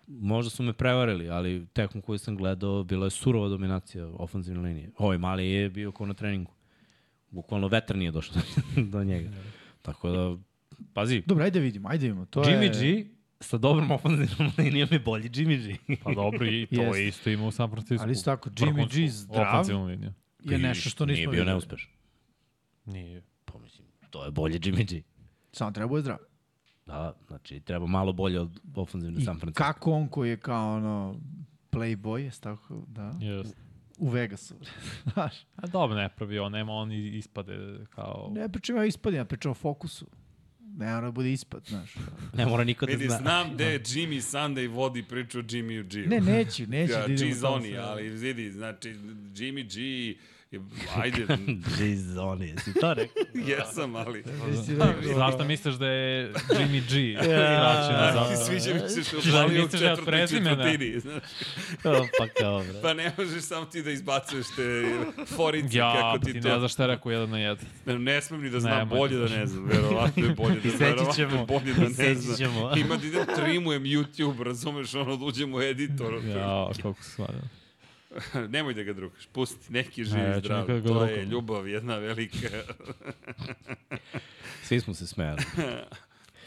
možda su me prevarili, ali tekmu koju sam gledao bila je surova dominacija ofenzivne linije. Ovaj mali je bio kao na treningu. Bukvalno vetar nije došao do- do njega. Tako da, pazi,
Dobro, ajde vidimo, ajde vidimo. To je...
Jimmy G sa dobrom ofenzivnom linijom je bolji Jimmy G.
Pa dobro, i to
Jeste.
je isto ima u San Francisco.
Ali isto tako, Jimmy
Vrhunsku
G zdrav.
Ofenzivnu liniju.
je nešto što nismo
Nije bio
videli.
neuspešan.
Nije.
Pa mislim, to je bolje Jimmy G.
Samo treba bude zdrav.
Da, znači treba malo bolje od ofenzivne
I
San Francisco.
kako on koji je kao ono playboy, jest tako, da,
Jeste.
u Vegasu. Znaš,
A dobro, ne pravi on, nema on i- ispade kao...
ne pričam ja o ispadima, pričam o fokusu. Ne, ono da bude ispad, znaš.
Ne mora niko da
Vidi,
zna.
znam gde je Jimmy Sunday vodi priču o Jimmy u G.
Ne, neću, neću
ja,
da idem u tom
G-zoni,
sada.
ali vidi, znači, Jimmy G, je- ajde,
Džizoni, jesi to rekao?
jesam, ali...
Nisi rekao.
Zašto misliš da je Jimmy G? Vraćen za...
Ti Znači, sviđa mi se što
Zar
upalio u
misliš da je od
četvrtoj
prezimena?
četvrtini, znaš.
pa kao, bre.
Pa ne možeš samo ti da izbacuješ te forice
Ja, pa
kako
ti
ti
ne
to...
znaš šta je rekao jedan na jedan.
Ne, ne smem ni da znam,
Nemoj.
bolje da ne znam, verovatno je bolje da,
Iseći
verovatno
ćemo,
je bolje da ne
iseći
znam.
ćemo.
Ima da idem trimujem YouTube, razumeš, ono, da uđem u editor.
Ja, kako se svadio.
Nemoj da ga drugaš, pusti, neki živi
Ne, ja
ne,
ću
zdrav.
nikad ga
To
drukam.
je ljubav jedna velika.
Svi smo se smejali.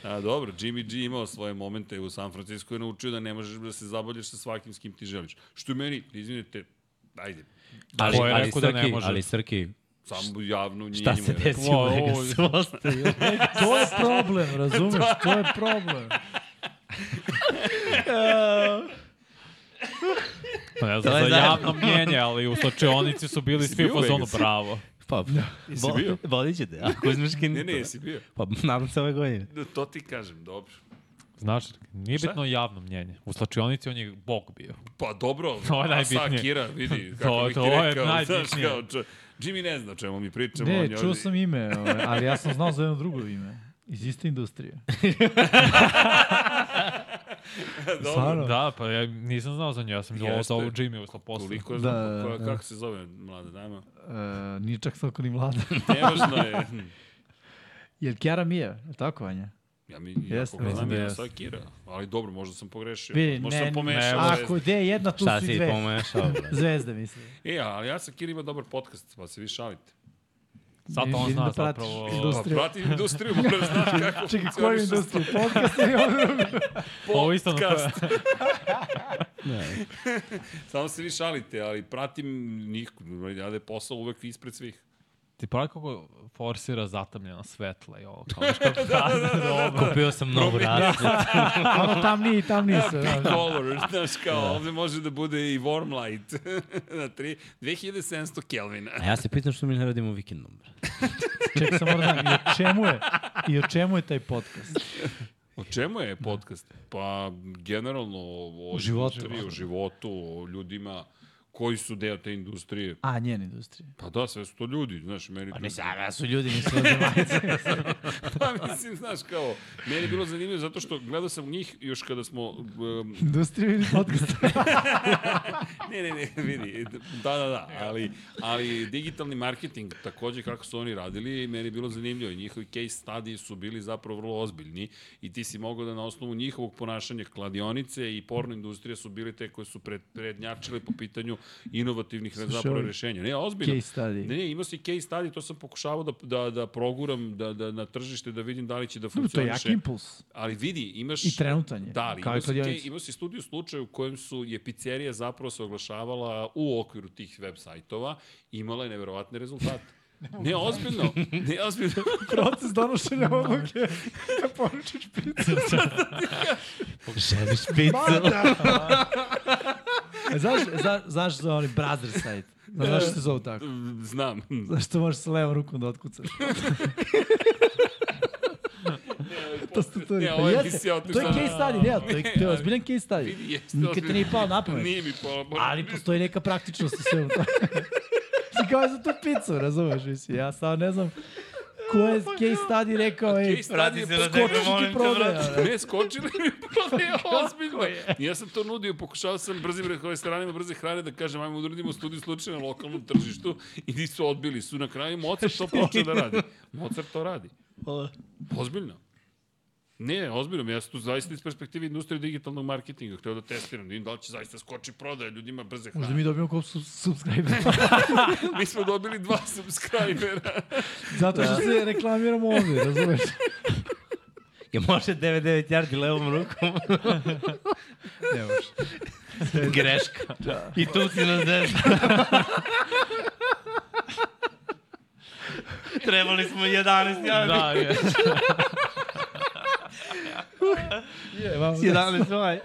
A dobro, Jimmy G imao svoje momente u San Francisco i naučio da ne možeš da se zabavljaš sa svakim s kim ti želiš. Što je meni, izvinite, ajde,
Ali,
je
ali,
rekao da
Srki,
ne može?
ali Srki,
samo javno nije
šta
njima
se
rekao.
desi u
Ovo, ovo-
Vegasu? Ostaje.
To je problem, razumeš? To je problem.
Pa ne
To
znam,
je
za
zajedno.
javno mnjenje, ali u slačionici su bili svi u
bio u
fazonu
Vegasu?
bravo.
Pa, bo,
bio?
bolit će te, ako uzmeš
Ne,
kinicu.
ne, jesi bio.
Pa nadam se ove godine.
Da, to ti kažem, dobro.
Znaš, nije
Šta?
bitno javno mnjenje. U slačionici on je bog bio.
Pa dobro,
To je najbitnije.
Asa Akira, vidi, kako
To-
bih ti
to je
rekao, znaš,
najbitnije.
kao, čo, Jimmy ne zna o čemu mi pričamo. on
Ne,
je
čuo
ovdje-
sam ime, ovaj, ali ja sam znao za jedno drugo ime. Iz iste industrije.
Dobro,
Stvarno?
Da, pa ja nisam znao za nju, ja sam ovo
Jeste.
za ovo Jimmy usla posla.
Koliko je,
Da,
da, koja,
da.
kako se zove mlada dama?
Uh, nije čak svako ni mlada.
Nevažno je. Hm.
Jel Kjara Mija, je li tako Vanja?
Ja mi
Jeste,
jako
mislim
znam
da
je
jeste.
Asa Akira, ali dobro, možda sam pogrešio.
Vidi,
možda
ne,
sam pomešao.
ne,
Ne,
Ako gde je jedna, tu
Šta
su
si
i dve.
pomešao, bre?
Zvezde, mislim.
E, ali Asa Akira ima dobar podcast, pa se vi šalite.
Zato on
Vidim
zna
da pratiš
zapravo...
Pa
industriju.
prati industriju, moram znaš kako
Čekaj, koju
funkcioniše
industriju? Podcast ili ono?
Ovo isto na
podcast. Samo se vi šalite, ali pratim njih, ja da je posao uvek ispred svih.
Ti pravi kako forsira zatamljena svetla i ovo. Kao znaš kako da, da, da, da.
Kupio sam novu razliku.
Ono tamniji, tamniji se. da.
color, znaš kao, da. ovde može da bude i warm light na tri- 2700 Kelvina.
A ja se pitam što mi ne radimo vikendom, bre.
Ček, sam moram da znam, i o čemu je? I o čemu je taj podcast?
O čemu je podcast? Pa, generalno o, o
životu.
industriji, o životu, o ljudima, koji su deo te industrije.
A, njena industrija.
Pa da, sve su to ljudi, znaš, meni...
Pa
to-
ne sada su ljudi, nisu odmajci.
pa mislim, znaš, kao, meni je bilo zanimljivo zato što gledao sam njih još kada smo... Um,
Industrija ili podcast?
ne, ne, ne, vidi, da, da, da, ali, ali digitalni marketing, takođe kako su oni radili, meni je bilo zanimljivo i njihovi case study su bili zapravo vrlo ozbiljni i ti si mogao da na osnovu njihovog ponašanja kladionice i porno industrija su bile te koje su pred, prednjačile po pitanju inovativnih zapravo
ovaj
rešenja. Ne, ozbiljno.
Case study.
Ne, ne, imao si case study, to sam pokušavao da, da, da proguram da, da, na tržište, da vidim da li će da
Dobro, to je
funkcioniše.
jak impuls.
Ali vidi, imaš...
I trenutan je.
Da, ali
kao
imao
i
si, ke,
kladionica.
imao si studiju slučaju u kojem su je pizzerija zapravo se oglašavala u okviru tih web sajtova, imala je neverovatne rezultate. Ne, ozbiljno. Ne, ozbiljno.
Proces donošenja odluke. Kad poručiš pizzu.
Želiš picu?
Mada! znaš, zna, znaš za onaj brother site? Znaš zašto se zove tako?
Znam.
Zašto možeš sa levom rukom da otkucaš? to ste to
Ne,
rekao.
ovo je
Jeste,
emisija
To
otišla
je
na-
case study, ne, to je, to je
ali-
ozbiljan case study.
Vidi, jeste
Nikad ti
ozbiljno.
nije pao na pamet.
Nije mi palo.
Ali postoji neka praktičnost u svemu tome. Ti kao za tu picu, razumeš, mislim. Ja sad ne znam ko je case study rekao, ej,
Case study je
se na
poskočio.
tebe, molim
skočiš ti
te,
prodaja.
brate.
Ne, skočili mi prodaje, ozbiljno. Ja sam to nudio, pokušao sam brzim re- restoranima brze hrane da kažem, ajmo uradimo studiju slučaja na lokalnom tržištu i nisu odbili, su na kraju Mozart to počeo da radi. Mozart to radi.
Па,
Ozbiljno. Ne, ozbiljno, ja sam tu zaista iz perspektive industrije digitalnog marketinga, hteo da testiram, da vidim da li će zaista skoči prodaja ljudima brze
Možda
hrane. Mi...
mi dobijemo kao su, subscribe.
mi smo dobili dva subscribera.
Zato što se reklamiramo ovde, razumeš?
Je može 99 jardi levom rukom.
Ne može. Da.
Greška. I tu si na zvezda. Trebali smo 11 jardi.
Da, je.
Je, vamo.
11 ovaj.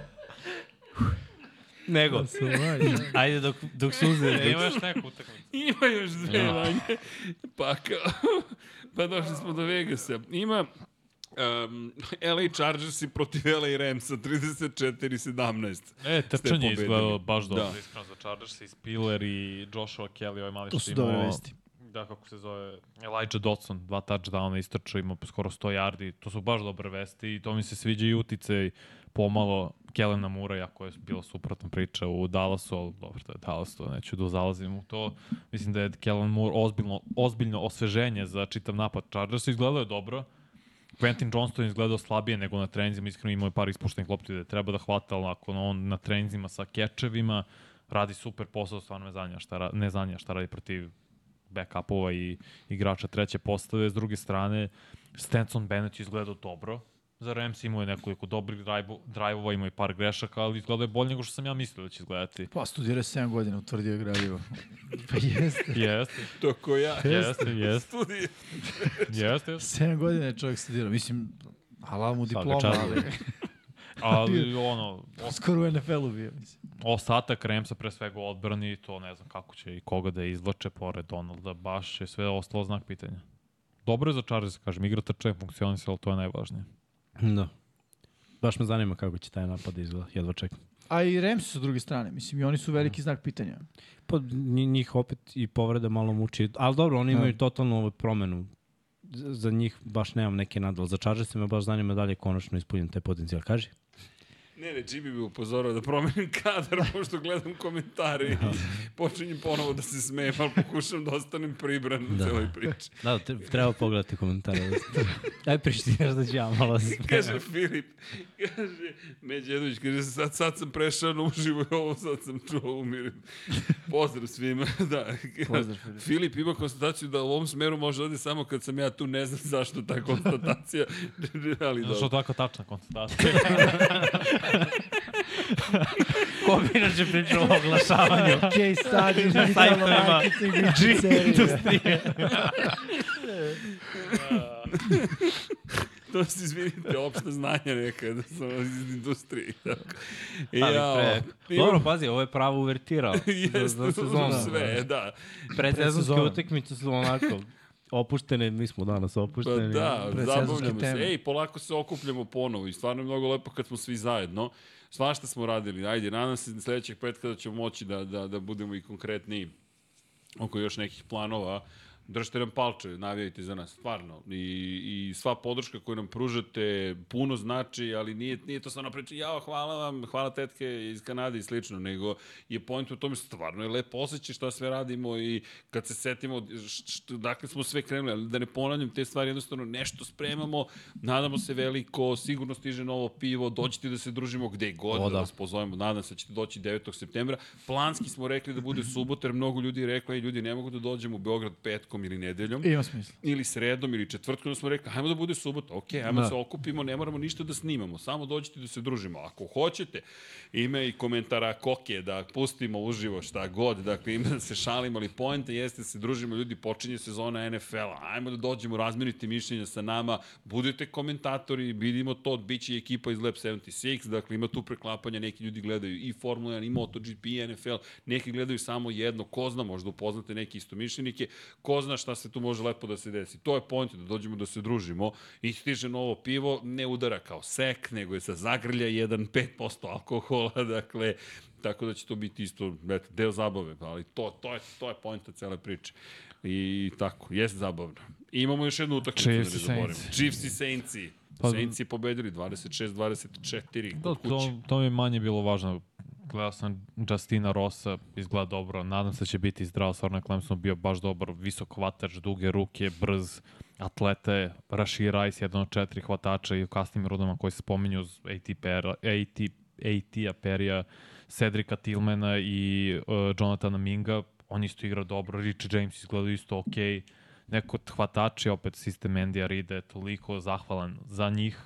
Nego,
Ovaj, da.
ajde dok, dok suze.
Ima
Dok...
još E, neku utakmicu.
Ima još dve manje. Pa kao, pa došli smo do Vegasa. Ima um, LA Chargers i protiv LA Ramsa 34-17.
E, trčanje je
pobedili.
izgledalo baš dobro.
Da.
Da. Iskreno za Chargers i Spiller i Joshua Kelly, ovaj mali
To
što
su
imao-
dobre vesti.
Da, kako se zove, Elijah Dodson, dva touchdowna istrčao, imao skoro 100 yardi. To su baš dobre vesti i to mi se sviđa i utice i pomalo Kelena Mura, jako je bila suprotna priča u Dallasu, ali dobro, to je Dallas, to neću da zalazim u to. Mislim da je Kellen Moore ozbiljno, ozbiljno osveženje za čitav napad Chargersa, izgledalo je dobro. Quentin Johnston je izgledao slabije nego na trenzima, iskreno imao je par ispuštenih lopti da je treba da hvata, ali ako on na trenzima sa kečevima radi super posao, stvarno me zanja šta, ra- ne zanja šta radi protiv backupova i igrača treće postave. S druge strane, Stenson Bennett je izgledao dobro. Za Rams imao je nekoliko dobrih drajbo- drajvova, imao je par grešaka, ali izgledao je bolje nego što sam ja mislio da će izgledati.
Pa studirao 7 godina, utvrdio je gradivo. Pa jeste.
Jeste,
To ko ja.
jeste, jeste,
Studije.
jeste, jeste.
7 godina je čovjek studirao. Mislim, halal mu diploma,
čast.
ali
Ali ono,
skoro u NFL-u bio, mislim.
ostatak Remsa pre svega u odbrani i to ne znam kako će i koga da izvlače pored Donalda, baš je sve ostalo znak pitanja. Dobro je za Chargers, kažem, igra trče, funkcionisalo, to je najvažnije.
Da. Baš me zanima kako će taj napad da izgleda. Jedva čekam.
A i Ramsi su s druge strane, mislim, i oni su veliki znak pitanja.
Pa nji- njih opet i povreda malo muči, ali dobro, oni
Da.
imaju totalnu ovaj promenu. Z- Za njih baš nemam neke nadal. Za Chargers me baš zanima da li je konačno ispunjen taj potencijal. Kaži.
Ne, ne, Jimmy bi upozorao da promenim kadar, pošto gledam komentare i počinjem ponovo da se smijem, ali pokušam da ostanem pribran u
Da.
celoj priči.
Da, tre- treba pogledati komentare. Aj prišti još da ću ja malo se
Kaže Filip, kaže Međedović, kaže sad, sad sam prešao na uživo i ovo sad sam čuo, umirim. Pozdrav svima, da.
Pozdrav, Filip.
Filip ima konstataciju da u ovom smeru može da ode samo kad sam ja tu, ne znam zašto ta konstatacija, ali
Znaš što
dobro.
tako tačna konstatacija.
Ko bi inače pričao o oglašavanju?
Case study, digitalno
sajtovima.
marketing, pizzerija.
To se izvinite, opšte znanje neka, da sam iz industrije. da. Tako. I,
Ali
ja,
pre... Dobro, pazi, ovo je pravo uvertira.
Jeste,
za, za sezonu.
sve, da.
Predsezonske
Predsezona.
utekmice su onako opuštene, mi smo danas
Pa
opušteni.
da,
predsezonske
zabavljamo se.
teme.
Ej, polako se okupljamo ponovo i stvarno je mnogo lepo kad smo svi zajedno. Svašta smo radili. Ajde, nadam se da sledećeg petka da ćemo moći da, da, da budemo i konkretniji oko još nekih planova. Držite nam palčeve, navijajte za nas, stvarno. I, I sva podrška koju nam pružate puno znači, ali nije, nije to stvarno priča, jao, hvala vam, hvala tetke iz Kanade i slično, nego je point u tome, stvarno je lepo osjećaj šta sve radimo i kad se setimo š- š- dakle smo sve krenuli, ali da ne ponavljam te stvari, jednostavno nešto spremamo, nadamo se veliko, sigurno stiže novo pivo, dođite da se družimo gde god,
O,
da
da.
vas pozovemo, nadam se da ćete doći 9. septembra. Planski smo rekli da bude subota, jer mnogo ljudi je rekla i ljudi ne mogu da dođemo u Beograd petkom ili nedeljom
Ima smisla.
ili sredom ili četvrtkom, onda smo rekli, hajmo da bude subota, ok, hajmo da.
Da.
se okupimo, ne moramo ništa da snimamo, samo dođite da se družimo. Ako hoćete, ima i komentara koke, da pustimo uživo šta god, dakle ima da se šalimo, ali poenta jeste da se družimo, ljudi, počinje sezona NFL-a, hajmo da dođemo, razmenite mišljenja sa nama, budete komentatori, vidimo to, bit će i ekipa iz Lab 76, dakle ima tu preklapanja, neki ljudi gledaju i Formula 1, i MotoGP, i NFL, neki gledaju samo jedno, ko zna, možda upoznate neke istomišljenike, ko zna šta se tu može lepo da se desi. To je point, da dođemo da se družimo i stiže novo pivo, ne udara kao sek, nego je sa zagrlja 1,5% alkohola, dakle, tako da će to biti isto eto, deo zabave, ali to, to je, to je poenta cele priče. I tako, jest zabavno. I imamo još jednu utakmicu, da ne
Chiefs i
zaboravimo.
Saints.
Chiefs i Saintsi. Pa,
Pa-
Saints je pobedili 26-24
Da,
kod kuće.
to, to mi je manje bilo važno. Gledao sam Justina Rosa, izgleda dobro, nadam se da će biti zdrav, stvarno je Clemson bio baš dobar, visok hvatač, duge ruke, brz, atleta je, Rashid Rice, jedan od četiri hvatača i u kasnim rudama koji se spominju s AT, Pera, AT, AT Perija, Cedrika Tillmana i uh, Jonathana Minga, on isto igra dobro, Richie James izgleda isto okej, okay. neko od hvatači, opet sistem Andy Arida je toliko zahvalan za njih,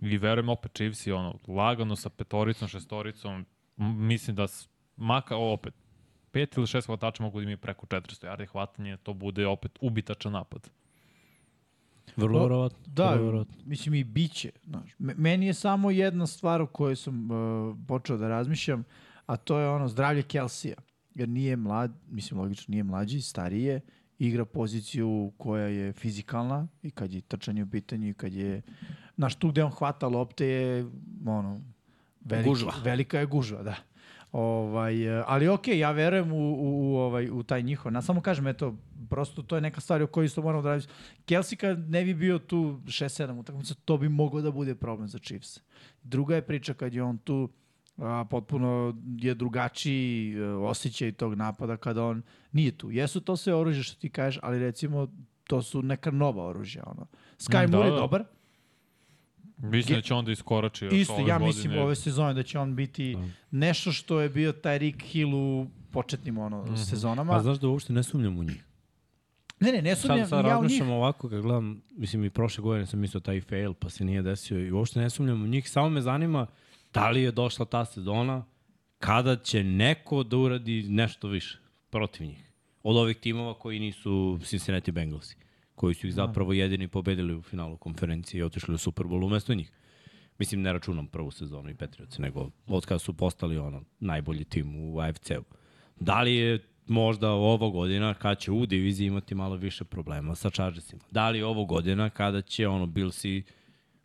I verujem opet Chiefs i ono, lagano sa petoricom, šestoricom, m- mislim da s- maka o, opet, pet ili šest hvatača mogu da imaju preko 400 yardi hvatanje, to bude opet ubitačan napad.
Vrlo
O,
verovatno.
Da,
vrlo verovatno.
mislim i biće. Znaš. Me- Meni je samo jedna stvar o kojoj sam uh, počeo da razmišljam, a to je ono zdravlje Kelsija. Jer nije mlad, mislim logično, nije mlađi, stariji je, igra poziciju koja je fizikalna i kad je trčanje u pitanju i kad je, znaš, tu gde on hvata lopte je, ono, veliki,
Gužva.
velika je gužva, da. Ovaj, e, ali okej, ja verujem u, u, u, ovaj, u taj njihov. Na samo kažem, eto, prosto to je neka stvar o kojoj isto moramo da radimo. Kelsey kad ne bi bio tu 6-7 utakmica, to bi moglo da bude problem za Chiefs. Druga je priča kad je on tu, a, potpuno je drugačiji e, osjećaj tog napada kada on nije tu. Jesu to sve oružje što ti kažeš, ali recimo to su neka nova oružja. Ono. Sky
Mm,
da, Moore je
da, da.
dobar,
Mislim da će onda iskorači
Dakle,
još
Isto,
ove
ja
godine.
mislim ove sezone da će on biti nešto što je bio taj Rick Hill u početnim ono, sezonama.
Pa znaš da uopšte ne sumnjam u njih.
ne, ne, ne sumnjam,
sad, sad
ja u njih.
razmišljam ovako kad gledam, mislim i prošle godine sam mislio taj fail pa se nije desio i uopšte ne sumnjam u njih, samo me zanima da li je došla ta sezona kada će neko da uradi nešto više protiv njih. Od ovih timova koji nisu Cincinnati Bengalsi, koji su ih
Da.
zapravo jedini pobedili u finalu konferencije i otišli u Super Bowl umesto njih. Mislim, ne računam prvu sezonu i Patriots, nego od kada su postali ono, najbolji tim u AFC-u. Da li je možda ovo godina kad će u diviziji imati malo više problema sa Chargersima? Da li je ovo godina kada će ono Billsi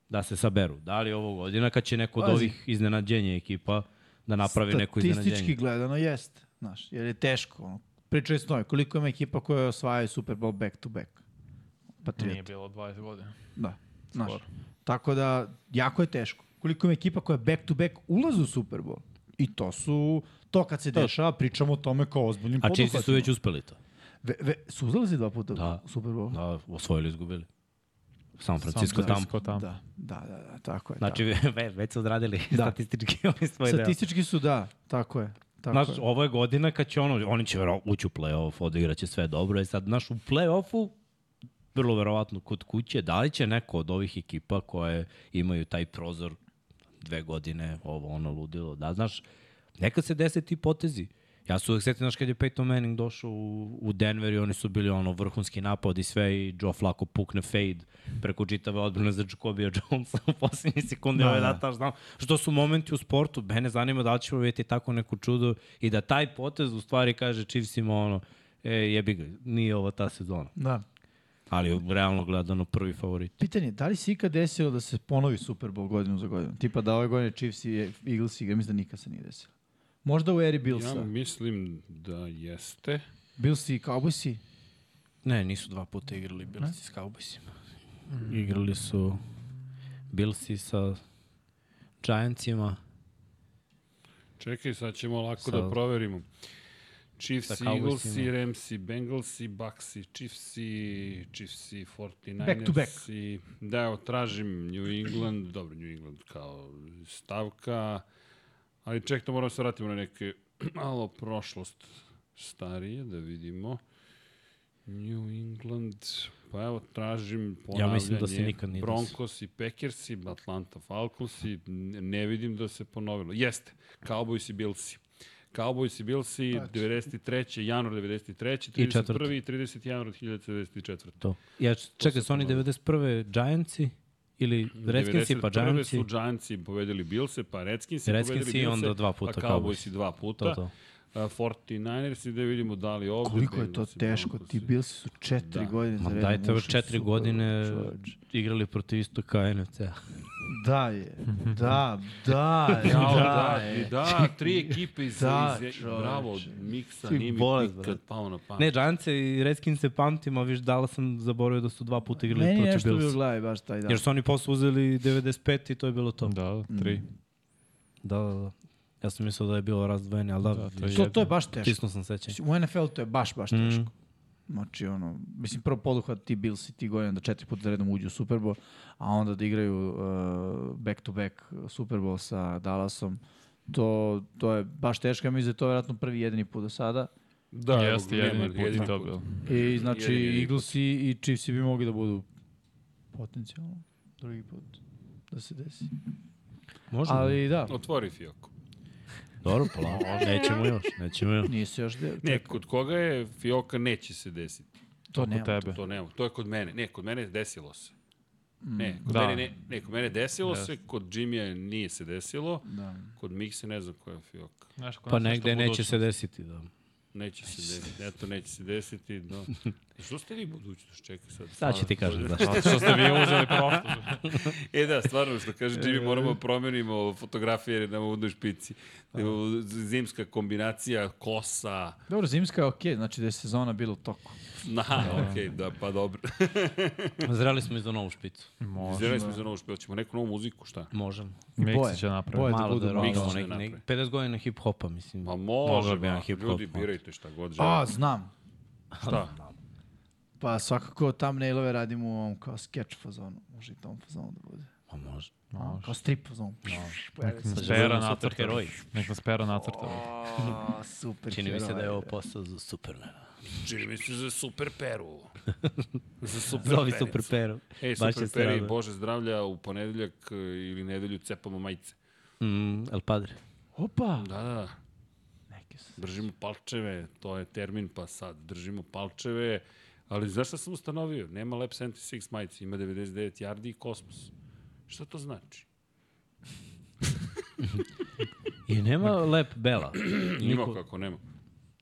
da se saberu? Da li je ovo godina kad će neko od
Pazi.
ovih iznenađenja ekipa da napravi neko
Statistički
iznenađenje?
gledano jeste, znaš, jer je teško. Ono. Pričali smo o tome, koliko ima ekipa koja osvajaju Super Bowl back to back. Patriot,
Nije bilo 20 godina.
da. Znaš.
Skoro.
Tako da, jako je teško. Koliko ima ekipa koja back to back ulaze u Super Bowl. I to su, to kad se dešava, pričamo o tome kao ozbiljnim
A Chiefs su već uspeli to.
Ve, ve, su uzlazi dva puta
Da.
u Super Bowl?
Da, osvojili, izgubili. San Francisco
San
tamo.
Francisco tamo.
Da, da, da, da, tako je. tako.
Znači, ve, već su odradili da. statistički ovaj svoj deo.
Statistički su da, tako je. Tako
Znaš,
je.
ovo je godina kad će ono, oni će vero, ući u play-off, odigraće sve dobro. I sad, znaš, u play-offu, vrlo verovatno kod kuće, da li će neko od ovih ekipa koje imaju taj prozor dve godine, ovo ono ludilo, da, znaš, nekad se dese ti potezi. Ja se uvek setim, znaš, kad je Peyton Manning došao u, u Denver i oni su bili ono vrhunski napad i sve i Joe Flacco pukne fade preko čitave odbrane za Jacobija Jonesa u poslednje sekunde,
Da,
da, ovaj
da.
da, taš znam. Što su momenti u sportu, mene zanima da li ćemo vidjeti tako neko čudo i da taj potez u stvari kaže Chiefsima ono, e, jebi ga, nije ovo ta sezona.
Da.
Ali realno gledano prvi favorit.
Pitanje, da li se ikad desilo da se ponovi Super Bowl godinu za godinu? Tipa da ove godine Chiefs i Eagles igra, mislim da nikad se nije desilo. Možda u eri Billsa.
Ja mislim da jeste.
Bills i Cowboysi.
Ne, nisu dva puta igrali Billsi s Cowboysima. Igrali su Billsi sa Giantsima.
Čekaj, sad ćemo lako
Sad.
da proverimo. Chiefs,
Sa
i Eagles, i
Cowboysima.
Rams, i Bengals, i Bucks, i Chiefs, i Chiefs, i 49ers.
Back to back.
I, da, evo, tražim New England, dobro, New England kao stavka, ali ček, to moram se vratimo na neke malo prošlost starije, da vidimo. New England, pa evo, tražim ponavljanje.
Ja mislim da se nikad nije
Broncos i Packers i Atlanta Falcons i ne vidim da se ponovilo. Jeste, Cowboys i Billsi. Cowboys i Billsi, 93. januar 93.
I četvrto.
31. i 30. januar 1994.
To. Ja, č- čekaj, su oni 91. Giantsi ili Redskinsi pa
91.
Giantsi?
su Giantsi pobedili Billse, pa Redskinsi,
Redskinsi
pobedili
i
Billse,
onda dva
pa
puta Cowboysi.
Cowboysi dva puta.
To, to.
A, 49ers i da vidimo da li ovde...
Koliko je to
Bengalsi,
teško, ti
Broncos i-
Bilsi su četiri
Da.
godine
Ma
za redom.
dajte već
ušli u
četiri
Super Bowl,
godine
čoveč.
igrali protiv istoka NFC-a.
Da je, da, da, je,
Jao,
da,
da,
je.
da, tri ekipe iz,
Da,
iz, iz
čoveče.
bravo, miksa,
Ti
nije mi
bolest,
nikad pa
brate.
pao na pamet.
Ne, Giantse i Redskinse pamtim, a viš dala sam zaboravio da su dva puta igrali
Meni je
protiv
nešto bilo u
Billsa.
glavi baš taj dan.
Jer su oni posle uzeli 95 i to je bilo to. Da,
Da, da,
Mm.
tri.
da, da. Ja sam mislio da je bilo razdvojene, ali da,
Da, to je
To, to je baš teško.
tisnuo sam sećanje.
Mislim, Znači, U NFL to je baš,
Mhm.
baš teško.
Mm.
Znači, ono, mislim, prvo poduhvat ti Bills i ti godina da četiri puta za redom uđu u Super Bowl, a onda da igraju uh, back to back Super Bowl sa Dallasom. To, to je baš teško, ja mislim da je to vjerojatno prvi jedini put do sada.
Da, evo,
Jeste,
nema,
jedini put
jedini
je dobio.
I znači,
Jedini put.
Eagles i, i Chiefs bi mogli da budu potencijalno drugi put da se desi.
Možda.
Ali da,
Otvori Fioku.
Dobro, polako. Nećemo još, nećemo još.
nije se još de...
Ne, kod koga je Fioka neće se desiti.
to
Kod
nema.
tebe.
To nema. To je kod mene. Ne, kod mene je desilo se.
Mm,
Ne, kod
Da.
mene, ne, ne, kod mene desilo
Jeste.
se, kod Jimmy nije se desilo,
Da.
kod Mikse ne znam koja je Fioka.
Znaš, kod
Pa
nas nešto
negde neće
budućnost.
se desiti. Da.
Neće se desiti, eto, neće se desiti. No. Što ste vi budućnost, čekaj sad.
Sad ću ti kažem da. zašto.
Zato što ste vi uzeli prošlo.
E da, stvarno, što kaže
E.
Jimmy, moramo da promenimo fotografije jer nam ovdje špici. Zimska kombinacija, kosa,
Dobro, zimska je okej, znači da je sezona bila u toku.
na, okej, da, pa dobro.
Zreli smo i za novu špicu.
Može.
Izgledali smo za novu špicu, ćemo neku novu muziku, šta?
Možemo.
boje.
Miks će napraviti.
Boje. da
Malo
budu
da
malo.
rodimo
Mix
nek,
da
nek,
napravi.
50 godina hip-hopa, mislim.
Ma
Mogao
može,
bi jedan
ba,
hip-hop, da.
ljudi,
ma.
birajte šta god
A,
želite.
znam.
Šta?
Pa svakako thumbnailove radimo u ovom kao sketch fazonu. Može i tom fazonu da bude.
Pa može.
Može.
Kao strip fazonu. Pojavi se.
Spera
Super
nacrta.
heroj.
Nek nas pera nacrta.
A, super.
Čini mi se
heroj,
da je ovo
bre.
posao za Supermana.
Čini mi se za super peru. Za super
Zovi
pericu.
Super Peru.
Ej,
Baš
super
će se
peri,
rado.
bože zdravlja, u ponedeljak e, ili nedelju cepamo majice.
Mm, El Padre.
Opa.
Da, da, da.
Neki su.
Držimo palčeve, to je termin, pa sad držimo palčeve. Ali znaš šta sam ustanovio? Nema Lab 76 majice, ima 99 yardi i kosmos. Šta to znači?
I nema lep bela.
Nima kako, nema.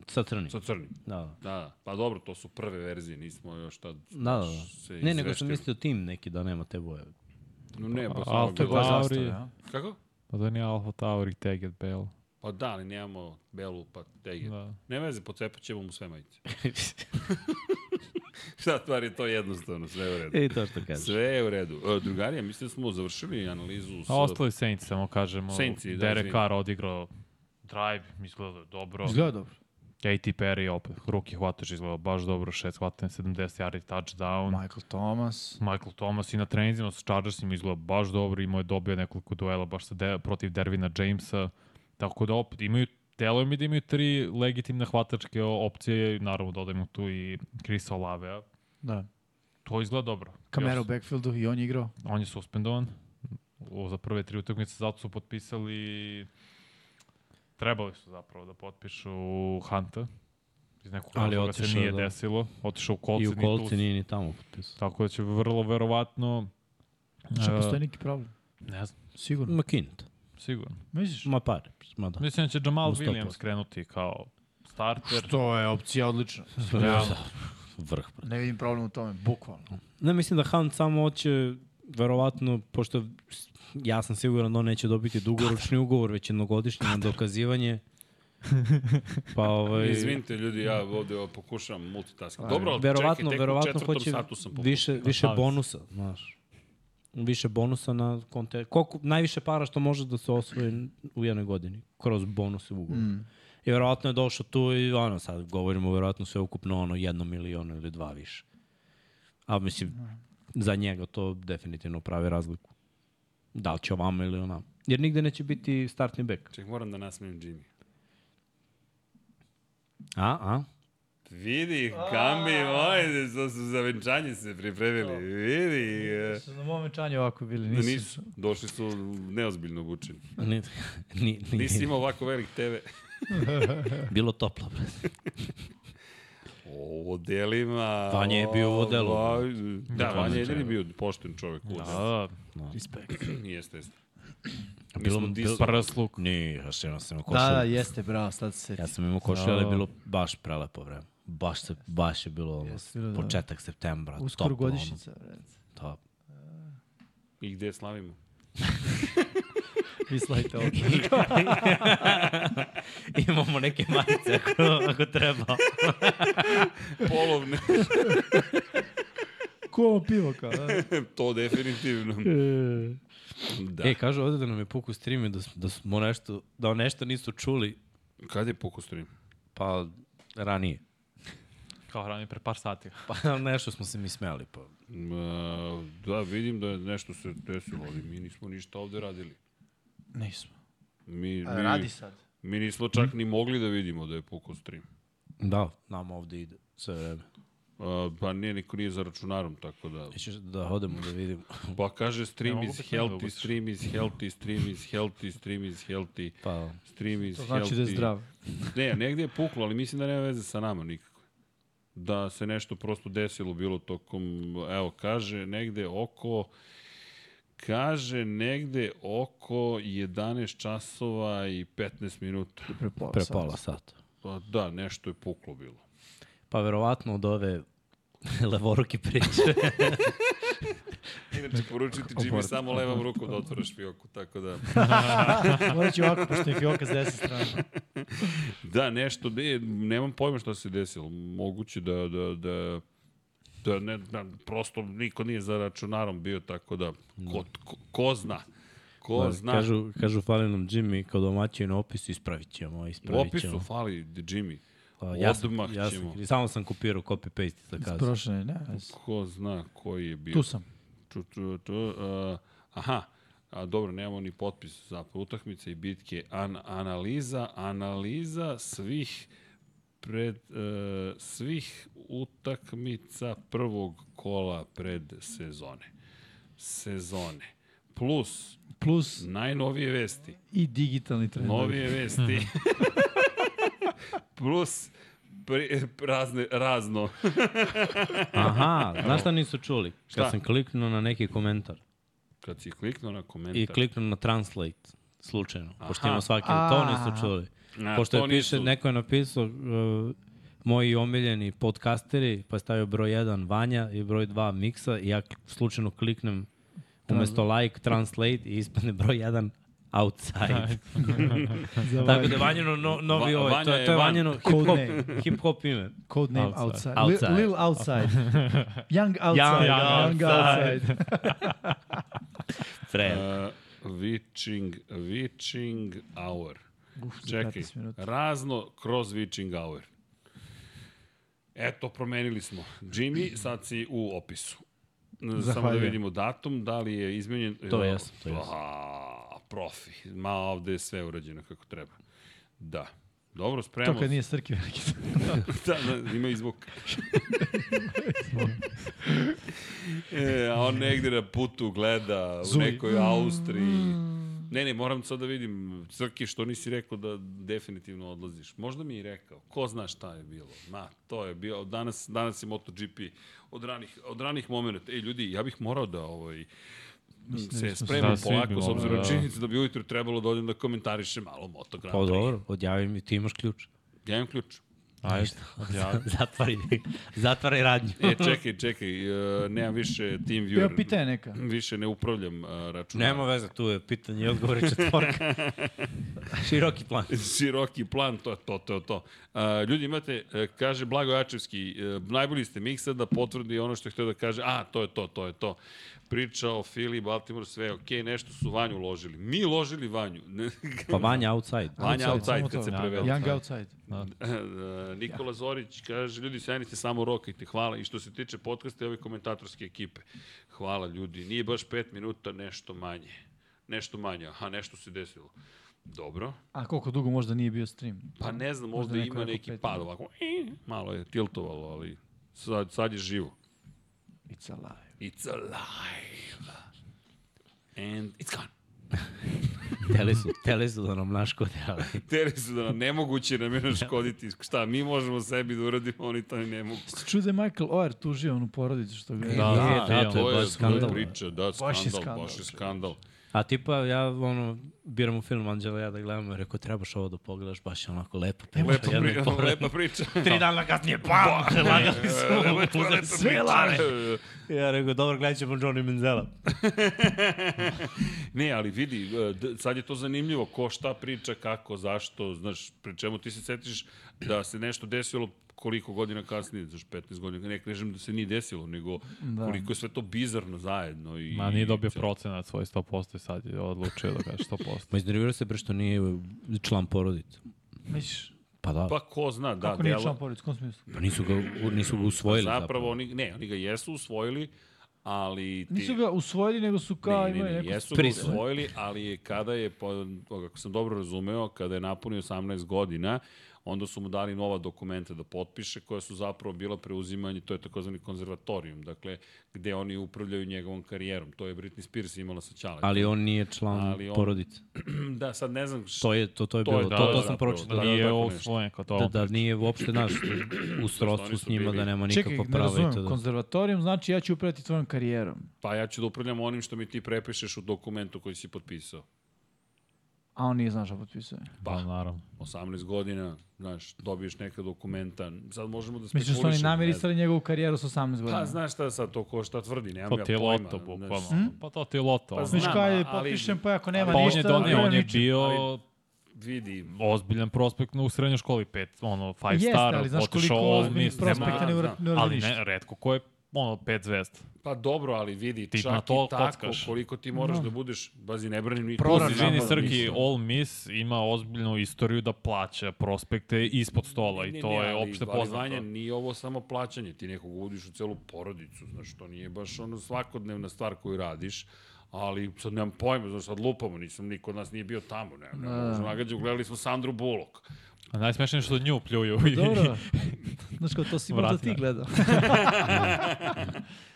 Sa crnim.
Sa crnim.
Da,
Da,
da.
da. Pa dobro, to su prve verzije, nismo još tad...
Da, da,
baš se
da. Ne, nego sam
izveštili.
mislio tim neki da nema te boje.
No ne, pa
A,
samo
to je
bilo-
baš- Tauri.
a?
Kako?
Pa da nije Alfa Tauri i Teged Bell.
Pa da, ali nemamo belu, pa tege. Da.
Da.
Ne veze, pocepat ćemo mu sve majice. Šta stvar je to jednostavno, sve je u redu.
I E, to što kažeš.
Sve je u redu. E, drugari, ja mislim da smo završili analizu sa...
A ostali Saints, samo kažemo.
Saints, da,
Derek
izvini.
Carr odigrao drive, izgleda dobro.
Izgleda dobro.
Katy Perry opet, ruke hvataš, izgleda baš dobro, šest hvatanja, 70 yardi touchdown.
Michael Thomas.
Michael Thomas i na treninzima sa Chargersima izgleda baš dobro, imao je dobio nekoliko duela baš sa de, protiv Dervina Jamesa, tako da opet imaju, deluje mi da imaju tri legitimne hvatačke opcije, naravno dodajemo tu i Krisa Olavea,
Da.
to izgleda dobro.
Kamero u
Još-
backfieldu i on je igrao.
On je suspendovan o, za prve tri utakmice, zato su potpisali, trebali su zapravo da potpišu Hanta, iz nekog
Ali
razloga se
otišao,
nije
da.
desilo, otišao u
I
kolci,
u kolci nije ni tamo potpisao.
Tako da će vrlo verovatno...
Šta
e,
postoji neki problem?
Ne znam,
Sigurno.
Ma kinta.
sigurno.
Misliš?
Ma pare. Ma da.
Mislim da će Jamal
U 100%.
Williams krenuti kao starter.
Što je opcija odlična.
Realno.
Da. vrh. brate.
Ne vidim problem u tome, bukvalno.
Ne, mislim da Hunt samo hoće, verovatno, pošto ja sam siguran da on neće dobiti dugoročni ugovor, već jednogodišnje na dokazivanje. Pa ovaj...
Izvinite ljudi, ja ovde pokušavam multitasking. Dobro, ali
verovatno,
Pa, čekaj, tek
verovatno
u četvrtom
hoće
satu sam pokušao. Da,
više, više
Savez.
bonusa, znaš. Više bonusa na konte... Koliko, najviše para što može da se osvoji u jednoj godini, kroz bonuse u ugovoru. Mm. I verovatno je došao tu i ono, sad govorimo verovatno sve ukupno ono jedno miliona ili dva više. A mislim, za njega to definitivno pravi razliku. Da li će ovamo ili onamo. Jer nigde neće biti startni bek.
Ček, moram da nasmijem Jimmy.
A, a?
Vidi, Kambi, ojde, za, za venčanje se pripremili.
Da.
Vidi. e.
Su na mom venčanju da ovako bili,
Da
nisu.
nisu. Došli su neozbiljno obučeni.
Ni, ni, ni,
Nisi imao ovako velik TV.
bilo toplo. brate.
O, delima.
Vanja je bio u odelu.
Va- Da, Vanja je jedini
čovjek.
bio pošten čovjek u odelu.
Da,
Respekt.
Jeste, jeste.
Bilo,
smo
bilo,
prsluk.
Nije, ja sam, ja sam imao košulju.
Da, da, jeste, bravo, sad se
Ja
sjetim.
sam imao košulju, ali je
Da.
bilo baš prelepo vreme. Baš, se, baš je bilo ono,
Jeste bilo, da.
početak septembra.
Uskoro
toplo, ono,
godišnjica, vred.
Top.
I gde slavimo?
Vi slavite ovo.
Imamo neke majice ako, ako treba.
Polovne.
Ko ovo pivo kao, da?
to definitivno.
E.
Da.
Da. E, kažu ovde da nam je puku streamu da, s- da smo nešto, da nešto nisu čuli,
Kad je pukao stream?
pa ranije.
Kao hrani pre par sati.
Pa nešto smo se mi smeli. Pa.
Ma, Da, vidim da je nešto se desilo, ali mi nismo ništa ovde radili.
Nismo.
Mi, mi,
A, radi sad.
mi nismo čak ni mogli da vidimo da je pukao stream.
Da, nam ovde ide sve vreme.
A, pa nije, niko nije za računarom, tako da...
Nećeš da odemo da vidimo.
Pa kaže stream
Ne mogu
is
bez mene da
healthy,
ubaciš.
stream is healthy, stream is healthy, stream is healthy,
Pa,
stream is
To
healthy.
znači da je zdrav.
Ne, negde je puklo, ali mislim da nema veze sa nama nikako. Da se nešto prosto desilo bilo tokom, evo, kaže negde oko, kaže negde oko 11 časova i 15 minuta.
Prepola
pre pola sata.
Pa da, nešto je puklo bilo.
Pa verovatno od ove levoruki priče.
Inače, poručiti Jimmy samo levom rukom da otvoriš fioku, tako da...
Morat ću ovako, pošto je fioka s desne strane.
Da, nešto, ne, nemam pojma šta se desilo. Moguće da, da, da, da ne, da, prosto niko nije za računarom bio, tako da, ko, ko, ko zna? Ko
Pa,
zna?
Kažu, kažu fali nam Jimmy kao domaćin na opisu, ispravit ćemo,
u
ispravit ćemo.
opisu fali Jimmy.
Pa,
odmah
sam, ja
ćemo.
Sam, samo sam kopirao copy-paste da za kazu.
Prošle, ne? ne,
Ko zna koji je bio?
Tu sam.
Tu, tu, tu, uh, aha, a dobro, nemamo ni potpis za utakmice i bitke. An, analiza, analiza svih pred e, svih utakmica prvog kola pred sezone. Sezone. Plus
Plus
najnovije vesti.
i digitalni trendovi.
Novije vesti. Plus pri, razne, razno.
Aha, znaš šta nisu čuli?
Šta?
Kad sam kliknuo na neki komentar
Kad si kliknuo na komentar.
i kliknuo na translate, slučajno, pošto
Aha.
ima svaki, to
A.
nisu čuli.
Na,
Pošto
to
je piše,
nisu.
neko je napisao, uh, moji omiljeni podcasteri, pa je stavio broj 1 Vanja i broj 2 Miksa i ja k- slučajno kliknem umesto like, translate i ispadne broj 1 outside.
Za ovaj
Tako da je Vanjino no, novi
Va-
ovaj, to,
Vanja je
je- to je
van.
Vanjino
Code
hip-hop
name.
hip -hop ime.
Code name outside.
Outside.
Outside.
outside. Li, little outside. Young outside.
Young outside.
outside.
Fred.
Uh, witching, witching hour. Uf,
za
Čekaj,
15 minuta.
razno kroz witching hour. Eto, promenili smo. Jimmy, sad si u opisu. N- Samo da
Zahvaljujem.
vidimo datum, da li je izmenjen...
To jesam, to jesam.
Aha, profi. Ma, ovde je sve urađeno kako treba. Da. Dobro, spremamo.
To kad nije Srki veliki.
da, da, ima i zvuk. e, a on negde na putu gleda u
Zuji.
nekoj
Mm.
Austriji. Ne, ne, moram sad da vidim, Crki, što nisi rekao da definitivno odlaziš. Možda mi i rekao, ko zna šta je bilo. Ma, to je bio, danas, danas je MotoGP od ranih, od ranih momenta. Ej, ljudi, ja bih morao da ovaj, se spremam
da, svi bi
polako, s
morali,
obzirom na
da.
činjenicu da bi ujutru trebalo da odem da komentarišem malo Moto Grand
Pa
Prix.
dobro, odjavi mi, ti imaš ključ.
Ja imam ključ.
Ajde,
Ništa.
objavi.
Zatvori, zatvori radnju.
E, čekaj, čekaj, e, nemam više team viewer.
Evo pitanje neka.
Više ne upravljam e, računarom.
Nema veze, tu je pitanje i odgovore četvorka. Široki plan.
Široki plan, to je to, to je to. A, ljudi, imate, e, kaže Blago Jačevski, e, najbolji ste miksa da potvrdi ono što je htio da kaže, a, to je to, to je to. Priča o Fili, Baltimore, sve je okej, nešto su Vanju ložili. Mi ložili Vanju.
Pa Vanja outside.
Vanja outside
samo
kad
to.
se
Ja,
prevede.
Young outside.
E, Nikola Zorić kaže, ljudi, sjajni ste, samo rokajte, hvala. I što se tiče podcasta i ove komentatorske ekipe, hvala ljudi. Nije baš pet minuta, nešto manje. Nešto manje, aha, nešto se desilo. Dobro.
A koliko dugo možda nije bio stream?
Pa ne znam, možda,
Možda neko
ima
je rekao
neki
pet
pad ovako. "Eh", Malo je tiltovalo, ali sad, sad je živo.
It's alive.
It's alive. And it's gone.
Tele su, tele su da nam naš kod, ali
Teri su da nam nemoguće nam je naškoditi. Šta, mi možemo sebi da uradimo, oni to i ne mogu.
Čuo da je Michael Oher tužio onu porodicu što ga je...
Da. je, da, to je baš skandal.
Priča, da, skandal, baš je skandal. Baš je
čovječe.
skandal.
A tipa, ja ono, biram u film Anđela, ja da gledam, rekao, trebaš ovo da pogledaš, baš je onako lepo. Priča,
Lepa,
jedno
pri,
povratno.
lepa priča.
Tri dana kasnije, pa, lagali su, uzeli sve lare.
E,
Ja rekao, dobro, gledat ćemo Johnny Menzela.
Ne, ali vidi, e, d- sad je to zanimljivo, ko šta priča, kako, zašto, znaš, pri čemu ti se setiš da se nešto desilo koliko godina kasnije, znaš, 15 godina, ne kažem da se nije desilo, nego da.
Da.
koliko je sve to bizarno zajedno. I,
Ma nije dobio
i-
procenat svoj 100% i sad je odlučio da kaže 100%.
Ma iznervirao se pre što nije član porodice.
Misliš,
Pa da,
Pa ko zna, da,
kako nije
dela-
član porodice, u kom smislu?
pa nisu ga, u- nisu ga usvojili zapravo.
zapravo, oni, ne, oni ga jesu usvojili, ali ti...
Nisu ga usvojili, nego su kao
ne, ne,
imaju
ne,
neku...
jesu ga
prisile.
usvojili, ali je kada je, po- ako sam dobro razumeo, kada je napunio 18 godina, onda su mu dali nova dokumenta da potpiše, koja su zapravo bila preuzimanje, to je takozvani konzervatorijum, dakle, gde oni upravljaju njegovom karijerom. To je Britney Spears imala sa Ćaletom.
Ali on nije član
Ali on-
porodice.
Da, sad ne znam šta
To je, to, to je
To
bilo,
je, da,
to,
da,
to sam
zapravo,
pročitao.
da,
Da,
da,
Nije
tako
ovo
nešto.
svoje kao to.
da, da, nije uopšte naš u srodstvu s
su
njima,
bili-
da
Pa
nema
Čekaj,
nikakvo
ne
pravo. i
razumem,
to da-
konzervatorijum znači ja ću upravljati tvojom karijerom.
Pa ja ću da upravljam onim što mi ti prepišeš u dokumentu koji si potpisao.
A on nije znao šta potpisuje.
Pa, naravno.
18 godina, znaš, dobiješ neka dokumenta. Sad možemo da
Mislim
spekulišemo.
da su oni
ne znam.
namirisali njegovu karijeru sa 18 godina.
Pa znaš šta sad to ko šta tvrdi, nemam
Pa To
ja
ti je
pojma.
loto,
znaš.
Hm?
bukvalno. Pa to ti je loto.
Pa
ono.
znam,
Znaš kao je
ali-
potpišem, pa ako nema
Pa on je
ništa,
donio,
nema
on je
ničeg.
bio
Ali- Vidi,
ozbiljan prospekt na u srednjoj školi, pet, ono, five
Jeste,
star,
ali znaš koliko
otišao
ozbiljnih
osmi,
nema-
prospekta ne
znam,
uradi ne uradi
ali
ništa.
ne, redko ko je ono, pet zvezda.
pa dobro, ali vidi,
Ti na
čak
to
i tako
kockaš.
koliko ti moraš da budeš, bazi, ne branim ni
Proračun.
tu,
Žini
naravno,
Srki,
mislim.
All Miss ima ozbiljnu istoriju da plaća prospekte ispod stola
Ne,
i
ne,
to je
ali,
opšte
ali,
poznato.
Vanja, nije ovo samo plaćanje, ti nekog uvodiš u celu porodicu, znaš, to nije baš ono svakodnevna stvar koju radiš, ali sad nemam pojma, znaš, sad lupamo, nisam, niko od nas nije bio tamo, ne, ne,
Da.
ne, nagađa, gledali smo Sandru Bullock.
A najsmešnije je što nju pljuju.
Dobro. Znaš kao to si možda
Vrati
ti
me.
gledao.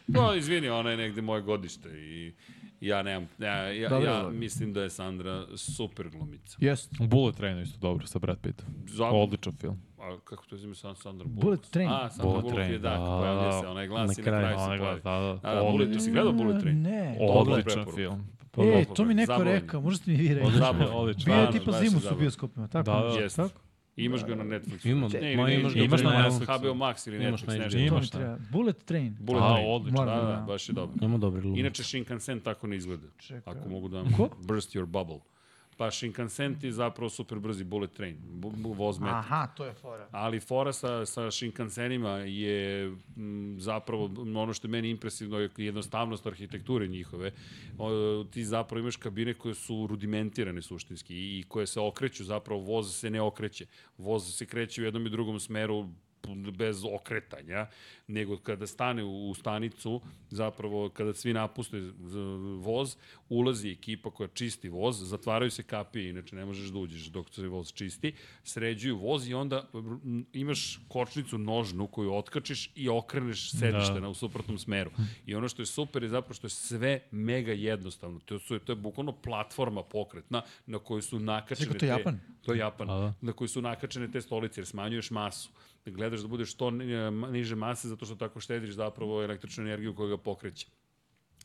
No, Pa, izvini, ona je negde moje godište i ja nemam, ja, ja,
Dobro,
ja
dobro.
mislim da je Sandra super glumica.
Jeste.
Bullet Train je isto dobro sa Brad Pittom.
Zapravo,
Odličan film.
A kako to zime San Sandra
Bullet
Bullock?
Train.
A, Sandra Bullet,
Bullet
Bullock je
Train,
da,
da.
pojavlja se, onaj glas
Na
i na kraju
kraju,
se
Onaj
pojavi.
glas, da,
Da, da,
da.
Bullet,
Odličan,
jesi gledao Bullet Train?
Ne.
odličan
preporuka.
film.
E,
dobro,
to mi neko
zabavno.
rekao, možete mi vi reći.
Odlično,
Zabavno.
odlično.
Bio je
Stvarno,
tipa
baš je
zimus u
zabavno.
bioskopima, tako?
Da, da.
nešto?
Jeste. Imaš ga na Netflixu.
Imam,
Ne,
ma,
ne,
imaš
ne,
ga
imaš
na
na
Netflixu.
HBO Max ili
Imaš
Netflix,
na
nešto.
HBO.
To
Ima
mi
šta.
treba. Bullet Train.
Bullet
A,
Train.
odlično.
Da,
Moram
da,
da.
baš je dobro.
Nema dobri glumac.
Inače, Shinkansen tako ne izgleda.
Čekaj.
Ako mogu da vam
Ko?
burst your bubble. Pa Shinkansen ti je zapravo super brzi Bullet Train. bu- bu- Voz meta.
Aha, to je fora.
Ali fora sa, sa Shinkansenima je m, zapravo m, ono što je meni impresivno je jednostavnost arhitekture njihove. O, ti zapravo imaš kabine koje su rudimentirane suštinski i, i koje se okreću, zapravo voz se ne okreće. Voz se kreće u jednom i drugom smeru bez okretanja, nego kada stane u, u stanicu, zapravo kada svi napuste z- voz, ulazi ekipa koja čisti voz, zatvaraju se kapije, inače ne možeš da uđeš dok se voz čisti, sređuju voz i onda m, imaš kočnicu nožnu koju otkačiš i okreneš sedište da. na, u suprotnom smeru. I ono što je super je zapravo što je sve mega jednostavno. To, su, to je bukvalno platforma pokretna na kojoj su nakačene
Čekaj, to je
te-
Japan?
To je Japan, na koji su nakačene te stolice, jer smanjuješ masu. Da Gledaš da budeš što ni- niže mase, zato što tako štediš zapravo električnu energiju koja ga pokreće.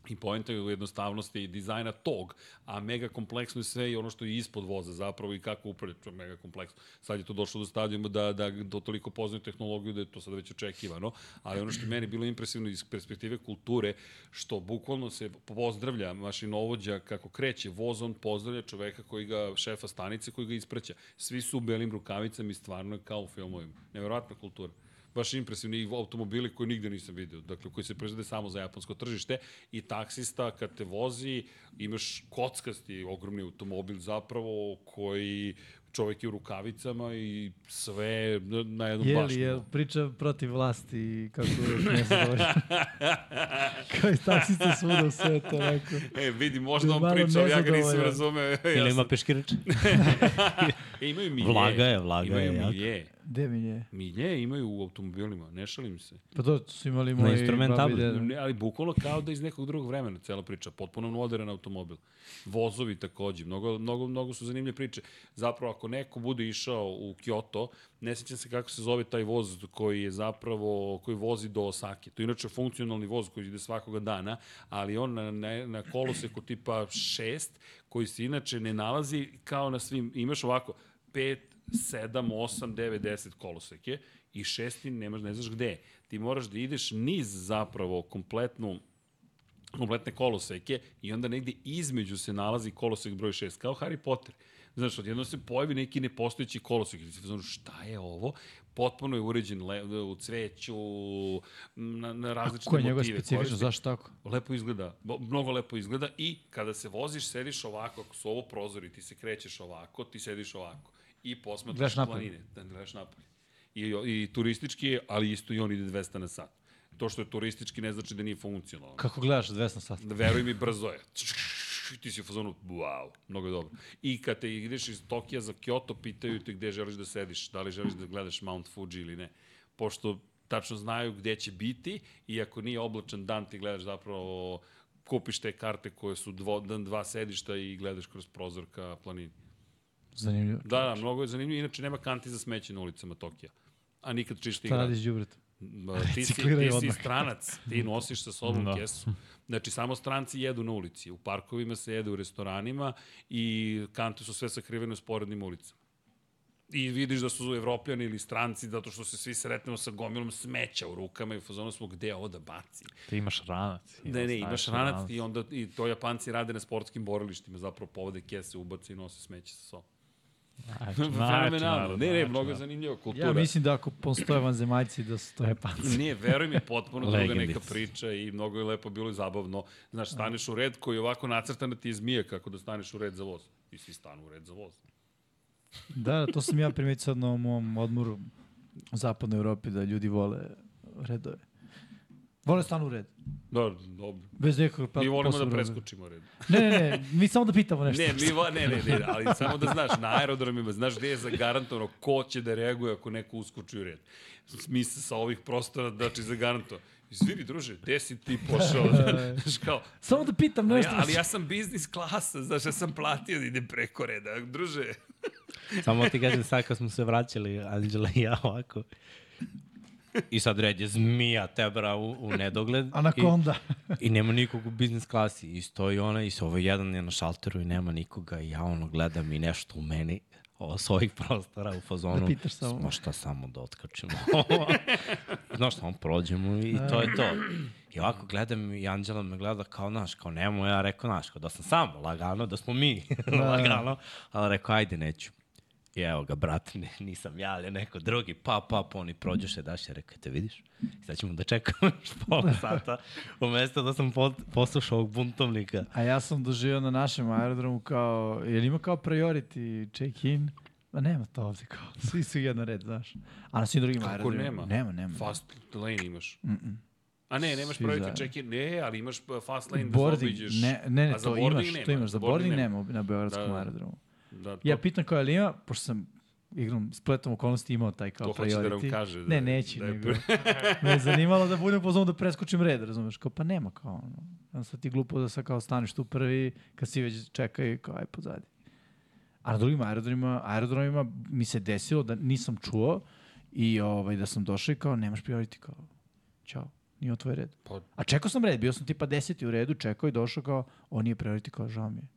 I poenta je u jednostavnosti dizajna tog, a mega kompleksno je sve i ono što je ispod voza zapravo i kako upravljaš, to je mega kompleksno. Sad je to došlo do stadijuma da, da, da toliko poznaju tehnologiju da je to sad već očekivano, ali ono što je meni bilo impresivno iz perspektive kulture, što bukvalno se pozdravlja mašinovođa kako kreće vozom, pozdravlja čoveka koji ga, šefa stanice koji ga ispraća. Svi su u belim rukavicama i stvarno je kao u filmovima. Neverovatna kultura baš impresivni i automobili koji nigde nisam video, dakle koji se proizvode samo za japansko tržište i taksista kad te vozi imaš kockasti ogromni automobil zapravo koji čovek je u rukavicama i sve na- na jednom
Je li,
bašnu.
je priča protiv vlasti i kako ne se zove. Kao i taksista svuda u svetu, onako.
E, vidi, možda on
Malo
pričao, ja ga nisam
nezadovoljan.
razumeo.
Ili
Ja
ima
sam,
peškirač?
e, imaju milje.
Vlaga je, vlaga
imaju
je, jako.
milje.
Gde mi je?
Milje imaju u automobilima, ne šalim se.
Pa to su imali moji da.
instrumentabli.
babi i deda.
Ne, ali bukvalno kao da iz nekog drugog vremena cela priča, potpuno modern automobil. Vozovi takođe, mnogo, mnogo, mnogo su zanimljive priče. Zapravo, ako neko bude išao u Kyoto, ne sećam se kako se zove taj voz koji je zapravo, koji vozi do Osake. To je inače funkcionalni voz koji ide svakoga dana, ali on na, na, na koloseku tipa 6, koji se inače ne nalazi kao na svim, imaš ovako, 5, 7, 8, 9, 10 koloseke i šesti nemaš, ne znaš gde je. Ti moraš da ideš niz zapravo kompletnu kompletne koloseke i onda negde između se nalazi kolosek broj 6, kao Harry Potter. Znaš, odjedno se pojavi neki nepostojeći kolosek. I ti se znaš, šta je ovo? Potpuno je uređen le, u cveću, na, na različite
Koja je
Znači,
njegova
motive.
specifična,
koristi.
zašto tako?
Lepo izgleda, bo- mnogo lepo izgleda i kada se voziš, sediš ovako, ako su ovo prozori, ti se krećeš ovako, ti sediš ovako i posmatraš
Gledaš napolje.
planine, da gledaš napolje. I, I turistički je, ali isto i on ide 200 na sat. To što je turistički ne znači da nije funkcionalno.
Kako gledaš 200 sat?
Da veruj mi, brzo je. Ti si u fazonu, wow, mnogo je dobro. I kad te ideš iz Tokija za Kyoto, pitaju te gde želiš da sediš, da li želiš da gledaš Mount Fuji ili ne. Pošto tačno znaju gde će biti i ako nije oblačan dan, ti gledaš zapravo, kupiš te karte koje su dvo, dan, dva sedišta i gledaš kroz prozor ka planini.
Zanimljivo.
Da, da, mnogo je zanimljivo. Inače, nema kanti za smeće na ulicama Tokija. A nikad čisti
Šta
grad.
radiš đubret?
Ma, Mm, ti si,
Recikliraj
ti si
odmah.
stranac, ti nosiš sa sobom da.
Da.
kesu. Znači, samo stranci jedu na ulici. U parkovima se jede u restoranima i kante su sve sakrivene u sporednim ulicama. I vidiš da su evropljani ili stranci zato što se svi sretnemo sa gomilom smeća u rukama i u fazonu smo gde ovo da bacim.
Ti imaš ranac.
Ne, ne, imaš
Znaš,
ranac i onda i to Japanci rade na sportskim borilištima, zapravo povode kese, ubace i nose smeće sa sobom.
Znači,
Fenomenalno. Ne, ne,
znači,
mnogo je
narod.
zanimljivo kultura.
Ja mislim da ako postoje vanzemaljci da su to
E, pa.
japanci.
Nije, veruj mi, potpuno druga
Legendice.
neka priča i mnogo je lepo bilo i zabavno. Znaš, staneš u red koji je ovako nacrtan da ti je zmija kako da staneš u red za voz. I svi stanu u red za voz.
Da, to sam ja primetio sad na ovom mom odmoru u zapadnoj Evropi da ljudi vole redove. Vole stanu u red.
Dobro, Da, dobro.
Bez nekog pa,
Mi volimo da
posebnog razloga.
preskočimo red.
Ne, ne, ne, mi samo da pitamo nešto.
Ne, mi va, ne, ne, ne, ali samo da znaš, na aerodromima, znaš gde je zagarantovano ko će da reaguje ako neko uskoči u red. Smisla sa ovih prostora, znači zagarantovano. Izvini, druže, gde si ti pošao? Znaš, kao,
Samo da pitam
ali,
nešto.
ja, ali ja sam biznis klasa, znaš, ja sam platio da idem preko reda. Druže,
Samo ti kažem, sad kad smo se vraćali, Anđela i ja ovako, i sad red je zmija tebra u, u nedogled.
Anakonda.
I, I nema nikog u biznis klasi. I stoji ona i s ovo jedan je na šalteru i nema nikoga. I ja ono gledam i nešto u meni ovo, s ovih prostora u fazonu.
Da pitaš samo.
Možda samo da otkačimo. Znaš, samo prođemo i to je to. I ovako gledam i Anđela me gleda kao, naš, kao nemo, ja rekao, naš, kao da sam sam, lagano, da smo mi, lagano. Ali rekao, ajde, neću. I evo ga, brat, ne, nisam ja, ali je neko drugi, pa, pa, pa, oni prođeš, se daš, ja rekao, te vidiš, sad ćemo da čekamo još pola sata, umesto da sam pot, poslušao ovog buntovnika.
A ja sam doživio na našem aerodromu kao, je li ima kao priority check-in? Ma nema to ovde kao, svi su jedan red, znaš. A na svim drugim
Kako
aerodromima?
nema?
Nema, nema.
Fast lane imaš. Mm -mm. A ne, nemaš
Svi
praviti
zajedno.
check-in, ne, ali imaš uh, fast lane da se
boarding,
obiđeš.
ne, ne, ne
A za
to
boarding
imaš, to imaš, za boarding nema na Beogradskom
Da, da.
aerodromu.
Da, to,
Ja pitam koja li ima, pošto sam igrom spletom okolnosti imao taj kao
to hoće
priority.
da nam kaže. Da,
ne, neću,
da
da
je-
nego me je zanimalo da budem pozvan da preskočim red, razumeš, kao pa nema kao ono. Onda sad ti glupo da sad kao staneš tu prvi, kad si već čekaj, kao aj pozadi. A na drugim aerodromima, aerodromima mi se desilo da nisam čuo i ovaj, da sam došao i kao nemaš priority, kao čao.
Nije on tvoj red.
Pa-
A čekao sam red, bio sam tipa deseti u redu, čekao i došao kao, on nije priority, kao žao mi je.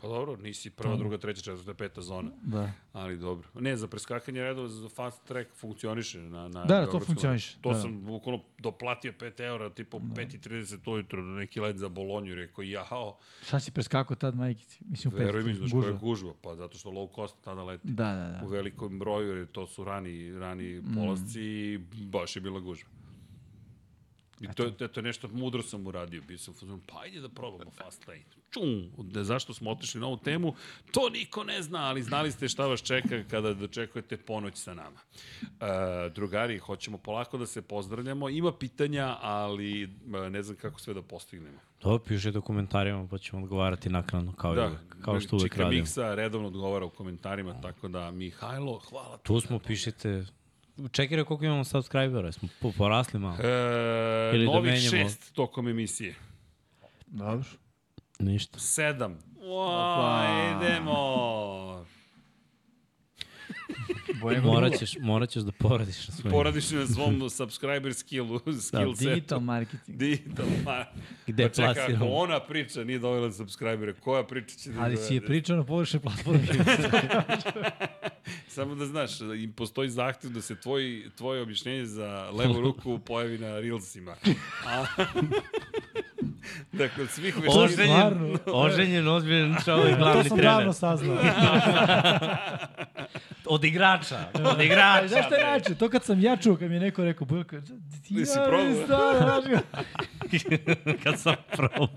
Pa dobro, nisi prva, druga, treća, četvrta, peta zona.
Da.
Ali dobro. Ne, za preskakanje redova, za fast track funkcioniše. Na, na
da, to
Beogradskom.
funkcioniše,
To
da, da.
sam bukvalno doplatio 5 eura, tipa u 5.30 ujutro na neki let za Bolonju i rekao, jahao,
Šta si preskakao tad majkici? Mislim, u
veruj mi,
petu,
znaš koja
gužva.
je gužva, pa zato što low cost tada leti.
Da, da, da.
U velikom broju, jer to su rani, rani
Mm.
polasci i baš je bila gužva. I to, je- to je nešto mudro sam uradio. Bio sam u fazonu, pa ajde da probamo fast lane. Čum, da, zašto smo otišli na ovu temu, to niko ne zna, ali znali ste šta vas čeka kada dočekujete ponoć sa nama. E, drugari, hoćemo polako da se pozdravljamo. Ima pitanja, ali e, ne znam kako sve da postignemo.
To piše u komentarima, pa ćemo odgovarati naknadno kao, da, kao što uvek
Čika
radimo.
Miksa redovno odgovara u komentarima, tako da Mihajlo, hvala
Tu smo, pišite... Čekaj, koliko imamo subscribera, smo po- porasli malo.
E,
Ili da
novih
menjamo-
šest tokom emisije.
Dobro.
Ništa.
Sedam. Opa, idemo.
Morat ćeš, morat ćeš da poradiš na svojim.
Poradiš na svom subscriber skillu, skill da,
Digital marketing.
Digital, ma.
Gde
pa čekaj, ako
plasiramo?
ona priča nije dovela subscribere, koja priča će da
Ali si je
dovede?
pričao na površne platforme.
Samo da znaš, im postoji zahtev da se tvoj, tvoje objašnjenje za levu ruku pojavi na Reelsima. A, dakle, svih veština...
Oženjen,
Stvarno?
oženjen, ozbiljen čovjek,
to
glavni
sam
trener.
davno saznao.
Od igrača, od igrača.
Ali znaš šta je najče? To kad sam ja čuo, kad mi je neko rekao, bilo kao, ti
Nisi
ja
probao.
ne znam, znaš,
Kad sam probao.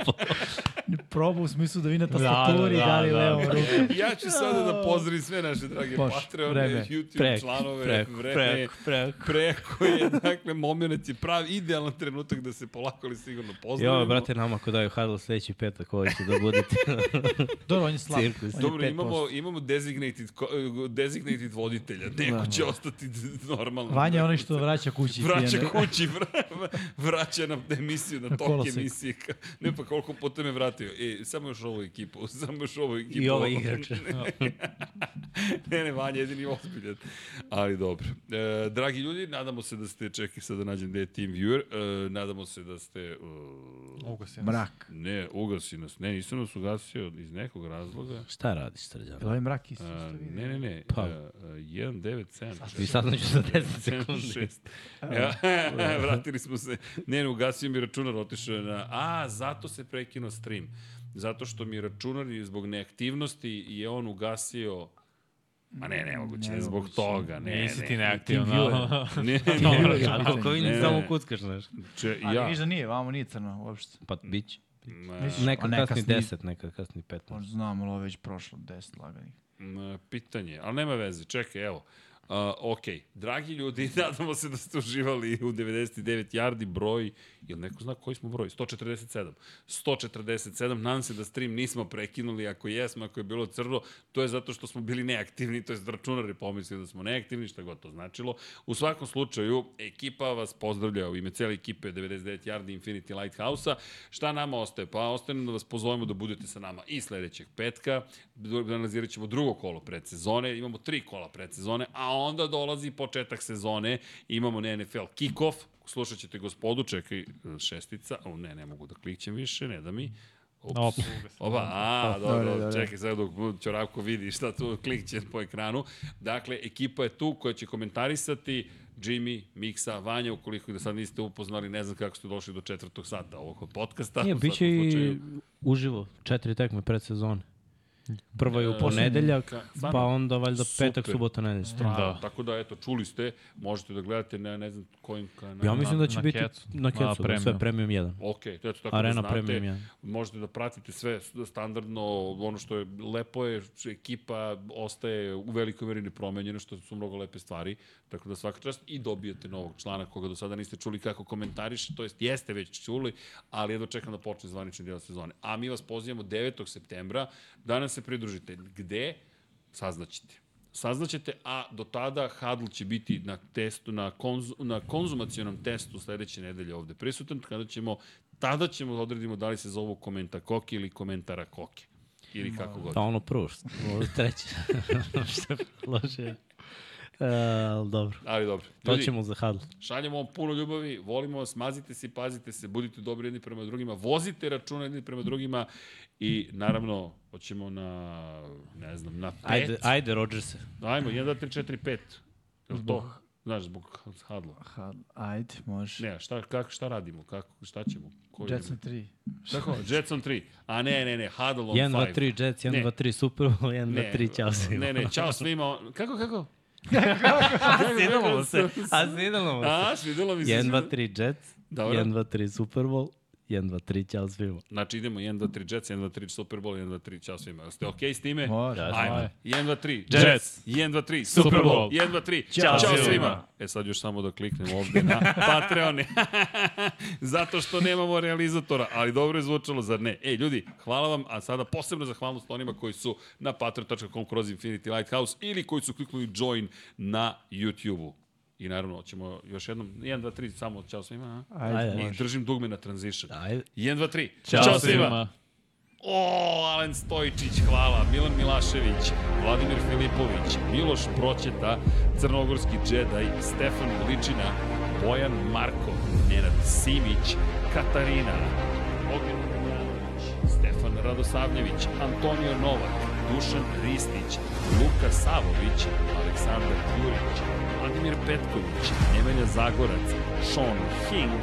Ne, probao u smislu da vi na
Da,
tastaturi
da,
da, dali
da.
levom rukom.
Ja ću sada da pozdravim sve naše drage
Može,
Patreone,
vreme.
YouTube
Preko,
članove,
preko,
vreme,
preko, preko.
preko je, dakle, moment je pravi, idealan trenutak da se polako ali sigurno pozdravimo.
Jo, brate, nama ako daju hadl sledeći petak, ovo će da budete
Dobro, on je slab.
cirkus.
On je
Dobro,
5%.
imamo, imamo designated, ko- designated voditelja, neko će ostati normalno.
Vanja je onaj što vraća kući.
Vraća
pijane.
kući, vra, vraća nam emisiju na,
Na
tok
kolosek.
emisije. Ka- Ne pa koliko puta me vratio. E, samo još ovu ekipu, samo još ovu ekipu.
I ovaj igrač.
ne, ne, Vanja, jedini je ozbiljan. Ali dobro. E, dragi ljudi, nadamo se da ste, čekaj sad da nađem gde je Team Viewer, e, nadamo se da ste... E,
Mrak.
ne, ugasi nas. Ne, nisam nas ugasio iz nekog razloga.
Šta radiš, Srđan?
Jel ovaj mrak isto?
E, ne, ne, ne.
Pa.
Pa. E, e, 197.
Vi sad neću za 10 sekundi.
Šest. Ja, vratili smo se. Ne, ne, ugasio mi računar, otišao je na... A, zato se prekinuo stream. Zato što mi računar je zbog neaktivnosti je on ugasio... Ma ne, nemoguće, ne, zbog toga. Ne,
Nisi
ne.
ti neaktivan. da.
Ne,
Dobro,
ne,
ali-
Ako vidim,
Ne.
samo kuckaš, znaš.
Če,
Ali
ja.
vidiš da nije, vamo nije crno uopšte.
Pa bit će.
Ma,
Nekad
neka
kasni
sni-
10, nekad kasni 15.
Možda znam, ali ovo je već prošlo 10 laganih.
m, Mm, e, pitanje, ali nema veze, čekaj, evo. Uh, ok, dragi ljudi, nadamo se da ste uživali u 99 yardi broj, ili neko zna koji smo broj, 147. 147, nadam se da stream nismo prekinuli, ako jesmo, ako je bilo crno, to je zato što smo bili neaktivni, to je računar je pomislio da smo neaktivni, šta god to značilo. U svakom slučaju, ekipa vas pozdravlja u ime cele ekipe 99 yardi Infinity Lighthouse-a. Šta nama ostaje? Pa ostaje nam da vas pozovemo da budete sa nama i sledećeg petka, Dru- analizirat ćemo drugo kolo predsezone, imamo tri kola predsezone, a onda dolazi početak sezone, imamo ne NFL kick-off, slušat ćete gospodu, čekaj, šestica, o ne, ne mogu da klikćem više, ne da mi,
Op,
Ops. Oba, a, dobro, dobro, čekaj sad dok Ćoravko vidi šta tu klikće po ekranu. Dakle, ekipa je tu koja će komentarisati Jimmy, Miksa, Vanja, ukoliko da sad niste upoznali, ne znam kako ste došli do četvrtog sata ovog podcasta.
Nije,
u
bit će
svakom
i
slučaju.
uživo, četiri tekme pred sezone. Prva je u ponedeljak,
E, ka-
pa
stvarno?
onda valjda petak,
Super.
subota, nedelja.
Da.
Tako da, eto, čuli ste, možete da gledate na ne znam kojim kanalima.
Ja mislim da
Na-
će
na
biti
Kecu.
na
Na
Kecu, da, sve
Premium.
premium 1.
Ok, to je to tako da
Arena
znate.
Premium jedan.
Možete da pratite sve standardno, ono što je lepo je, što ekipa ostaje u velikoj meri nepromenjena, što su mnogo lepe stvari, tako da svaka čast i dobijete novog člana koga do sada niste čuli kako komentariše, to jest jeste već čuli, ali jedno čekam da počne zvanični deo sezone. A mi vas pozivamo 9. septembra da nam se pridružite. Gde? Saznaćete saznaćete, a do tada Hadl će biti na testu, na, konzu, na konzumacionom testu sledeće nedelje ovde prisutan, kada ćemo, tada ćemo da odredimo da li se zovu komenta koki ili komentara koke. Ili kako god.
Pa ono prvo, što, ovo treće, što je loše. ali dobro.
Ali dobro.
To
Ljudi,
ćemo za hadl.
Šaljemo vam puno ljubavi, volimo vas, mazite se, pazite se, budite dobri jedni prema drugima, vozite računa jedni prema drugima i naravno, hoćemo na, ne znam, na pet.
Ajde, ajde Rodgers.
Ajmo, 1, 2, 3, 4, 5. Jel to? Znaš, zbog hadla.
Ha, ajde, može.
Ne, šta, kako, šta radimo? Kako, šta ćemo? Koji
Jetson 3.
Tako, Jetson 3. A ne, ne, ne, Huddle on
1, 2,
5.
3 Jets, 1,
Ne.
2, 3 Super Bowl, 1,
Ne,
2, 3 Ćao svima.
Ne, ne, čao svima. Kako, kako?
A sinalovo se, a sinalovo se.
A, svidelo mi se.
1, 2, 3 Jets,
Dobro.
1, 2, 3 Super Bowl, 1, 2, 3 Ćao svima.
Znači idemo 1, 2, 3 Jets, 1, 2, 3 Super Bowl, 1, 2, 3, čao svima. Jeste okej okay s time?
Može.
Ajmo. 1, 2, 3
Jets.
1, 2, 3
Super Bowl.
1, 2, 3 Ćao,
svima.
svima. E sad još samo da kliknem ovde na Patreon. Zato što nemamo realizatora, ali dobro je zvučalo, zar ne? E, ljudi, hvala vam, a sada posebno zahvalnost onima koji su na patreon.com kroz Infinity Lighthouse ili koji su kliknuli join na YouTube-u. I naravno, ćemo još jednom, 1, 2, 3, samo čao svima. a?
Ajde,
I
može.
držim dugme na transition.
Ajde.
1, 2, 3.
Ćao, Ćao svima.
O, Alen Stojičić, hvala, Milan Milašević, Vladimir Filipović, Miloš Proćeta, Crnogorski Jedi, Stefan Ličina, Bojan Markov, Nenad Simić, Katarina, Ognjen Bogdanović, Stefan Radosavljević, Antonio Novak, Dušan Ristić, Luka Savović, Aleksandar Jurić, Vladimir Petković, Nemanja Zagorac, Sean Hing,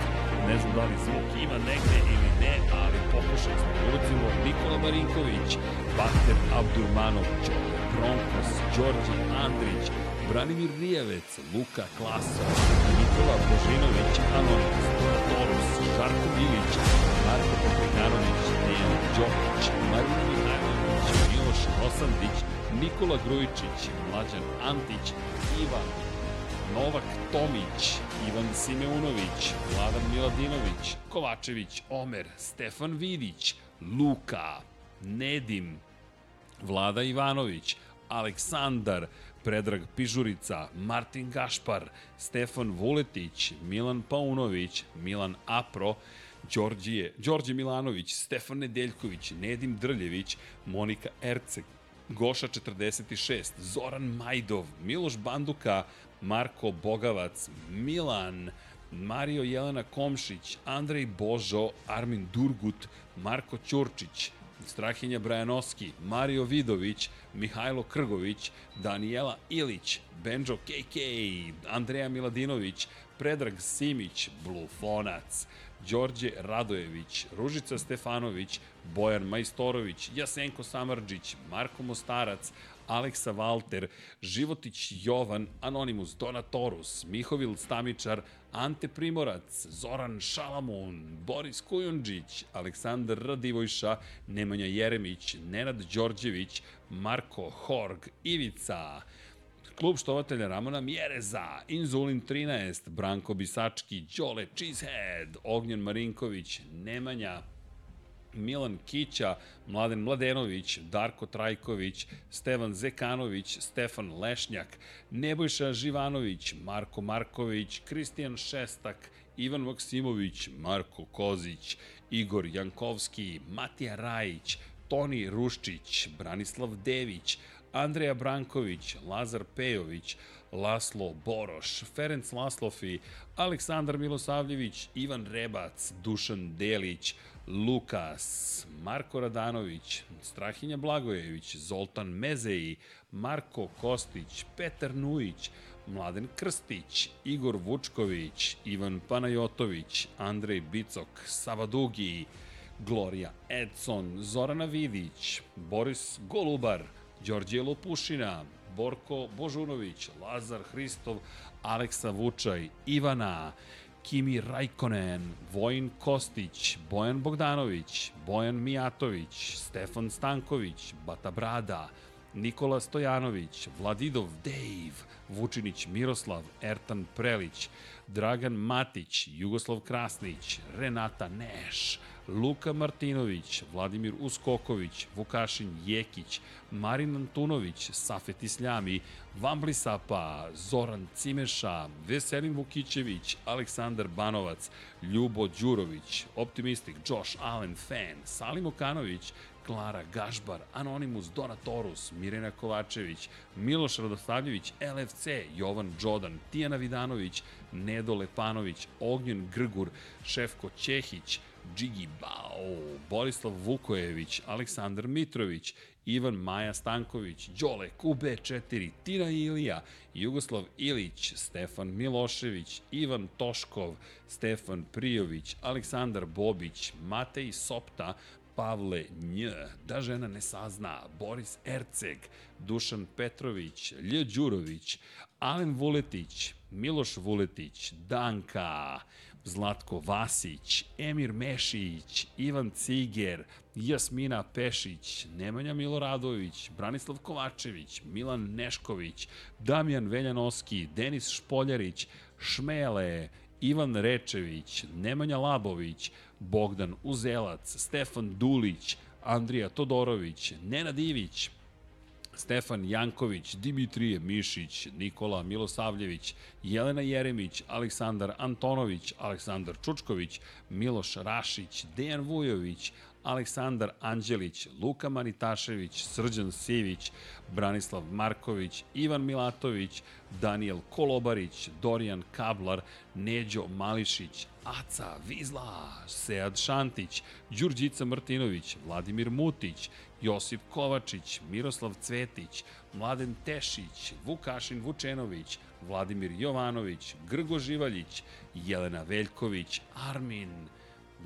ne znam da li zvuk ima negde ili ne, ali pokušali smo da ulicimo Nikola Marinković, Bakter Abdurmanović, Bronkos, Đorđe Andrić, Branimir Rijavec, Luka Klaso, Nikola Božinović, Anonimus, Donatorus, Žarko Milić, Marko Popekanović, Dejan Đokić, Marina Mihajlović, Miloš Rosandić, Nikola Grujičić, Mlađan Antić, Ivan Novak Tomić, Ivan Simeunović, Vladan Miladinović, Kovačević, Omer, Stefan Vidić, Luka, Nedim, Vlada Ivanović, Aleksandar, Predrag Pižurica, Martin Gašpar, Stefan Vuletić, Milan Paunović, Milan Apro, Đorđije, Đorđe Milanović, Stefan Nedeljković, Nedim Drljević, Monika Erceg, Goša 46, Zoran Majdov, Miloš Banduka, Marko Bogavac, Milan, Mario Jelena Komšić, Andrej Božo, Armin Durgut, Marko Ćurčić, Strahinja Brajanovski, Mario Vidović, Mihajlo Krgović, Danijela Ilić, Benjo KK, Andreja Miladinović, Predrag Simić, Blufonac, Đorđe Radojević, Ružica Stefanović, Bojan Majstorović, Jasenko Samarđić, Marko Mostarac, Aleksa Valter, Životić Jovan, Anonimus, Donatorus, Mihovil Stamičar, Ante Primorac, Zoran Šalamun, Boris Kujundžić, Aleksandar Radivojša, Nemanja Jeremić, Nenad Đorđević, Marko Horg, Ivica, Klub štovatelja Ramona Mjereza, Inzulin 13, Branko Bisački, Đole Cheesehead, Ognjen Marinković, Nemanja Milan Kića, Mladen Mladenović, Darko Trajković, Stevan Zekanović, Stefan Lešnjak, Nebojša Živanović, Marko Marković, Kristijan Šestak, Ivan Maksimović, Marko Kozić, Igor Jankovski, Matija Rajić, Toni Ruščić, Branislav Dević, Andreja Branković, Lazar Pejović, Laslo Boroš, Ferenc Laslofi, Aleksandar Milosavljević, Ivan Rebac, Dušan Delić, Lukas, Marko Radanović, Strahinja Blagojević, Zoltan Mezeji, Marko Kostić, Petar Nujić, Mladen Krstić, Igor Vučković, Ivan Panajotović, Andrej Bicok, Sava Dugi, Gloria Edson, Zorana Vidić, Boris Golubar, Đorđe Lopušina, Borko Božunović, Lazar Hristov, Aleksa Vučaj, Ivana, Kimi Rajkonen, Vojin Kostić, Bojan Bogdanović, Bojan Mijatović, Stefan Stanković, Bata Brada, Nikola Stojanović, Vladidov Dejv, Vučinić Miroslav, Ertan Prelić, Dragan Matić, Jugoslav Krasnić, Renata Neš, Luka Martinović, Vladimir Uskoković, Vukašin Jekić, Marin Antunović, Safet Isljami, Vamblisapa, Zoran Cimeša, Veselin Vukićević, Aleksandar Banovac, Ljubo Đurović, Optimistik, Josh Allen Fan, Salim Okanović, Klara Gašbar, Anonimus, Donatorus, Mirena Kovačević, Miloš Radoslavljević, LFC, Jovan Đodan, Tijana Vidanović, Nedo Lepanović, Ognjen Grgur, Šefko Ćehić, Džigi Bao, Borislav Vukojević, Aleksandar Mitrović, Ivan Maja Stanković, Đole QB4, Tina Ilija, Jugoslav Ilić, Stefan Milošević, Ivan Toškov, Stefan Prijović, Aleksandar Bobić, Matej Sopta, Pavle Nj, Da žena ne sazna, Boris Erceg, Dušan Petrović, Lj Đurović, Alen Vuletić, Miloš Vuletić, Danka, Zlatko Vasić, Emir Mešić, Ivan Ciger, Jasmina Pešić, Nemanja Miloradović, Branislav Kovačević, Milan Nešković, Damjan Veljanoski, Denis Špoljarić, Šmele, Ivan Rečević, Nemanja Labović, Bogdan Uzelac, Stefan Dulić, Andrija Todorović, Nenad Ivić, Stefan Janković, Dimitrije Mišić, Nikola Milosavljević, Jelena Jeremić, Aleksandar Antonović, Aleksandar Čučković, Miloš Rašić, Dejan Vujović, Aleksandar Anđelić, Luka Manitašević, Srđan Sivić, Branislav Marković, Ivan Milatović, Daniel Kolobarić, Dorijan Kablar, Neđo Mališić, Aca Vizla, Sead Šantić, Đurđica Martinović, Vladimir Mutić, Josip Kovačić, Miroslav Cvetić, Mladen Tešić, Vukašin Vučenović, Vladimir Jovanović, Grgo Živaljić, Jelena Veljković, Armin,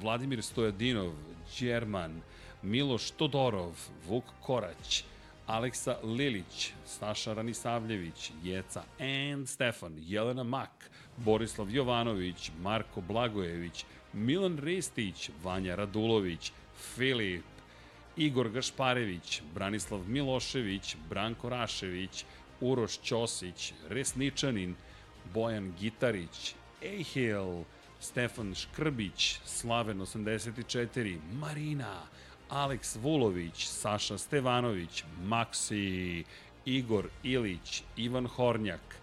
Vladimir Stojadinov, Đerman, Miloš Todorov, Vuk Korać, Aleksa Lilić, Saša Ranisavljević, Jeca and Stefan, Jelena Mak, Borislav Jovanović, Marko Blagojević, Milan Ristić, Vanja Radulović, Filip, Igor Gašparević, Branislav Milošević, Branko Rašević, Uroš Ćosić, Resničanin, Bojan Gitarić, Ejhil, Stefan Škrbić, Slaven 84, Marina, Aleks Vulović, Saša Stevanović, Maksi, Igor Ilić, Ivan Hornjak,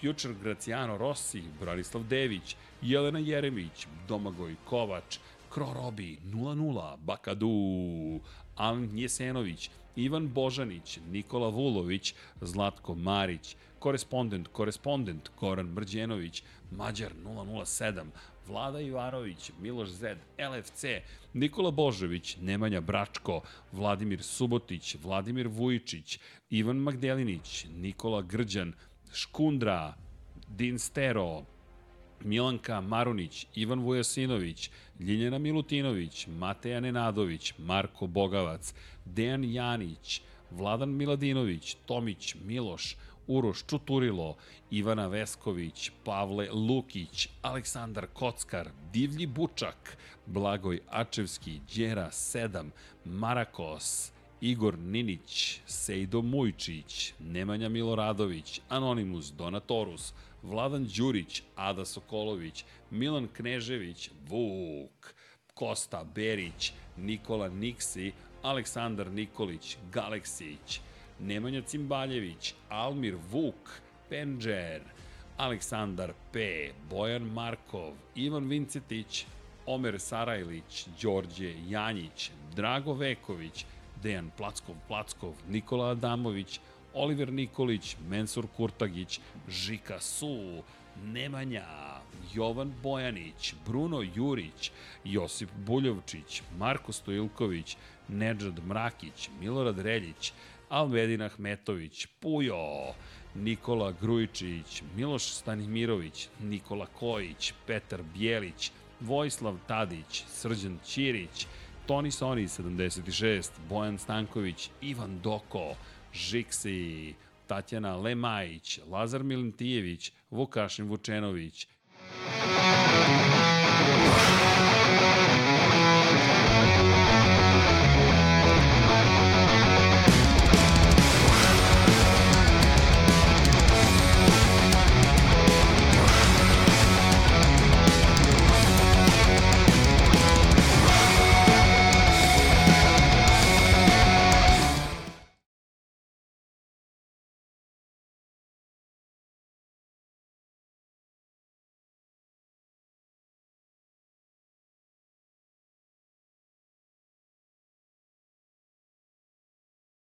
Future Graciano Rossi, Branislav Dević, Jelena Jeremić, Domagoj Kovač, Krorobi 00, Bakadu, Alen Jesenović, Ivan Božanić, Nikola Vulović, Zlatko Marić, korespondent, korespondent, Goran Mrđenović, Mađar 007, Vlada Ivanović, Miloš Zed, LFC, Nikola Božović, Nemanja Bračko, Vladimir Subotić, Vladimir Vujičić, Ivan Magdelinić, Nikola Grđan, Škundra, Din Stero, Milanka Marunić, Ivan Vujasinović, Ljiljana Milutinović, Mateja Nenadović, Marko Bogavac, Dejan Janić, Vladan Miladinović, Tomić Miloš, Uroš Čuturilo, Ivana Vesković, Pavle Lukić, Aleksandar Kockar, Divlji Bučak, Blagoj Ačevski, Đera 7, Marakos, Igor Ninić, Sejdo Mujčić, Nemanja Miloradović, Anonimus, Donatorus, Vladan Đurić, Ada Sokolović, Milan Knežević, Vuk, Kosta Berić, Nikola Niksi, Aleksandar Nikolić, Galeksić, Nemanja Cimbaljević, Almir Vuk, Penđer, Aleksandar P, Bojan Markov, Ivan Vincetić, Omer Sarajlić, Đorđe Janjić, Drago Veković, Dejan Plackov Plackov, Nikola Adamović, Oliver Nikolić, Mensur Kurtagić, Žika Su, Nemanja, Jovan Bojanić, Bruno Jurić, Josip Buljovčić, Marko Stojilković, Nedžad Mrakić, Milorad Reljić, Almedin Ahmetović, Pujo, Nikola Grujičić, Miloš Stanimirović, Nikola Kojić, Petar Bjelić, Vojislav Tadić, Srđan Ćirić, Toni Soni 76, Bojan Stanković, Ivan Doko, Žiksi, Tatjana Lemajić, Lazar Milentijević, Vukašin Vučenović,